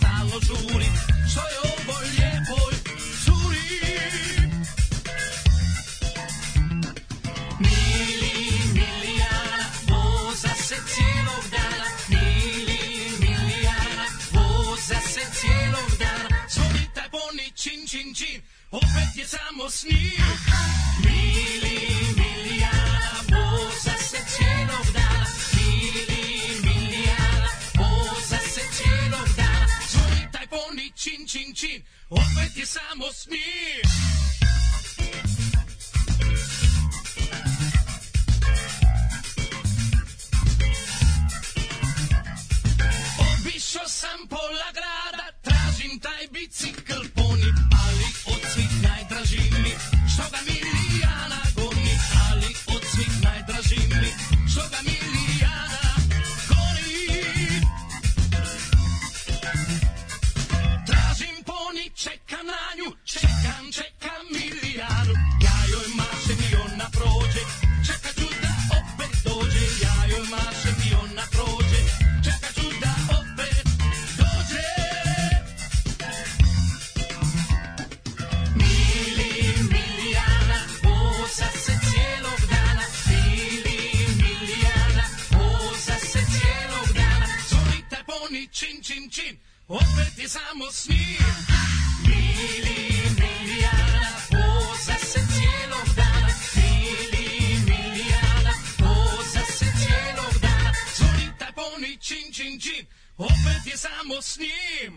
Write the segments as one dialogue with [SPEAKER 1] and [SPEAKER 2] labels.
[SPEAKER 1] požurit, što je ovo lijepoj curi. Mili, milijana, voza se cijelog dana, mili, milijana, voza se cijelog dana, zvonim taj boni, čin, čin, čin, opet je samo snim. Mili, milijana, voza se cijelog dana, mili, milijana, voza se cijelog dana, zvoni taj boni, čin, čin, čin, opet je samo snim. Obišao sam pola grada, tražim taj bicikl poni, ali od svih najdraži mi, što ga Milijana goni, ali od svih najdraži mi, što ga Milijana goni. Tražim poni, čekam na nju, čekam, čekam milijanu. Ja joj mašem i ona prođe, čekat ću da opet dođe. Ja joj mašem i ona prođe, čekat ću da opet dođe. Mili, milijana, voza se cijelog dana. Mili, milijana, voza se cijelog dana. Zoli te poni, čin, čin, čin, opet je samo snim. Mili, milijana, voza se cijelog dana. Mili, milijana, voza se cijelog dana. Zoli te poni, čin, čin, čin, opet je samo snim.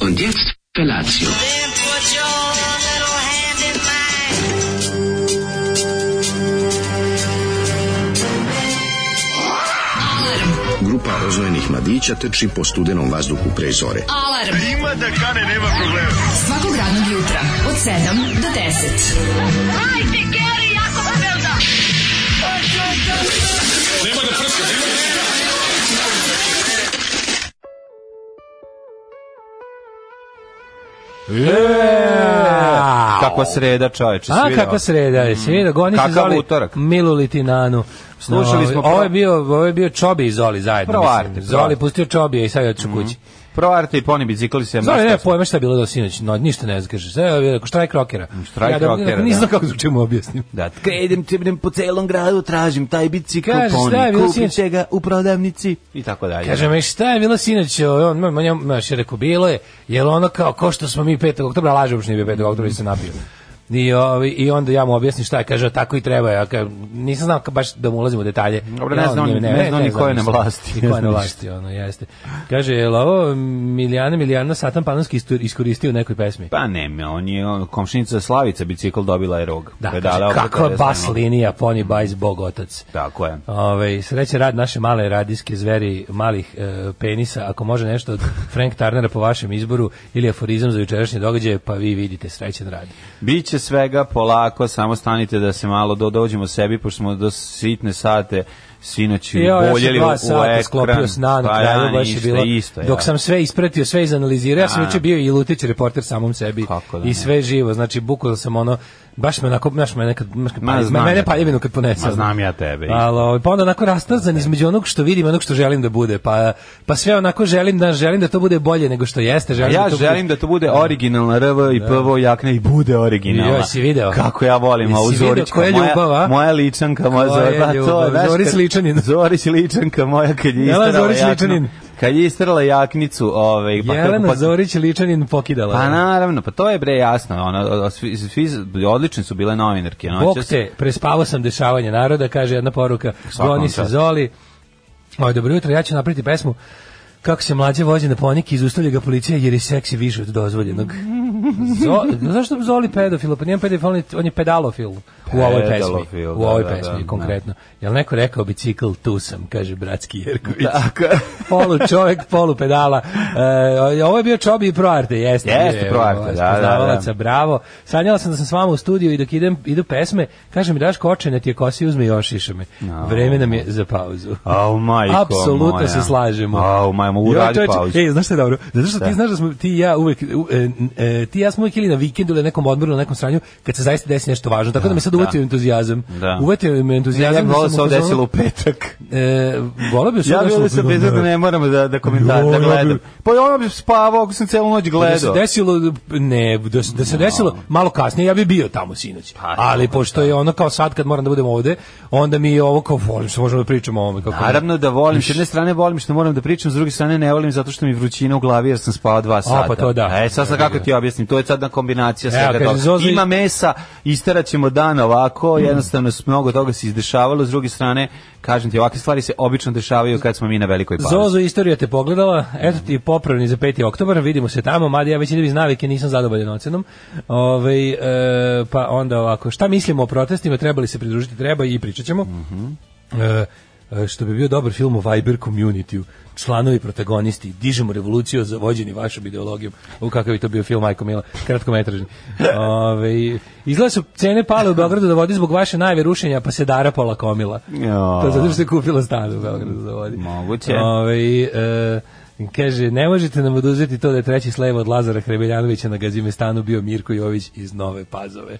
[SPEAKER 2] Und jetzt Felatio.
[SPEAKER 3] Then put your little hand in mine.
[SPEAKER 4] Grupa rozvojenih mladića teči po studenom vazduhu pre zore.
[SPEAKER 5] Alarm. Ima da kane, nema problema. Svakog radnog jutra, od 7 do 10. Hajde, Geri, jako da!
[SPEAKER 6] Kakva sreda, čoveče,
[SPEAKER 7] A,
[SPEAKER 6] svi
[SPEAKER 7] kakva sreda je, svi da goni se
[SPEAKER 6] Mm. Kakav
[SPEAKER 7] zvali
[SPEAKER 6] utorak.
[SPEAKER 7] Milu Litinanu.
[SPEAKER 6] Slušali
[SPEAKER 7] No,
[SPEAKER 6] smo
[SPEAKER 7] Ovo
[SPEAKER 6] pro-
[SPEAKER 7] je bio, ovo je bio Čobi i Zoli zajedno.
[SPEAKER 6] Prvo
[SPEAKER 7] mislim.
[SPEAKER 6] Arte, Mm. prvo.
[SPEAKER 7] Zoli pustio Čobija i sad je otišao kući.
[SPEAKER 6] Pro Arte i poni bicikli se
[SPEAKER 7] Zoli
[SPEAKER 6] mašta-
[SPEAKER 7] ne pojma šta je bilo do sinoć, no, ništa ne zakaže. Sve je rekao, štrajk rokera.
[SPEAKER 6] štrajk
[SPEAKER 7] ja, da,
[SPEAKER 6] rockera,
[SPEAKER 7] Nisam
[SPEAKER 6] da.
[SPEAKER 7] kako zvuče mu objasnim.
[SPEAKER 6] Da, idem, idem po celom gradu, tražim taj bicikl
[SPEAKER 7] Kaže,
[SPEAKER 6] poni,
[SPEAKER 7] šta je bilo
[SPEAKER 6] kupit
[SPEAKER 7] sinoć?
[SPEAKER 6] će ga u prodavnici i tako dalje.
[SPEAKER 7] Kaže mi "E, šta je bilo sinoć, ovaj, on on on baš je rekao bilo je, jel ono kao ko što smo mi 5. oktobra laže uopšte nije bio 5. oktobra jer se napio. I, ovaj, I onda ja mu objasnim šta je, kaže, tako i treba. Ja ka, nisam znao ka- baš da mu ulazim u detalje.
[SPEAKER 6] Dobro,
[SPEAKER 7] Ja,
[SPEAKER 6] ne zna
[SPEAKER 7] on
[SPEAKER 6] on-
[SPEAKER 7] je-
[SPEAKER 6] ne zna on ni ko je na
[SPEAKER 7] ništa.
[SPEAKER 6] vlasti.
[SPEAKER 7] Ni ko je
[SPEAKER 6] Ne zna
[SPEAKER 7] na
[SPEAKER 6] ništa.
[SPEAKER 7] vlasti, ono, jeste. Kaže, jel ovo Milijana Milijana Satan Panonski istu- iskoristio u nekoj pesmi?
[SPEAKER 6] Pa ne, on je on, komšinica Slavica bicikl dobila je rog.
[SPEAKER 7] Da,
[SPEAKER 6] Pa je
[SPEAKER 7] kaže,
[SPEAKER 6] dala opet
[SPEAKER 7] kakva
[SPEAKER 6] ovdje
[SPEAKER 7] bas
[SPEAKER 6] samo-
[SPEAKER 7] linija, Pony Bajs, Bog otac.
[SPEAKER 6] Tako je.
[SPEAKER 7] Ove, sreće rad naše male radijske zveri malih e, penisa, ako može nešto od Frank Tarnera po vašem izboru ili aforizam za jučerašnje događaje, pa vi vidite srećen rad.
[SPEAKER 6] Biće svega polako, samo stanite da se malo do, dođemo sebi, pošto smo do sitne sate sinoć
[SPEAKER 7] Ja, ja sam
[SPEAKER 6] boljeli
[SPEAKER 7] dva
[SPEAKER 6] u
[SPEAKER 7] sata
[SPEAKER 6] ekran.
[SPEAKER 7] sklopio sna na
[SPEAKER 6] Pa
[SPEAKER 7] kraju,
[SPEAKER 6] ja,
[SPEAKER 7] baš je
[SPEAKER 6] ništa,
[SPEAKER 7] bilo,
[SPEAKER 6] isto,
[SPEAKER 7] dok
[SPEAKER 6] ja.
[SPEAKER 7] sam sve ispratio, sve izanalizirao, ja sam
[SPEAKER 6] A.
[SPEAKER 7] juče bio i lutić reporter samom sebi
[SPEAKER 6] Kako da
[SPEAKER 7] i
[SPEAKER 6] ne.
[SPEAKER 7] sve živo, znači bukvalno sam ono, baš me onako, znaš, me nekad, znaš, kad
[SPEAKER 6] Ma,
[SPEAKER 7] palje- me,
[SPEAKER 6] znam
[SPEAKER 7] mene
[SPEAKER 6] ja te.
[SPEAKER 7] paljevinu kad ponese. ono.
[SPEAKER 6] Ma, znam ja tebe, isto.
[SPEAKER 7] Ali, ovaj, pa onda onako rastrzan između onog što vidim i onog što želim da bude, pa, pa sve onako želim da, želim da to bude bolje nego što jeste, želim
[SPEAKER 6] ja
[SPEAKER 7] da to bude-
[SPEAKER 6] želim da to bude originalna RV i PVO jakna i bude originalna.
[SPEAKER 7] Joj, si video?
[SPEAKER 6] Kako ja volim ovu
[SPEAKER 7] Jesi video
[SPEAKER 6] Zorićku.
[SPEAKER 7] koja ljubav, a?
[SPEAKER 6] moja, moja ličanka, moja
[SPEAKER 7] Koja
[SPEAKER 6] Zora.
[SPEAKER 7] ljubav? Zoris Ličanin.
[SPEAKER 6] Zoris Ličanka moja kad je
[SPEAKER 7] Jelena
[SPEAKER 6] istrala
[SPEAKER 7] Zoris
[SPEAKER 6] jaknu-
[SPEAKER 7] Ličanin.
[SPEAKER 6] Kad je istrala jaknicu, ovaj, pa kako
[SPEAKER 7] Jelena
[SPEAKER 6] pa,
[SPEAKER 7] Zorić Ličanin pokidala.
[SPEAKER 6] Pa naravno, pa to je bre jasno. Ono, svi, svi odlični su bile novinarke. Ono,
[SPEAKER 7] Bog
[SPEAKER 6] čas-
[SPEAKER 7] te, prespavao sam dešavanje naroda, kaže jedna poruka,
[SPEAKER 6] Svakom
[SPEAKER 7] goni se
[SPEAKER 6] čast.
[SPEAKER 7] zoli. Oj, dobro jutro, ja ću napraviti pesmu kako se mlađe vozi na ponik i izustavlja ga policija jer je seksi više od dozvoljenog. Zo, zašto bi Zoli pedofilo? Pa nijem pedofil, on je pedalofil. u ovoj pesmi,
[SPEAKER 6] Pedalofil,
[SPEAKER 7] u ovoj
[SPEAKER 6] da, da,
[SPEAKER 7] pesmi
[SPEAKER 6] da,
[SPEAKER 7] konkretno. Jel neko rekao bicikl tu sam, kaže bratski Jerković.
[SPEAKER 6] Tako.
[SPEAKER 7] polu čovek, polu pedala. E, ovo je bio Čobi i Proarte, jeste.
[SPEAKER 6] Jeste
[SPEAKER 7] je,
[SPEAKER 6] Pro Arte,
[SPEAKER 7] ovo,
[SPEAKER 6] da, da,
[SPEAKER 7] spoznavalaca,
[SPEAKER 6] da.
[SPEAKER 7] bravo. Sanjala sam da sam s vama u studiju i dok idem, idu pesme, kaže mi daš koče, ne ti je kosi, uzme i ošiša me. Vreme nam je za pauzu.
[SPEAKER 6] Au majko
[SPEAKER 7] Apsolutno
[SPEAKER 6] moja.
[SPEAKER 7] se slažemo.
[SPEAKER 6] Au, majmo, uradi
[SPEAKER 7] Joj, čoveče,
[SPEAKER 6] pauzu.
[SPEAKER 7] Ej, znaš šta je dobro? Zato što ti
[SPEAKER 6] Šta?
[SPEAKER 7] znaš da smo ti i ja uvek, u, e, e, ti i ja smo uvek ili na vikendu ili na nekom odmoru, na nekom sranju, kad se zaista desi nešto važno. Tako da, me sad uvetio entuzijazam.
[SPEAKER 6] Da.
[SPEAKER 7] Uvetio me
[SPEAKER 6] Ja
[SPEAKER 7] entuzijazam.
[SPEAKER 6] znam
[SPEAKER 7] da
[SPEAKER 6] da se
[SPEAKER 7] sam
[SPEAKER 6] ovo
[SPEAKER 7] u fazonu-
[SPEAKER 6] desilo u petak.
[SPEAKER 7] E, volao bi
[SPEAKER 6] Ja bih ovdje sam priznao da ne moram da, da komentar,
[SPEAKER 7] Jo,
[SPEAKER 6] da
[SPEAKER 7] ja bi-
[SPEAKER 6] gledam. Pa ono bi spavao, ako sam celu noć
[SPEAKER 7] Pa Da se
[SPEAKER 6] gledao.
[SPEAKER 7] desilo ne da se, da se desilo malo kasnije ja bi bio tamo sinoć.
[SPEAKER 6] Pa,
[SPEAKER 7] Ali
[SPEAKER 6] dobro,
[SPEAKER 7] pošto je ono kao sad kad moram da budem ovde, onda mi je ovo kao volim što možemo da pričamo o ovome kako.
[SPEAKER 6] Naravno da volim, s jedne strane volim što moram da pričam, s druge strane ne volim zato što mi je vrućina u glavi jer sam spavao dva sata.
[SPEAKER 7] pa to da.
[SPEAKER 6] E, sad sam kako ti objasnim, to je sad na kombinacija
[SPEAKER 7] Evo,
[SPEAKER 6] svega
[SPEAKER 7] kaže,
[SPEAKER 6] toga.
[SPEAKER 7] Zozo- Mm.
[SPEAKER 6] Ima mesa, isterat ćemo dan ovako, jednostavno s mnogo toga se izdešavalo, s druge strane, kažem ti, ovakve stvari se obično dešavaju kad smo mi na velikoj pauzi.
[SPEAKER 7] Zozo istorija te pogledala, eto ti popravni za 5. oktobar, vidimo se tamo, mada ja već idem iz navike, nisam zadovoljan ocenom. Ove, e, pa onda ovako, šta mislimo o protestima, treba li se pridružiti, treba i pričat ćemo. E, e, što bi bio dobar film o Viber community članovi protagonisti, dižemo revoluciju za vođeni vašom ideologijom. U kakav bi to bio film, Majko Mila, kratkometražni. Ove, izgleda su cene pale u Beogradu da vodi zbog vaše najave rušenja, pa se dara pola komila.
[SPEAKER 6] Ja.
[SPEAKER 7] To je zato što je kupila stan u Beogradu za vodi.
[SPEAKER 6] Moguće.
[SPEAKER 7] Ove, e, kaže, ne možete nam oduzeti to da je treći sleva od Lazara Hrebeljanovića na Gazimestanu bio Mirko Jović iz Nove Pazove.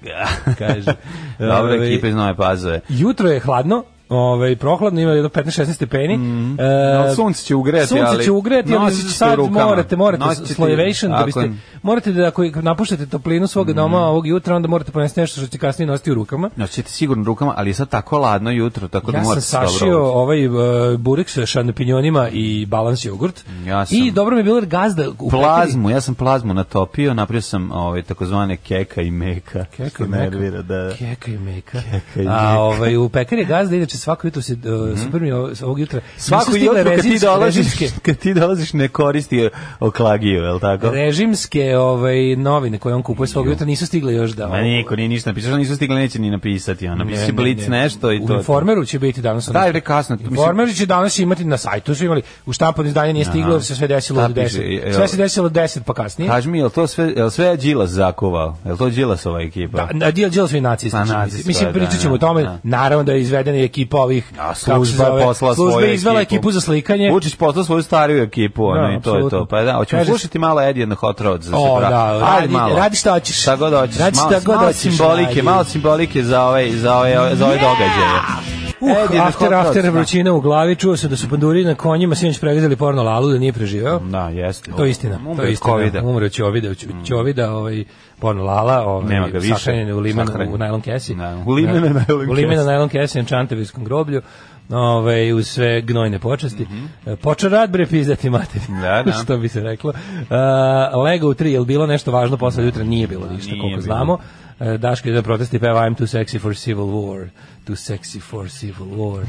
[SPEAKER 7] Kaže.
[SPEAKER 6] Dobra
[SPEAKER 7] Ovaj,
[SPEAKER 6] ekipa iz Nove Pazove.
[SPEAKER 7] Jutro je hladno, ovaj prohladno, ima jedno 15-16 stepeni. E,
[SPEAKER 6] ali Mm. sunce će ugreti,
[SPEAKER 7] Sunce
[SPEAKER 6] ali
[SPEAKER 7] će ugreti, ali
[SPEAKER 6] nosit ćete u
[SPEAKER 7] sad
[SPEAKER 6] rukama.
[SPEAKER 7] morate, morate
[SPEAKER 6] Nosit ćete-
[SPEAKER 7] slojevation da
[SPEAKER 6] Tako
[SPEAKER 7] biste
[SPEAKER 6] je. Mm.
[SPEAKER 7] morate da ako napuštate toplinu svog doma ovog jutra, onda morate ponesti nešto što ćete kasnije nositi u rukama.
[SPEAKER 6] Nosite sigurno rukama, ali je sad tako ladno jutro, tako da
[SPEAKER 7] Ja
[SPEAKER 6] morate
[SPEAKER 7] sam
[SPEAKER 6] se dobro
[SPEAKER 7] sašio
[SPEAKER 6] obući.
[SPEAKER 7] ovaj e, burek sa šampinjonima i balans jogurt.
[SPEAKER 6] Ja sam-
[SPEAKER 7] I dobro mi je bilo jer gazda u pekari-
[SPEAKER 6] plazmu, ja sam plazmu natopio, napravio sam ovaj takozvane keka i meka.
[SPEAKER 7] Keka
[SPEAKER 6] što
[SPEAKER 7] i meka.
[SPEAKER 6] nervira, da, da.
[SPEAKER 7] Keka i meka.
[SPEAKER 6] Keka i
[SPEAKER 7] A
[SPEAKER 6] meka. Mhm.
[SPEAKER 7] ovaj u pekari je gazda inače svako jutro se uh, super mi je ovo- ovog jutra.
[SPEAKER 6] Svako
[SPEAKER 7] Nisu stigle
[SPEAKER 6] jutro kad ti
[SPEAKER 7] rezinske-
[SPEAKER 6] dolaziš,
[SPEAKER 7] rezinske-
[SPEAKER 6] kad ti dolaziš ne koristi oklagiju, je l' tako?
[SPEAKER 7] režimske ovaj novine koje on kupuje svog jutra nisu stigle još da.
[SPEAKER 6] Ma niko nije ništa napisao, nisu stigli neće ni napisati, ona
[SPEAKER 7] Ne,
[SPEAKER 6] misli
[SPEAKER 7] ne,
[SPEAKER 6] blic
[SPEAKER 7] ne.
[SPEAKER 6] nešto i
[SPEAKER 7] U
[SPEAKER 6] to.
[SPEAKER 7] Informeru će biti danas. ono-
[SPEAKER 6] Da, bre, kasno, tu mislim-
[SPEAKER 7] Informer će danas imati na sajtu, su imali. U štampano izdanje nije stiglo, jer se sve desilo
[SPEAKER 6] Šta
[SPEAKER 7] od 10.
[SPEAKER 6] piše, jel-
[SPEAKER 7] Sve se desilo od 10 pa kasnije.
[SPEAKER 6] Kaži mi, je li to sve, je li sve Đilas zakovao? Je li to Đilasova ekipa?
[SPEAKER 7] Da, na Dil Dil su i nacisti.
[SPEAKER 6] Pa,
[SPEAKER 7] čini mi se.
[SPEAKER 6] nacisti,
[SPEAKER 7] Mislim,
[SPEAKER 6] da,
[SPEAKER 7] pričat ćemo o
[SPEAKER 6] da,
[SPEAKER 7] tome.
[SPEAKER 6] da.
[SPEAKER 7] Naravno da je izvedena i ekipa ovih...
[SPEAKER 6] A
[SPEAKER 7] kako se
[SPEAKER 6] služba
[SPEAKER 7] zove,
[SPEAKER 6] je poslala svoju
[SPEAKER 7] Služba
[SPEAKER 6] ekipu.
[SPEAKER 7] je izvela ekipu za slikanje.
[SPEAKER 6] Vučić poslao svoju stariju ekipu, ono, i
[SPEAKER 7] Da,
[SPEAKER 6] to je
[SPEAKER 7] apsolutno.
[SPEAKER 6] to. Pa da, hoćemo
[SPEAKER 7] Kažeš-
[SPEAKER 6] slušati malo Eddie and the Hot Rods. Da se
[SPEAKER 7] O,
[SPEAKER 6] pra-
[SPEAKER 7] da,
[SPEAKER 6] Ali
[SPEAKER 7] radi-
[SPEAKER 6] malo.
[SPEAKER 7] radi šta hoćeš.
[SPEAKER 6] Šta god hoćeš.
[SPEAKER 7] Radi
[SPEAKER 6] malo,
[SPEAKER 7] šta god
[SPEAKER 6] malo
[SPEAKER 7] hoćeš,
[SPEAKER 6] simbolike,
[SPEAKER 7] radi.
[SPEAKER 6] malo simbolike za ovaj, za ovaj, za ovaj događaj.
[SPEAKER 7] Uh,
[SPEAKER 6] Eddie and the Hot
[SPEAKER 7] after,
[SPEAKER 6] Rods,
[SPEAKER 7] after,
[SPEAKER 6] da.
[SPEAKER 7] vrućina u glavi. Čuo se da su panduri na konjima sinoć pregazili porno lalu da nije preživeo.
[SPEAKER 6] Da, jeste.
[SPEAKER 7] To je istina.
[SPEAKER 6] Umro
[SPEAKER 7] to je
[SPEAKER 6] od
[SPEAKER 7] istina.
[SPEAKER 6] covida. Mm.
[SPEAKER 7] Umro od ćovida, od ću- ćovida, ovaj porno lala, ovaj
[SPEAKER 6] Nema ga više.
[SPEAKER 7] sahranjen u limenu
[SPEAKER 6] Sahranjen.
[SPEAKER 7] u najlon kesi.
[SPEAKER 6] Da, u limenu
[SPEAKER 7] Da,
[SPEAKER 6] najlon
[SPEAKER 7] U limenu
[SPEAKER 6] kesi.
[SPEAKER 7] najlon kesi na Čantavirskom groblju. Ovaj uz sve gnojne počasti. E, Počeo rad bre pizdati mater.
[SPEAKER 6] Mhm. Da, da.
[SPEAKER 7] Što bi se reklo. Uh, Lego u 3 jel bilo nešto važno posle jutra nije bilo ništa
[SPEAKER 6] nije
[SPEAKER 7] koliko
[SPEAKER 6] bilo.
[SPEAKER 7] znamo. E, Daško je da protesti peva I'm too sexy for civil war. Too sexy for civil war.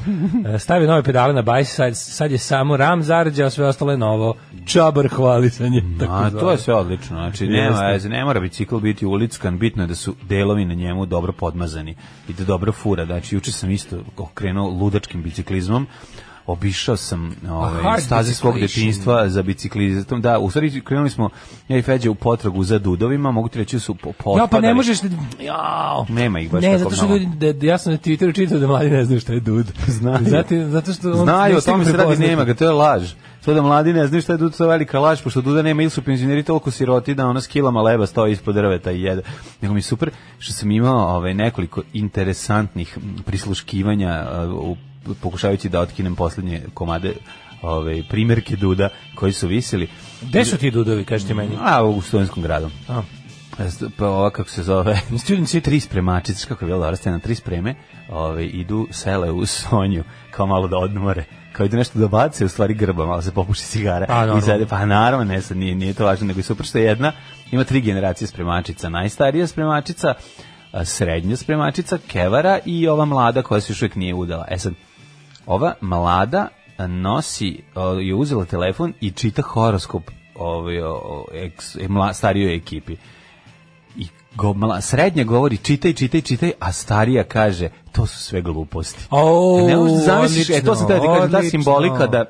[SPEAKER 7] E, Stavi nove pedale na bajs, sad, sad je samo ram zarđao, sve ostalo je novo. Čabar hvalisanje.
[SPEAKER 6] A,
[SPEAKER 7] takozvano.
[SPEAKER 6] to je sve odlično. Znači, nema
[SPEAKER 7] Jeste.
[SPEAKER 6] veze, ne mora bicikl biti ulickan, bitno je da su delovi na njemu dobro podmazani i da dobro fura. Znači, juče sam isto krenuo ludačkim biciklizmom, obišao sam ovaj,
[SPEAKER 7] hard
[SPEAKER 6] staze svog
[SPEAKER 7] biciclation.
[SPEAKER 6] detinjstva za biciklizam. Da, u stvari krenuli smo, ja i Feđa, u potragu za dudovima, mogu ti reći da su po,
[SPEAKER 7] Ja pa
[SPEAKER 6] potpadali.
[SPEAKER 7] ne možeš... Jao.
[SPEAKER 6] Nema ih baš
[SPEAKER 7] Ne,
[SPEAKER 6] tako
[SPEAKER 7] zato što
[SPEAKER 6] mnogo.
[SPEAKER 7] ljudi, da, da- ja sam na Twitteru čitao da mladi ne znaju šta je dud.
[SPEAKER 6] Znaju.
[SPEAKER 7] Zato, zato što on
[SPEAKER 6] Znaju,
[SPEAKER 7] ne
[SPEAKER 6] o tome
[SPEAKER 7] stigne
[SPEAKER 6] se radi,
[SPEAKER 7] prepoznati.
[SPEAKER 6] nema ga, to je laž. To da mladi ne znaju šta je Duda, to je velika laž, pošto Duda nema ili su penzioneri toliko siroti da ona s kilama leba stoji ispod drveta i jede. Nego mi je super što sam imao ovaj, nekoliko interesantnih m, prisluškivanja eh, u, pokušavajući da otkinem poslednje komade ovaj, primjerke Duda koji su visili.
[SPEAKER 7] Gde su ti dudovi, kažete meni?
[SPEAKER 6] A, u Studenskom gradu.
[SPEAKER 7] A.
[SPEAKER 6] E, st- Pa ova kako se zove?
[SPEAKER 7] Student City.
[SPEAKER 6] tri spremačice, znaš kako je bilo dobro, ste na tri spreme, ove, idu, sele u Sonju, kao malo da odmore, kao idu nešto da bace, u stvari grba, malo se popuši cigara.
[SPEAKER 7] Pa, normalno.
[SPEAKER 6] I sede, pa naravno, ne, sad nije, nije to važno, nego je super što je jedna, ima tri generacije spremačica, najstarija spremačica, a, srednja spremačica, kevara i ova mlada koja se još uvijek nije udala. E sad, ova mlada a, nosi, o, je uzela telefon i čita horoskop ovaj, o, o, eks- e, mla- starijoj e, ekipi. I go, mla, srednja govori čitaj, čitaj, čitaj, a starija kaže to su sve gluposti.
[SPEAKER 7] O,
[SPEAKER 6] ne možeš da zamisliš, e, to sam tada ti kažem, ta
[SPEAKER 7] odlično.
[SPEAKER 6] simbolika da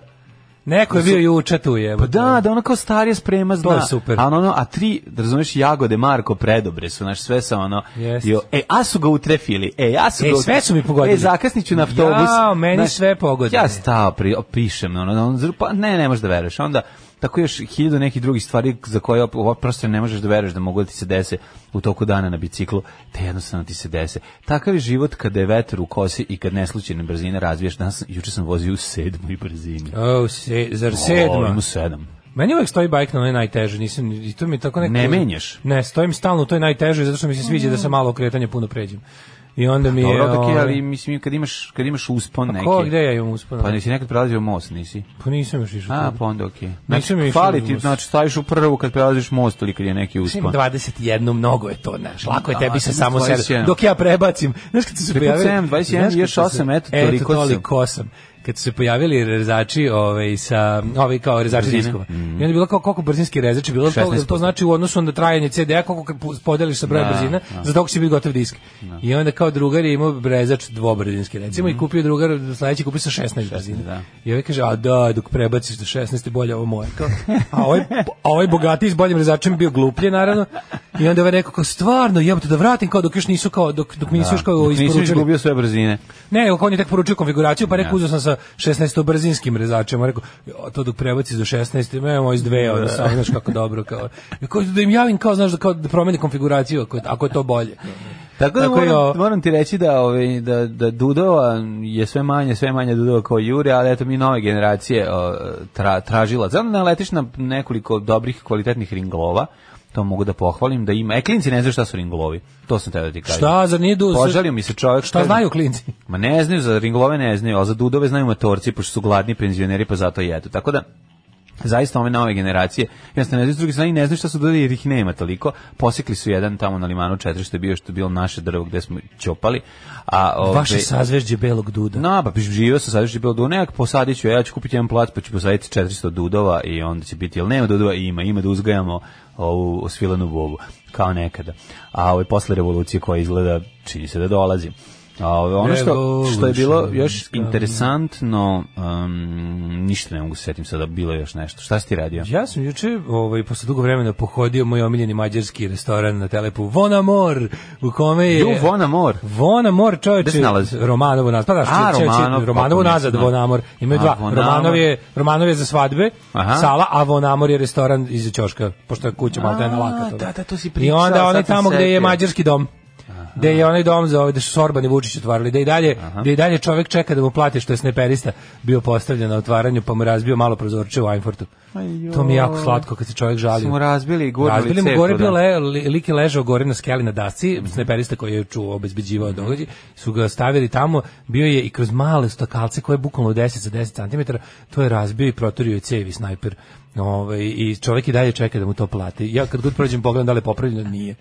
[SPEAKER 7] Neko je bio juče tu je.
[SPEAKER 6] Pa da, da ona kao starija sprema zna.
[SPEAKER 7] je super.
[SPEAKER 6] A ono, ono, a tri, da razumeš, jagode Marko predobre su, znaš, sve sa ono.
[SPEAKER 7] Jest.
[SPEAKER 6] Jo, e, a su ga utrefili. E, ja su
[SPEAKER 7] Ej,
[SPEAKER 6] ga utre-
[SPEAKER 7] sve su mi pogodili.
[SPEAKER 6] E, zakasniću na autobus.
[SPEAKER 7] Jao, meni sve pogodili.
[SPEAKER 6] Ja stao, pri, pišem, ono, ono, zr- pa ne, ne možeš da veruješ. Onda, tako još hiljadu nekih drugih stvari za koje op- op- prosto ne možeš da veruješ da mogu da ti se dese u toku dana na biciklu, te jednostavno ti se dese. Takav je život kada je vetar u kosi i kad neslučajne brzine razvijaš. Danas, juče sam vozio u sedmoj brzini.
[SPEAKER 7] O, se, zar sedma?
[SPEAKER 6] O, ima sedam.
[SPEAKER 7] Meni uvek stoji bajk na onoj najtežoj, nisam, i to mi je tako nekako...
[SPEAKER 6] Ne menjaš?
[SPEAKER 7] Ne, stojim stalno u toj najtežoj, zato što mi se sviđa da se malo okretanje puno pređem. I onda mi je...
[SPEAKER 6] Dobro, dok je,
[SPEAKER 7] ovaj, Pa
[SPEAKER 6] ali mislim, kad imaš, kad imaš uspon neki...
[SPEAKER 7] Ko, gde ja imam uspuno?
[SPEAKER 6] Pa nisi nekad prelazio most, nisi?
[SPEAKER 7] Pa nisam još išao.
[SPEAKER 6] A,
[SPEAKER 7] tu.
[SPEAKER 6] pa onda okej.
[SPEAKER 7] Nisam
[SPEAKER 6] Znači,
[SPEAKER 7] išao
[SPEAKER 6] fali
[SPEAKER 7] na
[SPEAKER 6] ti,
[SPEAKER 7] most.
[SPEAKER 6] znači, staviš u prvu kad prelaziš most ili kad je neki
[SPEAKER 7] Mislim,
[SPEAKER 6] uspon.
[SPEAKER 7] 21, mnogo je to, znaš, lako je
[SPEAKER 6] A,
[SPEAKER 7] tebi sa
[SPEAKER 6] sad
[SPEAKER 7] samo
[SPEAKER 6] 21.
[SPEAKER 7] sedam. Dok ja prebacim, znaš kad su se
[SPEAKER 6] Tri put
[SPEAKER 7] pojavili...
[SPEAKER 6] sedam, 21,
[SPEAKER 7] znaš kad
[SPEAKER 6] još
[SPEAKER 7] su se-
[SPEAKER 6] osam, eto, toliko
[SPEAKER 7] Eto,
[SPEAKER 6] sam.
[SPEAKER 7] toliko sam. Kad su se pojavili rezači, ovaj, sa, ovaj kao rezači
[SPEAKER 6] Brzine. Mhm.
[SPEAKER 7] diskova. I onda je bilo kao koliko brzinski rezači, bilo to,
[SPEAKER 6] 16%.
[SPEAKER 7] to znači u odnosu na trajanje CD-a, koliko kad pu- podeliš sa brojem
[SPEAKER 6] Da,
[SPEAKER 7] brzina, za toliko će biti gotov disk. I onda kao drugar je imao rezač dvobrzinski, recimo, i kupio drugar, sledeći kupio sa 16, brzina.
[SPEAKER 6] Mhm. da.
[SPEAKER 7] I ovaj kaže, a da, dok prebaciš do 16 je bolje ovo moje. Kao, a ovaj, a ovaj bogatiji s boljim rezačem je bio gluplje, naravno. I onda ovaj rekao, kao, stvarno, jebote, da vratim, kao dok još nisu, kao, dok, dok mi nisu još kao
[SPEAKER 6] Dok Nisi
[SPEAKER 7] isporučili.
[SPEAKER 6] izgubio sve brzine.
[SPEAKER 7] Ne, nego on je tek poručio konfiguraciju, pa rekao, uzeo sam sa 16 brzinskim rezačem, a rekao, "Jo, to dok prebaciš do 16, me moj iz dve, ono, samo, znaš kako dobro, kao, Rekao, da im javim, kao, znaš, da, kao, da promeni konfiguraciju, ako je, ako je to bolje.
[SPEAKER 6] Tako da
[SPEAKER 7] Tako je,
[SPEAKER 6] moram,
[SPEAKER 7] o-
[SPEAKER 6] moram ti reći da, ovaj, da, da Dudova je sve manje, sve manje Dudova kao Jure, ali eto mi nove generacije o, tra, tražila. Znam da naletiš na nekoliko dobrih, kvalitetnih ringlova, to mogu da pohvalim, da ima. E, klinci ne znaju šta su ringlovi, to sam teo da ti kažem.
[SPEAKER 7] Šta, zar nije du...
[SPEAKER 6] Požalio mi se čovjek.
[SPEAKER 7] Šta
[SPEAKER 6] kaže-
[SPEAKER 7] znaju klinci?
[SPEAKER 6] Ma ne znaju, za ringlove ne znaju, ali za dudove znaju motorci, pošto su gladni penzioneri, pa zato jedu. Tako da, zaista ove nove generacije, jednostavno ne znaju, s druge strane i ne znaju šta su dodali jer ih nema toliko. Posekli su jedan tamo na limanu četiri što je bio, što je bilo naše drvo gde smo ćopali. A, ove,
[SPEAKER 7] Vaše sazvežđe belog duda.
[SPEAKER 6] No, pa živio sam sad još je bilo dunek, posadit ću, ja ću kupiti jedan plac, pa ću posaditi 400 dudova i onda će biti, jel nema dudova? Ima, ima da uzgajamo ovu osvilanu bobu, kao nekada. A ovaj, posle revolucije koja izgleda, čini se da dolazi. A ovaj, ono što, što je bilo još
[SPEAKER 7] Revolution.
[SPEAKER 6] interesantno, um, ništa ne mogu se setim sada, bilo je još nešto. Šta si ti radio?
[SPEAKER 7] Ja sam juče, ovaj, posle dugo vremena, pohodio moj omiljeni mađarski restoran na Telepu Vonamor, u kome je...
[SPEAKER 6] Ju, Vona Mor.
[SPEAKER 7] Vonamor, čoveče,
[SPEAKER 6] Gde se nalazi?
[SPEAKER 7] Romanovo nazad, pa da,
[SPEAKER 6] A,
[SPEAKER 7] če- če- če-
[SPEAKER 6] Romanov,
[SPEAKER 7] Romanovo
[SPEAKER 6] kako ne
[SPEAKER 7] nazad,
[SPEAKER 6] znam.
[SPEAKER 7] Vonamor, imaju
[SPEAKER 6] A,
[SPEAKER 7] dva,
[SPEAKER 6] Vonamor.
[SPEAKER 7] Romanov je, Romanov je za svadbe,
[SPEAKER 6] Aha.
[SPEAKER 7] sala, a Vonamor je restoran iza ćoška, pošto je kuća malo da je na laka.
[SPEAKER 6] da, da, to si
[SPEAKER 7] I
[SPEAKER 6] pričao,
[SPEAKER 7] onda
[SPEAKER 6] sad
[SPEAKER 7] onaj
[SPEAKER 6] sam
[SPEAKER 7] tamo gde je
[SPEAKER 6] setio.
[SPEAKER 7] mađarski dom, gde je onaj dom za ovaj da su Sorban i Vučić otvarali, da i dalje, da i dalje čovek čeka da mu plati što je sneperista bio postavljen na otvaranju pa mu je razbio malo prozorče u Ajnfortu.
[SPEAKER 6] Ajoj.
[SPEAKER 7] To mi je jako slatko kad se čovek žali.
[SPEAKER 6] Su mu razbili i gurnuli
[SPEAKER 7] Razbili mu
[SPEAKER 6] ceku,
[SPEAKER 7] gore
[SPEAKER 6] da.
[SPEAKER 7] bio le, li- lik je ležao gore na skeli na dasci, sneperista koji je čuo
[SPEAKER 6] Mhm.
[SPEAKER 7] obezbeđivao događaj, su ga stavili tamo, bio je i kroz male stokalce koje je bukvalno 10 za 10 cm, to je razbio i protorio je cevi snajper. Ovaj i čovjek i dalje čeka da mu to plati. Ja kad god prođem pogledam da li je popravljeno, nije.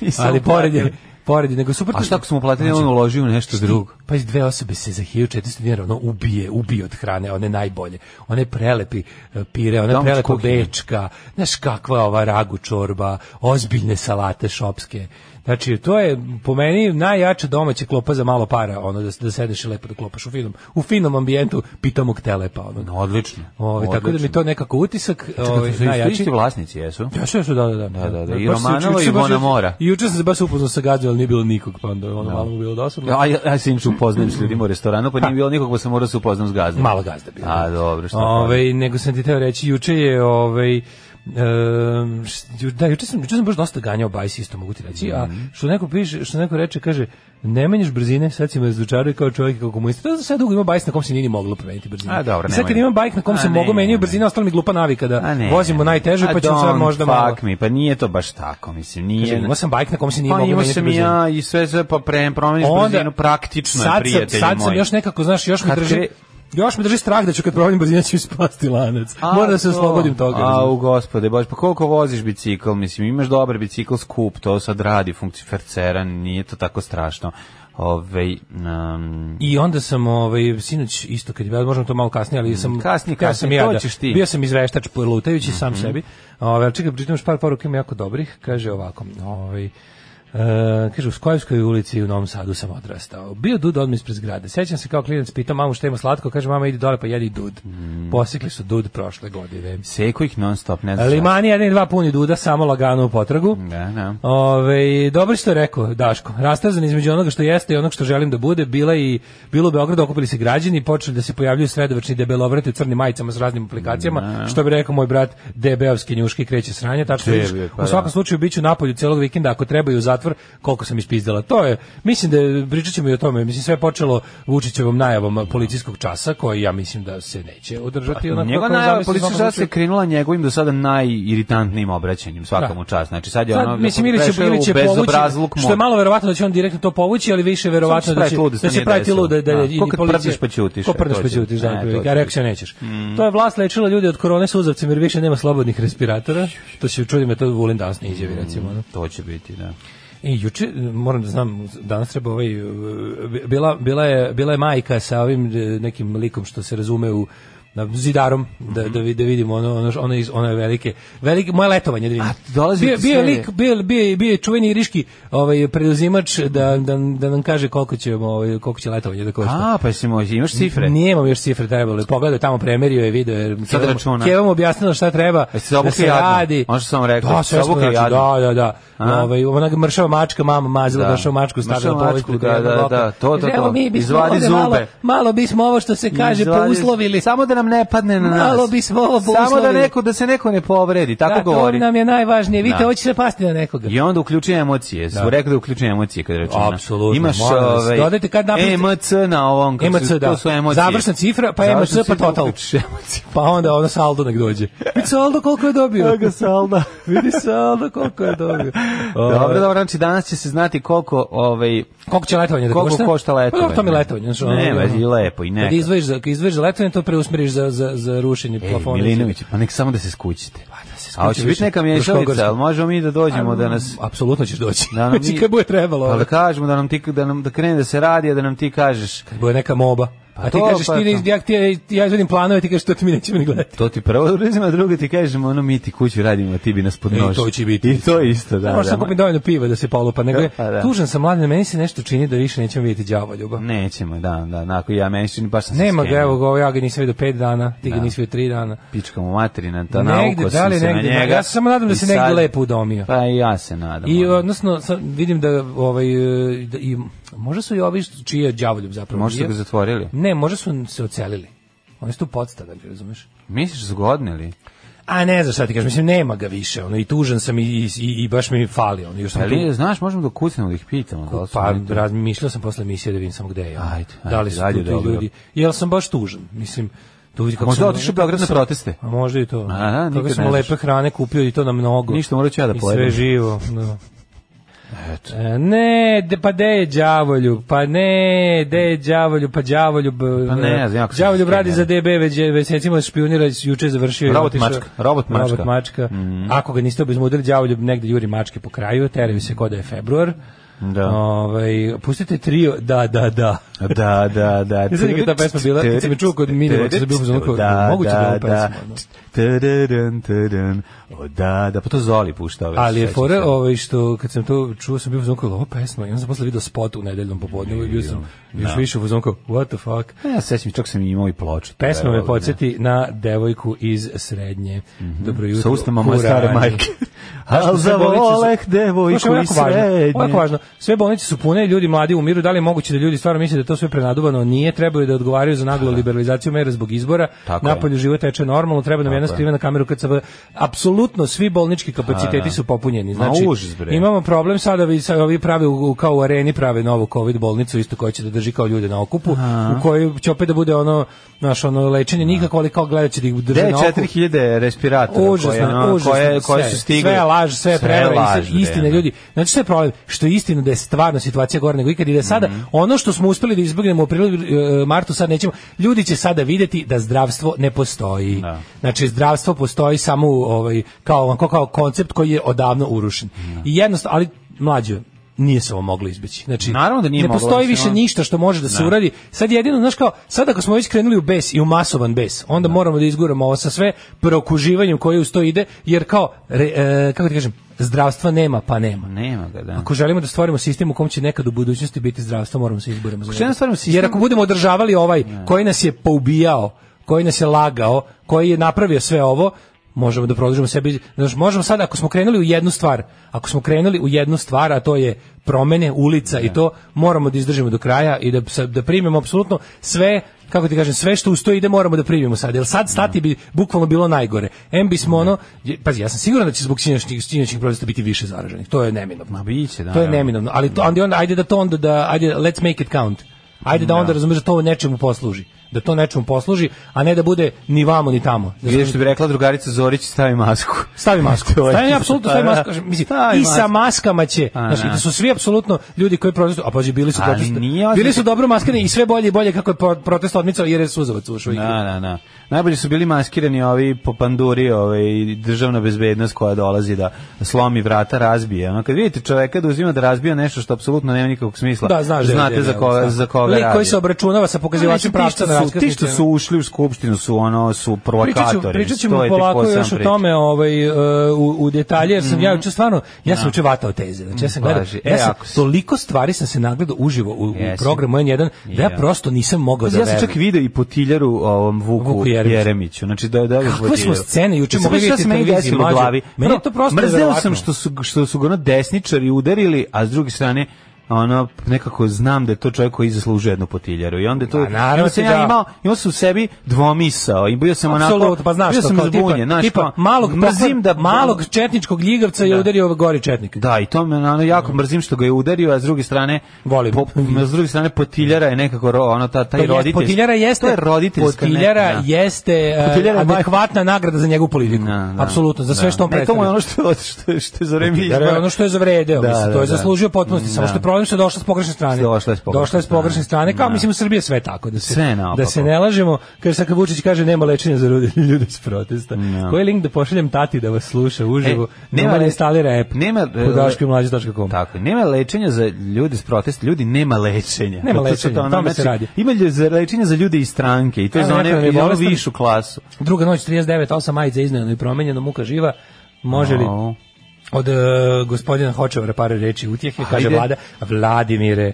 [SPEAKER 6] Nisam
[SPEAKER 7] Ali pored je,
[SPEAKER 6] platio.
[SPEAKER 7] pored je, nego super. Znači,
[SPEAKER 6] A šta ako smo platili, on uložio u nešto drugo?
[SPEAKER 7] Pa iz dve osobe se za 1400 dinara ono ubije, ubije od hrane, one najbolje. One prelepi e, pire, one
[SPEAKER 6] Domaća
[SPEAKER 7] prelepo
[SPEAKER 6] kuhinja.
[SPEAKER 7] bečka, znaš kakva ova ragu čorba, ozbiljne salate šopske. Znači, to je po meni najjača domaća klopa za malo para, ono da, da sedeš i lepo da klopaš u finom, u finom ambijentu pitomog telepa. Ono.
[SPEAKER 6] No, odlično.
[SPEAKER 7] Ovaj, tako da mi to nekako utisak, ovaj,
[SPEAKER 6] najjači.
[SPEAKER 7] najjači.
[SPEAKER 6] Isti vlasnici jesu?
[SPEAKER 7] Ja sve su, da, da, da.
[SPEAKER 6] da, da, i
[SPEAKER 7] Baš sam
[SPEAKER 6] Romanova
[SPEAKER 7] juče-
[SPEAKER 6] i
[SPEAKER 7] juče baš-
[SPEAKER 6] Bona Mora.
[SPEAKER 7] I juče sam se baš upoznao sa gađom, ali nije bilo nikog, pa onda ono malo mu bilo dosadno.
[SPEAKER 6] Ja, ja, ja se inače upoznajem s ljudima u restoranu, pa nije bilo nikog, pa sam morao se upoznam s gazdom.
[SPEAKER 7] Mala gazda bila.
[SPEAKER 6] A, dobro, šta
[SPEAKER 7] Ovaj nego sam ti teo reći juče je ovaj em, š- ju- da, juče sam, juče sam baš dosta ganjao bajs, isto mogu ti reći, a
[SPEAKER 6] Mhm.
[SPEAKER 7] što neko piše, što neko reče, kaže, ne menjaš brzine, sad si me razočarao i kao čovjek i kao komunista, to je zato što ja dugo imao bajs na kom se nije ni moglo promeniti brzine.
[SPEAKER 6] A, dobro,
[SPEAKER 7] I sad kad
[SPEAKER 6] nemoj.
[SPEAKER 7] imam bajk na kom
[SPEAKER 6] A,
[SPEAKER 7] se
[SPEAKER 6] ne,
[SPEAKER 7] mogu menjaju
[SPEAKER 6] nemoj.
[SPEAKER 7] brzine, ostala mi glupa navika da
[SPEAKER 6] A ne.
[SPEAKER 7] vozimo najteže,
[SPEAKER 6] A
[SPEAKER 7] pa ću sad
[SPEAKER 6] don't
[SPEAKER 7] možda
[SPEAKER 6] fuck
[SPEAKER 7] malo.
[SPEAKER 6] me, pa nije to baš tako, mislim, nije.
[SPEAKER 7] Kaže, imao sam bajk na kom se nije
[SPEAKER 6] pa
[SPEAKER 7] moglo
[SPEAKER 6] imao
[SPEAKER 7] menjati
[SPEAKER 6] sam i
[SPEAKER 7] brzine.
[SPEAKER 6] ja i sve sve pa pre, promeniš brzinu, praktično
[SPEAKER 7] sad
[SPEAKER 6] je,
[SPEAKER 7] sam-
[SPEAKER 6] prijatelji
[SPEAKER 7] sad sam
[SPEAKER 6] moji.
[SPEAKER 7] još nekako, znaš, još me
[SPEAKER 6] Kad
[SPEAKER 7] drži...
[SPEAKER 6] kre-
[SPEAKER 7] Još me drži strah da ću kad provalim brzinu ću ispasti lanac.
[SPEAKER 6] A,
[SPEAKER 7] Moram da se
[SPEAKER 6] to.
[SPEAKER 7] oslobodim toga.
[SPEAKER 6] A, u gospode, baš, pa koliko voziš bicikl, mislim, imaš dobar bicikl skup, to sad radi, funkci ferceran, nije to tako strašno. Ove, um,
[SPEAKER 7] I onda sam ovaj sinoć isto kad je bio, možemo to malo kasnije, ali sam
[SPEAKER 6] Mm, kasnije,
[SPEAKER 7] hteo sam
[SPEAKER 6] kasnije,
[SPEAKER 7] ja
[SPEAKER 6] to
[SPEAKER 7] da-
[SPEAKER 6] ćeš ti. Mhm.
[SPEAKER 7] Bio sam izveštač lutajući sam sebi. Ovaj čekaj, pročitam još par poruka ima jako dobrih. Kaže ovako, ovaj e, kaže u Skojevskoj ulici u Novom Sadu sam odrastao. Bio dud odmah ispred zgrade. Sećam se kao klinac pitao mamu šta ima slatko, kaže mama idi dole pa jedi dud.
[SPEAKER 6] Mhm.
[SPEAKER 7] Posekli su dud prošle godine.
[SPEAKER 6] seko ih non stop, ne znam. šta.
[SPEAKER 7] Limani jedan i dva puni duda, samo lagano u potragu.
[SPEAKER 6] Da, da.
[SPEAKER 7] Ove, dobro što je rekao Daško. Rastazan između onoga što jeste i onog što želim da bude, bila i bilo u Beogradu okupili se građani, počeli da se pojavljuju sredovrčni debelovrati u crnim majicama s raznim aplikacijama, što bi rekao moj brat, debeovski njuški kreće sranje, tačno
[SPEAKER 6] Debe,
[SPEAKER 7] vidiš,
[SPEAKER 6] pa
[SPEAKER 7] u
[SPEAKER 6] da.
[SPEAKER 7] svakom slučaju biću napolju celog vikenda ako treba i u zatvor, koliko sam ispizdala. To je, mislim da je- pričat ćemo i o tome, mislim sve je počelo Vučićevom najavom policijskog časa, koji ja mislim da se neće održati. onako
[SPEAKER 6] Pa, Njegova
[SPEAKER 7] kako je
[SPEAKER 6] najava
[SPEAKER 7] zamislio u
[SPEAKER 6] policija
[SPEAKER 7] svakom
[SPEAKER 6] sada
[SPEAKER 7] slučaju.
[SPEAKER 6] se krenula njegovim do sada najiritantnijim obraćanjem, svakamu
[SPEAKER 7] Da.
[SPEAKER 6] čast. Znači sad je
[SPEAKER 7] Sad,
[SPEAKER 6] ono
[SPEAKER 7] Pa, mislim ili će,
[SPEAKER 6] prešao
[SPEAKER 7] ili će
[SPEAKER 6] u bezobrazluk
[SPEAKER 7] povući, što je
[SPEAKER 6] mod.
[SPEAKER 7] malo verovatno da će on direktno to povući, ali više verovatno
[SPEAKER 6] Samo
[SPEAKER 7] da
[SPEAKER 6] će
[SPEAKER 7] će,
[SPEAKER 6] praviti lud da se
[SPEAKER 7] da će
[SPEAKER 6] nije
[SPEAKER 7] praviti
[SPEAKER 6] desilo.
[SPEAKER 7] luda, da,
[SPEAKER 6] Da.
[SPEAKER 7] da,
[SPEAKER 6] Ko kad prdneš pa ćutiš,
[SPEAKER 7] Ko
[SPEAKER 6] e,
[SPEAKER 7] prdneš
[SPEAKER 6] to
[SPEAKER 7] pa
[SPEAKER 6] će-
[SPEAKER 7] ćutiš,
[SPEAKER 6] e,
[SPEAKER 7] da,
[SPEAKER 6] to
[SPEAKER 7] otprilike,
[SPEAKER 6] će Mm.
[SPEAKER 7] a rekao se nećeš. To je vlast lečila ljudi od korone sa uzavcem, jer više nema slobodnih respiratora, to se čudi me to Vulin danas ne izjavi, recimo. ono.
[SPEAKER 6] To će biti, da.
[SPEAKER 7] I E, juče, moram da znam, danas treba ovaj, uh, bila, bila, je, bila je majka sa ovim uh, nekim likom što se razume u na zidarom da da vi- da vidimo ono ono ono iz one velike velike moje letovanje da vidim.
[SPEAKER 6] A, dolazi
[SPEAKER 7] bio
[SPEAKER 6] ti
[SPEAKER 7] bio je
[SPEAKER 6] serije.
[SPEAKER 7] lik bio bio bio je čuveni riški ovaj preduzimač da da da nam kaže koliko će ovaj koliko će letovanje da košta.
[SPEAKER 6] A, pa si moj, imaš cifre?
[SPEAKER 7] Nije imam još cifre trebalo. Pogledaj tamo premerio je video jer
[SPEAKER 6] Sad
[SPEAKER 7] Keva mu-
[SPEAKER 6] računa.
[SPEAKER 7] Keva mu objasnila šta treba
[SPEAKER 6] Jesi se obukli
[SPEAKER 7] da se
[SPEAKER 6] jadno?
[SPEAKER 7] radi.
[SPEAKER 6] Ono što sam vam rekao,
[SPEAKER 7] Da, sve
[SPEAKER 6] se
[SPEAKER 7] smo,
[SPEAKER 6] obukli
[SPEAKER 7] znači,
[SPEAKER 6] jadno.
[SPEAKER 7] Da, da, da.
[SPEAKER 6] A?
[SPEAKER 7] Ovaj ona mršava mačka mama mazila da. mršavu mačku stavila
[SPEAKER 6] Mršavu
[SPEAKER 7] na
[SPEAKER 6] mačku,
[SPEAKER 7] policu.
[SPEAKER 6] da, da, da, to, to, to.
[SPEAKER 7] Mi bismo
[SPEAKER 6] Izvadi
[SPEAKER 7] ovde Malo,
[SPEAKER 6] zube.
[SPEAKER 7] malo bismo ovo što se kaže
[SPEAKER 6] Izvadi-
[SPEAKER 7] pouslovili.
[SPEAKER 6] Samo da nam ne padne na nas.
[SPEAKER 7] Malo bismo ovo
[SPEAKER 6] Samo da
[SPEAKER 7] pouslovili.
[SPEAKER 6] neko da se neko ne povredi, tako
[SPEAKER 7] da,
[SPEAKER 6] govori.
[SPEAKER 7] To nam je najvažnije. Vidite,
[SPEAKER 6] Da.
[SPEAKER 7] hoće se pasti na nekoga.
[SPEAKER 6] I onda uključi emocije. Da. Su rekli da uključi emocije kad računa.
[SPEAKER 7] Apsolutno,
[SPEAKER 6] Imaš
[SPEAKER 7] molim vas.
[SPEAKER 6] ovaj,
[SPEAKER 7] Dodajte kad napravite-
[SPEAKER 6] EMC na ovom. kako
[SPEAKER 7] EMC,
[SPEAKER 6] su-
[SPEAKER 7] da.
[SPEAKER 6] To su emocije.
[SPEAKER 7] Završna cifra, pa
[SPEAKER 6] Završna
[SPEAKER 7] EMC, pa
[SPEAKER 6] cifra,
[SPEAKER 7] total.
[SPEAKER 6] uključiš emocije.
[SPEAKER 7] Pa onda ono saldo nek dođe. Vidi saldo koliko je dobio.
[SPEAKER 6] Evo ga salda.
[SPEAKER 7] Vidi saldo koliko je dobio.
[SPEAKER 6] Dobro,
[SPEAKER 7] Ovaj.
[SPEAKER 6] dobro, znači danas će se znati koliko ovaj
[SPEAKER 7] Koliko će letovanje da
[SPEAKER 6] Koliko
[SPEAKER 7] košta?
[SPEAKER 6] košta letovanje?
[SPEAKER 7] Pa dobro, to mi je letovanje. Znači, ono,
[SPEAKER 6] Ne,
[SPEAKER 7] ono,
[SPEAKER 6] vezi, lepo i neka.
[SPEAKER 7] Kad izdvojiš za, kad izdvojiš za letovanje, to preusmeriš za, za, za rušenje
[SPEAKER 6] Ej,
[SPEAKER 7] plafona.
[SPEAKER 6] Milinović, pa nek samo da se skućite. Pa
[SPEAKER 7] da se skuće
[SPEAKER 6] A hoće biti
[SPEAKER 7] više.
[SPEAKER 6] neka mješalica,
[SPEAKER 7] Fruškogorska.
[SPEAKER 6] ali možemo mi da dođemo da nas...
[SPEAKER 7] Apsolutno ćeš doći.
[SPEAKER 6] Da nam mi-
[SPEAKER 7] znači, kad bude trebalo.
[SPEAKER 6] Pa da
[SPEAKER 7] ono,
[SPEAKER 6] kažemo da nam ti da nam da krene da se radi, a da nam ti kažeš.
[SPEAKER 7] kad bude neka moba. A ti
[SPEAKER 6] to,
[SPEAKER 7] kažeš,
[SPEAKER 6] pa
[SPEAKER 7] ti, ne-
[SPEAKER 6] to.
[SPEAKER 7] ja, ti, ja izvedim planove, ti kažeš, to ti mi nećemo ni gledati.
[SPEAKER 6] To ti prvo urizim, a drugo ti kažemo, ono mi ti kuću radimo, a ti bi nas podnošio.
[SPEAKER 7] E, I to će biti.
[SPEAKER 6] I to isto, da.
[SPEAKER 7] Da, Možda
[SPEAKER 6] da.
[SPEAKER 7] sam kupim dovoljno piva da se polupa, nego je,
[SPEAKER 6] Pa da.
[SPEAKER 7] tužan sam mladen, meni se nešto čini da više nećemo vidjeti đavo ljubav.
[SPEAKER 6] Nećemo, da, da, onako ja meni se čini baš sam se
[SPEAKER 7] Nema ga,
[SPEAKER 6] skrenuo.
[SPEAKER 7] evo ga, ja ga nisam vidio pet dana, ti ga nisi vidio tri dana.
[SPEAKER 6] pička mu materina, ta
[SPEAKER 7] negde,
[SPEAKER 6] nauko
[SPEAKER 7] da
[SPEAKER 6] sam
[SPEAKER 7] li
[SPEAKER 6] se na
[SPEAKER 7] negde,
[SPEAKER 6] njega.
[SPEAKER 7] ja se samo nadam da
[SPEAKER 6] I
[SPEAKER 7] se negde
[SPEAKER 6] sad-
[SPEAKER 7] lepo udomio.
[SPEAKER 6] Pa i ja se nadam.
[SPEAKER 7] I
[SPEAKER 6] ono.
[SPEAKER 7] odnosno sad vidim da ovaj e, da, i možda su i ovi što- čiji je đavoljub zapravo.
[SPEAKER 6] Možda su
[SPEAKER 7] bio.
[SPEAKER 6] ga zatvorili.
[SPEAKER 7] Ne, možda su se ocelili. Oni su tu podstavljali, razumeš?
[SPEAKER 6] Misliš zgodne li?
[SPEAKER 7] A ne znam šta ti kažem, mislim nema ga više, ono i tužan sam i i, i baš mi fali, ono još sam
[SPEAKER 6] Ali, znaš, možemo da kucnemo da ih pitamo. Da li
[SPEAKER 7] tu,
[SPEAKER 6] su
[SPEAKER 7] pa
[SPEAKER 6] oni tu?
[SPEAKER 7] razmišljao sam posle emisije da vidim samo gde je. ono.
[SPEAKER 6] Ajde,
[SPEAKER 7] da
[SPEAKER 6] ajde,
[SPEAKER 7] li su
[SPEAKER 6] ajde,
[SPEAKER 7] tu ti
[SPEAKER 6] dobro.
[SPEAKER 7] ljudi? Jel sam baš tužan, mislim. Tu vidi kako
[SPEAKER 6] Možda
[SPEAKER 7] sam-
[SPEAKER 6] otišao u Beograd na
[SPEAKER 7] sam-
[SPEAKER 6] proteste.
[SPEAKER 7] A možda i to.
[SPEAKER 6] A, da, nikad
[SPEAKER 7] Kako
[SPEAKER 6] ne
[SPEAKER 7] smo
[SPEAKER 6] znaš.
[SPEAKER 7] lepe hrane kupio i to na mnogo.
[SPEAKER 6] Ništa, morat ću ja da
[SPEAKER 7] I
[SPEAKER 6] pojedem.
[SPEAKER 7] sve živo, da. E, Ne, de, pa de je đavolju, pa ne, de je đavolju, pa đavolju.
[SPEAKER 6] Pa ne znam, jako sam
[SPEAKER 7] Đavoljub
[SPEAKER 6] skrenjen.
[SPEAKER 7] radi za DB već je- već recimo špionira juče završio. i
[SPEAKER 6] Robot
[SPEAKER 7] otišao-
[SPEAKER 6] mačka, robot mačka.
[SPEAKER 7] Robot mačka. Ako ga niste obezmudili, đavoljub negde juri mačke po kraju, teraju se kod je februar.
[SPEAKER 6] Da.
[SPEAKER 7] Ovaj, pustite trio, da, da, da.
[SPEAKER 6] Da, da, da.
[SPEAKER 7] Ne znam nikad ta pesma bila, kad sam je čuo kod Minivog, sam bio u fazonu kao,
[SPEAKER 6] Da,
[SPEAKER 7] moguće da je
[SPEAKER 6] da,
[SPEAKER 7] ovo
[SPEAKER 6] da.
[SPEAKER 7] pesma, ono.
[SPEAKER 6] Tadadun, tadadun. O, da, da, pa to Zoli pušta ove.
[SPEAKER 7] Ali je
[SPEAKER 6] sećam
[SPEAKER 7] fora
[SPEAKER 6] se.
[SPEAKER 7] ovaj što kad sam to čuo sam bio u fazonu kao, ova pesma i onda sam posle video spot u nedeljnom popodnevu i bio sam još više u fazonu kao what the fuck.
[SPEAKER 6] Ja se sećam, čak sam imao i ploču.
[SPEAKER 7] Pesma
[SPEAKER 6] Evo,
[SPEAKER 7] me
[SPEAKER 6] ne.
[SPEAKER 7] podsjeti na devojku iz srednje. Dobro jutro.
[SPEAKER 6] Sa ustima moje
[SPEAKER 7] kurani.
[SPEAKER 6] stare majke.
[SPEAKER 7] Znaš,
[SPEAKER 6] Al
[SPEAKER 7] sve
[SPEAKER 6] za
[SPEAKER 7] bolnice su-
[SPEAKER 6] voleh
[SPEAKER 7] Slušaj,
[SPEAKER 6] devojku
[SPEAKER 7] ovo je
[SPEAKER 6] i
[SPEAKER 7] jako važno, ovo je
[SPEAKER 6] srednje.
[SPEAKER 7] jako važno. Sve bolnice su pune, ljudi mladi umiru. Da li je moguće da ljudi stvarno misle da je to sve prenaduvano? Nije, trebaju da odgovaraju za naglu liberalizaciju mera zbog izbora.
[SPEAKER 6] Tako je.
[SPEAKER 7] Napolju život teče normalno, treba nam jedna skrivena kamera u KCB. Apsolutno svi bolnički kapaciteti su popunjeni.
[SPEAKER 6] Ma,
[SPEAKER 7] Znači,
[SPEAKER 6] užas, bre.
[SPEAKER 7] imamo problem sada vi sa ovi prave u, u- kao u areni prave novu covid bolnicu isto koja će da drži kao ljude na okupu, u kojoj će opet da bude ono naš ono lečenje nikako, ali kao gledat će da ih drže
[SPEAKER 6] Gde je
[SPEAKER 7] na okupu.
[SPEAKER 6] 4000 respiratora koje,
[SPEAKER 7] Užasno,
[SPEAKER 6] ono,
[SPEAKER 7] užasno.
[SPEAKER 6] koje, koje
[SPEAKER 7] sve,
[SPEAKER 6] su stigle?
[SPEAKER 7] Sve je laž, sve je prevara, i
[SPEAKER 6] laž,
[SPEAKER 7] sve-
[SPEAKER 6] bre,
[SPEAKER 7] istina
[SPEAKER 6] ono.
[SPEAKER 7] ljudi. Znači sve je problem, što je istina da je stvarno situacija gore nego ikad i da je sada
[SPEAKER 6] Mhm.
[SPEAKER 7] ono što smo uspeli da izbegnemo u aprilu, e, martu sad nećemo. Ljudi će sada videti da zdravstvo ne postoji.
[SPEAKER 6] Da.
[SPEAKER 7] Znači zdravstvo postoji samo u, ovaj kao kao, kao koncept koji je odavno urušen. I jednostavno, ali mlađe nije se ovo moglo izbeći. Znači,
[SPEAKER 6] Naravno da nije
[SPEAKER 7] ne
[SPEAKER 6] moglo,
[SPEAKER 7] postoji
[SPEAKER 6] mislim,
[SPEAKER 7] više
[SPEAKER 6] ono-
[SPEAKER 7] ništa što može da se uradi. Sad jedino, znaš kao, sad ako smo već krenuli u bes i u masovan bes, onda moramo da izguramo ovo sa sve prokuživanjem koje uz to ide, jer kao, re, e, kako ti kažem, zdravstva nema, pa nema.
[SPEAKER 6] Nema ga, da.
[SPEAKER 7] Ako želimo da stvorimo sistem u kom će nekad u budućnosti biti zdravstvo, moramo se izborimo za
[SPEAKER 6] Ako želimo da
[SPEAKER 7] njega.
[SPEAKER 6] stvorimo sistem-
[SPEAKER 7] Jer ako budemo održavali ovaj koji nas je poubijao, koji nas je lagao, koji je napravio sve ovo, možemo da produžimo sebi. Znači, možemo sad, ako smo krenuli u jednu stvar, ako smo krenuli u jednu stvar, a to je promene, ulica i to, moramo da izdržimo do kraja i da, sa- da primimo apsolutno sve kako ti kažem, sve što uz to ide moramo da primimo sad, jer sad stati bi bukvalno bilo najgore. Em bismo ono, je- pazi, ja sam siguran da će zbog sinoćnih, sinoćnih protesta biti više zaraženih, to je neminovno.
[SPEAKER 6] Ma biće, da,
[SPEAKER 7] To je
[SPEAKER 6] da.
[SPEAKER 7] neminovno, ali to, onda, onda, ajde da to onda, da, ajde, let's make it count. Ajde da onda razumeš da to nečemu posluži, da to nečemu posluži, a ne da bude ni vamo ni tamo. Da
[SPEAKER 6] Vidiš što bi rekla drugarica Zorić, stavi masku.
[SPEAKER 7] Stavi masku.
[SPEAKER 6] To je-
[SPEAKER 7] Stavi apsolutno stavi
[SPEAKER 6] Pa da.
[SPEAKER 7] masku. Kažem, Mislim,
[SPEAKER 6] Stavi
[SPEAKER 7] I sa
[SPEAKER 6] masku.
[SPEAKER 7] maskama će.
[SPEAKER 6] A,
[SPEAKER 7] Znači,
[SPEAKER 6] da.
[SPEAKER 7] da su svi apsolutno ljudi koji protestuju, a pađe bili su
[SPEAKER 6] Ali
[SPEAKER 7] protestu.
[SPEAKER 6] nije ozbiljno.
[SPEAKER 7] Bili su dobro maskani i sve bolje i bolje kako je pro- protest odmicao jer je suzavac ušao u igru.
[SPEAKER 6] Da, da, da. Najbolji su bili maskirani ovi popanduri, ovaj državna bezbednost koja dolazi da slomi vrata, razbije. Ono kad vidite čoveka da uzima da razbija nešto što apsolutno nema nikakvog smisla.
[SPEAKER 7] Da, znaš da je- da
[SPEAKER 6] znate
[SPEAKER 7] je-
[SPEAKER 6] za koga
[SPEAKER 7] da.
[SPEAKER 6] za koga
[SPEAKER 7] Lik
[SPEAKER 6] radi.
[SPEAKER 7] koji se obračunava sa pokazivačem
[SPEAKER 6] Pa, mislim,
[SPEAKER 7] pravca
[SPEAKER 6] ti
[SPEAKER 7] na
[SPEAKER 6] što su- Ti što
[SPEAKER 7] raskrsnici.
[SPEAKER 6] su ušli u skupštinu su ono su
[SPEAKER 7] Pričat ću-
[SPEAKER 6] provokatori.
[SPEAKER 7] Pričat ćemo
[SPEAKER 6] to je tek
[SPEAKER 7] polako
[SPEAKER 6] posebna
[SPEAKER 7] još o
[SPEAKER 6] priča. Mhm.
[SPEAKER 7] tome ovaj, e, u, u detalje, jer sam ja juče stvarno, ja sam juče vatao teze, znači ja sam gledao,
[SPEAKER 6] Važi. E,
[SPEAKER 7] ja sam,
[SPEAKER 6] ako si.
[SPEAKER 7] toliko stvari sam se nagledao uživo u, u
[SPEAKER 6] Jesi.
[SPEAKER 7] programu N1, da ja
[SPEAKER 6] Je.
[SPEAKER 7] prosto nisam mogao da
[SPEAKER 6] Ja sam
[SPEAKER 7] verujem.
[SPEAKER 6] čak video i potiljaru ovom Vuku,
[SPEAKER 7] Vuku Jeremiću.
[SPEAKER 6] Jeremiću. Znači da da
[SPEAKER 7] Kakve smo scene juče mogli vidjeti na televiziji,
[SPEAKER 6] u
[SPEAKER 7] mlađe?
[SPEAKER 6] glavi.
[SPEAKER 7] Meni je to prosto
[SPEAKER 6] mrzeo
[SPEAKER 7] neverovatno.
[SPEAKER 6] sam što su što su ga ono desničari udarili, a s druge strane ono nekako znam da je to čovjek koji zaslužuje jednu potiljaru i onda je to
[SPEAKER 7] Pa, naravno
[SPEAKER 6] i onda sam
[SPEAKER 7] ti
[SPEAKER 6] ja
[SPEAKER 7] da.
[SPEAKER 6] imao imao sam u sebi dvomisao i bio sam onako
[SPEAKER 7] Apsolutno, pa znaš
[SPEAKER 6] bio
[SPEAKER 7] što,
[SPEAKER 6] sam
[SPEAKER 7] kao tipa,
[SPEAKER 6] zbunjen znaš,
[SPEAKER 7] tipa
[SPEAKER 6] kao,
[SPEAKER 7] malog,
[SPEAKER 6] mrzim da
[SPEAKER 7] malog četničkog ljigavca je
[SPEAKER 6] Da.
[SPEAKER 7] udario ovaj gori četnik.
[SPEAKER 6] Da, i to me ono, jako mrzim što ga je udario, a s druge strane
[SPEAKER 7] Volim.
[SPEAKER 6] s druge strane potiljara je nekako ro, ono ta taj
[SPEAKER 7] To jest-
[SPEAKER 6] roditelj.
[SPEAKER 7] Potiljara Pa jeste,
[SPEAKER 6] to je roditeljska
[SPEAKER 7] potiljara
[SPEAKER 6] neka, da.
[SPEAKER 7] jeste e,
[SPEAKER 6] Potiljara je majka.
[SPEAKER 7] adekvatna nagrada za njegovu politiku.
[SPEAKER 6] Da, da.
[SPEAKER 7] Apsolutno, za sve
[SPEAKER 6] Da.
[SPEAKER 7] što on
[SPEAKER 6] Ne,
[SPEAKER 7] predstavlja.
[SPEAKER 6] To mu je ono što, što, što je za vreme
[SPEAKER 7] Jer je
[SPEAKER 6] izbora.
[SPEAKER 7] ono što je zavredeo,
[SPEAKER 6] Da,
[SPEAKER 7] mislim,
[SPEAKER 6] da,
[SPEAKER 7] to je
[SPEAKER 6] da.
[SPEAKER 7] zaslužio potpunosti, samo
[SPEAKER 6] Da.
[SPEAKER 7] što je problem što je došla s pogrešne strane.
[SPEAKER 6] Došla je s pogrešne
[SPEAKER 7] Došla je s pogrešne
[SPEAKER 6] strane.
[SPEAKER 7] strane, kao
[SPEAKER 6] Da.
[SPEAKER 7] mislim u Srbiji je sve tako, da se,
[SPEAKER 6] Sve naopako.
[SPEAKER 7] da se ne lažemo, kaže sad kad Vučić kaže nema lečenja za ljude, ljude s protesta.
[SPEAKER 6] Da. E,
[SPEAKER 7] Koji link da pošaljem tati da vas sluša uživo?
[SPEAKER 6] nema
[SPEAKER 7] nema da
[SPEAKER 6] le-
[SPEAKER 7] instalira app.
[SPEAKER 6] nema, e,
[SPEAKER 7] po daškomlađe.com.
[SPEAKER 6] Tako, je. nema lečenja za ljude s protesta, ljudi nema lečenja.
[SPEAKER 7] Nema
[SPEAKER 6] To- to-
[SPEAKER 7] lečenja,
[SPEAKER 6] to ono,
[SPEAKER 7] o tome se
[SPEAKER 6] znači,
[SPEAKER 7] radi.
[SPEAKER 6] Ima lju- za lečenja za ljude iz stranke i to je
[SPEAKER 7] Evo,
[SPEAKER 6] za
[SPEAKER 7] neko nam je
[SPEAKER 6] one, i onu
[SPEAKER 7] bolestan.
[SPEAKER 6] višu klasu.
[SPEAKER 7] Druga noć 39, 8 majica iznajeno i promenjeno, muka živa. Može li
[SPEAKER 6] O.
[SPEAKER 7] od e, gospodina Hočevara par reči utjehe, kaže
[SPEAKER 6] Ajde.
[SPEAKER 7] vlada, Vladimire,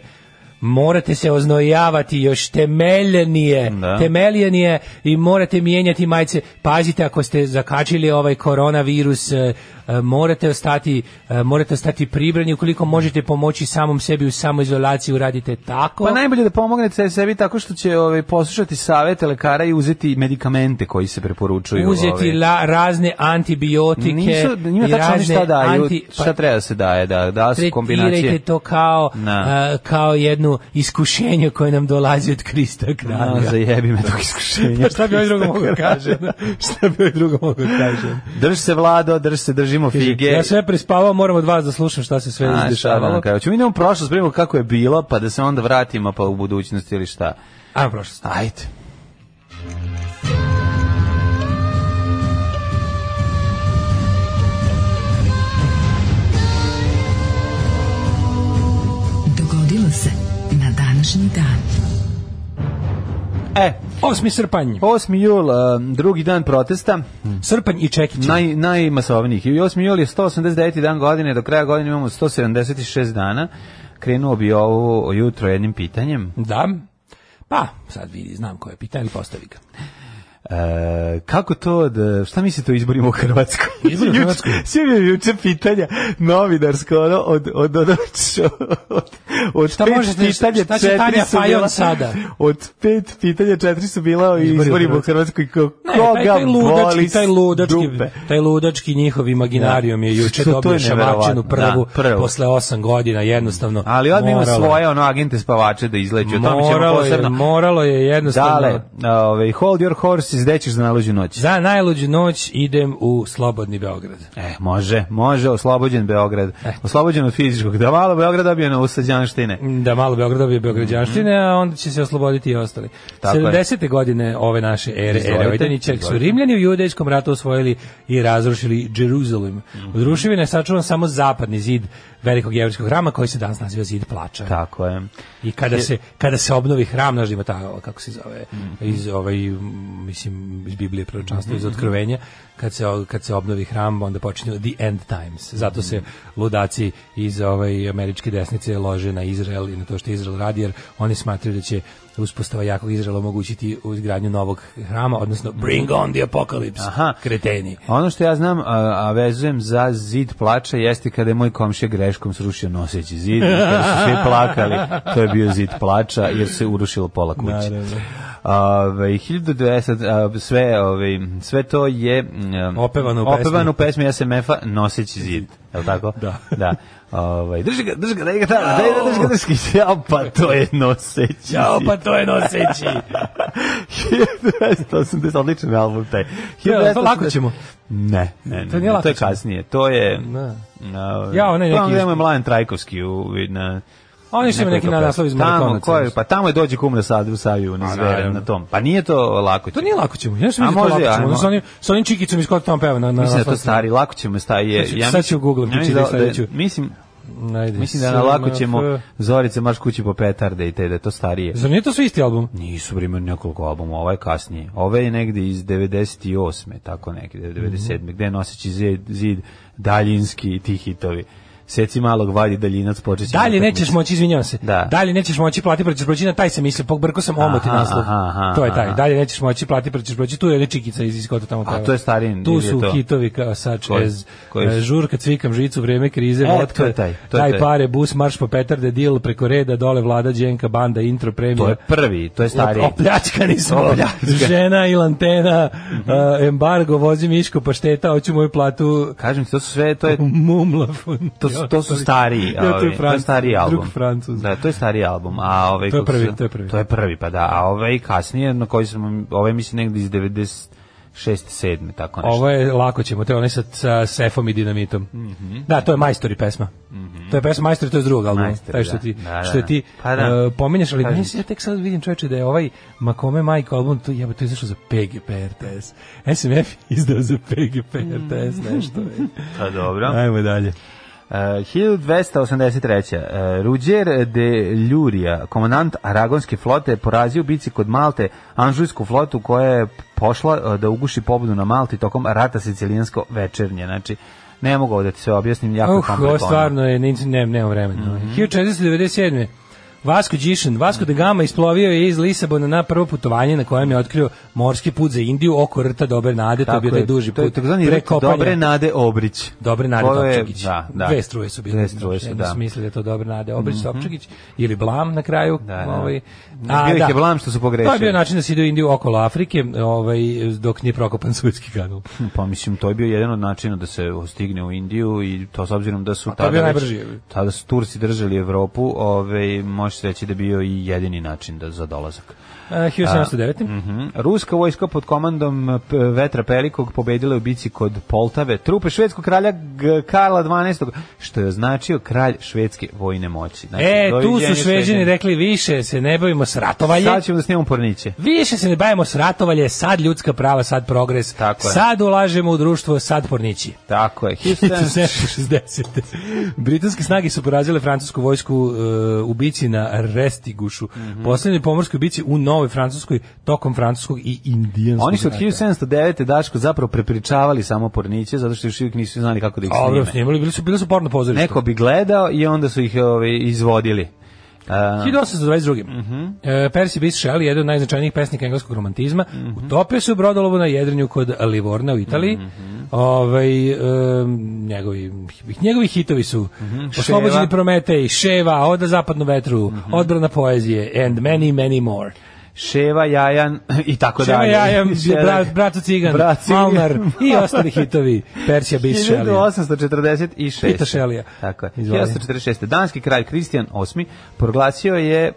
[SPEAKER 7] morate se oznojavati još temeljenije,
[SPEAKER 6] Da.
[SPEAKER 7] temeljenije i morate mijenjati majice. Pazite, ako ste zakačili ovaj koronavirus, e, e, morate ostati, e, morate ostati pribrani, ukoliko možete pomoći samom sebi u samoizolaciji, uradite tako.
[SPEAKER 6] Pa najbolje da pomognete sebi tako što će ovaj, poslušati savete lekara i uzeti medikamente koji se preporučuju.
[SPEAKER 7] uzeti
[SPEAKER 6] ovaj.
[SPEAKER 7] la, razne antibiotike
[SPEAKER 6] Nisu, njima
[SPEAKER 7] i
[SPEAKER 6] tačno oni
[SPEAKER 7] razne
[SPEAKER 6] šta daju,
[SPEAKER 7] anti, pa
[SPEAKER 6] šta treba da se daje, da, da su
[SPEAKER 7] tretirajte
[SPEAKER 6] kombinacije.
[SPEAKER 7] to kao
[SPEAKER 6] Na.
[SPEAKER 7] a, kao jednu iskušenje koje nam dolazi od Krista
[SPEAKER 6] A,
[SPEAKER 7] Kralja.
[SPEAKER 6] zajebi me tog iskušenja.
[SPEAKER 7] Pa šta bi ovaj drugo mogo kaže? Šta bi ovaj drugo mogo kaže?
[SPEAKER 6] Drž se vlado, drž se, držimo fige.
[SPEAKER 7] Ja sve prespavao, moram od vas da slušam šta se sve
[SPEAKER 6] A, šta da
[SPEAKER 7] izdešavalo.
[SPEAKER 6] vam kažem? Ćemo mi idemo u prošlost, primimo kako je bilo, pa da se onda vratimo pa u budućnost ili šta.
[SPEAKER 7] Ajmo prošlo.
[SPEAKER 6] Ajde.
[SPEAKER 8] Dogodilo se na današnji dan.
[SPEAKER 6] E,
[SPEAKER 7] Osmi srpanj.
[SPEAKER 6] 8. jul, um, drugi dan protesta,
[SPEAKER 7] Srpanj i Čekić.
[SPEAKER 6] naj, najmasovnijih. I 8. jul je 189. dan godine, do kraja godine imamo 176 dana. Krenuo bi ovo jutro jednim pitanjem.
[SPEAKER 7] Da. Pa, sad vidi, znam koje je pitanje, ali postavi ga.
[SPEAKER 6] E, kako to da, šta mislite o izborima u Hrvatskoj?
[SPEAKER 7] Izbori u Hrvatskoj?
[SPEAKER 6] Juč- Svi mi juče pitanja novinarsko, ono, od, od, od, od, od, od
[SPEAKER 7] Šta
[SPEAKER 6] pet
[SPEAKER 7] možete-
[SPEAKER 6] pitanja,
[SPEAKER 7] šta će
[SPEAKER 6] četiri
[SPEAKER 7] Tanja
[SPEAKER 6] su
[SPEAKER 7] Fajon
[SPEAKER 6] bila-
[SPEAKER 7] sada?
[SPEAKER 6] Od pet pitanja, četiri su bila o
[SPEAKER 7] Izbori u
[SPEAKER 6] izborima u Hrvatskoj. Ko,
[SPEAKER 7] Ne,
[SPEAKER 6] koga
[SPEAKER 7] taj, taj
[SPEAKER 6] boli
[SPEAKER 7] ludački,
[SPEAKER 6] s
[SPEAKER 7] taj ludački,
[SPEAKER 6] dupe?
[SPEAKER 7] taj ludački njihov imaginarijum je juče
[SPEAKER 6] Što to
[SPEAKER 7] dobio
[SPEAKER 6] je
[SPEAKER 7] šamačinu
[SPEAKER 6] neverovatno.
[SPEAKER 7] prvu,
[SPEAKER 6] Da, prvu.
[SPEAKER 7] posle 8 godina jednostavno.
[SPEAKER 6] Ali odmah ima
[SPEAKER 7] moralo je.
[SPEAKER 6] svoje ono agente spavače da izleću. O tome ćemo
[SPEAKER 7] Moralo je,
[SPEAKER 6] posebno.
[SPEAKER 7] moralo je jednostavno.
[SPEAKER 6] Dale, ovaj, hold your horses, gde ćeš za naluđu noć?
[SPEAKER 7] Za najluđu noć idem u slobodni Beograd.
[SPEAKER 6] Eh, E, može, može, oslobođen Beograd. Oslobođen od fizičkog. Da malo Beograd dobije na usađan beograđanštine.
[SPEAKER 7] Da, malo Beograd dobije Beograđanštine, a onda će se osloboditi i ostali.
[SPEAKER 6] Mhm. Tako je.
[SPEAKER 7] 70. godine ove naše ere,
[SPEAKER 6] Izvolite,
[SPEAKER 7] ere Ojdenića, su
[SPEAKER 6] izvolite.
[SPEAKER 7] Rimljani u judejskom ratu osvojili i razrušili Jeruzalem.
[SPEAKER 6] Mhm.
[SPEAKER 7] Od ruševina je sačuvan samo zapadni zid velikog jevrskog hrama koji se danas naziva zid plača.
[SPEAKER 6] Tako je. Mhm.
[SPEAKER 7] I kada se kada se obnovi hram naš ima ta kako se zove iz ovaj m, mislim iz Biblije proročanstva
[SPEAKER 6] Mhm.
[SPEAKER 7] iz otkrovenja kad se o- kad se obnovi hram onda počinju the end times. Zato
[SPEAKER 6] Mhm.
[SPEAKER 7] se ludaci iz ovaj američke desnice lože na Izrael i na to što Izrael radi jer oni smatraju da će uspostava jakog Izraela omogućiti izgradnju novog hrama, odnosno bring on the apocalypse.
[SPEAKER 6] Aha.
[SPEAKER 7] Kreteni.
[SPEAKER 6] Ono što ja znam, a, a vezujem za zid plača, jeste kada je moj komšija greškom srušio noseći zid, i kada su svi plakali, to je bio zid plača, jer se urušilo pola kuće. Ove, 1900, a, sve, ove, sve to je mm,
[SPEAKER 7] Opevano u pesmi.
[SPEAKER 6] opevano u pesmi SMF-a Noseći zid, je li tako?
[SPEAKER 7] Da.
[SPEAKER 6] da. Ove, drži ga, drži ga, daj ga tamo, daj ga, drži ga, drži ga, ja, pa to je noseći zid.
[SPEAKER 7] Ćao, pa to je noseći.
[SPEAKER 6] 1980, odličan album taj.
[SPEAKER 7] Ja, to lako ćemo.
[SPEAKER 6] Ne, ne, ne,
[SPEAKER 7] To
[SPEAKER 6] to,
[SPEAKER 7] nije lako
[SPEAKER 6] to je
[SPEAKER 7] ćemo.
[SPEAKER 6] kasnije. To je...
[SPEAKER 7] Da.
[SPEAKER 6] Uh,
[SPEAKER 7] Ja, onaj neki
[SPEAKER 6] Tamo gde
[SPEAKER 7] isto.
[SPEAKER 6] je Mladen Trajkovski u, na...
[SPEAKER 7] Oni su imali neki
[SPEAKER 6] nekoliko
[SPEAKER 7] naslov iz
[SPEAKER 6] pesama. Tamo,
[SPEAKER 7] Maratonaca,
[SPEAKER 6] ko je,
[SPEAKER 7] mislim.
[SPEAKER 6] pa tamo je dođe kum na Sadu u Saviju, na zvere,
[SPEAKER 7] naravno.
[SPEAKER 6] na tom. Pa nije to lako ćemo.
[SPEAKER 7] To nije lako ćemo. Ja sam
[SPEAKER 6] A
[SPEAKER 7] mislio da
[SPEAKER 6] može,
[SPEAKER 7] je to lako
[SPEAKER 6] ajmo.
[SPEAKER 7] ćemo. Ono sa onim, sa onim čikicom iz kod tamo peva. Na, na,
[SPEAKER 6] Mislim da je to
[SPEAKER 7] na-
[SPEAKER 6] stari, lako ćemo staje.
[SPEAKER 7] Sad ću- sad ću znači googlam,
[SPEAKER 6] ja mislim,
[SPEAKER 7] čitaj
[SPEAKER 6] da, da,
[SPEAKER 7] sledeću.
[SPEAKER 6] mislim,
[SPEAKER 7] Ajde,
[SPEAKER 6] mislim da na lako
[SPEAKER 7] SMF.
[SPEAKER 6] ćemo Zorice marš kući po petarde i te da je to starije.
[SPEAKER 7] Zar nije to sve isti album?
[SPEAKER 6] Nisu primjer nekoliko albuma, ovaj je kasnije. Ove je negde iz 98. tako
[SPEAKER 7] Mhm.
[SPEAKER 6] negde, 97. Gde je noseći zid, zid daljinski i ti hitovi. Seci malog vadi daljinac počeće.
[SPEAKER 7] Dalje nećeš moći, izvinjavam se.
[SPEAKER 6] Da.
[SPEAKER 7] Dalje nećeš moći plati proćeš proći na taj se misli, pogbrko sam omoti
[SPEAKER 6] Aha,
[SPEAKER 7] naslov.
[SPEAKER 6] aha, aha,
[SPEAKER 7] to je taj.
[SPEAKER 6] aha.
[SPEAKER 7] Dalje nećeš moći plati proćeš proći. Tu je ona čikica iz iz kod tamo peva.
[SPEAKER 6] to je stariji,
[SPEAKER 7] Tu
[SPEAKER 6] ili je
[SPEAKER 7] su
[SPEAKER 6] to?
[SPEAKER 7] hitovi kao such
[SPEAKER 6] Koji-
[SPEAKER 7] as
[SPEAKER 6] koji su?
[SPEAKER 7] e, žurka cvikam žicu vreme krize,
[SPEAKER 6] E,
[SPEAKER 7] vodka,
[SPEAKER 6] to je taj, to je
[SPEAKER 7] daj
[SPEAKER 6] taj.
[SPEAKER 7] pare, bus marš po petarde, deal preko reda, dole vlada đenka banda intro premija.
[SPEAKER 6] To je prvi, to je stariji.
[SPEAKER 7] Opljačkani smo.
[SPEAKER 6] Opljačkani. Mhm.
[SPEAKER 7] Žena i lantena, e, embargo, vozi miško, pašteta, hoću moju platu
[SPEAKER 6] Kažem ti, to su sve, to je...
[SPEAKER 7] mumla. fun-
[SPEAKER 6] To su, to su stariji,
[SPEAKER 7] Ja, to je
[SPEAKER 6] ovi, to je
[SPEAKER 7] Francuz,
[SPEAKER 6] stariji album.
[SPEAKER 7] drug Francuz.
[SPEAKER 6] Da, to je stariji album. A ovaj
[SPEAKER 7] To je
[SPEAKER 6] kako
[SPEAKER 7] prvi,
[SPEAKER 6] se-
[SPEAKER 7] to je prvi.
[SPEAKER 6] To je prvi, pa da. A ovaj kasnije, na koji smo, ovaj mislim negde iz 96. 7. tako nešto.
[SPEAKER 7] Ovo je lako ćemo, to je onaj sa, sa sefom i dinamitom.
[SPEAKER 6] Mhm.
[SPEAKER 7] Da, to je majstori pesma. To je pesma majstori, to je iz drugog albuma.
[SPEAKER 6] Majstori,
[SPEAKER 7] Taj što
[SPEAKER 6] da.
[SPEAKER 7] ti,
[SPEAKER 6] Da, da,
[SPEAKER 7] što
[SPEAKER 6] da.
[SPEAKER 7] ti
[SPEAKER 6] Pa da.
[SPEAKER 7] uh, pominješ, ali
[SPEAKER 6] Kažem
[SPEAKER 7] meni se- ja tek sad vidim čoveče da je ovaj Makome Majko album, to jebe, to je izašao za PGP RTS. SMF izdao za PGP RTS, nešto. je.
[SPEAKER 6] Pa dobro.
[SPEAKER 7] Ajmo dalje.
[SPEAKER 6] E, 1283. E, Ruđer de Ljurija, komandant Aragonske flote, porazio bici kod Malte Anžujsku flotu koja je pošla e, da uguši pobudu na Malti tokom rata sicilijansko večernje. Znači, ne mogu ovo da ti sve objasnim, jako uh,
[SPEAKER 7] Uh, ovo
[SPEAKER 6] komplikovano.
[SPEAKER 7] stvarno je, ne, ne, nemam vremena.
[SPEAKER 6] Mhm.
[SPEAKER 7] 1497. Vasco Gišin, Vasco da Gama isplovio je iz Lisabona na prvo putovanje na kojem je otkrio morski put za Indiju oko rta Dobre Nade, to je bio
[SPEAKER 6] Tako
[SPEAKER 7] taj
[SPEAKER 6] je,
[SPEAKER 7] duži
[SPEAKER 6] to je
[SPEAKER 7] put.
[SPEAKER 6] takozvani
[SPEAKER 7] pre
[SPEAKER 6] rit
[SPEAKER 7] kopanja.
[SPEAKER 6] Dobre Nade Obrić.
[SPEAKER 7] Dobre Nade
[SPEAKER 6] To je-
[SPEAKER 7] Topčagić.
[SPEAKER 6] Da, da.
[SPEAKER 7] Dve struje su bile.
[SPEAKER 6] Dve struje su,
[SPEAKER 7] Jedni
[SPEAKER 6] da. Mhm.
[SPEAKER 7] su mislili da je to Dobre Nade Obrić Topčagić ili Blam na kraju.
[SPEAKER 6] Da, da.
[SPEAKER 7] Ovaj.
[SPEAKER 6] Bio ih je Blam što su pogrešili.
[SPEAKER 7] To je bio način da se ide u Indiju okolo Afrike, ovaj, dok nije prokopan Suetski kanal.
[SPEAKER 6] Pa mislim, to je bio jedan od načina da se stigne u Indiju i to s obzirom da su
[SPEAKER 7] to je bio
[SPEAKER 6] već-
[SPEAKER 7] najbrži, je li?
[SPEAKER 6] tada su Turci držali Evropu, ovaj, može se reći da je bio i jedini način da, za dolazak.
[SPEAKER 7] Uh, 1709.
[SPEAKER 6] Mhm. Ruska vojska pod komandom eh, P- Vetra Pelikog pobedila je u bici kod Poltave trupe švedskog kralja G- Karla 12. što je označio kralj švedske vojne moći. Znači,
[SPEAKER 7] E, tu
[SPEAKER 6] doviđenja
[SPEAKER 7] su šveđani rekli ovaj više se ne bavimo s ratovanjem.
[SPEAKER 6] Sad ćemo da snimamo porniće.
[SPEAKER 7] Više se ne bavimo s ratovalje, sad ljudska prava, sad progres,
[SPEAKER 6] Tako je.
[SPEAKER 7] sad ulažemo u društvo, sad pornići.
[SPEAKER 6] Tako je. 1700
[SPEAKER 7] 1760. Britanske snage su porazile francusku vojsku e, u bici na Restigušu,
[SPEAKER 6] Mhm.
[SPEAKER 7] poslednjoj pomorskoj bici u Novoj Francuskoj, tokom francuskog i indijanskog
[SPEAKER 6] Oni su od
[SPEAKER 7] rata.
[SPEAKER 6] 1709. Daško zapravo prepričavali samo porniće, zato što još uvijek nisu znali kako da ih
[SPEAKER 7] Dobro,
[SPEAKER 6] snime.
[SPEAKER 7] snimali, bili su, bili su porno pozorište.
[SPEAKER 6] Neko bi gledao i onda su ih ovaj, izvodili. A, Mhm.
[SPEAKER 7] 1822. e, Percy Bysshe Shelley, jedan od najznačajnijih pesnika engleskog romantizma,
[SPEAKER 6] Mhm.
[SPEAKER 7] utopio se u brodolovu na jedrenju kod Livorna u Italiji.
[SPEAKER 6] Mhm.
[SPEAKER 7] Ovaj, em, njegovi, njegovi hitovi su Oslobođeni
[SPEAKER 6] Mhm. Ševa. Mhm.
[SPEAKER 7] Prometej, Ševa, Oda zapadnu vetru, Odbrana poezije and many, many more.
[SPEAKER 6] Ševa, Jajan i tako
[SPEAKER 7] Ševa
[SPEAKER 6] dalje.
[SPEAKER 7] Jajam,
[SPEAKER 6] Ševa-
[SPEAKER 7] brat, Braco Cigan,
[SPEAKER 6] Brat Cigan.
[SPEAKER 7] Malnar i ostali hitovi Persija Bysshe Shelley.
[SPEAKER 6] 1846.
[SPEAKER 7] Pita Šelija.
[SPEAKER 6] Tako je.
[SPEAKER 7] Izvoli.
[SPEAKER 6] 1846. Danski kralj Kristijan VIII proglasio je e,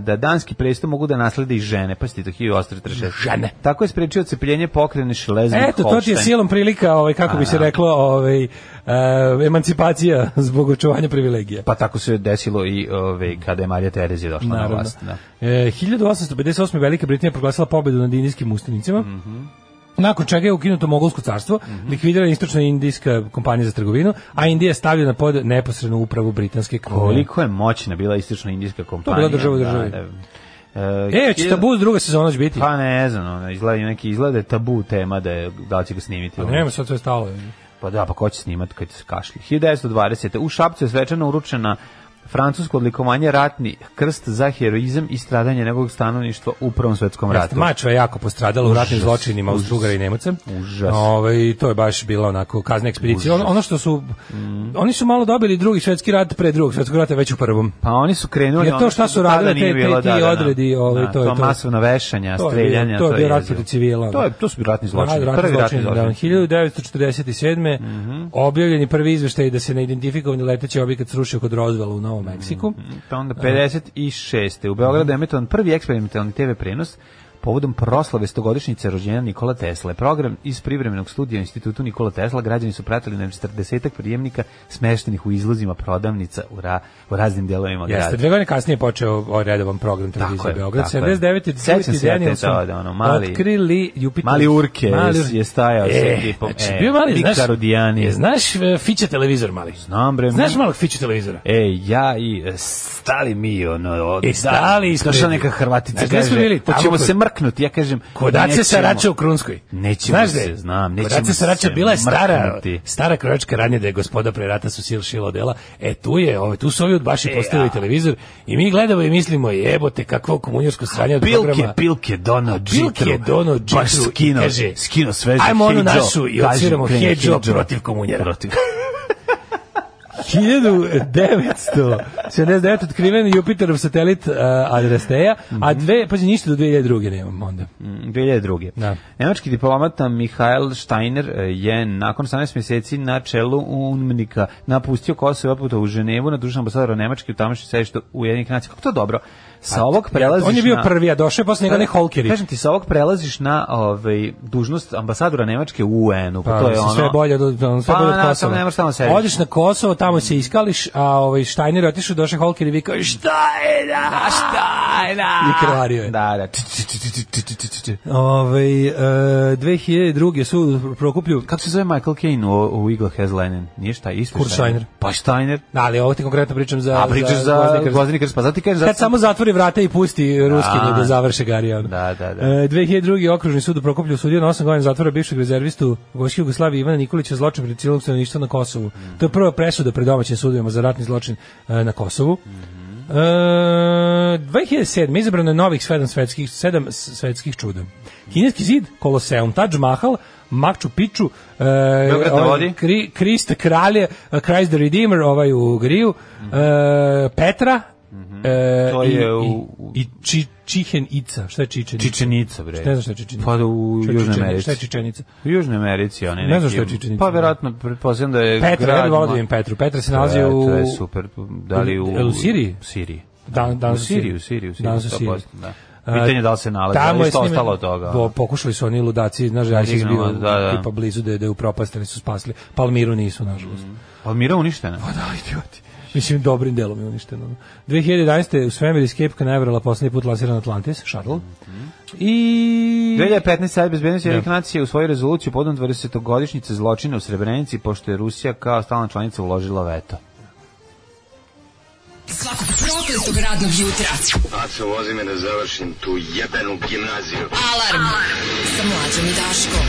[SPEAKER 6] da danski presto mogu da naslede i žene, pa si ti to 1846.
[SPEAKER 7] Žene.
[SPEAKER 6] Tako je sprečio cepljenje pokrene Šlezvig
[SPEAKER 7] Eto, to ti je silom prilika, ovaj, kako bi se reklo, ovaj, e, emancipacija zbog očuvanja privilegija.
[SPEAKER 6] Pa tako se desilo i ove, kada je Marija Terezija došla na
[SPEAKER 7] Naravno.
[SPEAKER 6] vlast. Da.
[SPEAKER 7] E, 1858. Velika Britanija proglasila pobedu nad indijskim ustanicima. Nakon čega je ukinuto Mogolsko carstvo, likvidirana istočna indijska kompanija za trgovinu, a Indija je stavljena pod neposrednu upravu britanske krone.
[SPEAKER 6] Koliko je moćna bila istočna indijska kompanija.
[SPEAKER 7] bila država u državi.
[SPEAKER 6] Da,
[SPEAKER 7] E, će tabu druga sezona će biti.
[SPEAKER 6] Pa ne znam, ono, izgleda neki izgleda je tabu tema da je, da li će ga snimiti.
[SPEAKER 7] Pa
[SPEAKER 6] ono.
[SPEAKER 7] nema, sad to je stalo.
[SPEAKER 6] Pa da, pa ko će snimat kad se kašlje. 1920. U Šapcu je svečano uručena francusko odlikovanje ratni krst za heroizam i stradanje njegovog stanovništva u Prvom svetskom ratu.
[SPEAKER 7] Mačva je jako postradala u ratnim
[SPEAKER 6] Užas,
[SPEAKER 7] zločinima uz
[SPEAKER 6] užas.
[SPEAKER 7] Drugara i Nemaca.
[SPEAKER 6] Užas.
[SPEAKER 7] Ove, to je baš bila onako kazna ekspedicija. Ono,
[SPEAKER 6] Užas. Mm.
[SPEAKER 7] ono što su, oni su malo dobili drugi svetski rat pre drugog svetskog rata, već u prvom.
[SPEAKER 6] Pa oni su krenuli...
[SPEAKER 7] Jer to
[SPEAKER 6] ono
[SPEAKER 7] šta su
[SPEAKER 6] do tada
[SPEAKER 7] radile
[SPEAKER 6] nije
[SPEAKER 7] te- te-
[SPEAKER 6] bilo,
[SPEAKER 7] ti odredi, ovaj, to je to.
[SPEAKER 6] masovna vešanja,
[SPEAKER 7] To je bio-
[SPEAKER 6] streljanja,
[SPEAKER 7] to je bio rat
[SPEAKER 6] jezivo.
[SPEAKER 7] protiv civila,
[SPEAKER 6] To,
[SPEAKER 7] da.
[SPEAKER 6] je, to su bili ratni zločini.
[SPEAKER 7] Rad- ratni
[SPEAKER 6] prvi ratni
[SPEAKER 7] zločini, da.
[SPEAKER 6] zločini. Mhm.
[SPEAKER 7] 1947. objavljen je prvi izveštaj da se neidentifikovani leteći objekat srušio kod Roswella u Novom Meksiku.
[SPEAKER 6] Pa onda 56. U
[SPEAKER 7] Mhm.
[SPEAKER 6] Beogradu je emetovan prvi eksperimentalni TV prenos povodom proslave stogodišnjice rođenja Nikola Tesla. Program iz privremenog studija u institutu Nikola Tesla građani su pratili na 40 prijemnika smeštenih u izlozima prodavnica u, ra, u raznim delovima
[SPEAKER 7] Jeste,
[SPEAKER 6] grada.
[SPEAKER 7] dve godine kasnije je počeo ovaj redovan program televizije
[SPEAKER 6] je,
[SPEAKER 7] Beograd.
[SPEAKER 6] tako je.
[SPEAKER 7] 79.
[SPEAKER 6] Sećam se ja te
[SPEAKER 7] Danielson
[SPEAKER 6] toga, da ono, mali-
[SPEAKER 7] otkrili Jupiter.
[SPEAKER 6] Mali Urke
[SPEAKER 7] Mali
[SPEAKER 6] je stajao sa ekipom,
[SPEAKER 7] Znači,
[SPEAKER 6] e,
[SPEAKER 7] bio mali,
[SPEAKER 6] Mika
[SPEAKER 7] znaš,
[SPEAKER 6] Rudijani.
[SPEAKER 7] je, znaš e, Fiće televizor mali?
[SPEAKER 6] Znam, bre,
[SPEAKER 7] Znaš
[SPEAKER 6] mi-
[SPEAKER 7] malog Fiće televizora?
[SPEAKER 6] E, ja i e, stali mi, ono, od,
[SPEAKER 7] I E, stali
[SPEAKER 6] da,
[SPEAKER 7] ispred.
[SPEAKER 6] došla neka Hrvatica,
[SPEAKER 7] Znaš gde
[SPEAKER 6] kaže,
[SPEAKER 7] smo bili? Tamo
[SPEAKER 6] hoćemo
[SPEAKER 7] kod-
[SPEAKER 6] se mrknuti, ja kažem,
[SPEAKER 7] Kodace
[SPEAKER 6] nećemo.
[SPEAKER 7] Sarača u Krunskoj.
[SPEAKER 6] Nećemo
[SPEAKER 7] Znaš gde
[SPEAKER 6] se,
[SPEAKER 7] je?
[SPEAKER 6] znam, nećemo
[SPEAKER 7] Kodace Sarača
[SPEAKER 6] se
[SPEAKER 7] bila je stara,
[SPEAKER 6] mrknuti.
[SPEAKER 7] stara krojačka radnja da je gospoda pre rata su sil šilo dela. E tu je, ove, tu su ovi udbaši
[SPEAKER 6] E,
[SPEAKER 7] postavili televizor i mi gledamo i mislimo jebote kakvo komunjarsko sranje od
[SPEAKER 6] Pilke,
[SPEAKER 7] programa.
[SPEAKER 6] pilke, dono džitru.
[SPEAKER 7] Bilke je dono džitru
[SPEAKER 6] Baš skino,
[SPEAKER 7] i kaže,
[SPEAKER 6] skino sveže
[SPEAKER 7] ajmo onu
[SPEAKER 6] Hedžo.
[SPEAKER 7] našu i
[SPEAKER 6] Kaže,
[SPEAKER 7] odsviramo
[SPEAKER 6] krene
[SPEAKER 7] Hedžo protiv komunjera.
[SPEAKER 6] Protiv.
[SPEAKER 7] 1979 otkriven Jupiterov satelit uh, Adrasteja, a
[SPEAKER 6] Mhm.
[SPEAKER 7] dve, pazi ništa do 2002. nemamo onda.
[SPEAKER 6] Mm, 2002.
[SPEAKER 7] Da.
[SPEAKER 6] Nemački diplomata Mihael Steiner eh, je nakon 18 mjeseci na čelu UNMNIKA napustio Kosovo i otputovao u Ženevu na dužnom ambasadora Nemačke u tamošnjem sedištu Ujedinjenih nacija. Kako to dobro? Sa ovog prelaziš
[SPEAKER 7] Pa, On je bio
[SPEAKER 6] na...
[SPEAKER 7] prvi, a došao je posle njega ne Holkerić.
[SPEAKER 6] Kažem ti, sa ovog prelaziš na ovaj, dužnost ambasadora Nemačke u UN-u. Pa, to je ono...
[SPEAKER 7] mislim, sve bolje od ono, sve
[SPEAKER 6] Pa,
[SPEAKER 7] bolje od
[SPEAKER 6] na, tamo
[SPEAKER 7] Kosova.
[SPEAKER 6] nemaš tamo sediš.
[SPEAKER 7] Odeš na Kosovo, tamo se iskališ, a ovaj Steiner je otišao, došao Holker i vikao šta je da, šta je da. I krvario je.
[SPEAKER 6] Da, da. Č, č, č, č, č, č, č, č, č.
[SPEAKER 7] Ovaj e, 2002 su u Prokuplju
[SPEAKER 6] Kako se zove Michael Caine u, u Eagle Has Lenin? Nije šta, isto
[SPEAKER 7] Kurt Steiner.
[SPEAKER 6] Pa Steiner.
[SPEAKER 7] Da, ali ovo ti konkretno pričam za...
[SPEAKER 6] A pričaš za
[SPEAKER 7] Gvozdeni krst.
[SPEAKER 6] Gvozdeni krst, pa zato ti kažem... zato
[SPEAKER 7] Kad
[SPEAKER 6] sam-
[SPEAKER 7] samo zatvori vrata i pusti ruski da, završe Garijan.
[SPEAKER 6] Da, da, da.
[SPEAKER 7] E, 2002. okružni sud u Prokoplju sudio na 8 godina zatvora bivšeg rezervistu Vojske Jugoslavije Ivana Nikolića za zločin pred civilnog stanovništva na Kosovu. To je prva presuda pred domaćim sudovima za ratni zločin e, na Kosovu. E, 2007. izabrano je novih sedam svetskih, sedam s- svetskih čuda. Kineski zid, Koloseum, Taj Mahal, Makču Piču, e,
[SPEAKER 6] Beograd na
[SPEAKER 7] ovaj,
[SPEAKER 6] vodi.
[SPEAKER 7] Kri, Krist kralje, e, Christ the Redeemer, ovaj u Griju, e, Petra, e,
[SPEAKER 6] Mhm. To
[SPEAKER 7] i-
[SPEAKER 6] je
[SPEAKER 7] i-
[SPEAKER 6] u- u-
[SPEAKER 7] i či, Čihen Ica. Šta je Čičen?
[SPEAKER 6] Čičenica, bre.
[SPEAKER 7] Ne znam šta je Čičenica.
[SPEAKER 6] Pa da u
[SPEAKER 7] Šta je
[SPEAKER 6] Južnoj
[SPEAKER 7] Čičen- Šta je
[SPEAKER 6] Americi.
[SPEAKER 7] Čičenica?
[SPEAKER 6] U Južnoj Americi, oni
[SPEAKER 7] Ne
[SPEAKER 6] neki...
[SPEAKER 7] znam šta je Čičenica.
[SPEAKER 6] Pa verovatno, pretpostavljam da je...
[SPEAKER 7] Petra, ja bih
[SPEAKER 6] grad
[SPEAKER 7] volao da
[SPEAKER 6] ma-
[SPEAKER 7] vidim Petru. Petra se nalazi
[SPEAKER 6] To je-
[SPEAKER 7] u...
[SPEAKER 6] To je super. Da li u...
[SPEAKER 7] Jel u Siriji?
[SPEAKER 6] Siriji.
[SPEAKER 7] Dan, dan
[SPEAKER 6] U Siriji, u Siriji, u Siriji.
[SPEAKER 7] Danas u
[SPEAKER 6] 100%,
[SPEAKER 7] Siriji.
[SPEAKER 6] da. Pitanje je da li se nalazi, ali
[SPEAKER 7] je
[SPEAKER 6] što
[SPEAKER 7] s njima-
[SPEAKER 6] ostalo od toga?
[SPEAKER 7] Bo, pokušali su oni ludaci, znaš, da ISIS bio
[SPEAKER 6] Dignemo, da, da.
[SPEAKER 7] tipa blizu da je, da je upropastili, su spasili. Palmiru nisu, nažalost.
[SPEAKER 6] Mhm. Palmira uništena.
[SPEAKER 7] Pa Da, idioti. Mislim, dobrim delom je uništeno. 2011. u svemir iz Cape Canaverala poslednji put lansiran Atlantis, Shuttle. I...
[SPEAKER 6] 2015. Savet bezbednosti Ujedinjenih nacija u svoju rezoluciju podom 20-godišnjice zločina u Srebrenici, pošto je Rusija kao stalna članica uložila veto.
[SPEAKER 8] Svakog prokletog radnog jutra.
[SPEAKER 4] Aco, vozi me da završim tu jebenu gimnaziju.
[SPEAKER 8] Alarm. Sa mlađom i Daškom.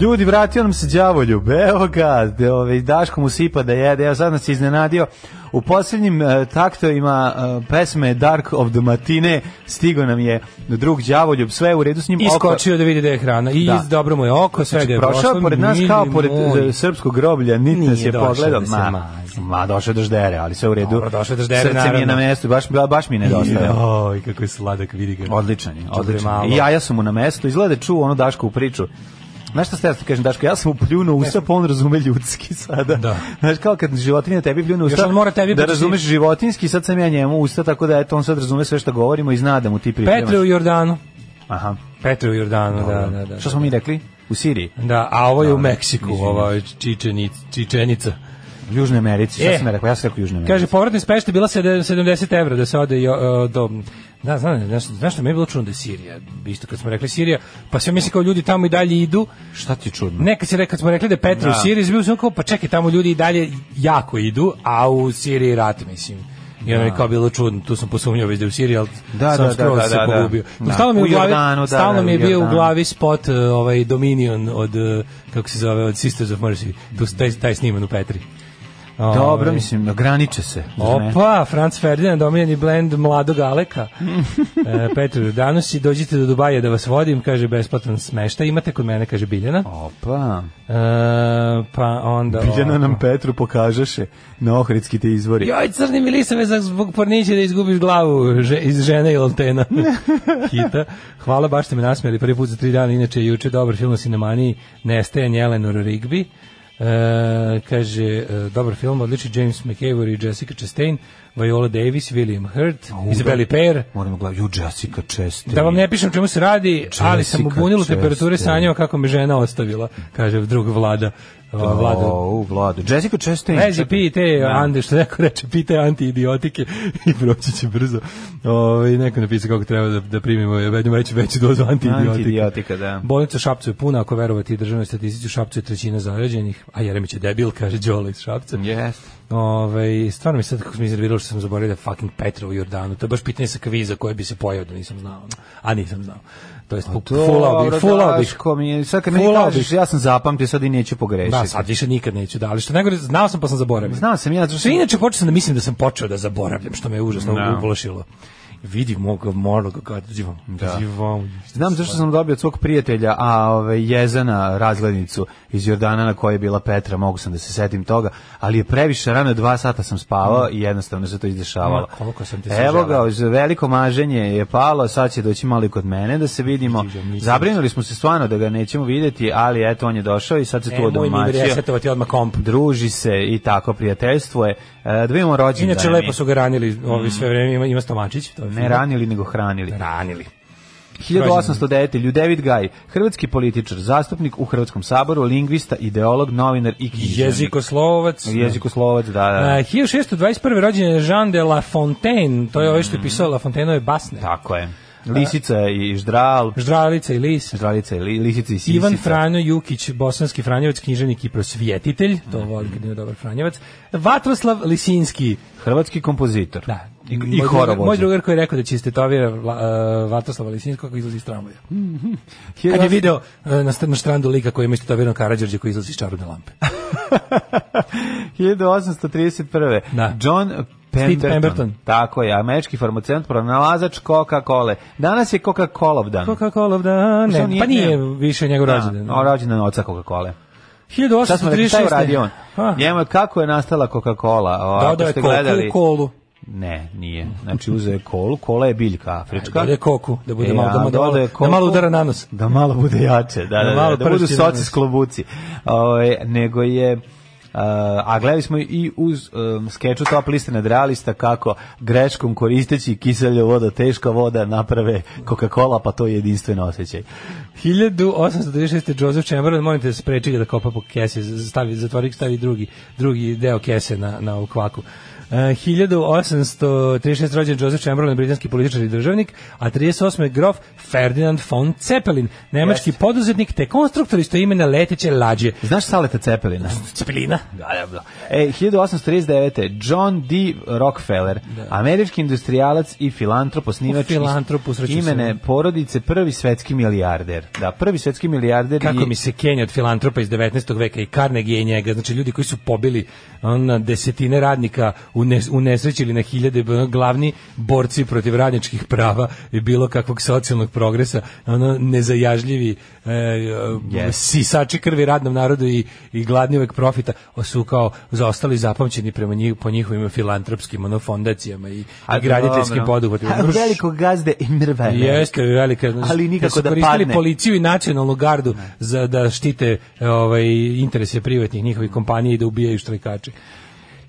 [SPEAKER 6] Ljudi, vratio nam se đavoljub, evo ga, de- ovaj, Daško mu sipa da jede, evo sad nas je iznenadio. U posljednjim eh, taktovima eh, pesme Dark of the Matine stigo nam je drug đavoljub, sve je u redu s njim. oko-
[SPEAKER 7] Iskočio da vidi da je hrana. I
[SPEAKER 6] Da. Znači,
[SPEAKER 7] dobro mu je oko, sve ga je prošlo.
[SPEAKER 6] Prošao je pored nas kao
[SPEAKER 7] mili
[SPEAKER 6] pored
[SPEAKER 7] moj.
[SPEAKER 6] eh, srpskog groblja, niti nas
[SPEAKER 7] Nije
[SPEAKER 6] je
[SPEAKER 7] došao
[SPEAKER 6] pogledao.
[SPEAKER 7] da se
[SPEAKER 6] ma,
[SPEAKER 7] mazi.
[SPEAKER 6] ma, došao je drždere, ali sve u redu.
[SPEAKER 7] Dobro, došao je drždere,
[SPEAKER 6] Srce mi je na
[SPEAKER 7] naravno.
[SPEAKER 6] mestu, baš, baš mi nedostaje.
[SPEAKER 7] Joj, kako je sladak, vidi ga.
[SPEAKER 6] Odličan je,
[SPEAKER 7] Dobro,
[SPEAKER 6] odličan.
[SPEAKER 7] malo.
[SPEAKER 6] je. I jaja su mu na mestu, izgleda da čuo ono Daškovu priču. Znaš šta ste, ja kažem, Daško, ja sam mu pljunuo u usta, pa on razume ljudski sada.
[SPEAKER 7] Da.
[SPEAKER 6] Znaš, kao kad životinja tebi pljune u usta,
[SPEAKER 7] on mora tebi
[SPEAKER 6] da
[SPEAKER 7] početi-
[SPEAKER 6] razumeš životinski, sad sam ja njemu u usta, tako da eto, on sad razume sve što govorimo i zna da mu ti pripremaš.
[SPEAKER 7] Petre u Jordanu.
[SPEAKER 6] Aha,
[SPEAKER 7] Petre u Jordanu, da, da, da.
[SPEAKER 6] Što smo mi rekli? u Siriji.
[SPEAKER 7] Da, a ovo je u Meksiku,
[SPEAKER 6] izvinjam
[SPEAKER 7] ova je Čičenic, Čičenica.
[SPEAKER 6] U Južnoj Americi, šta
[SPEAKER 7] E.
[SPEAKER 6] sam ja rekao? Ja sam rekao Južnoj Americi.
[SPEAKER 7] Kaže, povratni spešte bila sed- 70 evra da se ode i, o, o, do... Da, znam, znaš, znaš što mi je bilo čudno da je Sirija, isto kad smo rekli Sirija, pa sve mislim kao ljudi tamo i dalje idu,
[SPEAKER 6] šta ti je čudno?
[SPEAKER 7] Nekad se rekao, kad smo rekli da je Petra
[SPEAKER 6] Da.
[SPEAKER 7] u Siriji, bio sam kao, pa čekaj, tamo ljudi i dalje jako idu, a u Siriji rat, mislim. I ono je kao bilo čudno, tu sam posumnjao već da je u Siriji, ali
[SPEAKER 6] Da,
[SPEAKER 7] sam
[SPEAKER 6] da,
[SPEAKER 7] skroz
[SPEAKER 6] da, da,
[SPEAKER 7] se
[SPEAKER 6] da.
[SPEAKER 7] pogubio. Pa
[SPEAKER 6] Da.
[SPEAKER 7] Stalno mi je
[SPEAKER 6] U
[SPEAKER 7] u glavi,
[SPEAKER 6] Jordanu, da,
[SPEAKER 7] stalno
[SPEAKER 6] da,
[SPEAKER 7] mi je
[SPEAKER 6] u
[SPEAKER 7] bio u
[SPEAKER 6] Jordanu.
[SPEAKER 7] glavi spot eh, ovaj Dominion od, eh, kako se zove, od Sisters of Mercy, tu, taj, taj sniman u Petri.
[SPEAKER 6] Dobro,
[SPEAKER 7] Ovaj.
[SPEAKER 6] mislim, graniče se. zar ne?
[SPEAKER 7] Opa, Franz Ferdinand, omiljeni blend mladog Aleka. e, Petru, danas i dođite do Dubaja da vas vodim, kaže, besplatan smešta. Imate kod mene, kaže Biljana.
[SPEAKER 6] Opa.
[SPEAKER 7] E, pa onda...
[SPEAKER 6] Biljana
[SPEAKER 7] ovako.
[SPEAKER 6] nam Petru pokažeše na Ohridski te izvori.
[SPEAKER 7] Joj, crni milisave za zbog porniće da izgubiš glavu že, iz žene i oltena. Kita. Hvala, baš ste me nasmijali prvi put za tri dana, inače je juče dobar film o sinemaniji Nestajan Jelenor Rigby. E, kaže, e, dobar film, odliči James McAvoy i Jessica Chastain, Viola Davis, William Hurt,
[SPEAKER 6] U,
[SPEAKER 7] Isabelle
[SPEAKER 6] da.
[SPEAKER 7] Payer.
[SPEAKER 6] Moramo gledati, ju Jessica Chastain.
[SPEAKER 7] Da vam ne pišem čemu se radi, ali sam u
[SPEAKER 6] Jessica
[SPEAKER 7] bunilu temperature
[SPEAKER 6] Chastain.
[SPEAKER 7] sanjao kako me žena ostavila, kaže drug vlada. Ova, Vlado
[SPEAKER 6] O, Vlado. Jessica Chastain.
[SPEAKER 7] Lezi,
[SPEAKER 6] čekaj.
[SPEAKER 7] pij te, Ande, što neko reče, pij te antiidiotike i proći će brzo. Ove, neko napisao kako treba da, da primimo, ja vedemo reći veću dozu antiidiotika.
[SPEAKER 6] Antidiotika, da.
[SPEAKER 7] Bolnica u Šapcu je puna, ako verovati državnoj statistici, u Šapcu je trećina zarađenih, a Jeremić je debil, kaže Đola iz Šapca.
[SPEAKER 6] Yes.
[SPEAKER 7] Ove, stvarno mi sad kako sam izrevirao što sam zaboravio da je fucking Petra u Jordanu. To je baš pitanje sa kviza koje bi se pojao da nisam znao. ono. A nisam znao. To je fulao bih, fulao bih.
[SPEAKER 6] Daško mi je, sad kad meni
[SPEAKER 7] Fulao
[SPEAKER 6] kažeš,
[SPEAKER 7] bih.
[SPEAKER 6] ja sam zapamtio, sad i neću pogrešiti.
[SPEAKER 7] Da, sad više nikad neću da, ali što najgore, znao sam pa sam zaboravio.
[SPEAKER 6] Znao sam ja, zato
[SPEAKER 7] Što inače počeo sam da mislim da sam počeo da zaboravljam, što me je užasno
[SPEAKER 6] Da.
[SPEAKER 7] ublašilo. Vidi mog morlog kad zivam. Da. Zivam.
[SPEAKER 6] Znam zašto sam dobio od svog prijatelja, a ove, jezana razglednicu iz Jordana na kojoj je bila Petra, mogu sam da se setim toga, ali je previše rano, dva sata sam spavao i jednostavno se to izdešavalo.
[SPEAKER 7] Mm. Ma, koliko sam te
[SPEAKER 6] Evo ga,
[SPEAKER 7] sužavao.
[SPEAKER 6] uz veliko maženje je palo, sad će doći malo i kod mene da se vidimo.
[SPEAKER 7] Vidiš ga, mislim.
[SPEAKER 6] Zabrinuli smo se stvarno da ga nećemo vidjeti, ali eto, on je došao i sad se tu
[SPEAKER 7] Nemoj mi
[SPEAKER 6] odomaćio.
[SPEAKER 7] resetovati odmah komp.
[SPEAKER 6] Druži se i tako, prijateljstvo je. E, da vidimo rođendane
[SPEAKER 7] Inače,
[SPEAKER 6] mi.
[SPEAKER 7] lepo su ga ranili ovi sve vreme, ima, ima stomačić. To je
[SPEAKER 6] Ne
[SPEAKER 7] fino.
[SPEAKER 6] ranili, nego hranili.
[SPEAKER 7] Ranili.
[SPEAKER 6] 1809. Ljudevid Gaj, hrvatski političar, zastupnik u Hrvatskom saboru, lingvista, ideolog, novinar i književnik.
[SPEAKER 7] Jezikoslovac.
[SPEAKER 6] Jezikoslovac, da, da.
[SPEAKER 7] Uh, 1621. rođen je Jean de La Fontaine, to je ovaj
[SPEAKER 6] Mm.
[SPEAKER 7] što je pisao La Fontaineove basne.
[SPEAKER 6] Tako je. Lisica i Ždral,
[SPEAKER 7] Ždralica i Lis.
[SPEAKER 6] Ždralica i li- Lisica i Sisica.
[SPEAKER 7] Ivan Franjo Jukić, bosanski franjevac, književnik i prosvjetitelj, to
[SPEAKER 6] Mm.
[SPEAKER 7] volim kad ima dobar franjevac. Vatroslav Lisinski,
[SPEAKER 6] Hrvatski kompozitor.
[SPEAKER 7] Da.
[SPEAKER 6] I,
[SPEAKER 7] Moj
[SPEAKER 6] i
[SPEAKER 7] drugar-
[SPEAKER 6] horovođa.
[SPEAKER 7] Moj drugar koji je rekao da će istetovira uh, Vatroslava Lisinskog kako izlazi iz tramvaja. Kad je video uh, na, st- na štrandu lika koji ima istetovirano Karadžorđe koji izlazi iz čarobne lampe.
[SPEAKER 6] 1831.
[SPEAKER 7] Da.
[SPEAKER 6] John Pemberton.
[SPEAKER 7] Pemberton.
[SPEAKER 6] Tako je, američki farmaceut, pronalazač Coca-Cola. Danas je Coca-Cola dan.
[SPEAKER 7] Coca-Cola of the...
[SPEAKER 6] Što
[SPEAKER 7] Ne,
[SPEAKER 6] nije-
[SPEAKER 7] pa nije ono, više njegov rođendan.
[SPEAKER 6] Da, o, rođendan oca Coca-Cola. Šta smo rekli, šta je uradio
[SPEAKER 7] 1836.
[SPEAKER 6] on? Njemu je kako je nastala Coca-Cola? O,
[SPEAKER 7] Da,
[SPEAKER 6] ako
[SPEAKER 7] da Pa, je
[SPEAKER 6] ste
[SPEAKER 7] koku
[SPEAKER 6] gledali-
[SPEAKER 7] u kolu.
[SPEAKER 6] Ne, nije. Znači uzeo je kolu, kola je biljka afrička.
[SPEAKER 7] Da je koku, da bude
[SPEAKER 6] E,
[SPEAKER 7] malo, da,
[SPEAKER 6] a
[SPEAKER 7] mu- da, malo,
[SPEAKER 6] dodao je
[SPEAKER 7] da
[SPEAKER 6] koku.
[SPEAKER 7] malo udara na nos.
[SPEAKER 6] Da malo bude jače, da, da,
[SPEAKER 7] Da
[SPEAKER 6] da,
[SPEAKER 7] malo
[SPEAKER 6] da, budu
[SPEAKER 7] prsti
[SPEAKER 6] soci
[SPEAKER 7] nanesu.
[SPEAKER 6] s klobuci. Ovaj, nego je a, a gledali smo i uz um, skeču top liste nad realista kako greškom koristeći kiselja voda, teška voda naprave Coca-Cola, pa to je jedinstven osjećaj.
[SPEAKER 7] 1836. Joseph Chamberlain, molim te da spreči ga da kopa po kesi, z- stavi, zatvori, stavi drugi, drugi deo kese na, na ovu kvaku. E, 1836. rođen Joseph Chamberlain, britanski političar i državnik, a 38. je grof Ferdinand von Zeppelin, nemački poduzetnik te konstruktor isto imena leteće lađe.
[SPEAKER 6] Znaš Saleta Cepelina?
[SPEAKER 7] Cepelina?
[SPEAKER 6] Da, da, da. E, 1839. John D. Rockefeller, američki industrijalac i filantrop, osnivač
[SPEAKER 7] U filantrop, usreću se.
[SPEAKER 6] imene porodice, prvi svetski milijarder. Da, prvi svetski milijarder
[SPEAKER 7] Kako
[SPEAKER 6] i
[SPEAKER 7] mi se Kenja od filantropa iz 19. veka i Carnegie je njega, znači ljudi koji su pobili ona, desetine radnika unes, unesrećili na hiljade ono, glavni borci protiv radničkih prava i bilo kakvog socijalnog progresa, ono nezajažljivi e, yes. sisači krvi radnom narodu i, i gladni uvek profita o, su kao zaostali zapamćeni prema njih, po njihovim filantropskim ono, fondacijama i, i graditeljskim
[SPEAKER 6] dobro.
[SPEAKER 7] poduhvatima.
[SPEAKER 6] A, Velikog gazde i mrvene.
[SPEAKER 7] Jeste velika,
[SPEAKER 6] Ali nikako
[SPEAKER 7] su
[SPEAKER 6] da
[SPEAKER 7] koristili
[SPEAKER 6] padne.
[SPEAKER 7] policiju i nacionalnu gardu za da štite e, ovaj interese privatnih njihovih kompanija i da ubijaju štrajkače.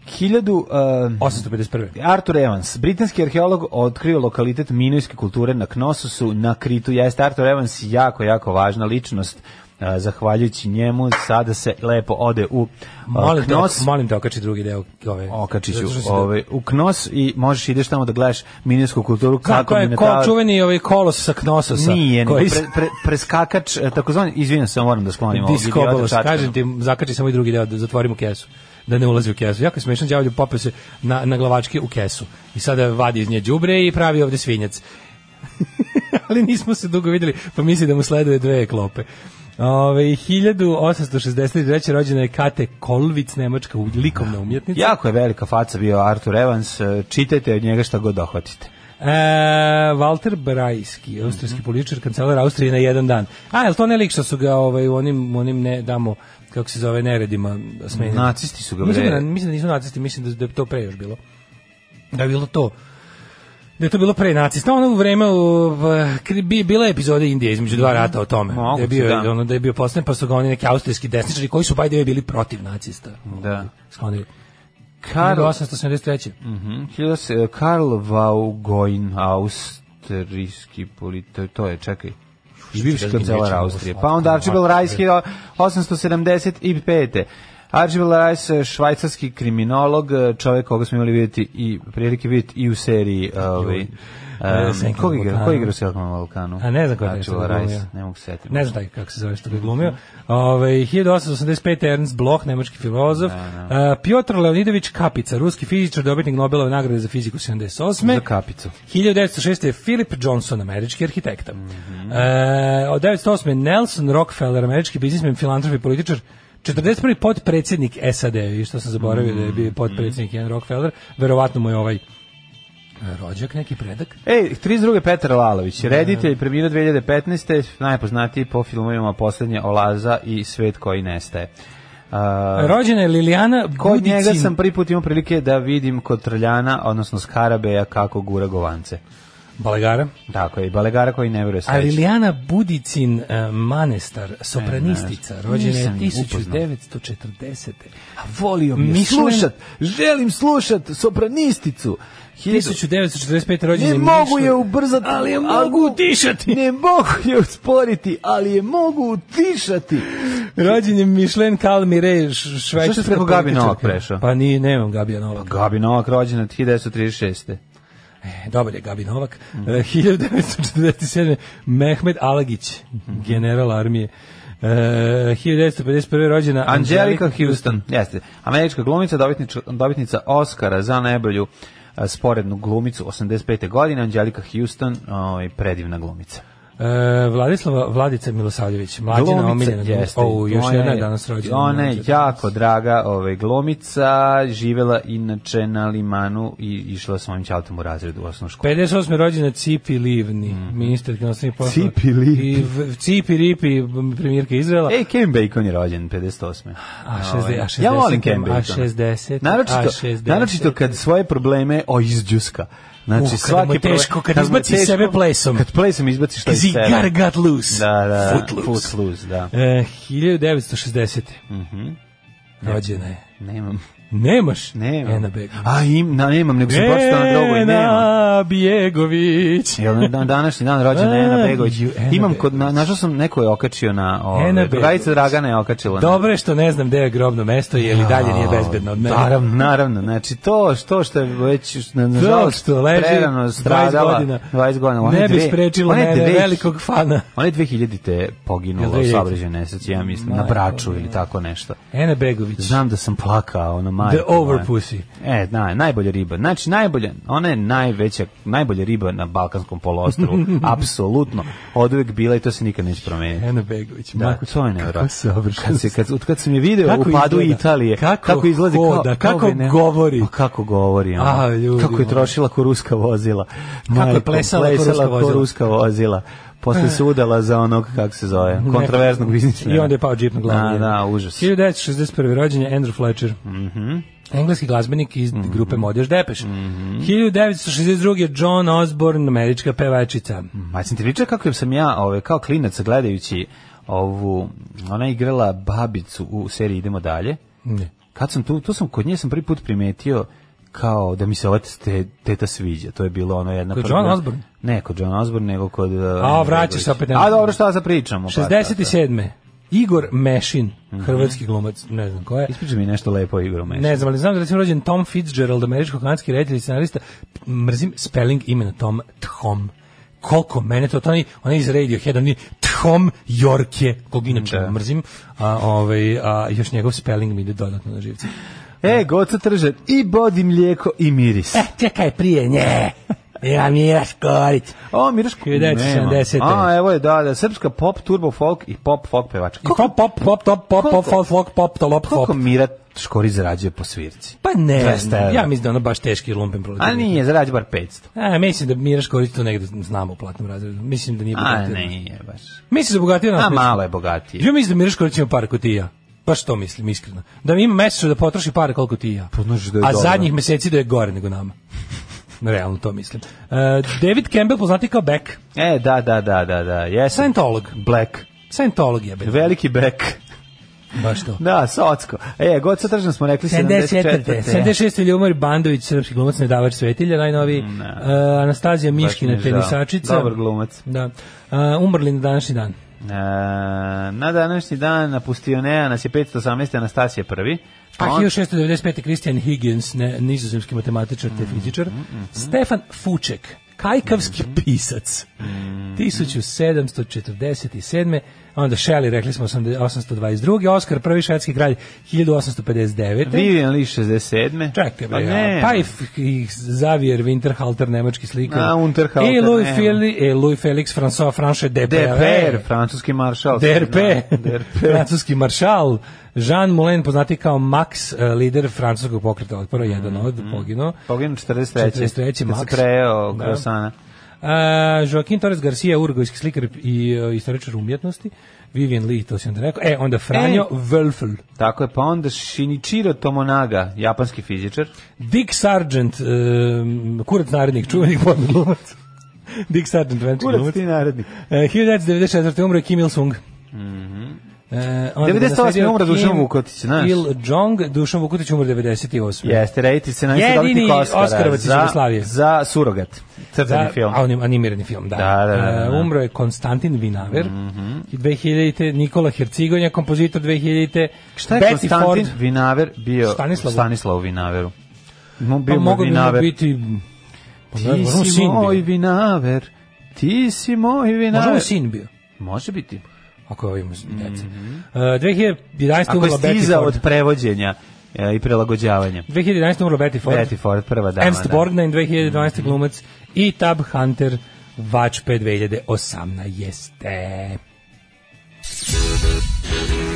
[SPEAKER 6] Hiljadu... um,
[SPEAKER 7] 851.
[SPEAKER 6] Arthur Evans, britanski arheolog, otkrio lokalitet minojske kulture na Knosusu, na Kritu. Jeste, Arthur Evans jako, jako važna ličnost a, zahvaljujući njemu sada se lepo ode u a,
[SPEAKER 7] Molim te,
[SPEAKER 6] Knos.
[SPEAKER 7] molim te okači drugi deo ove.
[SPEAKER 6] Okačiću,
[SPEAKER 7] Zato što si-
[SPEAKER 6] ovaj, u Knos i možeš ideš tamo da gledaš minijsku kulturu kako
[SPEAKER 7] Kako je ko,
[SPEAKER 6] Minotaur-
[SPEAKER 7] čuveni ovaj kolos sa Knososa?
[SPEAKER 6] Nije, nego
[SPEAKER 7] koji
[SPEAKER 6] pre, pre, preskakač, e, takozvani, izvinjam se, moram da sklonim ovog idiota
[SPEAKER 7] Diskobolos,
[SPEAKER 6] čačkana.
[SPEAKER 7] kažem ti, zakači samo i drugi deo, da zatvorimo kesu da ne ulazi u kesu. Jako je smešan đavolju popeo se na, na glavačke u kesu. I sada vadi iz nje đubre i pravi ovde svinjac. Ali nismo se dugo videli, pa misli da mu sleduje dve klope. Ove, 1863. rođena je Kate Kolvic, nemačka u- likovna umjetnica.
[SPEAKER 6] Jako je velika faca bio Arthur Evans, e, čitajte od njega šta god dohvatite.
[SPEAKER 7] E, Walter Brajski,
[SPEAKER 6] Mhm.
[SPEAKER 7] austrijski političar, kancelar Austrije na jedan dan. A, je li to ne lik što su ga ovaj, u onim, onim ne damo, kako se zove, neredima smenili?
[SPEAKER 6] Nacisti su ga
[SPEAKER 7] mislim, da,
[SPEAKER 6] bre.
[SPEAKER 7] mislim da nisu nacisti, mislim da, da je to pre još bilo. Da je bilo to da je to bilo pre nacista. Ono u vreme u, v- bi, bila je epizoda Indije između dva rata o tome.
[SPEAKER 6] Mhm. Moguće,
[SPEAKER 7] da je bio,
[SPEAKER 6] da.
[SPEAKER 7] ono, da je bio postavljen, pa su ga oni neki austrijski desničari koji su by the way bili protiv nacista.
[SPEAKER 6] Da.
[SPEAKER 7] Sklonili.
[SPEAKER 6] Karl,
[SPEAKER 7] 1873.
[SPEAKER 6] Mhm, 1800 Karl Vaugojn, austrijski političar, to je, čekaj. I bivši
[SPEAKER 7] ću
[SPEAKER 6] kancelar
[SPEAKER 7] reći,
[SPEAKER 6] Austrije.
[SPEAKER 7] ovo
[SPEAKER 6] Pa onda
[SPEAKER 7] slatko,
[SPEAKER 6] Archibald
[SPEAKER 7] slatko.
[SPEAKER 6] Rice 875. Archibald Rice, eh, švajcarski kriminolog, eh, čovjek koga smo imali vidjeti i prilike vidjeti i u seriji ovaj,
[SPEAKER 7] E,
[SPEAKER 6] Um,
[SPEAKER 7] Senka
[SPEAKER 6] ko
[SPEAKER 7] na
[SPEAKER 6] igra,
[SPEAKER 7] Balkanu.
[SPEAKER 6] ko igra u Selkom na Balkanu?
[SPEAKER 7] A ne znam ko je taj što
[SPEAKER 6] Archibald
[SPEAKER 7] ga
[SPEAKER 6] Rice,
[SPEAKER 7] glumio.
[SPEAKER 6] ne mogu se setiti.
[SPEAKER 7] Ne znam taj kako se zove što ga je glumio. Ovaj, Ove, 1885. Ernst Bloch, nemački filozof. E, Piotr Leonidović Kapica, ruski fizičar, dobitnik Nobelove nagrade za fiziku 78.
[SPEAKER 6] Za kapicu.
[SPEAKER 7] 1906. je Philip Johnson, američki arhitekta.
[SPEAKER 6] Mhm.
[SPEAKER 7] E, od 1908. Nelson Rockefeller, američki biznismen, filantrop i političar, 41. potpredsjednik SAD, i što sam zaboravio da je
[SPEAKER 6] Mhm.
[SPEAKER 7] bio potpredsjednik jedan Rockefeller, verovatno mu je ovaj e, rođak, neki predak.
[SPEAKER 6] Ej, 32. E, Petar Lalović, reditelj, premijerao 2015. najpoznatiji po filmovima Poslednja Olaza i Svet koji nestaje. A,
[SPEAKER 7] Rođena je Lilijana
[SPEAKER 6] Kod
[SPEAKER 7] Budicin.
[SPEAKER 6] njega sam prvi put imao prilike da vidim kod Trljana, odnosno Skarabeja, kako gura govance.
[SPEAKER 7] Balegara.
[SPEAKER 6] Tako je, i balegara koji ne veruje
[SPEAKER 7] A
[SPEAKER 6] sveći.
[SPEAKER 7] Lilijana Budicin e, Manestar, sopranistica, rođena je
[SPEAKER 6] nisam je upoznao.
[SPEAKER 7] 1940.
[SPEAKER 6] Volio
[SPEAKER 7] je slušat,
[SPEAKER 6] želim slušat sopranisticu.
[SPEAKER 7] 1945. rođena
[SPEAKER 6] Ne
[SPEAKER 7] je
[SPEAKER 6] mogu
[SPEAKER 7] Mišla-
[SPEAKER 6] je ubrzati, ali je mogu utišati. Ne mogu je usporiti, ali je mogu utišati.
[SPEAKER 7] Rođen je Mišlen Kalmire, š- švajcarska
[SPEAKER 6] Zašto si preko Gabi
[SPEAKER 7] političarka.
[SPEAKER 6] Novak prešao?
[SPEAKER 7] Pa ni, nemam Gabija Novaka.
[SPEAKER 6] Gabi Novak rođena 1936.
[SPEAKER 7] E, Dobar je Gabi Novak.
[SPEAKER 6] Mm.
[SPEAKER 7] E, 1947. Mehmed Alagić,
[SPEAKER 6] Mhm.
[SPEAKER 7] general armije. E, 1951. rođena
[SPEAKER 6] Angelika Houston, jeste. Američka glumica, dobitnič- dobitnica Oscara za najbolju a, sporednu glumicu 85. godine, Angelika Houston, ovaj, predivna glumica.
[SPEAKER 7] E, Vladislava Vladica Milosavljević, mlađena omiljena. glumica.
[SPEAKER 6] jeste.
[SPEAKER 7] O, još
[SPEAKER 6] Ona
[SPEAKER 7] jedna je danas rođena.
[SPEAKER 6] Ona je jako draga ovaj, glumica, živela inače na limanu i išla sa svojim čaltom u razredu u osnovnu školu.
[SPEAKER 7] 58. rođena Cipi Livni, ministar inostranih poslova.
[SPEAKER 6] Mhm. Cipi Livni.
[SPEAKER 7] I v- Cipi Ripi, premijerka Izraela.
[SPEAKER 6] Ej, Kevin Bacon je rođen 58.
[SPEAKER 7] A, šezde- a šezdeset-
[SPEAKER 6] ja volim Kevin
[SPEAKER 7] a
[SPEAKER 6] Bacon.
[SPEAKER 7] šezdeset-
[SPEAKER 6] naročito,
[SPEAKER 7] a šezdeset.
[SPEAKER 6] naročito kad svoje probleme oizđuska. Znači,
[SPEAKER 7] Uh, kada
[SPEAKER 6] svaki
[SPEAKER 7] mu je
[SPEAKER 6] problem-
[SPEAKER 7] teško, kad
[SPEAKER 6] mu je
[SPEAKER 7] izbaci
[SPEAKER 6] teško,
[SPEAKER 7] sebe plesom.
[SPEAKER 6] Kad plesom izbaciš što iz
[SPEAKER 7] He
[SPEAKER 6] sebe.
[SPEAKER 7] gotta got loose.
[SPEAKER 6] Da, da,
[SPEAKER 7] Footloose.
[SPEAKER 6] Footloose, Mhm. da.
[SPEAKER 7] E, 1960. Rođena je.
[SPEAKER 6] Nemam.
[SPEAKER 7] Nemaš?
[SPEAKER 6] Nemam.
[SPEAKER 7] Ena Begović.
[SPEAKER 6] A, im, na, nemam, nego sam pročitao na drugoj, nemam.
[SPEAKER 7] Ena Begović.
[SPEAKER 6] Jel na dan- današnji dan rođena
[SPEAKER 7] A,
[SPEAKER 6] Ena Begović?
[SPEAKER 7] ju, Ena
[SPEAKER 6] Imam kod na, našao sam neko je okačio na
[SPEAKER 7] Ena
[SPEAKER 6] ove.
[SPEAKER 7] Begović.
[SPEAKER 6] Drugarica Dragana je okačila. na-
[SPEAKER 7] Dobro je što ne znam gde je grobno mesto, jer i dalje nije bezbedno od mene.
[SPEAKER 6] Naravno, naravno. Znači to što što je već na
[SPEAKER 7] To
[SPEAKER 6] nažalost
[SPEAKER 7] što leži
[SPEAKER 6] prerano
[SPEAKER 7] 20
[SPEAKER 6] stradala.
[SPEAKER 7] godina,
[SPEAKER 6] 20 godina. Ona je
[SPEAKER 7] ne bi
[SPEAKER 6] dve-
[SPEAKER 7] sprečilo
[SPEAKER 6] ona je
[SPEAKER 7] mene,
[SPEAKER 6] dve-
[SPEAKER 7] velikog fana.
[SPEAKER 6] Ona je 2000-te
[SPEAKER 7] Jel
[SPEAKER 6] poginula u
[SPEAKER 7] 2000-te?
[SPEAKER 6] saobrađaju nesreći, ja mislim, na
[SPEAKER 7] Majko
[SPEAKER 6] Braču ili tako nešto.
[SPEAKER 7] Ena Begović.
[SPEAKER 6] Znam da sam plakao, ono majko.
[SPEAKER 7] The over
[SPEAKER 6] moja.
[SPEAKER 7] pussy.
[SPEAKER 6] E, na, najbolja riba. Znači, najbolja, ona je najveća, najbolja riba na Balkanskom poluostrvu. Apsolutno. Od uvek bila i to se nikad neće promeniti.
[SPEAKER 7] Ena Begović.
[SPEAKER 6] Da,
[SPEAKER 7] Majko,
[SPEAKER 6] to je nevjerojatno.
[SPEAKER 7] kako savršeno.
[SPEAKER 6] Kad, se, kad, kad sam je video
[SPEAKER 7] Kako
[SPEAKER 6] u padu
[SPEAKER 7] izgleda?
[SPEAKER 6] Italije,
[SPEAKER 7] Kako
[SPEAKER 6] kako, izlazi,
[SPEAKER 7] hoda, kako
[SPEAKER 6] bi ne-
[SPEAKER 7] govori.
[SPEAKER 6] Pa kako govori, ono.
[SPEAKER 7] A, ljudi
[SPEAKER 6] kako
[SPEAKER 7] moji.
[SPEAKER 6] je trošila ko ruska vozila. Majko,
[SPEAKER 7] je plesala ko ruska
[SPEAKER 6] ko
[SPEAKER 7] vozila. Eh.
[SPEAKER 6] ruska vozila. Posle se udala za onog, kako se zove, kontroverznog biznismena.
[SPEAKER 7] I onda je pao džip na glavu.
[SPEAKER 6] Da, da, užas. Mhm.
[SPEAKER 7] 1961. rođen je Andrew Fletcher. Engleski glazbenik iz grupe Modeš Depeš.
[SPEAKER 6] Mhm.
[SPEAKER 7] 1962. John Osborne, američka pevačica.
[SPEAKER 6] Ma sam ti pričao kako sam ja, ove, kao klinac, gledajući ovu, ona je igrala babicu u seriji Idemo dalje.
[SPEAKER 7] Ne.
[SPEAKER 6] Kad sam tu, tu sam kod nje sam prvi put primetio kao da mi se ova te, teta sviđa. To je bilo ono jedna...
[SPEAKER 7] Kod
[SPEAKER 6] prva-
[SPEAKER 7] John Osborne?
[SPEAKER 6] Ne kod John Osborne, nego kod... uh,
[SPEAKER 7] A, vraćaš se opet na-
[SPEAKER 6] pa, A, dobro, šta sad pričamo? pa,
[SPEAKER 7] 67. Igor Mešin,
[SPEAKER 6] Mhm.
[SPEAKER 7] hrvatski glumac, ne znam ko je.
[SPEAKER 6] Ispričaj mi nešto lepo o igru Meša.
[SPEAKER 7] Ne znam, ali znam da je recimo rođen Tom Fitzgerald, američko-kanadski reditelj i scenarista. Mrzim spelling imena Tom Thom. Koliko mene to, to onaj, onaj iz Radiohead, onaj Thom Yorke, kog inače
[SPEAKER 6] Da.
[SPEAKER 7] mrzim, a, ovaj, a još njegov spelling mi ide dodatno na živce.
[SPEAKER 6] E, goca tržan, i bodi mlijeko i miris.
[SPEAKER 7] E, čekaj prije, nje, ja mi je škorić.
[SPEAKER 6] O, Miraš
[SPEAKER 7] 1970.
[SPEAKER 6] A, evo je, da, da, srpska pop, turbo folk i pop folk pevačka.
[SPEAKER 7] Pop, pop, pop, pop, pop, pop,
[SPEAKER 6] Koliko-
[SPEAKER 7] pop, pop, pop, top,
[SPEAKER 6] Koliko
[SPEAKER 7] pop.
[SPEAKER 6] Mira Škori zarađuje po svirci?
[SPEAKER 7] Pa ne,
[SPEAKER 6] 200 evra.
[SPEAKER 7] ja mislim da je ono baš teški lumpen proletar.
[SPEAKER 6] A nije, zarađuje bar 500.
[SPEAKER 7] A, mislim da Mira Škorić to negde znamo u platnom razredu. Mislim da nije
[SPEAKER 6] A,
[SPEAKER 7] bogatio.
[SPEAKER 6] nije baš.
[SPEAKER 7] Mislim da je bogatio nas.
[SPEAKER 6] A,
[SPEAKER 7] mislim.
[SPEAKER 6] malo je bogatije.
[SPEAKER 7] Ja mislim da Mira Škorić ima par kod i ja. Baš to mislim, iskreno. Da ima mesečno da potroši para koliko ti i ja.
[SPEAKER 6] Pa, znaš da je
[SPEAKER 7] A
[SPEAKER 6] dobro.
[SPEAKER 7] zadnjih meseci da je gore nego nama. Realno to mislim. E, David Campbell poznati kao Beck.
[SPEAKER 6] E, da, da, da, da, da, jesam.
[SPEAKER 7] Scientolog.
[SPEAKER 6] Black.
[SPEAKER 7] Scientolog je, be.
[SPEAKER 6] Veliki Black.
[SPEAKER 7] Baš to.
[SPEAKER 6] Da, socko. E, goca tržan smo rekli 74.
[SPEAKER 7] 76. Ljubomir Bandović, srpski glumac, nedavač svetilja, najnoviji. E, Anastazija Miškina,
[SPEAKER 6] mi je žao.
[SPEAKER 7] tenisačica.
[SPEAKER 6] Dobar glumac.
[SPEAKER 7] Da. E, umrli na današnji dan.
[SPEAKER 6] E, na današnji dan napustio Nea nas je 518. Anastasije prvi.
[SPEAKER 7] Pa
[SPEAKER 6] On-
[SPEAKER 7] 1695. Christian Higgins, ne, nizozemski matematičar
[SPEAKER 6] Mm,
[SPEAKER 7] te fizičar. Stefan Fuček, kajkavski
[SPEAKER 6] Mm.
[SPEAKER 7] pisac. 1747. Onda Shelley, rekli smo 822. Oskar, prvi švedski kralj, 1859.
[SPEAKER 6] Vivian Lee 67.
[SPEAKER 7] Čekaj
[SPEAKER 6] Pa
[SPEAKER 7] bre,
[SPEAKER 6] ne.
[SPEAKER 7] ja. pa i F- i Xavier Winterhalter, nemački slikar.
[SPEAKER 6] A, Unterhalter,
[SPEAKER 7] I Louis,
[SPEAKER 6] nema.
[SPEAKER 7] Fili, e, Louis Felix François Franche
[SPEAKER 6] DPR,
[SPEAKER 7] DPR.
[SPEAKER 6] francuski maršal.
[SPEAKER 7] DRP,
[SPEAKER 6] Da, DRP.
[SPEAKER 7] francuski maršal, Jean Moulin, poznati kao Max, e, lider francuskog pokreta, otpora, jedan od,
[SPEAKER 6] Mhm.
[SPEAKER 7] poginuo.
[SPEAKER 6] Poginu 43.
[SPEAKER 7] 43.
[SPEAKER 6] Kad
[SPEAKER 7] Max.
[SPEAKER 6] se prejeo
[SPEAKER 7] Da.
[SPEAKER 6] Krosana.
[SPEAKER 7] A, Eh, Joaquin Torres Garcia, urgojski slikar i e, istoričar umjetnosti, Vivian Lee, to si onda rekao, e, onda Franjo
[SPEAKER 6] E.
[SPEAKER 7] Wölfel,
[SPEAKER 6] Tako je, pa onda Shinichiro Tomonaga, japanski fizičar.
[SPEAKER 7] Dick Sargent, e, kurac narednik, čuvenik modni glumac. Dick Sargent, venčki glumac.
[SPEAKER 6] narednik.
[SPEAKER 7] E, 1994. umro je Kim Il-sung.
[SPEAKER 6] Mhm.
[SPEAKER 7] Mm -hmm.
[SPEAKER 6] 98. umro Dušan Vukotić, znaš.
[SPEAKER 7] Il Jong, Dušan Vukotić umro 98.
[SPEAKER 6] Jeste, rediti se najviše
[SPEAKER 7] Jedini
[SPEAKER 6] dobitnik Oscara.
[SPEAKER 7] Oskarovac iz
[SPEAKER 6] za-
[SPEAKER 7] Jugoslavije.
[SPEAKER 6] Za surogat. Crtani
[SPEAKER 7] Da,
[SPEAKER 6] film.
[SPEAKER 7] anim- Animirani film, da.
[SPEAKER 6] Da, da, da, Mhm. da.
[SPEAKER 7] E, umro je Konstantin Vinaver. Mm -hmm. 2000. Nikola Hercigonja, kompozitor 2000.
[SPEAKER 6] Šta je
[SPEAKER 7] Betty
[SPEAKER 6] Konstantin
[SPEAKER 7] Ford.
[SPEAKER 6] Vinaver bio
[SPEAKER 7] Stanislavu.
[SPEAKER 6] Stanislavu Vinaveru? Mo, bio
[SPEAKER 7] Pa
[SPEAKER 6] mu
[SPEAKER 7] mogu bi mu
[SPEAKER 6] Vinaver.
[SPEAKER 7] biti... Pa, ne,
[SPEAKER 6] Ti
[SPEAKER 7] možda mu
[SPEAKER 6] si
[SPEAKER 7] sin
[SPEAKER 6] moj
[SPEAKER 7] bio.
[SPEAKER 6] Vinaver. Ti si moj
[SPEAKER 7] Možda mu
[SPEAKER 6] Vinaver.
[SPEAKER 7] sin bio.
[SPEAKER 6] Može biti.
[SPEAKER 7] Ako je ovim dece. Mm -hmm. uh, 2011.
[SPEAKER 6] Mhm. Ako je
[SPEAKER 7] umrla Betty
[SPEAKER 6] stizao
[SPEAKER 7] Ford.
[SPEAKER 6] od prevođenja e, i prilagođavanja.
[SPEAKER 7] 2011. umrla Betty Ford.
[SPEAKER 6] Betty Ford, prva dama.
[SPEAKER 7] Ernst
[SPEAKER 6] da.
[SPEAKER 7] Borgnine 2012. glumac i Tab Hunter Vačpe 2018 jeste.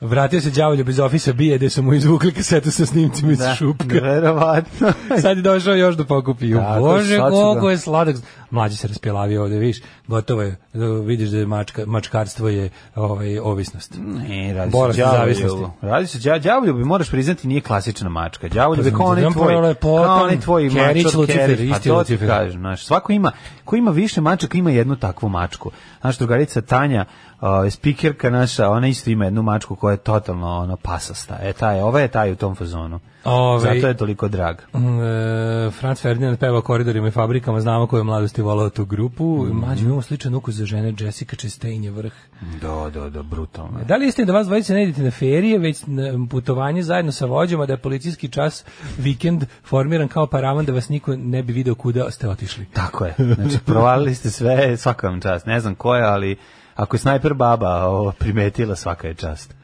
[SPEAKER 7] Vratio se đavolju bez ofisa bije gde su mu izvukli kasetu sa snimcima iz
[SPEAKER 6] Da,
[SPEAKER 7] šupka.
[SPEAKER 6] Verovatno.
[SPEAKER 7] Sad je došao još da pokupi. ju.
[SPEAKER 6] Tako,
[SPEAKER 7] Bože,
[SPEAKER 6] sad ću
[SPEAKER 7] koliko
[SPEAKER 6] ga.
[SPEAKER 7] je sladak. Mlađi se raspjelavio ovde, vidiš. Gotovo je. Vidiš da je mačka, mačkarstvo je ovaj, ovisnost.
[SPEAKER 6] Ne, E, radi
[SPEAKER 7] Borac
[SPEAKER 6] se o
[SPEAKER 7] zavisnosti.
[SPEAKER 6] đavoljubu. Radi se đa- đavoljubi, moraš priznati, nije klasična mačka. Đavoljub je
[SPEAKER 7] Pa,
[SPEAKER 6] kao onaj
[SPEAKER 7] znam,
[SPEAKER 6] tvoj,
[SPEAKER 7] prvo lepotan,
[SPEAKER 6] kao onaj tvoj
[SPEAKER 7] Kerić,
[SPEAKER 6] mačor,
[SPEAKER 7] Lucifer,
[SPEAKER 6] Kerić, pa
[SPEAKER 7] isti
[SPEAKER 6] to ti
[SPEAKER 7] Lucifer.
[SPEAKER 6] kažem, znaš, svako ima, ko ima više mačaka, ima jednu takvu mačku. Znaš, drugarica Tanja, uh, spikerka naša, ona isto ima jednu mačku koja je totalno ono, pasasta. E, ta je, ova je taj u tom fazonu.
[SPEAKER 7] Ovaj-
[SPEAKER 6] Zato je toliko drag.
[SPEAKER 7] Mm, e, Franz Ferdinand peva koridorima i fabrikama, znamo ko je u mladosti volao tu grupu. Mlađi imamo sličan ukus za žene, Jessica Chastain je vrh.
[SPEAKER 6] Da, da, da, brutalno. je.
[SPEAKER 7] Pa Da li jeste da vas dvojice ne idete na ferije, već na putovanje zajedno sa vođama, da je policijski čas vikend formiran kao paravan da vas niko ne bi video kuda ste otišli?
[SPEAKER 6] Tako je. Znači, provalili ste sve, svaka vam čast. Ne znam ko je, ali ako je snajper baba ovo, primetila, svaka je čast.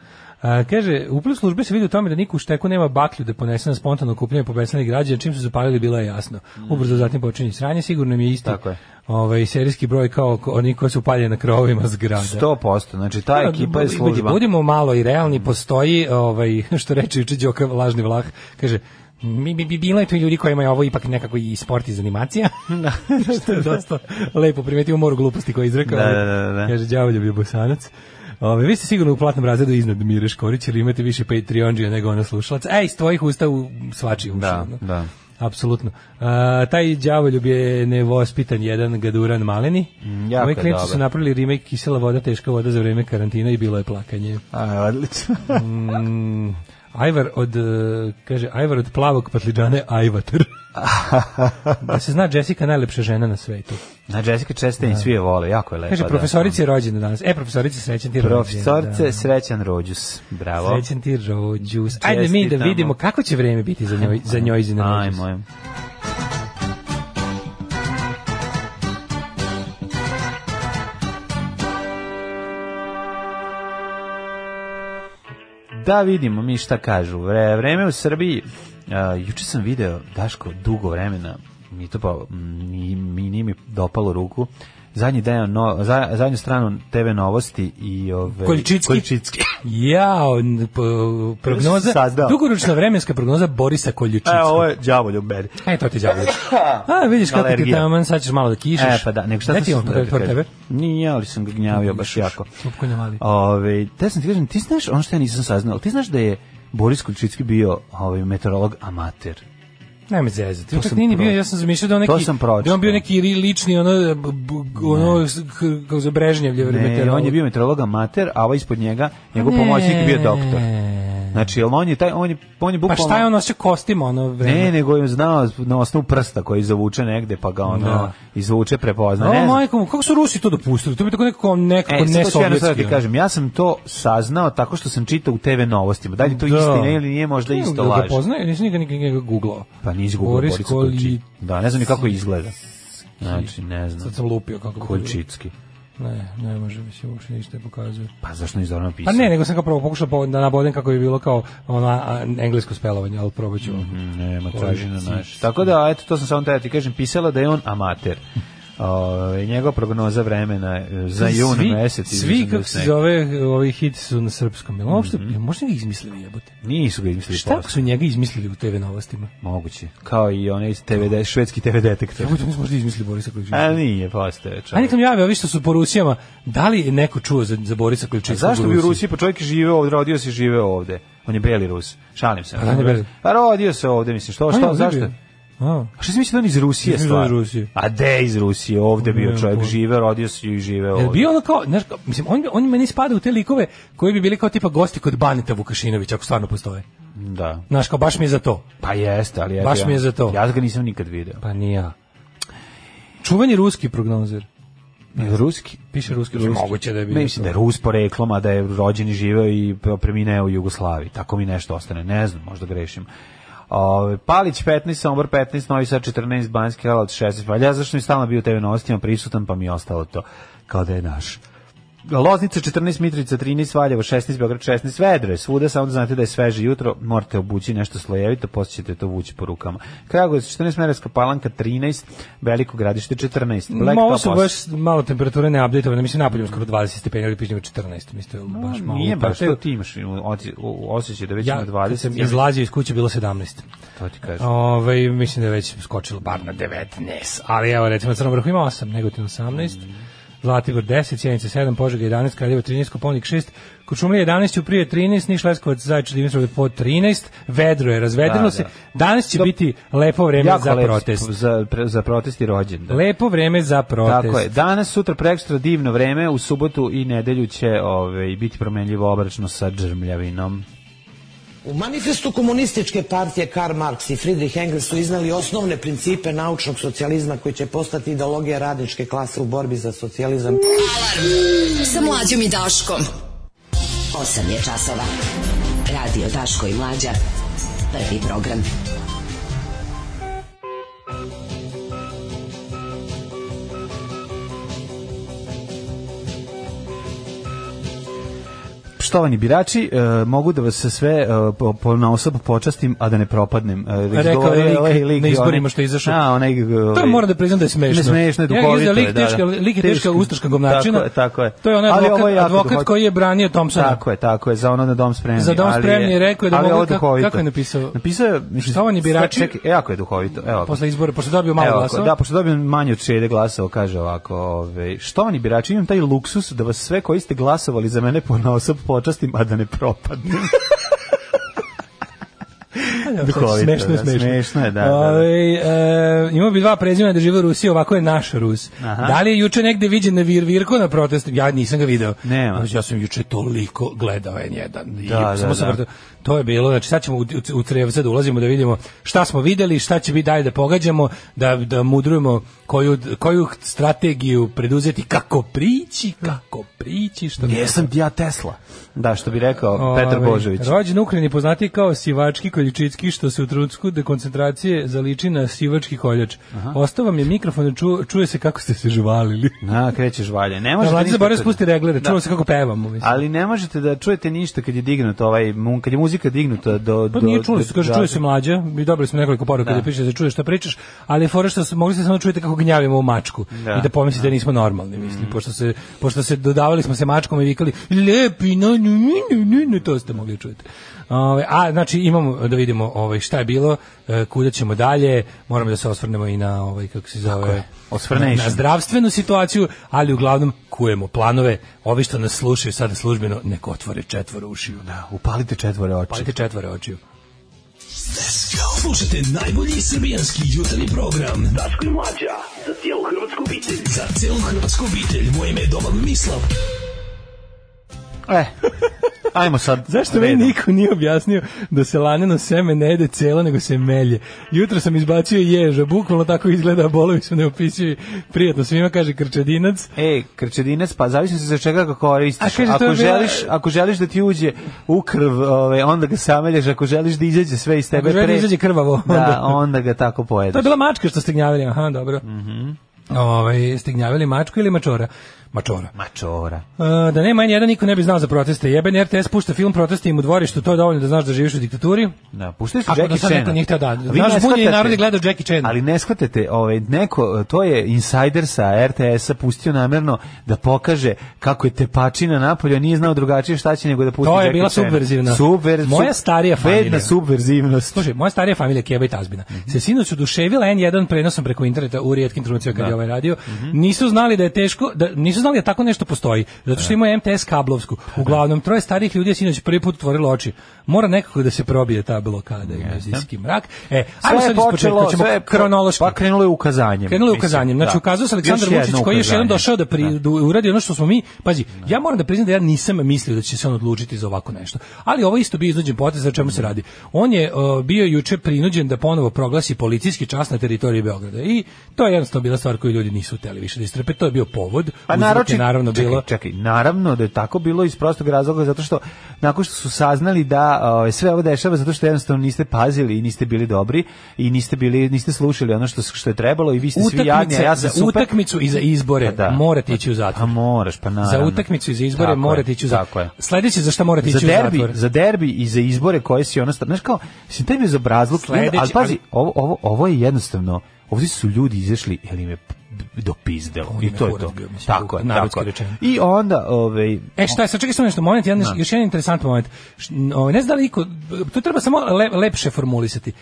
[SPEAKER 7] A, kaže, u plus službe se vidi u tome da niko u šteku nema baklju da ponese na spontano kupljenje pobesanih građana, čim su zapalili bilo je jasno. Ubrzo zatim počinje sranje, sigurno im je isti
[SPEAKER 6] Mm. Tako je.
[SPEAKER 7] ovaj, serijski broj kao ko- oni koji su upaljeni na krovovima zgrada.
[SPEAKER 6] 100%, znači ta
[SPEAKER 7] Da,
[SPEAKER 6] ekipa je
[SPEAKER 7] budi-
[SPEAKER 6] služba.
[SPEAKER 7] Budimo malo i realni, postoji, ovaj, što reče juče Đoka, lažni vlah, kaže, mi bi bi bilo je tu i ljudi koji imaju ovo ipak nekako i sport iz animacija. što je dosta lepo primetio moru gluposti koje je izrekao.
[SPEAKER 6] Da, da, da, da.
[SPEAKER 7] Kaže, đavoljub je bosanac. Ove, vi ste sigurno u platnom razredu iznad E, Mire Škorić, jer imate više Patreonđija nego ona slušalac. Ej, iz tvojih usta u svačiji uši.
[SPEAKER 6] Da,
[SPEAKER 7] ono.
[SPEAKER 6] da.
[SPEAKER 7] Apsolutno. A, taj đavoljub je nevospitan jedan Gaduran Maleni.
[SPEAKER 6] jako
[SPEAKER 7] Moji
[SPEAKER 6] je
[SPEAKER 7] klijenti
[SPEAKER 6] dobar.
[SPEAKER 7] su napravili remake Kisela voda, teška voda za vreme karantina i bilo je plakanje.
[SPEAKER 6] A, odlično. Mm.
[SPEAKER 7] Ajvar od, e, kaže, Ajvar od plavog patliđane Ajvatar. da se zna Jessica najlepša žena na svetu.
[SPEAKER 6] Na Znači, Jessica Chastain svi je vole, jako je lepa.
[SPEAKER 7] Kaže,
[SPEAKER 6] E, pa da.
[SPEAKER 7] profesorici je rođena danas. E, profesorici, srećan ti rođendan.
[SPEAKER 6] Profesorce, srećan rođus. Bravo.
[SPEAKER 7] Srećan ti rođus. Ajde mi da
[SPEAKER 6] Čestitamo.
[SPEAKER 7] vidimo kako će vreme biti za njoj, za njoj i za njoj.
[SPEAKER 6] Ajmo. Da vidimo mi šta kažu. Vre, vreme u Srbiji, uh, juče sam video, Daško, dugo vremena, mi to pa, mi, mi nije mi dopalo ruku, zadnji deo, no, za, zadnju stranu TV novosti i ove...
[SPEAKER 7] Količicki.
[SPEAKER 6] Količicki.
[SPEAKER 7] Jao, n- p- prognoza,
[SPEAKER 6] Saznao.
[SPEAKER 7] dugoročna vremeska prognoza Borisa Koljučinskog.
[SPEAKER 6] E,
[SPEAKER 7] E,
[SPEAKER 6] ovo je đavolj u meni.
[SPEAKER 7] to ti djavo. A, vidiš kako ti
[SPEAKER 6] Pa, Alergija.
[SPEAKER 7] taman, sad ćeš malo da kišiš.
[SPEAKER 6] E, pa da, nego šta
[SPEAKER 7] Gde
[SPEAKER 6] sam
[SPEAKER 7] ti je on
[SPEAKER 6] sad
[SPEAKER 7] pored
[SPEAKER 6] da
[SPEAKER 7] pored
[SPEAKER 6] kažem?
[SPEAKER 7] tebe?
[SPEAKER 6] Nije, ali sam ga gnjavio baš jako.
[SPEAKER 7] Čupkonja mali.
[SPEAKER 6] Ove, te sam ti kažem, ti znaš, ono što ja nisam saznao, ali ti znaš da je Boris Kuličicki bio ovaj, meteorolog amater.
[SPEAKER 7] Ne me zezati. To
[SPEAKER 6] sam
[SPEAKER 7] nije ni bio,
[SPEAKER 6] pročitao.
[SPEAKER 7] ja sam zamišljao da on neki,
[SPEAKER 6] To sam pročitao.
[SPEAKER 7] da on bio neki ri- lični, ono, b- b- ono, s- k- kao za Brežnjevlje vreme.
[SPEAKER 6] Ne, on je bio meteorolog amater, a ovaj ispod njega, njegov pomoćnik je bio doktor. Znači, jel on je taj, on je, on je
[SPEAKER 7] Pa
[SPEAKER 6] bukvalno...
[SPEAKER 7] šta je on nosio kostima, ono vreme?
[SPEAKER 6] Ne, nego je znao na osnovu prsta koji zavuče negde, pa ga ono
[SPEAKER 7] Da.
[SPEAKER 6] izvuče, prepozna.
[SPEAKER 7] Ovo
[SPEAKER 6] Ne znam.
[SPEAKER 7] majkom, kako su Rusi to dopustili? To bi tako nekako
[SPEAKER 6] E,
[SPEAKER 7] nekako ono.
[SPEAKER 6] sad
[SPEAKER 7] ne
[SPEAKER 6] to ću jednu stvar da
[SPEAKER 7] sovjetski.
[SPEAKER 6] ti kažem, ja sam to saznao tako što sam čitao u TV novostima. Da li je to
[SPEAKER 7] Da.
[SPEAKER 6] istina ili nije možda isto
[SPEAKER 7] Jel
[SPEAKER 6] laž?
[SPEAKER 7] Ga poznaju, nisam nikad nikad njega googlao.
[SPEAKER 6] Pa nisi gubio
[SPEAKER 7] Boris
[SPEAKER 6] Boris Kolči.
[SPEAKER 7] Kolji-
[SPEAKER 6] Da, ne znam ni kako izgleda. Znači, ne znam.
[SPEAKER 7] Sad sam lupio kako bi
[SPEAKER 6] Kolčicki.
[SPEAKER 7] bilo. Ne, ne može mi se uopšte ništa pokazuje.
[SPEAKER 6] Pa zašto nisi dobro
[SPEAKER 7] Pa
[SPEAKER 6] napisao?
[SPEAKER 7] ne, nego sam kao prvo pokušao po- da nabodem kako bi bilo kao ono a, englesko spelovanje, ali probat ću.
[SPEAKER 6] Mhm, Nema
[SPEAKER 7] Kolčić.
[SPEAKER 6] tražina naš. Tako da, eto, to sam samo treba ti kažem, pisala da je on amater. Ove, njegova prognoza vremena e, za jun
[SPEAKER 7] svi,
[SPEAKER 6] mesec. i
[SPEAKER 7] Svi,
[SPEAKER 6] za
[SPEAKER 7] kako se
[SPEAKER 6] sneg.
[SPEAKER 7] zove, ovi hiti su na srpskom. Jel uopšte,
[SPEAKER 6] Mhm.
[SPEAKER 7] možda ga izmislili jebote?
[SPEAKER 6] Nisu ga izmislili
[SPEAKER 7] Šta ako
[SPEAKER 6] posle.
[SPEAKER 7] su njega izmislili u TV novostima?
[SPEAKER 6] Moguće. Kao i onaj iz TV, de- švedski TV detektor.
[SPEAKER 7] Jebote, oni su možda izmislili Borisa Kojičina.
[SPEAKER 6] A nije, postoje
[SPEAKER 7] Ajde
[SPEAKER 6] čovjek.
[SPEAKER 7] nek nam jave, ovi što su po Rusijama, da li je neko čuo za, za Borisa Ključinskog
[SPEAKER 6] Zašto bi u Rusiji? Pa čovjek je živeo ovde, rodio se i živeo ovde. On je beli Rus. Šalim se.
[SPEAKER 7] on je beli.
[SPEAKER 6] Pa rodio se ovde, mislim. Što,
[SPEAKER 7] On je
[SPEAKER 6] što,
[SPEAKER 7] ovde
[SPEAKER 6] zašto?
[SPEAKER 7] bio. A,
[SPEAKER 6] A šta si mislio da on iz Rusije
[SPEAKER 7] Mislim da
[SPEAKER 6] stvar?
[SPEAKER 7] je iz Rusije.
[SPEAKER 6] A de iz Rusije, ovde bio
[SPEAKER 7] Ne,
[SPEAKER 6] čovjek,
[SPEAKER 7] pa-
[SPEAKER 6] žive, rodio se i žive ovde.
[SPEAKER 7] Jel bio ono kao, znaš, kao- mislim, on, on meni spada u te likove koji bi bili kao tipa gosti kod Baneta Vukašinovića, ako stvarno postoje.
[SPEAKER 6] Da.
[SPEAKER 7] Znaš, kao baš mi je za to.
[SPEAKER 6] Pa jeste, ali eto
[SPEAKER 7] Baš
[SPEAKER 6] ja-
[SPEAKER 7] mi je za to.
[SPEAKER 6] Ja ga nisam nikad video.
[SPEAKER 7] Pa nije ja. Čuveni ruski prognozer.
[SPEAKER 6] Je ruski?
[SPEAKER 7] Piše ruski, ruski. moguće da je bilo.
[SPEAKER 6] Mislim da je Rus poreklom, a da je rođen i živeo i premineo u Jugoslaviji. Tako mi nešto ostane. Ne znam, možda grešim. Ove, Palić 15, Sombor 15, Novi Sad 14, Banjski Karlovac 16. Pa ja zašto mi stalno bio u TV novostima prisutan, pa mi je ostalo to kao da je naš. Loznica 14, Mitrovica 13, Valjevo 16, Beograd 16, vedro je svuda, samo da znate da je sveže jutro, morate obući nešto slojevito, poslije ćete to vući po rukama. Kragovic 14, Merevska palanka 13, Veliko gradište 14,
[SPEAKER 7] Ma, ovo su
[SPEAKER 6] Blacktop
[SPEAKER 7] baš malo temperature neupdateovane, mislim napoljem skoro 20 stepeni, ali pišnjima 14, mislim to je baš malo.
[SPEAKER 6] Nije baš
[SPEAKER 7] upate-
[SPEAKER 6] to pa ti imaš u- oci- u- osjećaj da već
[SPEAKER 7] Ja,
[SPEAKER 6] ima
[SPEAKER 7] kad
[SPEAKER 6] 20.
[SPEAKER 7] sam
[SPEAKER 6] ja-
[SPEAKER 7] izlazio iz kuće, bilo 17.
[SPEAKER 6] To ti kažem.
[SPEAKER 7] Ove, Ovaj, mislim da je već skočilo bar na 19, ali evo recimo na Crnom vrhu ima 8, Negotin 18, Zlatibor 10, Sjenica 7, Požega 11, Kraljevo 13, Koponik 6, Kočumlija 11, Uprije 13, Niš Leskovac, Zajče, Dimitrov po 13, vedro je, razvedrilo
[SPEAKER 6] Da,
[SPEAKER 7] se,
[SPEAKER 6] da.
[SPEAKER 7] danas će
[SPEAKER 6] Do-
[SPEAKER 7] biti lepo vreme
[SPEAKER 6] Jako
[SPEAKER 7] za
[SPEAKER 6] lep
[SPEAKER 7] protest.
[SPEAKER 6] sp- Za, pre- za protest i rođen.
[SPEAKER 7] Lepo vreme za protest.
[SPEAKER 6] Tako je. Danas, sutra, prekstra divno vreme, u subotu i nedelju će ove, biti promenljivo obračno sa džrmljavinom.
[SPEAKER 9] U manifestu komunističke partije Karl Marx i Friedrich Engels su iznali osnovne principe naučnog socijalizma koji će postati ideologija radničke klase u borbi za socijalizam.
[SPEAKER 8] Sa mlađom i Daškom. 8 je časova. Radio Daško i Mlađa. Prvi program.
[SPEAKER 6] Štovani birači, e, mogu da vas sve e, po, po, na osobu počastim, a da ne propadnem. E, već
[SPEAKER 7] Rekao je
[SPEAKER 6] govorio
[SPEAKER 7] lik
[SPEAKER 6] ovaj
[SPEAKER 7] na izborima
[SPEAKER 6] onaj-
[SPEAKER 7] što je izašao.
[SPEAKER 6] A, onaj,
[SPEAKER 7] To
[SPEAKER 6] ovaj-
[SPEAKER 7] je, moram da priznam da je smešno.
[SPEAKER 6] Ne, smešno je,
[SPEAKER 7] Ja ga
[SPEAKER 6] duhovito
[SPEAKER 7] izgleda
[SPEAKER 6] je,
[SPEAKER 7] lik
[SPEAKER 6] da, da.
[SPEAKER 7] teška, lik je teška
[SPEAKER 6] Teško.
[SPEAKER 7] ustaška govnačina.
[SPEAKER 6] Tako je, tako je.
[SPEAKER 7] To je onaj
[SPEAKER 6] Ali ovo
[SPEAKER 7] advokat,
[SPEAKER 6] je jako
[SPEAKER 7] advokat
[SPEAKER 6] duhovito.
[SPEAKER 7] koji je branio Thompsona.
[SPEAKER 6] Tako je, tako je, za ono na dom spremni.
[SPEAKER 7] Za dom
[SPEAKER 6] ali
[SPEAKER 7] spremni je rekao je da
[SPEAKER 6] ali
[SPEAKER 7] mogu-
[SPEAKER 6] ovo je
[SPEAKER 7] kako-
[SPEAKER 6] duhovito.
[SPEAKER 7] kako je napisao?
[SPEAKER 6] Napisao je, mislim,
[SPEAKER 7] Štovani birači-
[SPEAKER 6] Čekaj, e, jako je duhovito. Evo. ga.
[SPEAKER 7] Posle izbora, pošto je dobio malo
[SPEAKER 6] Evo,
[SPEAKER 7] glasova.
[SPEAKER 6] Da, pošto dobijem manje od šede glasova, kaže ovako, ovaj, štovani birači, imam taj luksus da vas sve koji ste glasovali za mene po osob počastim, a da ne propadnem.
[SPEAKER 7] ja,
[SPEAKER 6] Duhovito,
[SPEAKER 7] smešno je
[SPEAKER 6] da,
[SPEAKER 7] smešno.
[SPEAKER 6] smešno je, da, da, da.
[SPEAKER 7] Ovaj, e, imao bi dva prezimena da žive u Rusiji, ovako je naš Rus.
[SPEAKER 6] Aha.
[SPEAKER 7] Da li je juče negde viđen na Vir Virko na protestu? Ja nisam ga video.
[SPEAKER 6] Nema.
[SPEAKER 7] Znači, Ja sam juče toliko gledao N1. I
[SPEAKER 6] Da,
[SPEAKER 7] samo
[SPEAKER 6] da,
[SPEAKER 7] sam
[SPEAKER 6] da.
[SPEAKER 7] vrtao. To je bilo, znači sad ćemo u, u, u Trevce da ulazimo da vidimo šta smo videli, šta će biti dalje da pogađamo, da, da mudrujemo koju, koju strategiju preduzeti, kako prići, kako prići, što
[SPEAKER 6] Jesam ti ja Tesla. Da, što bi rekao Petar
[SPEAKER 7] Ovaj,
[SPEAKER 6] Božović.
[SPEAKER 7] Rođen u Ukrajini poznati kao sivački koljičicki, što se u trenutku dekoncentracije zaliči na sivački koljač. Ostao vam je mikrofon, ču, čuje se kako ste se žvalili.
[SPEAKER 6] Na, krećeš valje. Ne
[SPEAKER 7] Da,
[SPEAKER 6] možete
[SPEAKER 7] Vlada
[SPEAKER 6] ništa
[SPEAKER 7] zaboravio
[SPEAKER 6] kad-
[SPEAKER 7] spusti reglere,
[SPEAKER 6] Da.
[SPEAKER 7] čuo se kako pevamo. Mislim.
[SPEAKER 6] Ali ne možete da čujete ništa kad je dignut ovaj, mu- kad je muzika dignuta do...
[SPEAKER 7] Pa
[SPEAKER 6] do-
[SPEAKER 7] nije čuli,
[SPEAKER 6] do-
[SPEAKER 7] se kaže
[SPEAKER 6] da.
[SPEAKER 7] čuje se mlađa, i dobili smo nekoliko poruka
[SPEAKER 6] Da.
[SPEAKER 7] da, piše da se čuje šta pričaš, ali je fora što se- mogli ste samo čujete kako gnjavimo u mačku
[SPEAKER 6] Da. Mm.
[SPEAKER 7] i da pomislite da. nismo normalni, mislim, pošto se pošto se dodavali smo se mačkom i vikali lepi no no no no no to ste mogli čuti. Ove, a znači imamo da vidimo ovaj šta je bilo, e, kuda ćemo dalje, moramo da se osvrnemo i na ovaj kako se zove
[SPEAKER 6] Osvrneš.
[SPEAKER 7] na, na zdravstvenu situaciju, ali uglavnom kujemo planove, ovi što nas slušaju sada službeno, nek otvore četvor ušiju. Da,
[SPEAKER 6] Upalite četvore oči.
[SPEAKER 7] palite četvore očiju.
[SPEAKER 6] E, ajmo sad.
[SPEAKER 7] Zašto meni
[SPEAKER 6] redom.
[SPEAKER 7] niko nije objasnio da se laneno seme ne jede celo, nego se melje? Jutro sam izbacio ježa, bukvalno tako izgleda, a bolovi su neopisivi. Prijatno svima, kaže Krčedinac.
[SPEAKER 6] E, krčedinac, pa zavisno se za čega ga koristiš.
[SPEAKER 7] A kaže,
[SPEAKER 6] ako,
[SPEAKER 7] to je bila-
[SPEAKER 6] želiš, ako želiš da ti uđe u krv, ove, onda ga samelješ, ako želiš da izađe sve iz tebe
[SPEAKER 7] Ako želiš da
[SPEAKER 6] pre...
[SPEAKER 7] izađe krvavo,
[SPEAKER 6] Da,
[SPEAKER 7] onda.
[SPEAKER 6] onda ga tako pojedeš.
[SPEAKER 7] To je bila mačka što ste gnjavili, aha, dobro. Mm
[SPEAKER 6] Mhm.
[SPEAKER 7] Ovaj, ste gnjavili mačku ili mačora? Mačora.
[SPEAKER 6] Mačora.
[SPEAKER 7] E, da nema N1, niko ne bi znao za proteste. Jeben RTS pušta film proteste im u dvorištu, to je dovoljno da znaš da živiš u diktaturi.
[SPEAKER 6] Da, puštali su
[SPEAKER 7] Ako do
[SPEAKER 6] Jackie
[SPEAKER 7] sad neko
[SPEAKER 6] Chan.
[SPEAKER 7] nije htio da- Znaš, bunjeni narod je gledao Jackie Chan.
[SPEAKER 6] Ali ne shvatate, ovaj, neko, to je insider sa RTS-a pustio namerno da pokaže kako je tepačina napolje, nije znao drugačije šta će nego da pusti
[SPEAKER 7] To je
[SPEAKER 6] Jackie
[SPEAKER 7] bila
[SPEAKER 6] Chana.
[SPEAKER 7] subverzivna.
[SPEAKER 6] Subver,
[SPEAKER 7] Moja starija familija.
[SPEAKER 6] Bedna subverzivnost.
[SPEAKER 7] Slušaj, moja starija familija Keba i Tazbina se sinoć oduševila N1 prenosom preko interneta u rijetkim trenucima kad je ovaj radio.
[SPEAKER 6] Mhm.
[SPEAKER 7] Nisu znali da je teško, da, nisu znali da tako nešto postoji, zato što ima MTS kablovsku. Uglavnom, troje starih ljudi je sinoć prvi put otvorilo oči. Mora nekako da se probije ta blokada i medijski mrak. E, ajmo sad ispočetka, ćemo
[SPEAKER 6] sve je po-
[SPEAKER 7] kronološki.
[SPEAKER 6] Pa krenulo je ukazanjem.
[SPEAKER 7] Krenulo je
[SPEAKER 6] mislim,
[SPEAKER 7] ukazanjem. Znači,
[SPEAKER 6] da.
[SPEAKER 7] ukazao se Aleksandar
[SPEAKER 6] Još jedno
[SPEAKER 7] Vučić koji je još jednom
[SPEAKER 6] ukazanje.
[SPEAKER 7] došao da, pri, da uradi ono što smo mi... Pazi, ja moram da priznam da ja nisam mislio da će se on odlučiti za ovako nešto. Ali ovo je isto bio iznuđen potez za čemu se radi. On je uh, bio juče prinuđen da ponovo proglasi policijski čas na teritoriji Beograda. I to je jednostavno bila stvar koju ljudi nisu hteli više da istrpe. To je bio povod.
[SPEAKER 6] Pa
[SPEAKER 7] Uzrok
[SPEAKER 6] naročito,
[SPEAKER 7] je naravno
[SPEAKER 6] čekaj,
[SPEAKER 7] bilo...
[SPEAKER 6] Čekaj, naravno da je tako bilo iz prostog razloga zato što nakon što su saznali da ovaj, sve ovo dešava zato što jednostavno niste pazili i niste bili dobri i niste bili niste slušali ono što što je trebalo i vi ste svi jadni, a
[SPEAKER 7] Utakmice,
[SPEAKER 6] ja
[SPEAKER 7] za
[SPEAKER 6] sam super.
[SPEAKER 7] utakmicu i za izbore
[SPEAKER 6] Pa da.
[SPEAKER 7] morate ići u zatvor.
[SPEAKER 6] A moraš, pa naravno.
[SPEAKER 7] za utakmicu i za izbore
[SPEAKER 6] Tako je,
[SPEAKER 7] morate ići u
[SPEAKER 6] Tako
[SPEAKER 7] zatvor.
[SPEAKER 6] je.
[SPEAKER 7] Sledeće za šta morate ići
[SPEAKER 6] Za
[SPEAKER 7] u
[SPEAKER 6] derbi,
[SPEAKER 7] zatvor.
[SPEAKER 6] za derbi i za izbore koje si ono... Znaš kao, mislim, taj mi je za brazluk. i onda- ali
[SPEAKER 7] Sledeći,
[SPEAKER 6] pazi,
[SPEAKER 7] ali-
[SPEAKER 6] ovo, ovo, ovo je jednostavno... Ovdje su ljudi izašli, jer im je p- dopizdelo.
[SPEAKER 7] On
[SPEAKER 6] I
[SPEAKER 7] im je
[SPEAKER 6] to je
[SPEAKER 7] kurac
[SPEAKER 6] to.
[SPEAKER 7] bio, mislim,
[SPEAKER 6] Tako je,
[SPEAKER 7] narodski
[SPEAKER 6] tako je.
[SPEAKER 7] rečeno.
[SPEAKER 6] I onda, ovaj,
[SPEAKER 7] E šta je, sad čekaj samo nešto, moment, jedan, još jedan interesantan moment. Š- n- ovaj, Ne znam da li iko, tu treba samo le, lepše formulisati.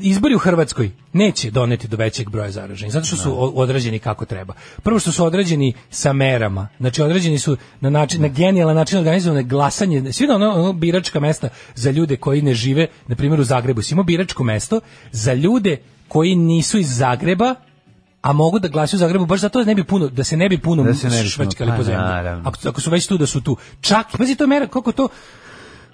[SPEAKER 7] Izbori u Hrvatskoj neće doneti do većeg broja zaraženih, zato što su o- odrađeni kako treba. Prvo što su odrađeni sa merama, znači odrađeni su na, način, na genijalan način organizovane glasanje, svi da ono, ono biračka mesta za ljude koji ne žive, na primjer u Zagrebu, si imao biračko mesto za ljude koji nisu iz Zagreba, a mogu da glasaju u Zagrebu baš zato da ne bi puno da se ne bi puno
[SPEAKER 6] Da se ne bi puno-
[SPEAKER 7] švrćkali po
[SPEAKER 6] pa,
[SPEAKER 7] zemlji.
[SPEAKER 6] naravno.
[SPEAKER 7] Ako, ako su već tu da su tu. Čak, pazi to je mera koliko to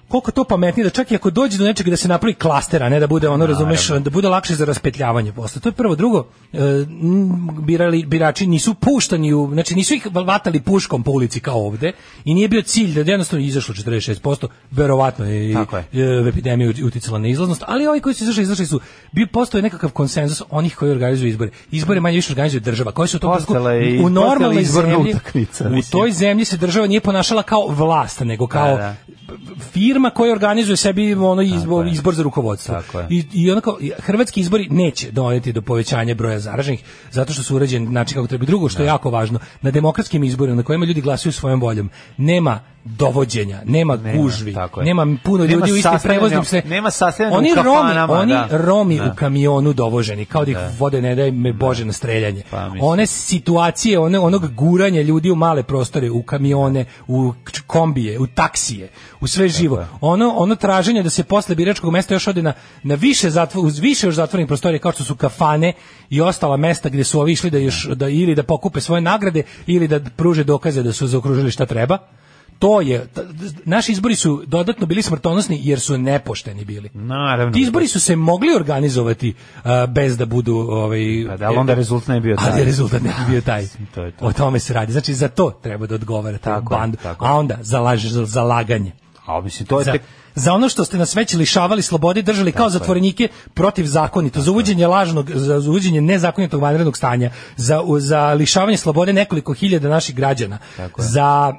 [SPEAKER 7] koliko to pametnije da čak i ako dođe do nečega da se napravi klaster, a ne da bude ono, razumeš, da bude lakše za raspetljavanje posle. To je prvo. Drugo, e, m, birali, birači nisu puštani, u, znači nisu ih vatali puškom po ulici kao ovde i nije bio cilj da je jednostavno izašlo 46%, verovatno je i
[SPEAKER 6] Tako je.
[SPEAKER 7] e, u epidemiju uticala na izlaznost, ali ovi koji su izašli, izašli su, bio postoje nekakav konsenzus onih koji organizuju izbore. Izbore manje više organizuje država. Koje su u tom trenutku-
[SPEAKER 6] Postala je i-
[SPEAKER 7] u
[SPEAKER 6] postala je
[SPEAKER 7] normalnoj
[SPEAKER 6] izborna
[SPEAKER 7] zemlji,
[SPEAKER 6] utakmica,
[SPEAKER 7] u
[SPEAKER 6] mislim.
[SPEAKER 7] toj zemlji se država nije ponašala kao vlast, nego kao
[SPEAKER 6] da.
[SPEAKER 7] firma koja organizuje sebi ono izbor,
[SPEAKER 6] je.
[SPEAKER 7] izbor za rukovodstvo.
[SPEAKER 6] Tako je.
[SPEAKER 7] I, i onako, hrvatski izbori neće doneti do povećanja broja zaraženih, zato što su znači, uređeni način kako treba. Drugo što je jako važno, na demokratskim izborima na kojima ljudi glasuju svojom voljom, nema dovođenja, nema,
[SPEAKER 6] Nema,
[SPEAKER 7] gužvi,
[SPEAKER 6] tako je.
[SPEAKER 7] nema puno
[SPEAKER 6] Nema
[SPEAKER 7] ljudi u istim
[SPEAKER 6] sastajanja,
[SPEAKER 7] prevoznim se.
[SPEAKER 6] nema sastajanja
[SPEAKER 7] oni
[SPEAKER 6] u kafanama,
[SPEAKER 7] Romi, oni
[SPEAKER 6] da.
[SPEAKER 7] Romi
[SPEAKER 6] Da.
[SPEAKER 7] u kamionu dovoženi, kao da ih vode ne daj me Bože na streljanje.
[SPEAKER 6] Pa, mislim.
[SPEAKER 7] one situacije, one, onog guranja ljudi u male prostore, u kamione, u k- kombije, u taksije, u sve živo. Ono, ono traženje da se posle biračkog mesta još ode na, na više, zatvo, uz više još zatvorenih prostorija, kao što su kafane i ostala mesta gdje su ovi išli da, još, da ili da pokupe svoje nagrade ili da pruže dokaze da su zaokružili šta treba. To je, t- naši izbori su dodatno bili smrtonosni jer su nepošteni bili.
[SPEAKER 6] Naravno.
[SPEAKER 7] Ti izbori su se mogli organizovati a, bez da budu ovaj
[SPEAKER 6] Pa da, ali onda rezultat ne bi bio taj.
[SPEAKER 7] Ali rezultat ne bi bio taj.
[SPEAKER 6] to je to.
[SPEAKER 7] O tome se radi. Znači za to treba da odgovara taj
[SPEAKER 6] Tako je,
[SPEAKER 7] bandu.
[SPEAKER 6] tako je.
[SPEAKER 7] A onda za laž, za, za laganje.
[SPEAKER 6] A mislim, to je
[SPEAKER 7] Za,
[SPEAKER 6] tek...
[SPEAKER 7] za ono što ste nas već lišavali slobode, i držali kao zatvorenike protiv zakonito, za uvođenje lažnog, za za uvođenje nezakonitog vanrednog stanja, za, u- za lišavanje slobode nekoliko hiljada naših građana, za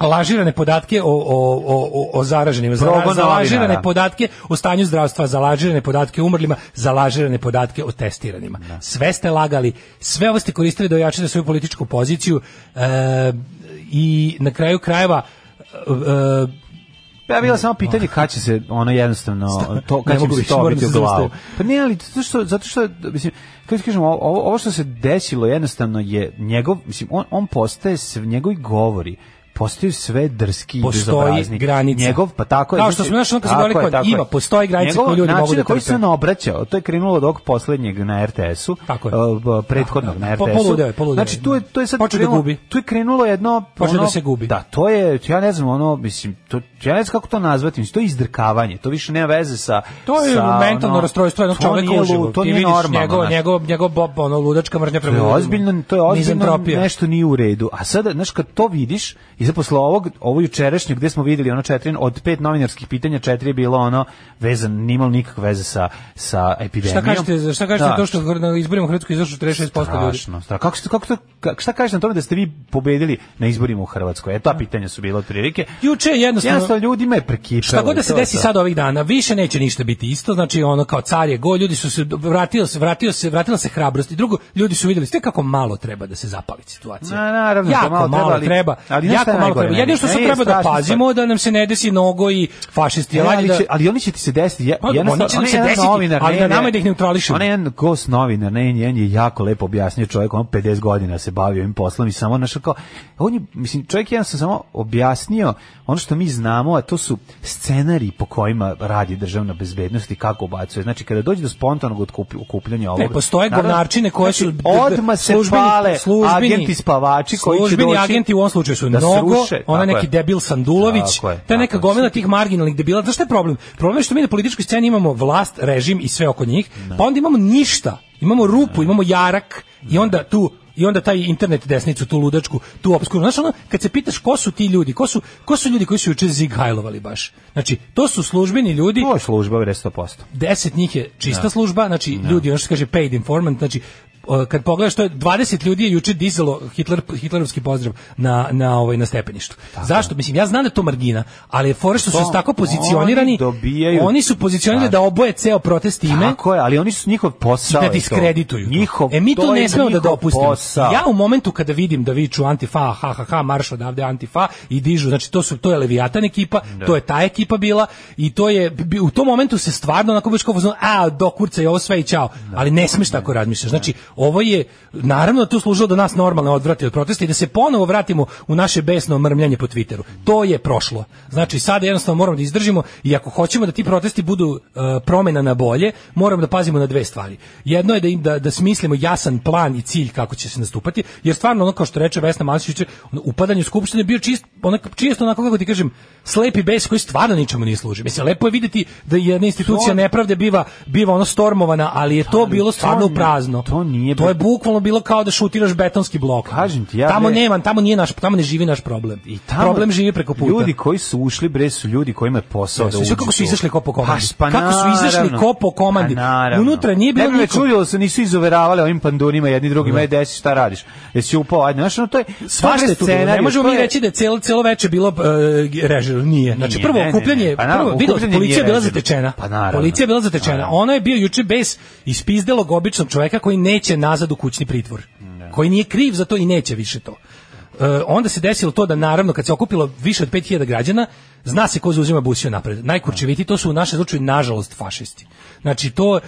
[SPEAKER 7] lažirane podatke o, o, o, o, o zaraženima, za,
[SPEAKER 6] Progon
[SPEAKER 7] za lažirane
[SPEAKER 6] novinara.
[SPEAKER 7] podatke o stanju zdravstva, za lažirane podatke o umrlima, za lažirane podatke o testiranima. Sve ste lagali, sve ovo ste koristili da ojačate svoju političku poziciju e, i na kraju krajeva e, e,
[SPEAKER 6] Pa Ja bilo samo pitanje kad će se ono jednostavno to
[SPEAKER 7] ne
[SPEAKER 6] kad će
[SPEAKER 7] mogu
[SPEAKER 6] mi se
[SPEAKER 7] više,
[SPEAKER 6] to
[SPEAKER 7] moram
[SPEAKER 6] biti u
[SPEAKER 7] se
[SPEAKER 6] glavu.
[SPEAKER 7] zaustaviti.
[SPEAKER 6] Pa ne, ali zato što zato što mislim kako ti kažem ovo, ovo što se desilo jednostavno je njegov mislim on on postaje s- njegovi govori postaju sve drski i
[SPEAKER 7] Postoji
[SPEAKER 6] bezobrazni.
[SPEAKER 7] granica.
[SPEAKER 6] Njegov, pa tako je.
[SPEAKER 7] Kao što smo, znaš, ono kad smo
[SPEAKER 6] Tako
[SPEAKER 7] govorili
[SPEAKER 6] je,
[SPEAKER 7] kod
[SPEAKER 6] tako
[SPEAKER 7] Ima,
[SPEAKER 6] je.
[SPEAKER 7] postoji granica
[SPEAKER 6] Njegov
[SPEAKER 7] koju ljudi
[SPEAKER 6] način
[SPEAKER 7] mogu da
[SPEAKER 6] na koji se
[SPEAKER 7] trpe.
[SPEAKER 6] on obraćao, to je krenulo od ovog poslednjeg na RTS-u,
[SPEAKER 7] Tako je.
[SPEAKER 6] uh, prethodnog na
[SPEAKER 7] Po-
[SPEAKER 6] RTS-u.
[SPEAKER 7] poludeo je, poludeo je.
[SPEAKER 6] Znači, tu je, to je sad
[SPEAKER 7] Počeo da
[SPEAKER 6] krenulo,
[SPEAKER 7] gubi.
[SPEAKER 6] tu je krenulo jedno...
[SPEAKER 7] Počeo
[SPEAKER 6] ono-
[SPEAKER 7] da se gubi.
[SPEAKER 6] Da, a to je, ja ne znam, ono, mislim, to, ja ne znam kako to nazvati, mislim, to je izdrkavanje, to više nema veze sa...
[SPEAKER 7] To je
[SPEAKER 6] sa,
[SPEAKER 7] mentalno
[SPEAKER 6] ono,
[SPEAKER 7] rastrojstvo jednog
[SPEAKER 6] to
[SPEAKER 7] čoveka
[SPEAKER 6] nije lu-
[SPEAKER 7] uživo.
[SPEAKER 6] To
[SPEAKER 7] Ti
[SPEAKER 6] nije
[SPEAKER 7] vidiš
[SPEAKER 6] normalno.
[SPEAKER 7] Njegov,
[SPEAKER 6] znaš.
[SPEAKER 7] njegov, njegov bob, ono, ludačka mržnja prema
[SPEAKER 6] To je
[SPEAKER 7] ljudima.
[SPEAKER 6] ozbiljno, to je ozbiljno
[SPEAKER 7] Mizantropija.
[SPEAKER 6] nešto nije u redu. A sada, znaš, kad to vidiš, i za posle ovog, ovo jučerašnje, gde smo vidjeli ono četiri, od pet novinarskih pitanja, četiri je bilo ono vezan, nimalo nikakve veze sa, sa
[SPEAKER 7] Šta
[SPEAKER 6] epidemijom.
[SPEAKER 7] kažete, šta kažete
[SPEAKER 6] Da,
[SPEAKER 7] to što na izborima u Hrvatskoj izašlo 46% ljudi?
[SPEAKER 6] Strašno, strašno. Kako, ste- kako to, ka- šta kažete na tome da ste vi pobedili na izborima u Hrvatskoj? E, ta pitanja su bila otprilike.
[SPEAKER 7] Juče je jednostavno-
[SPEAKER 6] Jednostavno ljudima je prekipelo.
[SPEAKER 7] Šta god da
[SPEAKER 6] i
[SPEAKER 7] se
[SPEAKER 6] to je
[SPEAKER 7] desi
[SPEAKER 6] to.
[SPEAKER 7] sad ovih dana, više neće ništa biti isto, znači ono kao car je go, ljudi su se vratio se, vratio se, vratila se hrabrost i drugo, ljudi su vidjeli sve kako malo treba da se zapali situacija.
[SPEAKER 6] Na, naravno,
[SPEAKER 7] jako
[SPEAKER 6] to malo treba, ali- ali znaš
[SPEAKER 7] jako
[SPEAKER 6] šta je
[SPEAKER 7] malo
[SPEAKER 6] najgore,
[SPEAKER 7] treba.
[SPEAKER 6] meni?
[SPEAKER 7] Jedino što sad
[SPEAKER 6] Meni je
[SPEAKER 7] treba da
[SPEAKER 6] strašno
[SPEAKER 7] pazimo da nam se ne desi nogo i fašisti.
[SPEAKER 6] E,
[SPEAKER 7] jel, ajde
[SPEAKER 6] ali,
[SPEAKER 7] da-
[SPEAKER 6] će, ali oni će ti se desiti. Ja,
[SPEAKER 7] Pa, oni će
[SPEAKER 6] onaj
[SPEAKER 7] nam se
[SPEAKER 6] jedan
[SPEAKER 7] desiti,
[SPEAKER 6] novinar,
[SPEAKER 7] ali
[SPEAKER 6] ne,
[SPEAKER 7] na
[SPEAKER 6] ne,
[SPEAKER 7] nama je da ih neutrališemo.
[SPEAKER 6] Onaj jedan gost novinar, ne, njen je jako lepo objasnio čovjek, on 50 godina se bavio ovim poslom i samo našao kao, on je, mislim, čovjek jedan sam samo objasnio ono što mi znamo, a to su scenari po kojima radi državna bezbednost i kako ubacuje. Znači, kada dođe do spontanog otkupi- okupljanja ovog...
[SPEAKER 7] Ne, postoje
[SPEAKER 6] naravno,
[SPEAKER 7] govnarčine koje su
[SPEAKER 6] znači, odmah se pale agenti spavači koji će
[SPEAKER 7] službeni
[SPEAKER 6] doći
[SPEAKER 7] agenti u ovom slučaju su
[SPEAKER 6] da
[SPEAKER 7] Nogo,
[SPEAKER 6] sruše,
[SPEAKER 7] ona
[SPEAKER 6] tako
[SPEAKER 7] neki
[SPEAKER 6] je.
[SPEAKER 7] debil Sandulović,
[SPEAKER 6] Tako je,
[SPEAKER 7] ta neka
[SPEAKER 6] tako je.
[SPEAKER 7] gomila tih marginalnih debila. Znaš šta je problem? Problem je što mi na političkoj sceni imamo vlast, režim i sve oko njih, pa onda imamo ništa. Imamo rupu, imamo jarak i onda tu i onda taj internet desnicu, tu ludačku, tu obskurnu. Znaš, ono, kad se pitaš ko su ti ljudi, ko su, ko su ljudi koji su juče zighajlovali baš? Znači, to su službeni ljudi
[SPEAKER 6] To je služba, bre, 100%.
[SPEAKER 7] deset njih je čista služba, znači ljudi, ono što se kaže paid informant, znači o, kad pogledaš to je 20 ljudi je juče dizalo Hitler Hitlerovski pozdrav na na ovaj na stepeništu. Zašto? Mislim ja znam da je to margina, ali je fore što su
[SPEAKER 6] To
[SPEAKER 7] se tako pozicionirani.
[SPEAKER 6] oni dobijaju-
[SPEAKER 7] oni su pozicionirani da
[SPEAKER 6] Tako.
[SPEAKER 7] oboje ceo protest ime.
[SPEAKER 6] Tako je, ali oni su njihov posao.
[SPEAKER 7] da
[SPEAKER 6] je to.
[SPEAKER 7] diskredituju. to.
[SPEAKER 6] Njihov,
[SPEAKER 7] e mi to,
[SPEAKER 6] je
[SPEAKER 7] ne smemo da
[SPEAKER 6] njihov
[SPEAKER 7] dopustimo.
[SPEAKER 6] Posao.
[SPEAKER 7] Ja u momentu kada vidim da viču antifa, ha ha ha, marš odavde antifa i dižu, znači to su to je Leviatan ekipa, to je ta ekipa bila i to je bi- u tom momentu se stvarno onako baš kao fazon, a do kurca je ovo sve i čao. Ali ne smeš tako razmišljaš. Znači ovo je naravno to služilo da nas normalno odvrati od protesta i da se ponovo vratimo u naše besno mrmljanje po Twitteru. To je prošlo. Znači sad jednostavno moramo da izdržimo i ako hoćemo da ti protesti budu e, promena na bolje, moramo da pazimo na dve stvari. Jedno je da im da, da smislimo jasan plan i cilj kako će se nastupati, jer stvarno ono kao što reče Vesna Masić, ono, upadanje u skupštine je bio čist onak čisto onako kako ti kažem, slepi bes koji stvarno ničemu ne služi. Mislim lepo je videti da jedna institucija
[SPEAKER 6] To-
[SPEAKER 7] nepravde biva biva ono stormovana, ali je to
[SPEAKER 6] Ali to
[SPEAKER 7] bilo stvarno u
[SPEAKER 6] ne-
[SPEAKER 7] prazno.
[SPEAKER 6] to nije-
[SPEAKER 7] To je bukvalno bilo kao da šutiraš betonski blok.
[SPEAKER 6] Kažem ti, ja
[SPEAKER 7] tamo
[SPEAKER 6] bre-
[SPEAKER 7] nema, tamo nije naš, tamo ne živi naš problem.
[SPEAKER 6] I tamo
[SPEAKER 7] problem živi preko puta.
[SPEAKER 6] Ljudi koji su ušli bre su ljudi kojima je posao
[SPEAKER 7] Jesu,
[SPEAKER 6] da uđu.
[SPEAKER 7] sve kako su
[SPEAKER 6] tu.
[SPEAKER 7] izašli ko po komandi.
[SPEAKER 6] Pa, pa
[SPEAKER 7] Kako su izašli
[SPEAKER 6] naravno.
[SPEAKER 7] ko po komandi.
[SPEAKER 6] Pa, naravno.
[SPEAKER 7] Unutra nije bilo
[SPEAKER 6] ne bi me
[SPEAKER 7] niko.
[SPEAKER 6] čudilo da se nisu izoveravali ovim pandurima jedni drugima, ej desi šta radiš. Jesi upao, ajde, znaš, ono, to je
[SPEAKER 7] Svašta je tu bilo. Ne
[SPEAKER 6] scenarij,
[SPEAKER 7] možemo
[SPEAKER 6] to
[SPEAKER 7] mi
[SPEAKER 6] je-
[SPEAKER 7] reći da je celo, celo veče bilo uh, režir. Nije. Znači,
[SPEAKER 6] Nije,
[SPEAKER 7] prvo
[SPEAKER 6] ne, ne,
[SPEAKER 7] okupljanje,
[SPEAKER 6] ne. Pa naravno,
[SPEAKER 7] prvo, vidio,
[SPEAKER 6] okupljanje
[SPEAKER 7] policija
[SPEAKER 6] nije
[SPEAKER 7] je bila
[SPEAKER 6] režir.
[SPEAKER 7] zatečena.
[SPEAKER 6] Pa naravno.
[SPEAKER 7] Policija je bila zatečena.
[SPEAKER 6] Naravno.
[SPEAKER 7] Ona je bio juče bez ispizdelog običnog čoveka koji neće nazad u kućni pritvor. Koji nije kriv za to i neće više to. e, onda se desilo to da naravno kad se okupilo više od 5000 građana, zna se ko zauzima busiju napred. Najkurčeviti to su u našem slučaju nažalost fašisti. Znači to e,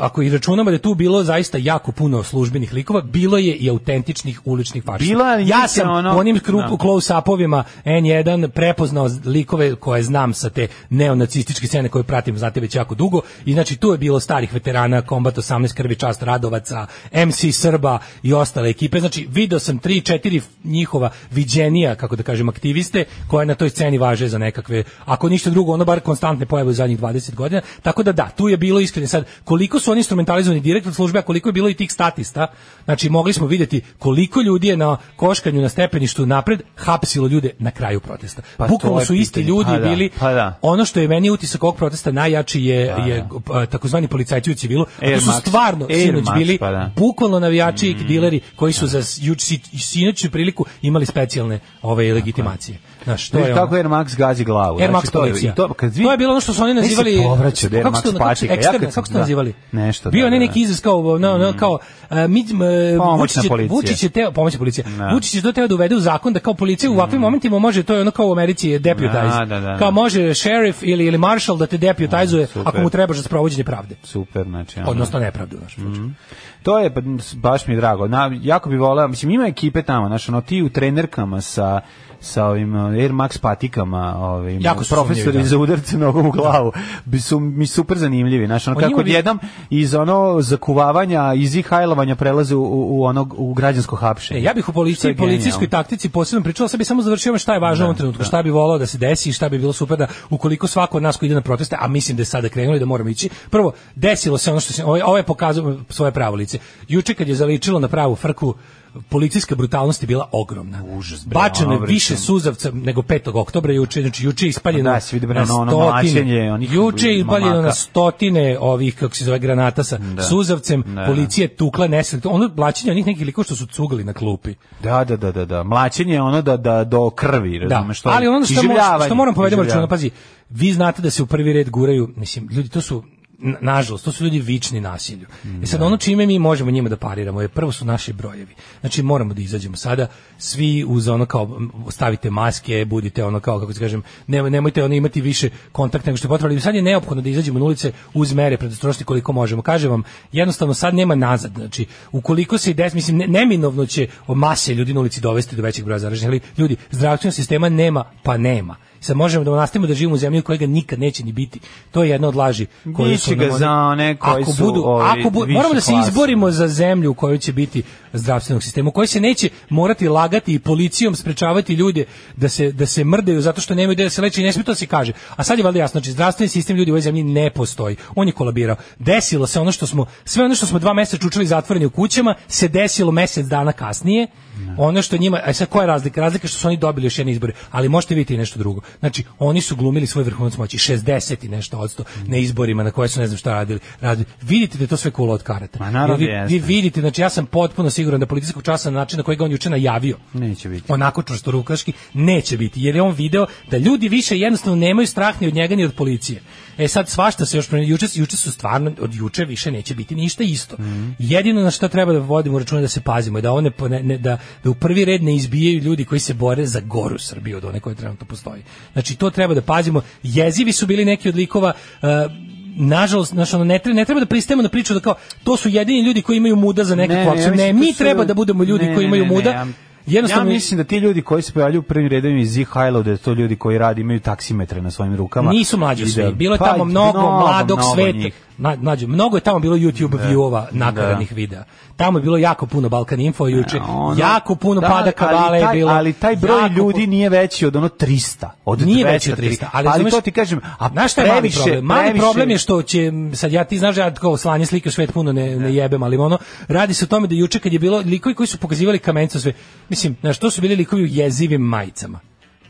[SPEAKER 7] ako i računamo da je tu bilo zaista jako puno službenih likova, bilo je i autentičnih uličnih fašista.
[SPEAKER 6] Bila je
[SPEAKER 7] ja
[SPEAKER 6] njih
[SPEAKER 7] sam
[SPEAKER 6] ono-
[SPEAKER 7] u onim krupu
[SPEAKER 6] Da.
[SPEAKER 7] close-upovima N1 prepoznao likove koje znam sa te neonacističke scene koje pratim, znate, već jako dugo. I znači tu je bilo starih veterana, Kombat 18, Krvi čast, Radovaca, MC Srba i ostale ekipe. Znači video sam 3-4 njihova viđenija, kako da kažem, aktiviste koje na toj sceni važe za nekakve, ako ništa drugo, ono bar konstantne pojave u zadnjih 20 godina. Tako da da, tu je bilo iskreno sad koliko su oni instrumentalizovani direktno od službe, a koliko je bilo i tih statista. Znači mogli smo vidjeti koliko ljudi je na koškanju na stepeništu napred hapsilo ljude na kraju protesta.
[SPEAKER 6] Pa to
[SPEAKER 7] Bukvalno
[SPEAKER 6] je
[SPEAKER 7] su isti
[SPEAKER 6] pitanje.
[SPEAKER 7] ljudi
[SPEAKER 6] Pa da,
[SPEAKER 7] bili
[SPEAKER 6] pa da.
[SPEAKER 7] ono što je meni utisak ovog protesta najjači je, je e, takozvani policajci u civilu, a
[SPEAKER 6] Air
[SPEAKER 7] to su
[SPEAKER 6] Max.
[SPEAKER 7] stvarno
[SPEAKER 6] Air
[SPEAKER 7] sinoć
[SPEAKER 6] Max,
[SPEAKER 7] bili
[SPEAKER 6] pa da.
[SPEAKER 7] bukvalno navijači
[SPEAKER 6] Mm,
[SPEAKER 7] i dileri koji su za juč, si- sinoću priliku imali specijalne ove legitimacije. Znaš, to
[SPEAKER 6] Znaš
[SPEAKER 7] je ono.
[SPEAKER 6] kako Air Max gazi glavu.
[SPEAKER 7] Air
[SPEAKER 6] znači,
[SPEAKER 7] Max
[SPEAKER 6] to je-
[SPEAKER 7] policija.
[SPEAKER 6] i To, kad vi-
[SPEAKER 7] To je bilo ono što su oni
[SPEAKER 6] Ne se
[SPEAKER 7] nazivali
[SPEAKER 6] povraća od Air
[SPEAKER 7] kako su to-
[SPEAKER 6] Max
[SPEAKER 7] kako su-
[SPEAKER 6] patika. Ja
[SPEAKER 7] eksterna,
[SPEAKER 6] kad sam-
[SPEAKER 7] kako su to
[SPEAKER 6] da.
[SPEAKER 7] nazivali?
[SPEAKER 6] Nešto,
[SPEAKER 7] Bio
[SPEAKER 6] da,
[SPEAKER 7] je ne
[SPEAKER 6] da,
[SPEAKER 7] neki
[SPEAKER 6] da.
[SPEAKER 7] izraz kao no, no, kao a, mi, m, e,
[SPEAKER 6] Pomoćna
[SPEAKER 7] Vučić, je-
[SPEAKER 6] policija.
[SPEAKER 7] Vučić je teo pomoćna policija.
[SPEAKER 6] Da. Mm.
[SPEAKER 7] Vučić je to teo da uvede u zakon da kao policija u ovakvim momentima može to je ono kao u Americi je deputize.
[SPEAKER 6] Da, da, da, da.
[SPEAKER 7] Kao može šerif ili ili marshal da te deputizuje
[SPEAKER 6] super.
[SPEAKER 7] ako mu trebaš za sprovođenje pravde.
[SPEAKER 6] Super, znači. ono.
[SPEAKER 7] Odnosno nepravdu u našem slučaju.
[SPEAKER 6] To je, pa, m, s- baš mi je drago. Na, jako bi volao, mislim, ima ekipe tamo, znaš, ono, ti u trenerkama sa sa ovim uh, Air Max patikama, ovim
[SPEAKER 7] Jako su
[SPEAKER 6] profesori
[SPEAKER 7] sumnjivi, da.
[SPEAKER 6] za udarce nogom u glavu. Bi su mi super zanimljivi, znaš, ono
[SPEAKER 7] O
[SPEAKER 6] kako
[SPEAKER 7] njima bi-
[SPEAKER 6] odjednom iz ono zakuvavanja, iz ihajlovanja prelaze u, u, u onog u građansko hapšenje.
[SPEAKER 7] E, ja bih
[SPEAKER 6] Što
[SPEAKER 7] u policiji,
[SPEAKER 6] je genijalno.
[SPEAKER 7] policijskoj taktici posebno pričao, sad bih samo završio ono šta je važno u ovom trenutku, šta bi volao da se desi i šta bi bilo super da ukoliko svako od nas ko ide na proteste, a mislim da je sada krenulo i da moramo ići. Prvo, desilo se ono što se ovaj ovaj pokazao svoje pravo lice. Juče kad je zaličilo na pravu frku, policijska brutalnost je bila ogromna. Užas,
[SPEAKER 6] bre,
[SPEAKER 7] Bačeno je
[SPEAKER 6] ono, bre,
[SPEAKER 7] više
[SPEAKER 6] sam-
[SPEAKER 7] suzavca nego 5. oktobra juče, znači juče je ispaljeno
[SPEAKER 6] Da, se vidi, bre,
[SPEAKER 7] na
[SPEAKER 6] ono- ono mlaćenje
[SPEAKER 7] stotine.
[SPEAKER 6] onih
[SPEAKER 7] Juče je ispaljeno na
[SPEAKER 6] momaka.
[SPEAKER 7] stotine ovih kako se zove granata sa suzavcem,
[SPEAKER 6] Da.
[SPEAKER 7] policija je tukla neselektivno. Ono blaćenje onih nekih likova što su cugali na klupi.
[SPEAKER 6] Da, da, da, da, da. Mlaćenje je ono da, da do krvi,
[SPEAKER 7] Da,
[SPEAKER 6] razumeš, to je
[SPEAKER 7] ali ono što, mo,
[SPEAKER 6] iživljavanje,
[SPEAKER 7] što moram povedati
[SPEAKER 6] iživljavanje.
[SPEAKER 7] računa, pa pazi, vi znate da se u prvi red guraju, mislim, ljudi, to su, na- nažalost, to su ljudi vični nasilju. E sad, ono čime mi možemo njima da pariramo je, prvo su naši brojevi. Znači, moramo da izađemo sada, svi uz ono kao, m, stavite maske, budite ono kao, kako se kažem, ne- nemojte ono imati više kontakt nego što je potrebno. Ali Sad je neophodno da izađemo na ulice uz mere predostrošnosti koliko možemo. Kažem vam, jednostavno sad nema nazad. Znači, ukoliko se i des, mislim, ne- neminovno će mase ljudi na ulici dovesti do većeg broja zaraženih, ali ljudi, zdravstvenog sistema nema, pa nema. Sad možemo da nastavimo da živimo u zemlji kojega nikad neće ni biti. To je jedna od laži koje
[SPEAKER 6] Biće
[SPEAKER 7] su nam
[SPEAKER 6] ga
[SPEAKER 7] oni-
[SPEAKER 6] za one koji
[SPEAKER 7] ako
[SPEAKER 6] su,
[SPEAKER 7] budu,
[SPEAKER 6] ovi,
[SPEAKER 7] ako bu-
[SPEAKER 6] više
[SPEAKER 7] moramo da se
[SPEAKER 6] klase.
[SPEAKER 7] izborimo za zemlju u kojoj će biti zdravstvenog sistema, u kojoj se neće morati lagati i policijom sprečavati ljude da se, da se mrdaju zato što nemaju gde da se leče i ne smije to da se kaže. A sad je valjda jasno, znači zdravstveni sistem ljudi u ovoj zemlji ne postoji. On je kolabirao. Desilo se ono što smo, sve ono što smo dva meseca čučali zatvoreni u kućama, se desilo mesec dana kasnije. Ono što njima, a sad koja je razlika? Razlika je što su oni dobili još jedne izbore, ali možete vidjeti i nešto drugo. Znači, oni su glumili svoj vrhunac moći, 60 i nešto odsto na izborima na koje su ne znam šta radili. radili. Vidite da je to sve kula od karata.
[SPEAKER 6] Ma, naravno
[SPEAKER 7] Jer vi, vi
[SPEAKER 6] jeste.
[SPEAKER 7] vidite, znači ja sam potpuno siguran da policijskog časa na način na koji ga on juče najavio,
[SPEAKER 6] Neće biti.
[SPEAKER 7] onako čvrstorukaški, neće biti, jer je on video da ljudi više jednostavno nemaju strah ni od njega ni od policije. E sad svašta se još promenilo. juče juče su stvarno od juče više neće biti ništa isto.
[SPEAKER 6] Mhm.
[SPEAKER 7] Jedino na što treba da vodimo računa je da se pazimo i da one po- ne, ne- da, da u prvi red ne izbijaju ljudi koji se bore za goru Srbiju od one koje trenutno postoji. Znači to treba da pazimo. Jezivi su bili neki od likova e, nažalost znaš, ono, ne, treba, ne treba da pristajemo na priču da kao to su jedini ljudi koji imaju muda za
[SPEAKER 6] Ne,
[SPEAKER 7] nekakvu
[SPEAKER 6] ne,
[SPEAKER 7] akciju.
[SPEAKER 6] ja
[SPEAKER 7] Ne,
[SPEAKER 6] mislim
[SPEAKER 7] mi
[SPEAKER 6] to su-
[SPEAKER 7] treba da budemo ljudi
[SPEAKER 6] ne,
[SPEAKER 7] koji
[SPEAKER 6] ne,
[SPEAKER 7] imaju
[SPEAKER 6] ne, ne,
[SPEAKER 7] muda.
[SPEAKER 6] ja-
[SPEAKER 7] Jednostavno
[SPEAKER 6] ja mislim da ti ljudi koji se pojavljuju u prvim redovima iz Zihajlo, da je to ljudi koji rade, imaju taksimetre na svojim rukama.
[SPEAKER 7] nisu mlađi
[SPEAKER 6] I
[SPEAKER 7] svi.
[SPEAKER 6] da-
[SPEAKER 7] Bilo je
[SPEAKER 6] pa,
[SPEAKER 7] tamo mnogo mladog
[SPEAKER 6] mnogo
[SPEAKER 7] sveta.
[SPEAKER 6] njih.
[SPEAKER 7] Ma- mlađe, mnogo je tamo bilo YouTube view-ova nakaranih videa. Tamo je bilo jako puno Balkan Info juče.
[SPEAKER 6] Ono-
[SPEAKER 7] jako puno
[SPEAKER 6] Da,
[SPEAKER 7] pada
[SPEAKER 6] ali
[SPEAKER 7] kabale je
[SPEAKER 6] taj-
[SPEAKER 7] bilo.
[SPEAKER 6] Ali taj broj
[SPEAKER 7] Jako
[SPEAKER 6] ljudi
[SPEAKER 7] pu-
[SPEAKER 6] nije veći od ono 300. Od
[SPEAKER 7] nije
[SPEAKER 6] 200,
[SPEAKER 7] veći od 300. Ali, razumeš-
[SPEAKER 6] to ti kažem, a
[SPEAKER 7] Znaš šta je mali
[SPEAKER 6] previše-
[SPEAKER 7] problem? Mali
[SPEAKER 6] previše-
[SPEAKER 7] problem je što će, sad ja ti znaš da ja kao slanje slike u svet puno ne, ne jebem, ali ono, radi se o tome da juče kad je bilo likovi koji su pokazivali kamencu sve, mislim, znaš, to su bili likovi u jezivim majicama.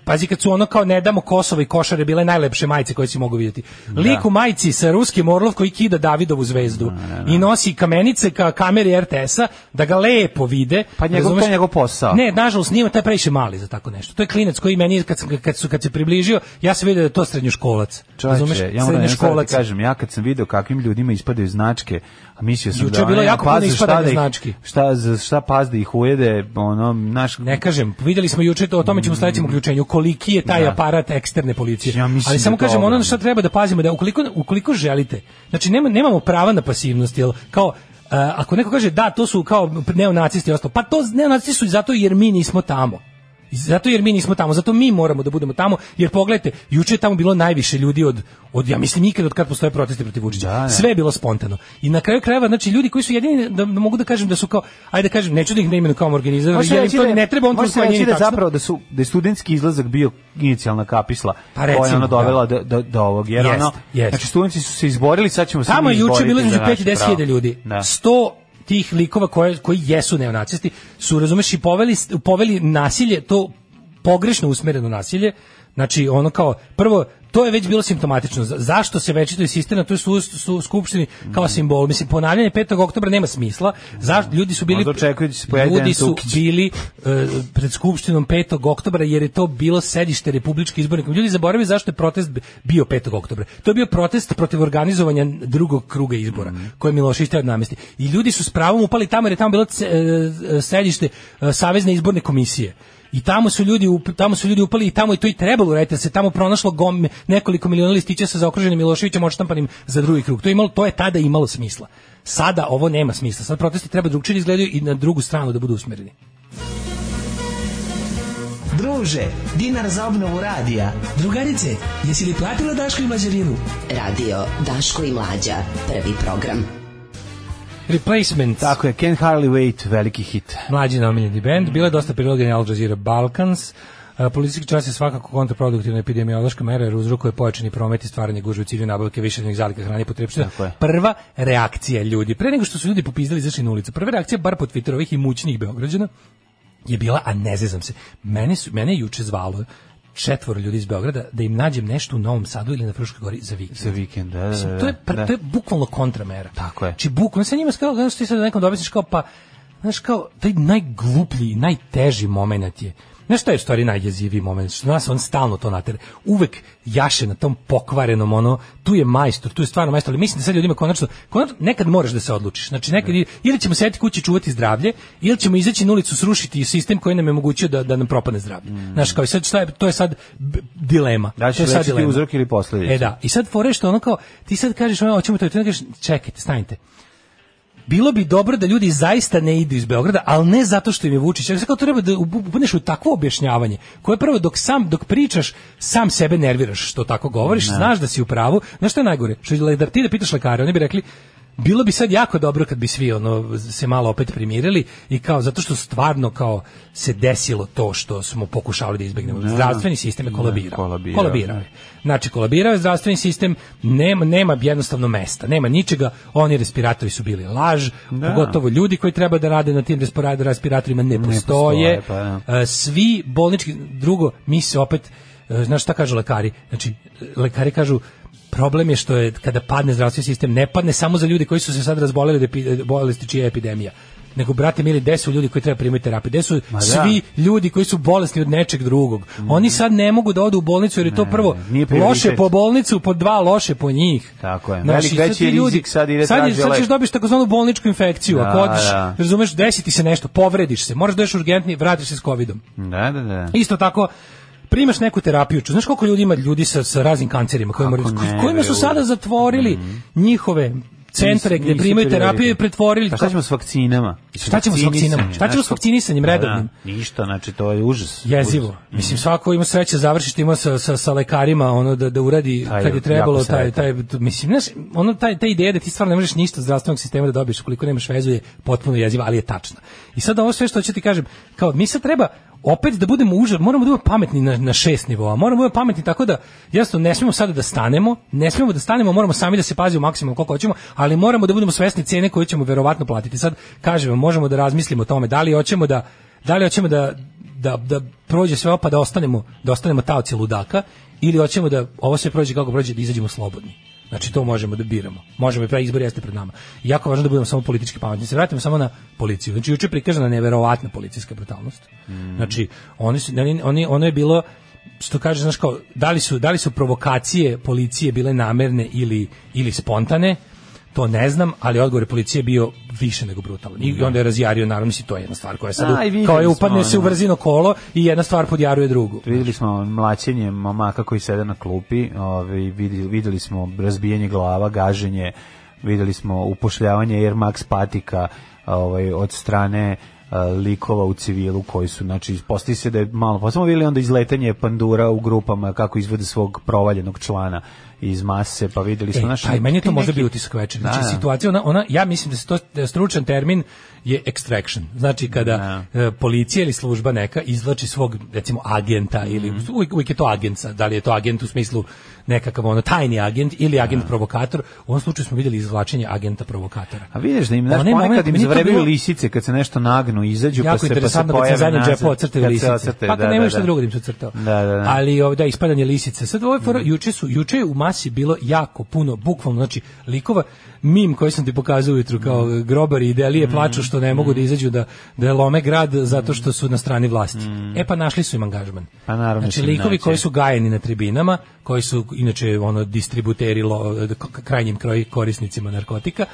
[SPEAKER 7] Pazi kad su ono kao ne damo Kosovo i košare bile najlepše majice koje si mogu vidjeti. Lik u majici sa ruskim orlov koji kida Davidovu zvezdu i nosi kamenice ka kameri RTS-a da ga lepo vide.
[SPEAKER 6] Pa njegov- to je
[SPEAKER 7] razumeš?
[SPEAKER 6] njegov posao.
[SPEAKER 7] Ne, nažalost nije, taj je previše mali za tako nešto. To je klinac koji meni kad sam kad su kad se približio, ja sam video da je to srednjoškolac.
[SPEAKER 6] Čovječe, ja moram jednu stvar da ti
[SPEAKER 7] Srednjoškolac.
[SPEAKER 6] kažem, ja kad sam video kakvim ljudima ispadaju značke, A mislio sam
[SPEAKER 7] Juče
[SPEAKER 6] da
[SPEAKER 7] je bilo
[SPEAKER 6] ono,
[SPEAKER 7] jako puno
[SPEAKER 6] paze
[SPEAKER 7] ispadanja
[SPEAKER 6] šta da ih-
[SPEAKER 7] znački.
[SPEAKER 6] Šta, za- šta paz da ih ujede, ono, naš...
[SPEAKER 7] Ne kažem, videli smo juče, to, o tome ćemo u sledećem uključenju, koliki je taj
[SPEAKER 6] Mm. Da.
[SPEAKER 7] aparat eksterne policije.
[SPEAKER 6] Ja mislim
[SPEAKER 7] Ali samo
[SPEAKER 6] da je to
[SPEAKER 7] kažem, ono
[SPEAKER 6] ogromno.
[SPEAKER 7] na što treba da pazimo, da ukoliko, ukoliko želite, znači nema, nemamo prava na pasivnost, jel, kao, e, ako neko kaže da, to su kao neonacisti i ostalo, pa to neonacisti su i zato jer mi nismo tamo. Zato jer mi nismo tamo, zato mi moramo da budemo tamo, jer pogledajte, juče je tamo bilo najviše ljudi od, od ja mislim, nikad od kad postoje protesti protiv Vučića.
[SPEAKER 6] Da, da.
[SPEAKER 7] Sve je bilo spontano. I na kraju krajeva, znači, ljudi koji su jedini, da, da mogu da kažem da su kao, ajde da kažem, neću da ih ne imenujem kao organizam,
[SPEAKER 6] Može
[SPEAKER 7] jer im to ne treba, on to
[SPEAKER 6] može
[SPEAKER 7] sve
[SPEAKER 6] reći
[SPEAKER 7] nije
[SPEAKER 6] da
[SPEAKER 7] tačno.
[SPEAKER 6] zapravo da su da je studentski izlazak bio inicijalna kapisla
[SPEAKER 7] Pa
[SPEAKER 6] koja je
[SPEAKER 7] recimo,
[SPEAKER 6] ona dovela do, do, do ovog jer
[SPEAKER 7] Jest,
[SPEAKER 6] ono
[SPEAKER 7] jest.
[SPEAKER 6] znači studenti su se izborili sad ćemo se
[SPEAKER 7] Tamo
[SPEAKER 6] mi
[SPEAKER 7] je juče
[SPEAKER 6] izboriti
[SPEAKER 7] bilo između
[SPEAKER 6] za
[SPEAKER 7] 5 i
[SPEAKER 6] naše
[SPEAKER 7] 10
[SPEAKER 6] pravo.
[SPEAKER 7] hiljada ljudi.
[SPEAKER 6] da.
[SPEAKER 7] 100 tih likova koje, koji jesu neonacisti su, razumeš, i poveli, poveli nasilje, to pogrešno usmereno nasilje, znači ono kao, prvo, to je već bilo simptomatično. Za- Zašto se već to insistira na toj su, su skupštini kao simbol? Mislim, ponavljanje 5. oktobra nema smisla. Zašto? Ljudi su bili,
[SPEAKER 6] Možda očekuju da će se pojaviti
[SPEAKER 7] ljudi
[SPEAKER 6] Dejan
[SPEAKER 7] su
[SPEAKER 6] Cukić.
[SPEAKER 7] bili e, pred skupštinom 5. oktobra jer je to bilo sedište Republičke izborne komisije. Ljudi zaboravili zašto je protest bio 5. oktobra. To je bio protest protiv organizovanja drugog kruga izbora koje je Milošević teo da namesti. I ljudi su s pravom upali tamo jer je tamo bilo ce- e, e, sedište e, Savezne izborne komisije. I tamo su ljudi up- tamo su ljudi upali i tamo je to i trebalo uraditi, jer se tamo pronašlo gom, nekoliko miliona listića sa zaokruženim Miloševićem odštampanim za drugi krug. To je imalo to je tada imalo smisla. Sada ovo nema smisla. Sad protesti treba drugčije da izgledaju i na drugu stranu da budu usmereni.
[SPEAKER 10] Druže, dinar za obnovu radija. Drugarice, jesi li platila Daško i Mlađarinu?
[SPEAKER 8] Radio Daško i Mlađa, prvi program.
[SPEAKER 7] Replacements.
[SPEAKER 6] tako je Ken Harley Wait veliki hit
[SPEAKER 7] Mlađi nominjeni band. Bilo je dosta priloganja Al Jazeera Balkans. A, Policijski čas je svakako kontraproduktivna epidemiološka mera jer uzrokuje pojačani promet i stvaranje gužve u cilju nabavke višednjeg zaliha hrane i potrepština.
[SPEAKER 6] Tako je.
[SPEAKER 7] Prva reakcija ljudi, pre nego što su ljudi popizdali izašli na ulicu, prva reakcija bar po Twitteru ovih imućnih Beograđana je bila, a ne zezam se, mene, su, mene je juče zvalo četvoro ljudi iz Beograda da im nađem nešto u Novom Sadu ili na Fruškoj gori za vikend.
[SPEAKER 6] za vikend da, da,
[SPEAKER 7] Mislim,
[SPEAKER 6] da,
[SPEAKER 7] to je pr-
[SPEAKER 6] da.
[SPEAKER 7] to je bukvalno kontramera.
[SPEAKER 6] Tako je.
[SPEAKER 7] Znači bukvalno sa njima skao znaš ti sad nekom dobiješ kao pa znaš kao taj najgluplji, najteži momenat je. Znaš šta je u stvari najjeziviji moment? Što nas on stalno to natera. Uvek jaše na tom pokvarenom ono, tu je majstor, tu je stvarno majstor, ali mislim da sad ljudima konačno, konačno nekad moraš da se odlučiš. Znači nekad i- ili ćemo sedeti kući i čuvati zdravlje, ili ćemo izaći na ulicu srušiti sistem koji nam je omogućio da, da nam propadne zdravlje.
[SPEAKER 6] Mm.
[SPEAKER 7] Znaš kao i sad šta je, to je sad b- dilema.
[SPEAKER 6] Da li ćeš
[SPEAKER 7] To je sad
[SPEAKER 6] lečiti
[SPEAKER 7] dilema.
[SPEAKER 6] uzrok ili posledicu?
[SPEAKER 7] E da, da. I sad fore što ono kao ti sad kažeš ono hoćemo to i ti onda kažeš čekajte, stanite. Bilo bi dobro da ljudi zaista ne idu iz Beograda, ali ne zato što im je Vučić. Ja kao to treba da budeš u takvo objašnjavanje, koje prvo dok sam dok pričaš, sam sebe nerviraš što tako govoriš, znaš da si u pravu. Znaš što je najgore? Što je da ti da pitaš lekare, oni bi rekli Bilo bi sad jako dobro kad bi svi ono se malo opet primirili i kao zato što stvarno kao se desilo to što smo pokušavali da izbegnemo. Zdravstveni sistem je kolabirao.
[SPEAKER 6] kolabirao,
[SPEAKER 7] Kolabirao
[SPEAKER 6] da.
[SPEAKER 7] je. Znači, kolabirao je zdravstveni sistem, nema, nema jednostavno mesta, nema ničega, oni respiratori su bili laž,
[SPEAKER 6] Da.
[SPEAKER 7] pogotovo ljudi koji treba da rade na tim respira- respiratorima ne postoje,
[SPEAKER 6] postoje, pa da.
[SPEAKER 7] E, svi bolnički, drugo, mi se opet, e, znaš šta kažu lekari, znači, lekari kažu, problem je što je kada padne zdravstveni sistem, ne padne samo za ljudi koji su se sad razboleli od epi- bolesti čija je epidemija, nego brate mili gde su ljudi koji treba primiti terapiju gde su
[SPEAKER 6] Ma da.
[SPEAKER 7] svi ljudi koji su bolesni od nečeg drugog oni sad ne mogu da odu u bolnicu jer je to
[SPEAKER 6] Ne,
[SPEAKER 7] prvo
[SPEAKER 6] nije prioritet.
[SPEAKER 7] loše po bolnicu po dva loše po njih
[SPEAKER 6] Tako je.
[SPEAKER 7] Znaš,
[SPEAKER 6] Velik-
[SPEAKER 7] i sad
[SPEAKER 6] veći
[SPEAKER 7] ti ljudi-
[SPEAKER 6] rizik sad ide
[SPEAKER 7] sad, je-
[SPEAKER 6] traži
[SPEAKER 7] sad ćeš
[SPEAKER 6] lek.
[SPEAKER 7] dobiješ takozvanu bolničku infekciju
[SPEAKER 6] Da,
[SPEAKER 7] ako odiš
[SPEAKER 6] da.
[SPEAKER 7] razumeš desi ti se nešto povrediš se moraš da ješ urgentni vratiš se s covidom
[SPEAKER 6] da da da
[SPEAKER 7] Isto tako primaš neku terapiju, ču- znaš koliko ljudi ima ljudi sa, sa raznim kancerima kojima,
[SPEAKER 6] Kako ne,
[SPEAKER 7] kojima su
[SPEAKER 6] bre, Mhm.
[SPEAKER 7] sada zatvorili njihove centre
[SPEAKER 6] Nisu-
[SPEAKER 7] gde
[SPEAKER 6] nisu
[SPEAKER 7] primaju terapiju i
[SPEAKER 6] prioritet.
[SPEAKER 7] pretvorili
[SPEAKER 6] Pa šta ćemo s vakcinama?
[SPEAKER 7] Šta ćemo s vakcinama? Šta ćemo s vakcinisanjem
[SPEAKER 6] Pa da,
[SPEAKER 7] redovnim?
[SPEAKER 6] ništa, znači to je užas.
[SPEAKER 7] Jezivo.
[SPEAKER 6] Užas.
[SPEAKER 7] Mislim svako ima sreće završi što ima sa, sa, sa lekarima ono da da uradi
[SPEAKER 6] Taj je
[SPEAKER 7] kad je
[SPEAKER 6] jako
[SPEAKER 7] trebalo taj taj
[SPEAKER 6] sretan.
[SPEAKER 7] mislim znaš, ono taj taj ideja da ti stvarno ne možeš ništa od zdravstvenog sistema da dobiješ koliko nemaš vezu je potpuno jeziva, ali je tačna. I sad ovo sve što ću ti kažem, kao mi sad treba opet da budemo užas, moramo da budemo pametni na, na šest nivoa, moramo da budemo pametni tako da jasno ne smemo sada da stanemo, ne smemo da stanemo, moramo sami da se pazimo maksimum koliko hoćemo, ali moramo da budemo svesni cene koju ćemo verovatno platiti. Sad kažem, vam, možemo da razmislimo o tome da li hoćemo da da li hoćemo da da, da prođe sve ovo pa da ostanemo, da ostanemo taoci ludaka ili hoćemo da ovo sve prođe kako prođe da izađemo slobodni. Znači to možemo da biramo. Možemo i pravi izbor jeste pred nama. I jako je važno da budemo samo politički pametni. Da Se vratimo samo na policiju. Znači juče je prikazana neverovatna policijska brutalnost. Znači oni su oni, oni ono je bilo što kaže znaš kao da li su da li su provokacije policije bile namerne ili ili spontane To ne znam, ali odgovor je policije bio više nego brutalan. I onda je razjario, naravno, mislim, to je jedna stvar koja je sad,
[SPEAKER 6] A, i videli
[SPEAKER 7] kao je
[SPEAKER 6] smo,
[SPEAKER 7] upadne se u
[SPEAKER 6] ono.
[SPEAKER 7] brzino kolo i jedna stvar podjaruje drugu.
[SPEAKER 6] Videli smo mlaćenje momaka koji sede na klupi, ovaj, videli, videli smo razbijanje glava, gaženje, videli smo upošljavanje Air Max patika ovaj, od strane eh, likova u civilu koji su, znači, postoji se da je malo, pa smo videli onda izletanje pandura u grupama kako izvode svog provaljenog člana iz mase, pa videli smo,
[SPEAKER 7] E,
[SPEAKER 6] znaš,
[SPEAKER 7] pa i meni je to
[SPEAKER 6] ti
[SPEAKER 7] možda
[SPEAKER 6] neki-
[SPEAKER 7] bio utisak večera. Znači,
[SPEAKER 6] Da, da.
[SPEAKER 7] situacija, ona, ona, ja mislim da se to da je stručan termin je extraction. Znači, kada e, policija ili služba neka izvlači svog, recimo, agenta, ili
[SPEAKER 6] Mhm.
[SPEAKER 7] uvijek, uvijek je to agent, sad, da li je to agent u smislu nekakav ono tajni agent ili agent provokator, u ovom slučaju smo vidjeli izvlačenje agenta provokatora.
[SPEAKER 6] A vidiš da im,
[SPEAKER 7] Onaj
[SPEAKER 6] znaš,
[SPEAKER 7] moment
[SPEAKER 6] ponekad im
[SPEAKER 7] meni je to
[SPEAKER 6] zavrebaju
[SPEAKER 7] bilo-
[SPEAKER 6] lisice kad se nešto nagnu, izađu, pa
[SPEAKER 7] jako
[SPEAKER 6] se, pa se
[SPEAKER 7] interesantno kad
[SPEAKER 6] pojave
[SPEAKER 7] sam zadnji
[SPEAKER 6] nazad.
[SPEAKER 7] džepo ocrtao
[SPEAKER 6] Kad se
[SPEAKER 7] lisice.
[SPEAKER 6] ocrtaju,
[SPEAKER 7] pa kad
[SPEAKER 6] da,
[SPEAKER 7] nema
[SPEAKER 6] da,
[SPEAKER 7] šta
[SPEAKER 6] da.
[SPEAKER 7] drugo da im se ocrtao.
[SPEAKER 6] Da, da, Mm. da.
[SPEAKER 7] Ali ovo, da, ispadanje lisice. Sad ovo je fora, juče su, juče je u masi bilo jako puno, bukvalno, znači, likova, mim koji sam ti pokazao ujutru kao
[SPEAKER 6] Mm.
[SPEAKER 7] grobari i delije plaču što ne mogu da izađu da, da lome grad zato što su na strani vlasti. E pa našli su im angažman.
[SPEAKER 6] Mm. Pa naravno
[SPEAKER 7] Znači,
[SPEAKER 6] su im
[SPEAKER 7] likovi
[SPEAKER 6] naći.
[SPEAKER 7] koji su gajeni na tribinama, koji su inače ono distributeri lo, k- krajnjim kroj- korisnicima narkotika,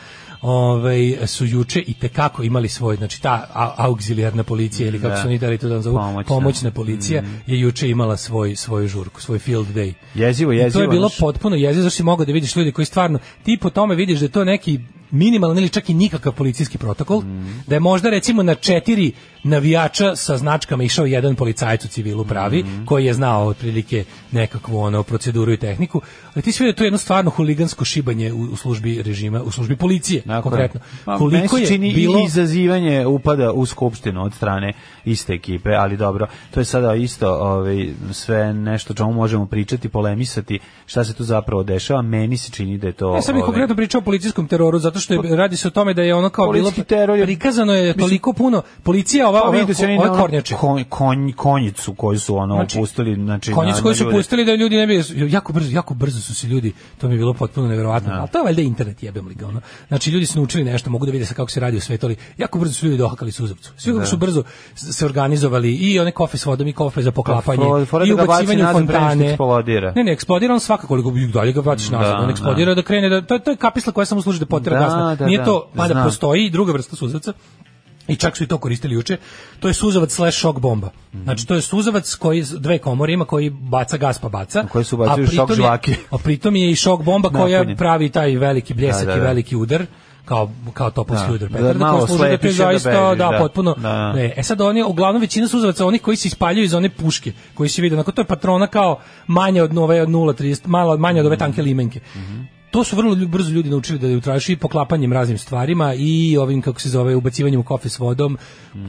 [SPEAKER 7] ovaj su juče i tekako imali svoj, znači ta a- auxilijarna policija ili kako
[SPEAKER 6] Da.
[SPEAKER 7] su oni dali to da zovu,
[SPEAKER 6] Pomoćna.
[SPEAKER 7] pomoćna policija
[SPEAKER 6] Mm.
[SPEAKER 7] je juče imala svoj svoju žurku, svoj field day.
[SPEAKER 6] Jezivo,
[SPEAKER 7] I
[SPEAKER 6] jezivo.
[SPEAKER 7] to je bilo
[SPEAKER 6] znaš.
[SPEAKER 7] potpuno jezivo, zašto si mogao da vidiš ljudi koji stvarno, ti po tome vidiš da je to neki minimalan ili čak i nikakav policijski protokol,
[SPEAKER 6] Mm.
[SPEAKER 7] da je možda recimo na četiri navijača sa značkama išao jedan policajac u civilu pravi,
[SPEAKER 6] Mm.
[SPEAKER 7] koji je znao otprilike nekakvu ono proceduru i tehniku, ali ti si vidio da je to jedno stvarno huligansko šibanje u, u službi režima, u službi policije
[SPEAKER 6] Dakle,
[SPEAKER 7] konkretno.
[SPEAKER 6] Ma, meni
[SPEAKER 7] Koliko
[SPEAKER 6] se
[SPEAKER 7] je
[SPEAKER 6] čini
[SPEAKER 7] bilo...
[SPEAKER 6] i izazivanje upada u skupštinu od strane iste ekipe, ali dobro, to je sada isto ovaj, sve nešto o čemu možemo pričati, polemisati, šta se tu zapravo dešava, meni se čini da je to...
[SPEAKER 7] Ja sam i
[SPEAKER 6] ovaj,
[SPEAKER 7] konkretno pričao o policijskom teroru zato što je, radi se o tome da je ono kao bilo
[SPEAKER 6] Policijski teror je-
[SPEAKER 7] prikazano je
[SPEAKER 6] Mislim-
[SPEAKER 7] toliko puno policija ova
[SPEAKER 6] Pa
[SPEAKER 7] ove,
[SPEAKER 6] vidi se oni
[SPEAKER 7] ove
[SPEAKER 6] na ono
[SPEAKER 7] kornjače.
[SPEAKER 6] konj- konj- konjicu koju su ono
[SPEAKER 7] Znači,
[SPEAKER 6] pustili, znači...
[SPEAKER 7] Konjic
[SPEAKER 6] na-
[SPEAKER 7] koji
[SPEAKER 6] na
[SPEAKER 7] su
[SPEAKER 6] ljude.
[SPEAKER 7] pustili da ljudi ne bi jako brzo jako brzo su se ljudi to mi je bilo potpuno neverovatno ali to je valjda internet jebem li ga ono znači ljudi su naučili nešto mogu da vide se kako se radi u svetu ali jako brzo su ljudi dohakali suzavcu svi kako su brzo s- se organizovali i one kofe s vodom i kofe za poklapanje
[SPEAKER 6] Pa, fora- fora
[SPEAKER 7] i
[SPEAKER 6] da ga baci
[SPEAKER 7] ubacivanje u
[SPEAKER 6] nazad pre nego što
[SPEAKER 7] fontane
[SPEAKER 6] eksplodira.
[SPEAKER 7] ne ne eksplodira on svakako koliko bi dalje ga baciš nazad on eksplodira da, krene da to, to je kapisla koja samo služi da potera
[SPEAKER 6] Da,
[SPEAKER 7] gas na-
[SPEAKER 6] da,
[SPEAKER 7] nije
[SPEAKER 6] da,
[SPEAKER 7] to mada
[SPEAKER 6] znam.
[SPEAKER 7] postoji i druga vrsta suzavca i čak su i to koristili juče, to je suzavac slash šok bomba. Znači, to je suzavac koji s- dve komore ima koji baca gas pa baca.
[SPEAKER 6] Na koje su
[SPEAKER 7] a
[SPEAKER 6] bacaju šok
[SPEAKER 7] pritom je-
[SPEAKER 6] žvake.
[SPEAKER 7] A pritom je i šok bomba koja
[SPEAKER 6] Napunjen.
[SPEAKER 7] pravi taj veliki bljesak
[SPEAKER 6] Da, da,
[SPEAKER 7] i
[SPEAKER 6] da.
[SPEAKER 7] veliki udar kao kao topovski
[SPEAKER 6] Da,
[SPEAKER 7] udar
[SPEAKER 6] da
[SPEAKER 7] petarda,
[SPEAKER 6] malo
[SPEAKER 7] koja služi da to je
[SPEAKER 6] slepiš i onda
[SPEAKER 7] zaista
[SPEAKER 6] bežiš,
[SPEAKER 7] da,
[SPEAKER 6] da.
[SPEAKER 7] potpuno
[SPEAKER 6] Da, da.
[SPEAKER 7] ne. E sad oni uglavnom većina suzavaca onih koji se ispaljuju iz one puške koji se vide onako to je patrona kao manje od nove od 0.30 malo manje od ove tanke limenke to su vrlo lju- brzo ljudi naučili da utraši i poklapanjem raznim stvarima i ovim kako se zove ubacivanjem u kofe s vodom.